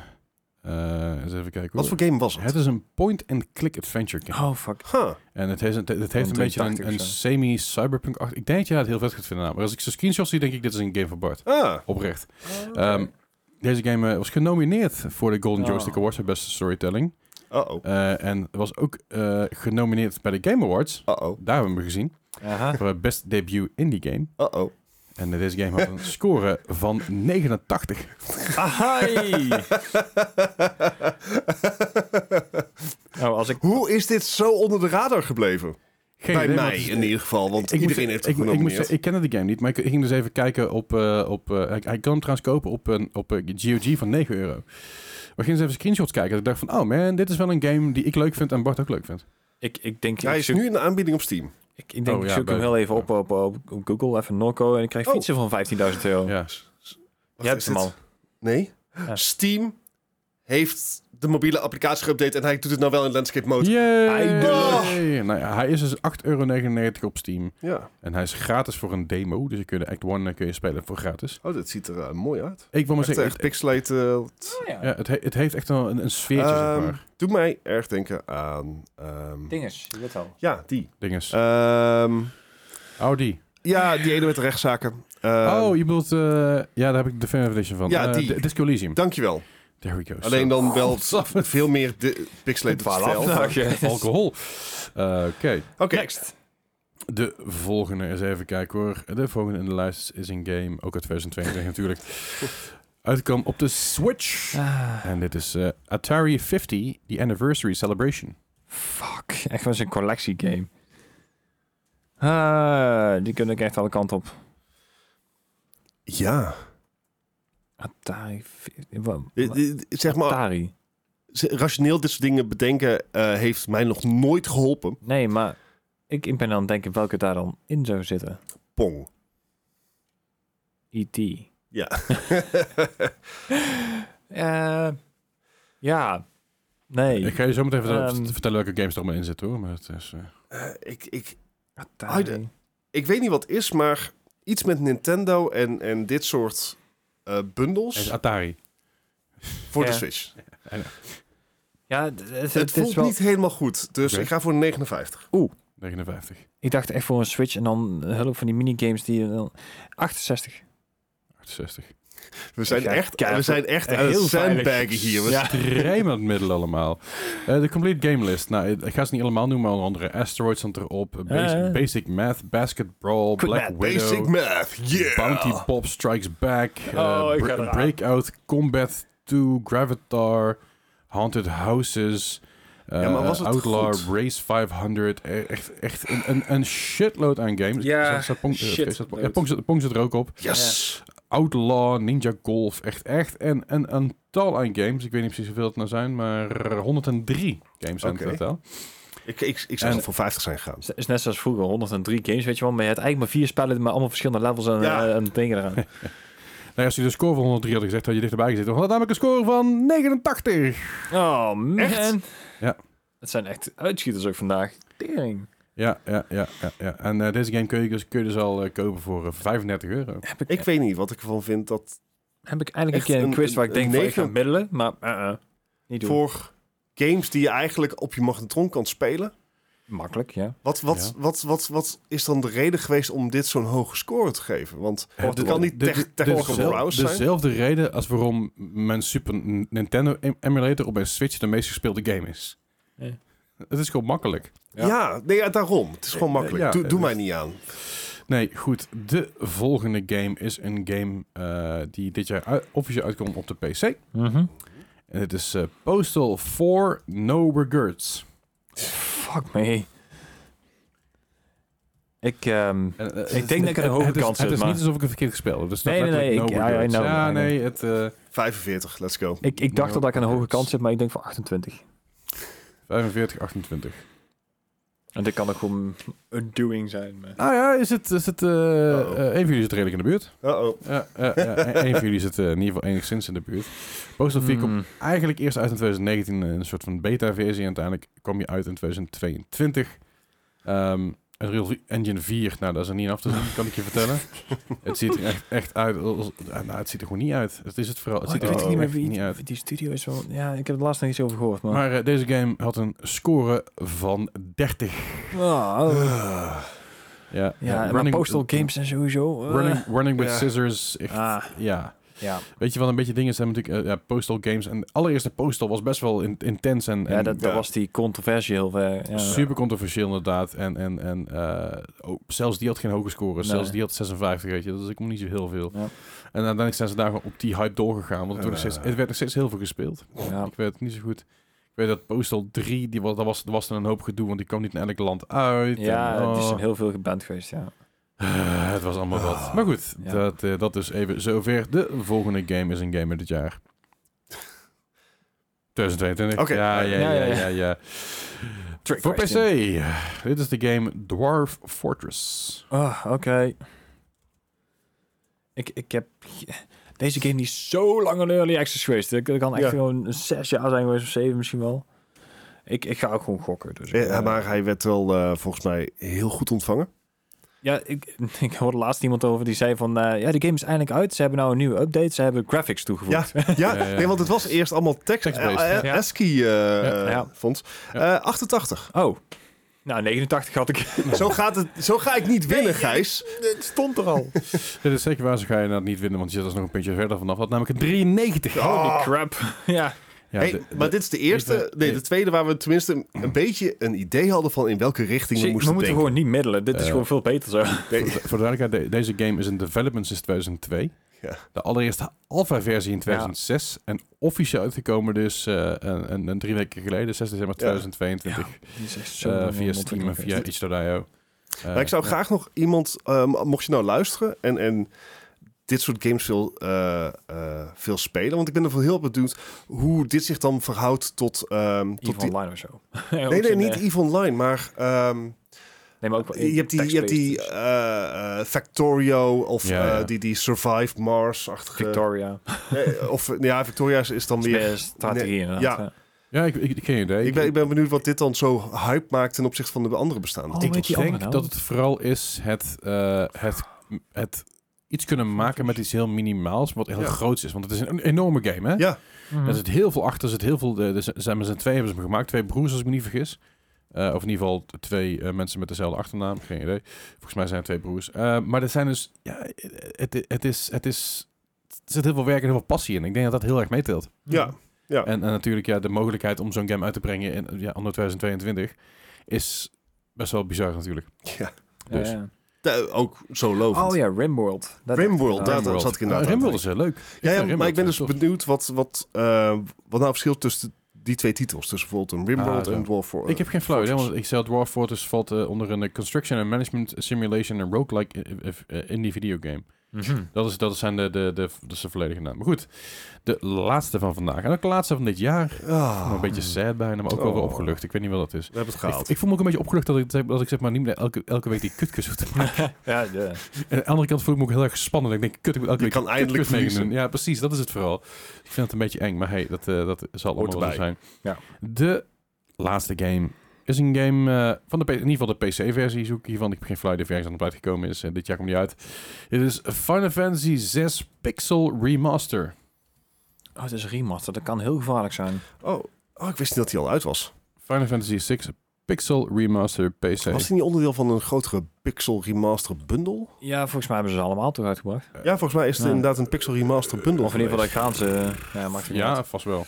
[SPEAKER 1] eh, eens even kijken
[SPEAKER 3] Wat
[SPEAKER 1] hoor.
[SPEAKER 3] voor game Ah. was het?
[SPEAKER 1] Het is een point-and-click adventure game.
[SPEAKER 2] Oh, fuck.
[SPEAKER 3] Huh.
[SPEAKER 1] En het heeft, een- het heeft een beetje een,
[SPEAKER 2] 180
[SPEAKER 1] een
[SPEAKER 2] of zo.
[SPEAKER 1] semi-cyberpunk... acht- Ik denk dat je dat heel vet gaat vinden. namelijk. Maar als ik zo screenshots zie, denk ik dit is een game van Bart.
[SPEAKER 3] Ah.
[SPEAKER 1] Oprecht. Ehm, deze game eh, was genomineerd voor de Golden
[SPEAKER 3] Ah.
[SPEAKER 2] Oh.
[SPEAKER 1] Joystick Awards voor beste storytelling.
[SPEAKER 3] Uh-oh.
[SPEAKER 1] Eh, en was ook eh, genomineerd bij de Game Awards.
[SPEAKER 3] Uh-oh.
[SPEAKER 1] Daar hebben we hem gezien.
[SPEAKER 2] Aha.
[SPEAKER 1] Voor het best debut indie game.
[SPEAKER 3] Uh-oh.
[SPEAKER 1] En eh, deze game had een score van 89.
[SPEAKER 2] Ahai! nou, als ik...
[SPEAKER 3] Hoe is dit zo onder de radar gebleven?
[SPEAKER 1] Geen
[SPEAKER 3] Bij
[SPEAKER 1] idee,
[SPEAKER 3] mij
[SPEAKER 1] want-
[SPEAKER 3] in ieder geval,
[SPEAKER 1] Ik
[SPEAKER 3] want iedereen
[SPEAKER 1] moest-
[SPEAKER 3] heeft het
[SPEAKER 1] ik, ik,
[SPEAKER 3] genomineerd.
[SPEAKER 1] moest, ik kende de game niet, maar ik, ik ging dus even kijken op... eh, op eh, hij, hij kan hem trouwens kopen op, een op eh, GOG van 9 euro. We gingen eens even screenshots kijken. En ik dacht van, oh man, dit is wel een game die ik leuk vind en Bart ook leuk vindt.
[SPEAKER 2] Ik, ik denk,
[SPEAKER 3] Hij
[SPEAKER 2] ik
[SPEAKER 3] is
[SPEAKER 2] zoek,
[SPEAKER 3] nu in de aanbieding op Steam.
[SPEAKER 2] ik, ik denk,
[SPEAKER 1] Oh,
[SPEAKER 2] ik
[SPEAKER 1] ja,
[SPEAKER 2] zoek hem
[SPEAKER 1] bij-
[SPEAKER 2] heel even op op, op, op Google, even Norco, en ik krijg
[SPEAKER 3] Oh.
[SPEAKER 2] fietsen van 15.000 euro.
[SPEAKER 1] Ja.
[SPEAKER 2] Je hebt
[SPEAKER 3] is
[SPEAKER 2] hem
[SPEAKER 3] dit?
[SPEAKER 2] al.
[SPEAKER 3] Nee? Steam heeft de mobiele applicatie geüpdate en hij doet het nou wel in landscape mode.
[SPEAKER 1] Yay!
[SPEAKER 3] Eindelijk!
[SPEAKER 1] Nou ja, hij is dus 8,99 euro op Steam.
[SPEAKER 3] Ja.
[SPEAKER 1] En hij is gratis voor een demo. Dus je kunt de Act 1 kun je spelen voor gratis.
[SPEAKER 3] Oh, dat ziet er eh, mooi uit.
[SPEAKER 1] Ik wil maar
[SPEAKER 3] Echt,
[SPEAKER 1] zeggen, het,
[SPEAKER 3] echt pixelate. Oh,
[SPEAKER 1] ja, het, he- het heeft echt wel een, een sfeertje,
[SPEAKER 3] Ehm,
[SPEAKER 1] zeg maar.
[SPEAKER 3] doet mij erg denken aan... ehm,
[SPEAKER 2] Dinges, je weet al.
[SPEAKER 3] ja, die.
[SPEAKER 1] Dinges.
[SPEAKER 3] Ehm,
[SPEAKER 1] Audi.
[SPEAKER 3] ja, die ene met de rechtszaken. Ehm,
[SPEAKER 1] oh, je bedoelt... eh, ja, daar heb ik de Definitive Edition van.
[SPEAKER 3] Ja,
[SPEAKER 1] Eh,
[SPEAKER 3] die.
[SPEAKER 1] D- Disco Elysium.
[SPEAKER 3] Dankjewel.
[SPEAKER 1] There we go.
[SPEAKER 3] Alleen
[SPEAKER 1] [laughs]
[SPEAKER 3] dan wel
[SPEAKER 1] godsamme.
[SPEAKER 3] veel meer di- pixelated stijl.
[SPEAKER 2] Twaalf dagen. [laughs]
[SPEAKER 1] Zo, Alcohol. Eh, Oké.
[SPEAKER 3] Oké.
[SPEAKER 1] De volgende, eens even kijken hoor. De volgende in de lijst is een game, ook uit
[SPEAKER 3] [laughs]
[SPEAKER 1] 2022 natuurlijk. Uitkwam op de Switch.
[SPEAKER 3] Ah.
[SPEAKER 2] Ah,
[SPEAKER 1] En dit is eh, Atari 50, The Anniversary Celebration.
[SPEAKER 2] Fuck, echt was een collectiegame. Ah, die kunnen ik echt alle kanten op.
[SPEAKER 3] Ja.
[SPEAKER 2] Atari. fi- wa-
[SPEAKER 3] Eh, eh, Zeg maar,
[SPEAKER 2] Atari.
[SPEAKER 3] ze- rationeel dit soort dingen bedenken eh, heeft mij nog nooit geholpen.
[SPEAKER 2] Nee, maar ik ik ben aan het denken welke daar dan in zou zitten.
[SPEAKER 3] [laughs]
[SPEAKER 2] E
[SPEAKER 3] Pong.
[SPEAKER 2] E.T.
[SPEAKER 3] Ja.
[SPEAKER 2] Eh, ja. Nee.
[SPEAKER 1] Ik ga je zo meteen vertellen,
[SPEAKER 2] Ehm.
[SPEAKER 1] vertellen welke games er allemaal in zitten hoor. Maar het is, eh,
[SPEAKER 3] ik, ik,
[SPEAKER 2] Atari.
[SPEAKER 3] ik weet niet wat het is, maar iets met Nintendo en, en dit soort eh, bundels
[SPEAKER 1] het is Atari.
[SPEAKER 3] voor
[SPEAKER 2] Ja.
[SPEAKER 3] de Switch.
[SPEAKER 2] Ja, d- d- het,
[SPEAKER 3] Het
[SPEAKER 2] is
[SPEAKER 3] voelt
[SPEAKER 2] wel...
[SPEAKER 3] niet helemaal goed, dus
[SPEAKER 1] Oké.
[SPEAKER 3] ik ga voor een 59.
[SPEAKER 1] 59.
[SPEAKER 2] Ik dacht echt voor een Switch en dan een hele hoop van die minigames die... je dan- 68.
[SPEAKER 1] 68.
[SPEAKER 3] We zijn
[SPEAKER 2] ga
[SPEAKER 3] echt,
[SPEAKER 2] kijken.
[SPEAKER 3] we zijn echt
[SPEAKER 2] Echt
[SPEAKER 3] aan het
[SPEAKER 2] heel veilig.
[SPEAKER 3] sandbaggen hier. We-
[SPEAKER 2] Ja.
[SPEAKER 1] Extreem aan het middel allemaal. Eh, de complete game list. Nou, ik ik ga ze niet allemaal noemen, maar onder andere Asteroids stond erop. Basic,
[SPEAKER 2] Eh.
[SPEAKER 1] basic Math, Basket Brawl, Black
[SPEAKER 2] Math,
[SPEAKER 1] Widow.
[SPEAKER 3] Basic math, yeah!
[SPEAKER 1] Bounty Bob Strikes Back, eh,
[SPEAKER 2] Oh, ik
[SPEAKER 1] Br-
[SPEAKER 2] ga eraan.
[SPEAKER 1] Breakout, Combat 2, Gravatar, Haunted Houses, eh,
[SPEAKER 3] Ja, maar was het
[SPEAKER 1] Outlaw,
[SPEAKER 3] goed?
[SPEAKER 1] Race 500. eh, Echt, echt een, een, een shitload aan games.
[SPEAKER 2] Ja,
[SPEAKER 1] Zat- zat Pong, eh,
[SPEAKER 2] shitload.
[SPEAKER 1] zat Pong- ja, Pong, zit- Pong zit er ook op.
[SPEAKER 3] Yes!
[SPEAKER 1] Outlaw, Ninja Golf, echt, echt. En, en een tal aan games. Ik weet niet precies hoeveel het nou zijn, maar 103 games zijn
[SPEAKER 3] Oké.
[SPEAKER 1] het in totaal.
[SPEAKER 3] Ik, ik, ik zou
[SPEAKER 1] En-
[SPEAKER 3] wel voor 50 zijn gegaan.
[SPEAKER 2] Het is net zoals vroeger, 103 games, weet je wel. Maar je hebt eigenlijk maar vier spellen, maar allemaal verschillende levels en,
[SPEAKER 3] Ja.
[SPEAKER 2] eh, en dingen
[SPEAKER 3] [laughs]
[SPEAKER 2] eraan.
[SPEAKER 1] Nou, als je de score van 103 had gezegd, had je dichterbij gezeten. Want dat namelijk een score van 89.
[SPEAKER 2] Oh, man.
[SPEAKER 3] Echt?
[SPEAKER 1] Ja.
[SPEAKER 2] Het zijn echt uitschieters ook vandaag. Tering.
[SPEAKER 1] Ja, ja, ja, ja. ja. En eh, deze game kun je dus, kun je dus al eh, kopen voor eh, 35 euro.
[SPEAKER 2] Heb ik,
[SPEAKER 3] Ik weet niet wat ik ervan vind dat
[SPEAKER 2] heb ik eigenlijk
[SPEAKER 3] echt
[SPEAKER 2] een keer een
[SPEAKER 3] een-
[SPEAKER 2] quiz waar ik
[SPEAKER 3] een
[SPEAKER 2] denk van, ik ga
[SPEAKER 3] negen-
[SPEAKER 2] middelen, maar eh, eh, niet doen.
[SPEAKER 3] voor games die je eigenlijk op je magnetron kan spelen.
[SPEAKER 2] Makkelijk, ja.
[SPEAKER 3] Wat, wat,
[SPEAKER 1] Ja.
[SPEAKER 3] wat, wat, wat is dan de reden geweest om dit zo'n hoge score te geven? Want
[SPEAKER 1] Eh,
[SPEAKER 3] het
[SPEAKER 1] de-
[SPEAKER 3] kan niet
[SPEAKER 1] de-
[SPEAKER 3] tech-
[SPEAKER 1] de-
[SPEAKER 3] technical
[SPEAKER 1] dezel-
[SPEAKER 3] prowess zijn.
[SPEAKER 1] Dezelfde reden als waarom mijn Super Nintendo em- emulator op mijn Switch de meest gespeelde game is.
[SPEAKER 2] Ja.
[SPEAKER 1] Het is gewoon makkelijk.
[SPEAKER 3] Ja, nee, ja, daarom. Het is gewoon makkelijk.
[SPEAKER 1] ja,
[SPEAKER 3] doe
[SPEAKER 1] eh,
[SPEAKER 3] doe
[SPEAKER 1] dus-
[SPEAKER 3] mij niet aan.
[SPEAKER 1] Nee, goed. De volgende game is een game eh, die dit jaar ui- officieel uitkomt op de PC.
[SPEAKER 2] Mhm.
[SPEAKER 1] En het is eh, Postal 4 No Regrets.
[SPEAKER 2] Fuck me. Ik, ehm,
[SPEAKER 1] En, eh,
[SPEAKER 2] denk dat ik aan de hoge
[SPEAKER 1] het is-
[SPEAKER 2] kant
[SPEAKER 1] Het
[SPEAKER 2] zit,
[SPEAKER 1] is
[SPEAKER 2] maar-
[SPEAKER 1] niet alsof ik het verkeerd gespeeld heb. Dus
[SPEAKER 2] Nee, nee, nee, ik- I- I know,
[SPEAKER 1] ja, nou,
[SPEAKER 2] I know.
[SPEAKER 1] nee, het... eh,
[SPEAKER 3] 45, let's go.
[SPEAKER 2] ik, ik dacht
[SPEAKER 1] No
[SPEAKER 2] al dat ik aan de hoge
[SPEAKER 1] regrets.
[SPEAKER 2] kant zit, maar ik denk van 28.
[SPEAKER 1] 45, 28.
[SPEAKER 2] En dit kan ook gewoon een doing zijn. Maar...
[SPEAKER 1] Nou ja, is het... Is het eh eh, een van jullie zit redelijk in de buurt.
[SPEAKER 3] Uh-oh.
[SPEAKER 1] Ja, ja, ja, een van jullie zit eh, in ieder geval enigszins in de buurt. Postal 4 komt
[SPEAKER 2] Hmm.
[SPEAKER 1] eigenlijk eerst uit in 2019 eh, een soort van beta-versie. En uiteindelijk kwam je uit in 2022. Ehm Unreal Engine 4, nou dat is er niet af te zien, kan ik je
[SPEAKER 2] [laughs]
[SPEAKER 1] vertellen. het ziet er echt, echt uit. als- ah, Nou, het ziet er gewoon niet uit. Het is het vooral. Het
[SPEAKER 2] Oh,
[SPEAKER 1] ziet
[SPEAKER 2] ik
[SPEAKER 1] er
[SPEAKER 2] weet
[SPEAKER 1] gewoon
[SPEAKER 2] niet meer
[SPEAKER 1] echt
[SPEAKER 2] wie
[SPEAKER 1] niet uit.
[SPEAKER 2] die studio is. Wel, ja, ik heb er laatst nog iets over gehoord. Maar,
[SPEAKER 1] Maar eh, deze game had een score van 30.
[SPEAKER 2] Ah,
[SPEAKER 1] Ja,
[SPEAKER 2] ja, maar Postal Games en sowieso. eh.
[SPEAKER 1] Running, running with
[SPEAKER 3] Ja.
[SPEAKER 1] Scissors. echt,
[SPEAKER 2] Ah,
[SPEAKER 1] Ja.
[SPEAKER 2] ja.
[SPEAKER 1] Weet je wat een beetje dingen zijn natuurlijk eh, ja, Postal Games. En de allereerste Postal was best wel in- intens en,
[SPEAKER 2] ja,
[SPEAKER 1] en
[SPEAKER 2] dat, dat
[SPEAKER 3] ja.
[SPEAKER 2] was die controversie heel ver. Ja.
[SPEAKER 1] Super controversieel inderdaad. En, en, en eh, ook- zelfs die had geen hoge scores.
[SPEAKER 2] Nee.
[SPEAKER 1] Zelfs die had 56, weet je. Dat is ook niet zo heel veel.
[SPEAKER 2] Ja.
[SPEAKER 1] En uiteindelijk zijn ze daar gewoon op die hype doorgegaan. Want het, werd nog steeds, het werd nog steeds heel veel gespeeld.
[SPEAKER 2] Ja.
[SPEAKER 1] Ik weet het niet zo goed. Ik weet dat Postal 3, die, wa- daar was, daar was dan een hoop gedoe. Want die kwam niet in elk land uit.
[SPEAKER 2] Ja,
[SPEAKER 1] En,
[SPEAKER 2] het is
[SPEAKER 1] oh.
[SPEAKER 2] een heel veel geband geweest, ja.
[SPEAKER 1] Eh, het was allemaal wat. Maar goed,
[SPEAKER 2] Ja.
[SPEAKER 1] dat, eh, dat is even zover. De volgende game is een game in dit jaar. 2022.
[SPEAKER 3] Oké.
[SPEAKER 1] Ja, ja, ja,
[SPEAKER 2] Ja,
[SPEAKER 1] ja,
[SPEAKER 2] ja,
[SPEAKER 1] ja,
[SPEAKER 2] ja. Trick
[SPEAKER 1] Voor PC.
[SPEAKER 2] question.
[SPEAKER 1] Dit is de game Dwarf Fortress.
[SPEAKER 2] Oh, oké. Ik, ik heb... Deze game die is zo lang in early access geweest. Dat kan echt
[SPEAKER 3] Ja.
[SPEAKER 2] gewoon zes jaar zijn geweest of zeven misschien wel. Ik, ik ga ook gewoon gokken. Dus ik,
[SPEAKER 3] Ja,
[SPEAKER 2] eh,
[SPEAKER 3] maar hij werd wel eh, volgens mij heel goed ontvangen.
[SPEAKER 2] Ja, ik, [laughs] ik hoorde laatst iemand over die zei van... eh, ja, de game is eindelijk uit. Ze hebben nou een nieuwe update. Ze hebben graphics [laughs] toegevoegd.
[SPEAKER 3] Ja, ja,
[SPEAKER 1] Ja, ja.
[SPEAKER 3] Nee, want het was eerst allemaal tekst.
[SPEAKER 1] Text-based.
[SPEAKER 3] eh, eh,
[SPEAKER 2] Ja.
[SPEAKER 3] ASCII eh,
[SPEAKER 1] Ja,
[SPEAKER 3] eh,
[SPEAKER 2] ja.
[SPEAKER 3] fonds.
[SPEAKER 1] Ja.
[SPEAKER 3] Eh, 88.
[SPEAKER 2] Oh. Nou, 89 had ik. [laughs]
[SPEAKER 3] Zo, gaat het, zo ga ik niet winnen, Gijs.
[SPEAKER 2] Het stond er al.
[SPEAKER 1] Dit is zeker waar, ze ga je nou niet winnen, want je zit er nog een beetje verder vanaf. Dat namelijk een 93.
[SPEAKER 3] Oh.
[SPEAKER 2] Crap. Ja.
[SPEAKER 1] Ja,
[SPEAKER 3] Hey,
[SPEAKER 1] de- de-
[SPEAKER 3] maar dit is de eerste,
[SPEAKER 1] even-
[SPEAKER 3] nee, de tweede waar we tenminste een- een beetje een idee hadden van in welke
[SPEAKER 2] Zie,
[SPEAKER 3] richting we
[SPEAKER 2] we
[SPEAKER 3] moesten
[SPEAKER 2] moeten
[SPEAKER 3] denken.
[SPEAKER 2] gewoon niet middelen. Dit is
[SPEAKER 1] Eh.
[SPEAKER 2] gewoon veel beter zo.
[SPEAKER 1] voor de duidelijkheid, de- deze game is in development sinds 2002.
[SPEAKER 3] Ja.
[SPEAKER 1] De allereerste alpha-versie in 2006. En officieel uitgekomen dus eh, een, een, een drie weken geleden, 6 december 2022.
[SPEAKER 2] Die is echt
[SPEAKER 1] eh,
[SPEAKER 2] zo lang in
[SPEAKER 1] via Steam en
[SPEAKER 2] ontwikkeling
[SPEAKER 1] via
[SPEAKER 2] geweest.
[SPEAKER 1] itch.io. Eh,
[SPEAKER 3] Maar ik zou
[SPEAKER 1] ja.
[SPEAKER 3] graag nog iemand, eh, mocht je nou luisteren en, en dit soort games veel, eh, eh, veel spelen, want ik ben ervan heel bedoeld hoe dit zich dan verhoudt tot, ehm, tot
[SPEAKER 2] Eve
[SPEAKER 3] die...
[SPEAKER 2] Online of zo. [laughs]
[SPEAKER 3] Nee, nee, niet
[SPEAKER 2] eh,
[SPEAKER 3] EVE Online, maar ehm,
[SPEAKER 2] Nee, maar ook wel-
[SPEAKER 3] je hebt die, je hebt die
[SPEAKER 2] text-based, dus.
[SPEAKER 3] eh, eh, Factorio of
[SPEAKER 1] Ja, ja.
[SPEAKER 3] eh, die, die Survive
[SPEAKER 2] dus.
[SPEAKER 3] Mars-achtige...
[SPEAKER 2] Victoria.
[SPEAKER 3] Eh, of, ja, Victoria is- is dan
[SPEAKER 2] Is
[SPEAKER 3] weer...
[SPEAKER 2] meer strategie
[SPEAKER 3] nee,
[SPEAKER 2] inderdaad.
[SPEAKER 3] ja.
[SPEAKER 2] Ja.
[SPEAKER 1] Ja, ik, ik, ik geen idee.
[SPEAKER 3] Ik ben, ik ben benieuwd wat dit dan zo hype maakt ten opzichte van de andere
[SPEAKER 2] Oh,
[SPEAKER 3] bestaande titels.
[SPEAKER 2] weet je-
[SPEAKER 1] Ik
[SPEAKER 2] andere
[SPEAKER 1] denk
[SPEAKER 2] nou?
[SPEAKER 1] dat het vooral is het, eh, het, het iets kunnen maken met iets heel minimaals, wat heel
[SPEAKER 3] Ja.
[SPEAKER 1] groots is. Want het is een enorme game, hè?
[SPEAKER 3] Ja,
[SPEAKER 2] Mhm.
[SPEAKER 1] Er zit heel veel achter. Er zit heel veel, eh, er zijn met z'n twee hebben ze hem gemaakt. Twee broers, als ik me niet vergis. Eh, of in ieder geval t- twee eh, mensen met dezelfde achternaam. Geen idee. Volgens mij zijn het twee broers. Eh, maar er zijn dus... Ja, het, het is, het is, er zit heel veel werk en heel veel passie in. Ik denk dat dat heel erg meetelt.
[SPEAKER 3] ja, ja.
[SPEAKER 1] En, en natuurlijk ja, de mogelijkheid om zo'n game uit te brengen in ja, anno 2022 is best wel bizar natuurlijk.
[SPEAKER 3] ja.
[SPEAKER 1] Dus.
[SPEAKER 2] Ja, ja.
[SPEAKER 3] Da- ook zo lovend.
[SPEAKER 2] Oh ja, Rimworld. Dat
[SPEAKER 3] Rimworld,
[SPEAKER 2] dacht ik
[SPEAKER 3] daar
[SPEAKER 2] nou.
[SPEAKER 1] Rimworld.
[SPEAKER 3] zat ik inderdaad
[SPEAKER 1] Ah, Rimworld
[SPEAKER 3] aan
[SPEAKER 1] is heel leuk.
[SPEAKER 3] Ja, ja,
[SPEAKER 1] Rimworld
[SPEAKER 3] maar ik ben dus
[SPEAKER 1] zijn tof.
[SPEAKER 3] benieuwd wat, wat, eh, wat nou verschilt tussen die twee titels. Dus bijvoorbeeld een
[SPEAKER 1] Ah,
[SPEAKER 3] Rimworld
[SPEAKER 1] zo.
[SPEAKER 3] en Dwarf Fortress.
[SPEAKER 1] Ik heb geen flauw idee, want ik zei Dwarf Fortress valt eh, onder een eh, construction and management simulation en roguelike eh, eh, eh, in die videogame.
[SPEAKER 2] Mhm.
[SPEAKER 1] Dat, is, dat zijn de, de, de, de zijn volledige naam. Maar goed, de laatste van vandaag. En ook de laatste van dit jaar.
[SPEAKER 3] Ah,
[SPEAKER 1] een beetje sad bijna, maar ook wel weer
[SPEAKER 3] Oh.
[SPEAKER 1] opgelucht. Ik weet niet wat dat is.
[SPEAKER 3] we hebben het
[SPEAKER 1] Oh. Ik,
[SPEAKER 3] gehaald.
[SPEAKER 1] ik voel me ook een beetje opgelucht dat ik, dat ik zeg maar niet meer elke, elke week die [laughs] kutkus hoef te maken.
[SPEAKER 2] Ja, ja.
[SPEAKER 1] En aan de andere kant voel ik me ook heel erg gespannen. Ik denk, kut, ik moet elke
[SPEAKER 3] Je
[SPEAKER 1] week
[SPEAKER 3] kan
[SPEAKER 1] die
[SPEAKER 3] eindelijk
[SPEAKER 1] kutkus mee gaan
[SPEAKER 3] verliezen.
[SPEAKER 1] doen. Ja, precies, dat is het vooral. Ik vind het een beetje eng, maar hey, dat, eh, dat zal allemaal wel zo
[SPEAKER 3] erbij.
[SPEAKER 1] zijn.
[SPEAKER 2] Ja.
[SPEAKER 1] De laatste game is een game eh, van de, P- in ieder geval de PC-versie zoek ik hiervan. Ik heb geen flauw idee of ergens aan op uitgekomen is. Eh, dit jaar komt die uit. Dit is Final Fantasy 6 Pixel Remaster.
[SPEAKER 2] Oh, het is een remaster. Dat kan heel gevaarlijk zijn.
[SPEAKER 3] Oh, oh, ik wist niet dat hij al uit was.
[SPEAKER 1] Final Fantasy 6 Pixel Remaster PC.
[SPEAKER 3] Was hij niet onderdeel van een grotere Pixel Remaster bundle?
[SPEAKER 2] Ja, volgens mij hebben ze ze allemaal toch uitgebracht.
[SPEAKER 3] Ja, volgens mij is het
[SPEAKER 2] Ja.
[SPEAKER 3] inderdaad een Pixel Remaster bundle.
[SPEAKER 2] Of in ieder geval dat
[SPEAKER 3] geweest.
[SPEAKER 2] gaan ze... Ja, maakt niet uit.
[SPEAKER 1] Ja, vast wel.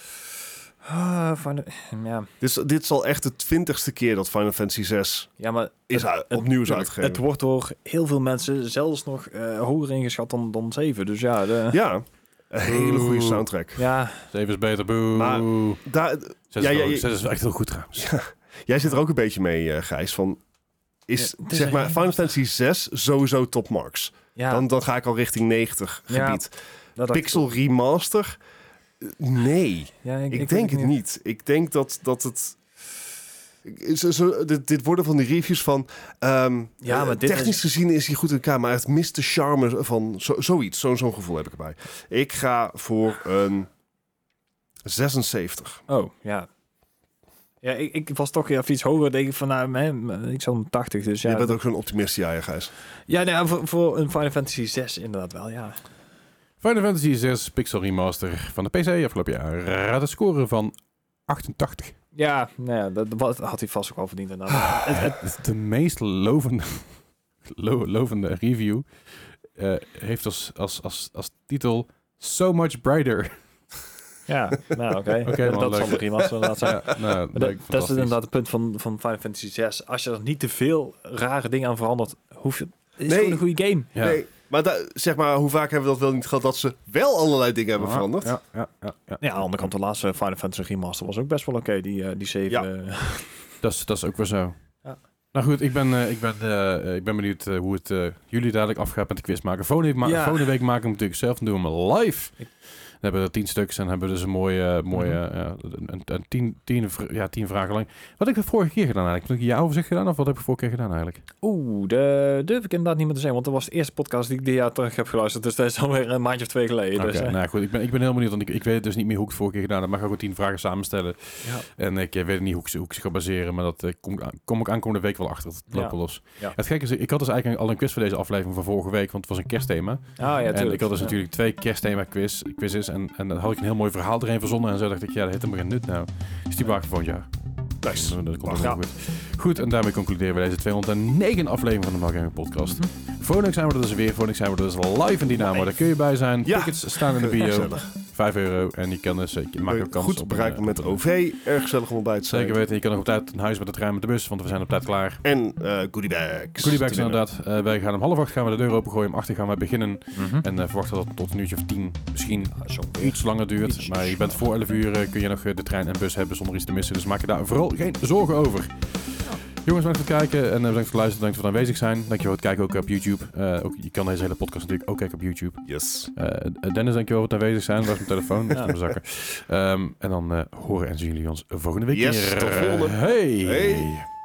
[SPEAKER 2] Ah, van de- ja.
[SPEAKER 3] Dit, is- dit is al echt de twintigste keer dat Final Fantasy 6
[SPEAKER 2] ja, maar
[SPEAKER 3] is u- opnieuw is uitgegeven.
[SPEAKER 2] Het wordt door heel veel mensen zelfs nog eh, hoger ingeschat dan, dan 7. Dus ja, de, ja.
[SPEAKER 3] Ja, een hele goede soundtrack.
[SPEAKER 1] Zeven is beter, boe.
[SPEAKER 3] Maar- Daar,
[SPEAKER 1] Zes,
[SPEAKER 3] Ja,
[SPEAKER 1] is
[SPEAKER 3] ja,
[SPEAKER 1] wel-
[SPEAKER 3] je-
[SPEAKER 1] zes is wel echt heel goed trouwens.
[SPEAKER 3] jij zit er ook een beetje mee, eh, Gijs, van... Is,
[SPEAKER 2] Ja, het is
[SPEAKER 3] zeg
[SPEAKER 2] er
[SPEAKER 3] maar,
[SPEAKER 2] geen-
[SPEAKER 3] Final Fantasy 6 sowieso top marks.
[SPEAKER 2] ja
[SPEAKER 3] Dan, dan ga ik al richting 90
[SPEAKER 2] Ja,
[SPEAKER 3] gebied.
[SPEAKER 2] dat dacht-
[SPEAKER 3] Pixel Remaster? Eh, Nee,
[SPEAKER 2] ja,
[SPEAKER 3] ik,
[SPEAKER 2] weet
[SPEAKER 3] denk het niet. Ik denk dat, dat het... is- is- dit, dit worden van die reviews van... ehm,
[SPEAKER 2] Ja, maar
[SPEAKER 3] eh,
[SPEAKER 2] dit
[SPEAKER 3] technisch
[SPEAKER 2] is-
[SPEAKER 3] gezien is hij goed in elkaar, maar het mist de charme van zo, zoiets. Zo- Zo'n gevoel heb ik erbij. Ik ga voor een 76.
[SPEAKER 2] Oh, ja. Ja, ik, ik was toch even iets hoger. Denk ik van, nou, hè, ik zat om 80, dus ja.
[SPEAKER 3] Je bent ook zo'n optimist, ja, ja, Gijs.
[SPEAKER 2] Ja, nou, voor, voor een Final Fantasy 6 inderdaad wel, ja.
[SPEAKER 1] Final Fantasy 6 Pixel Remaster van de PC afgelopen jaar. Raad een score van 88.
[SPEAKER 2] Ja, nou ja, dat wat- had hij vast ook al verdiend [laughs] inderdaad. Het- het-
[SPEAKER 1] Het is de meest lovende, [laughs] lo- lovende review eh, heeft als, als, als, als titel So Much Brighter.
[SPEAKER 2] ja, nou oké.
[SPEAKER 1] Oké, man,
[SPEAKER 2] dat
[SPEAKER 1] leuk.
[SPEAKER 2] zal de remaster
[SPEAKER 1] [laughs]
[SPEAKER 2] inderdaad zijn.
[SPEAKER 1] Ja, nou,
[SPEAKER 2] Maar dat,
[SPEAKER 1] leuk,
[SPEAKER 2] dat is dus
[SPEAKER 1] fantastisch.
[SPEAKER 2] inderdaad het punt van, van Final Fantasy 6. Als je er niet te veel rare dingen aan verandert, hoef je... Het is
[SPEAKER 3] Nee.
[SPEAKER 2] gewoon een goede game.
[SPEAKER 1] Ja.
[SPEAKER 3] Nee, maar da- zeg maar, hoe vaak hebben we dat wel niet gehad... dat ze wel allerlei dingen hebben
[SPEAKER 1] Ah,
[SPEAKER 3] veranderd?
[SPEAKER 1] Ja, ja, ja, ja.
[SPEAKER 2] Ja, aan de andere kant, de laatste Final Fantasy Remaster was ook best wel oké, die, eh, die 7. eh,
[SPEAKER 1] Dat, is, dat is ook wel zo.
[SPEAKER 2] Ja.
[SPEAKER 1] Nou goed, ik ben, eh, ik ben, eh, ik ben benieuwd eh, hoe het eh, jullie dadelijk afgaat met de quiz maken. Volgende week, ma-
[SPEAKER 2] Ja.
[SPEAKER 1] volgende week maken we hem natuurlijk zelf en doen we hem live.
[SPEAKER 2] Ik- Mhm.
[SPEAKER 1] Dan hebben we er tien stuks en hebben we dus een mooie, eh, mooie eh, een, een tien, tien, vr- ja, tien vragen lang. Wat heb ik de vorige keer gedaan eigenlijk? Heb ik jouw overzicht gedaan of wat heb ik de vorige keer gedaan eigenlijk?
[SPEAKER 2] Oeh, de durf ik inderdaad niet meer te zeggen, want dat was de eerste podcast die ik dit jaar terug heb geluisterd. Dus dat is alweer een maandje of twee geleden.
[SPEAKER 1] Oké,
[SPEAKER 2] dus, eh,
[SPEAKER 1] nou goed, ik ben, ik ben heel benieuwd, want ik, ik weet dus niet meer hoe ik het vorige keer gedaan heb. Maar ik ga gewoon tien vragen samenstellen.
[SPEAKER 2] Ja.
[SPEAKER 1] En ik eh, weet niet hoe ik, ze- hoe ik ze ga baseren, maar dat eh, kom, kom ik aankomende week wel achter. Het loopt
[SPEAKER 2] Ja.
[SPEAKER 1] wel los.
[SPEAKER 2] Ja.
[SPEAKER 1] Het gekke is, ik had dus eigenlijk al een quiz voor deze aflevering van vorige week, want het was een kerstthema.
[SPEAKER 2] Ah ja,
[SPEAKER 1] en
[SPEAKER 2] tuurlijk.
[SPEAKER 1] ik had dus
[SPEAKER 2] Ja.
[SPEAKER 1] natuurlijk twee kerstthema quiz, quizzes en, en dan had ik een heel mooi verhaal erin verzonnen. En zo dacht ik, ja, dat heeft helemaal geen nut nou. Dus die maken we volgend jaar.
[SPEAKER 3] Nice. nou.
[SPEAKER 1] Dat komt
[SPEAKER 2] Ja.
[SPEAKER 1] helemaal goed. Goed, en daarmee concluderen we deze 209 aflevering van de Mark Gaming Podcast. Volgende week zijn we er dus weer. Volgende week zijn we er dus live in Dynamo. Daar kun je bij zijn.
[SPEAKER 3] Ja.
[SPEAKER 1] Tickets staan in de bio.
[SPEAKER 3] Gezellig.
[SPEAKER 1] 5 euro. En je kan dus, eh, je maakt ook kans
[SPEAKER 3] Goed
[SPEAKER 1] op
[SPEAKER 3] bereikbaar
[SPEAKER 1] een,
[SPEAKER 3] met
[SPEAKER 1] eh,
[SPEAKER 3] OV. Erg gezellig om ontbij te zijn.
[SPEAKER 1] Zeker weten. Je kan nog op tijd naar huis met de trein met de bus, want we zijn op tijd klaar.
[SPEAKER 3] En eh goodie
[SPEAKER 1] Goodiebags
[SPEAKER 3] bags. Te winnen.
[SPEAKER 1] inderdaad. Eh, wij gaan om half acht gaan we de deur opengooien. Om acht uur gaan we beginnen.
[SPEAKER 2] Mhm.
[SPEAKER 1] En eh, verwacht dat het tot een uurtje of tien misschien
[SPEAKER 2] Ah, zo'n keer.
[SPEAKER 1] iets langer duurt. Maar je bent voor 11 uur eh, kun je nog eh, de trein en bus hebben zonder iets te missen. Dus maak je daar vooral geen zorgen over. Jongens, bedankt voor het kijken en eh, bedankt voor het luisteren. Bedankt voor het aanwezig zijn. Dankjewel voor het kijken ook op YouTube. Eh, ook, je kan deze hele podcast natuurlijk ook kijken op YouTube.
[SPEAKER 3] Yes.
[SPEAKER 1] Eh, eh, Dennis, dankjewel voor het aanwezig zijn. Waar is mijn telefoon? Dat is in mijn zakken. Ehm, en dan eh, horen en zien jullie ons volgende week
[SPEAKER 3] Yes,
[SPEAKER 1] weer.
[SPEAKER 3] tot volgende.
[SPEAKER 1] Hey.
[SPEAKER 3] Hey.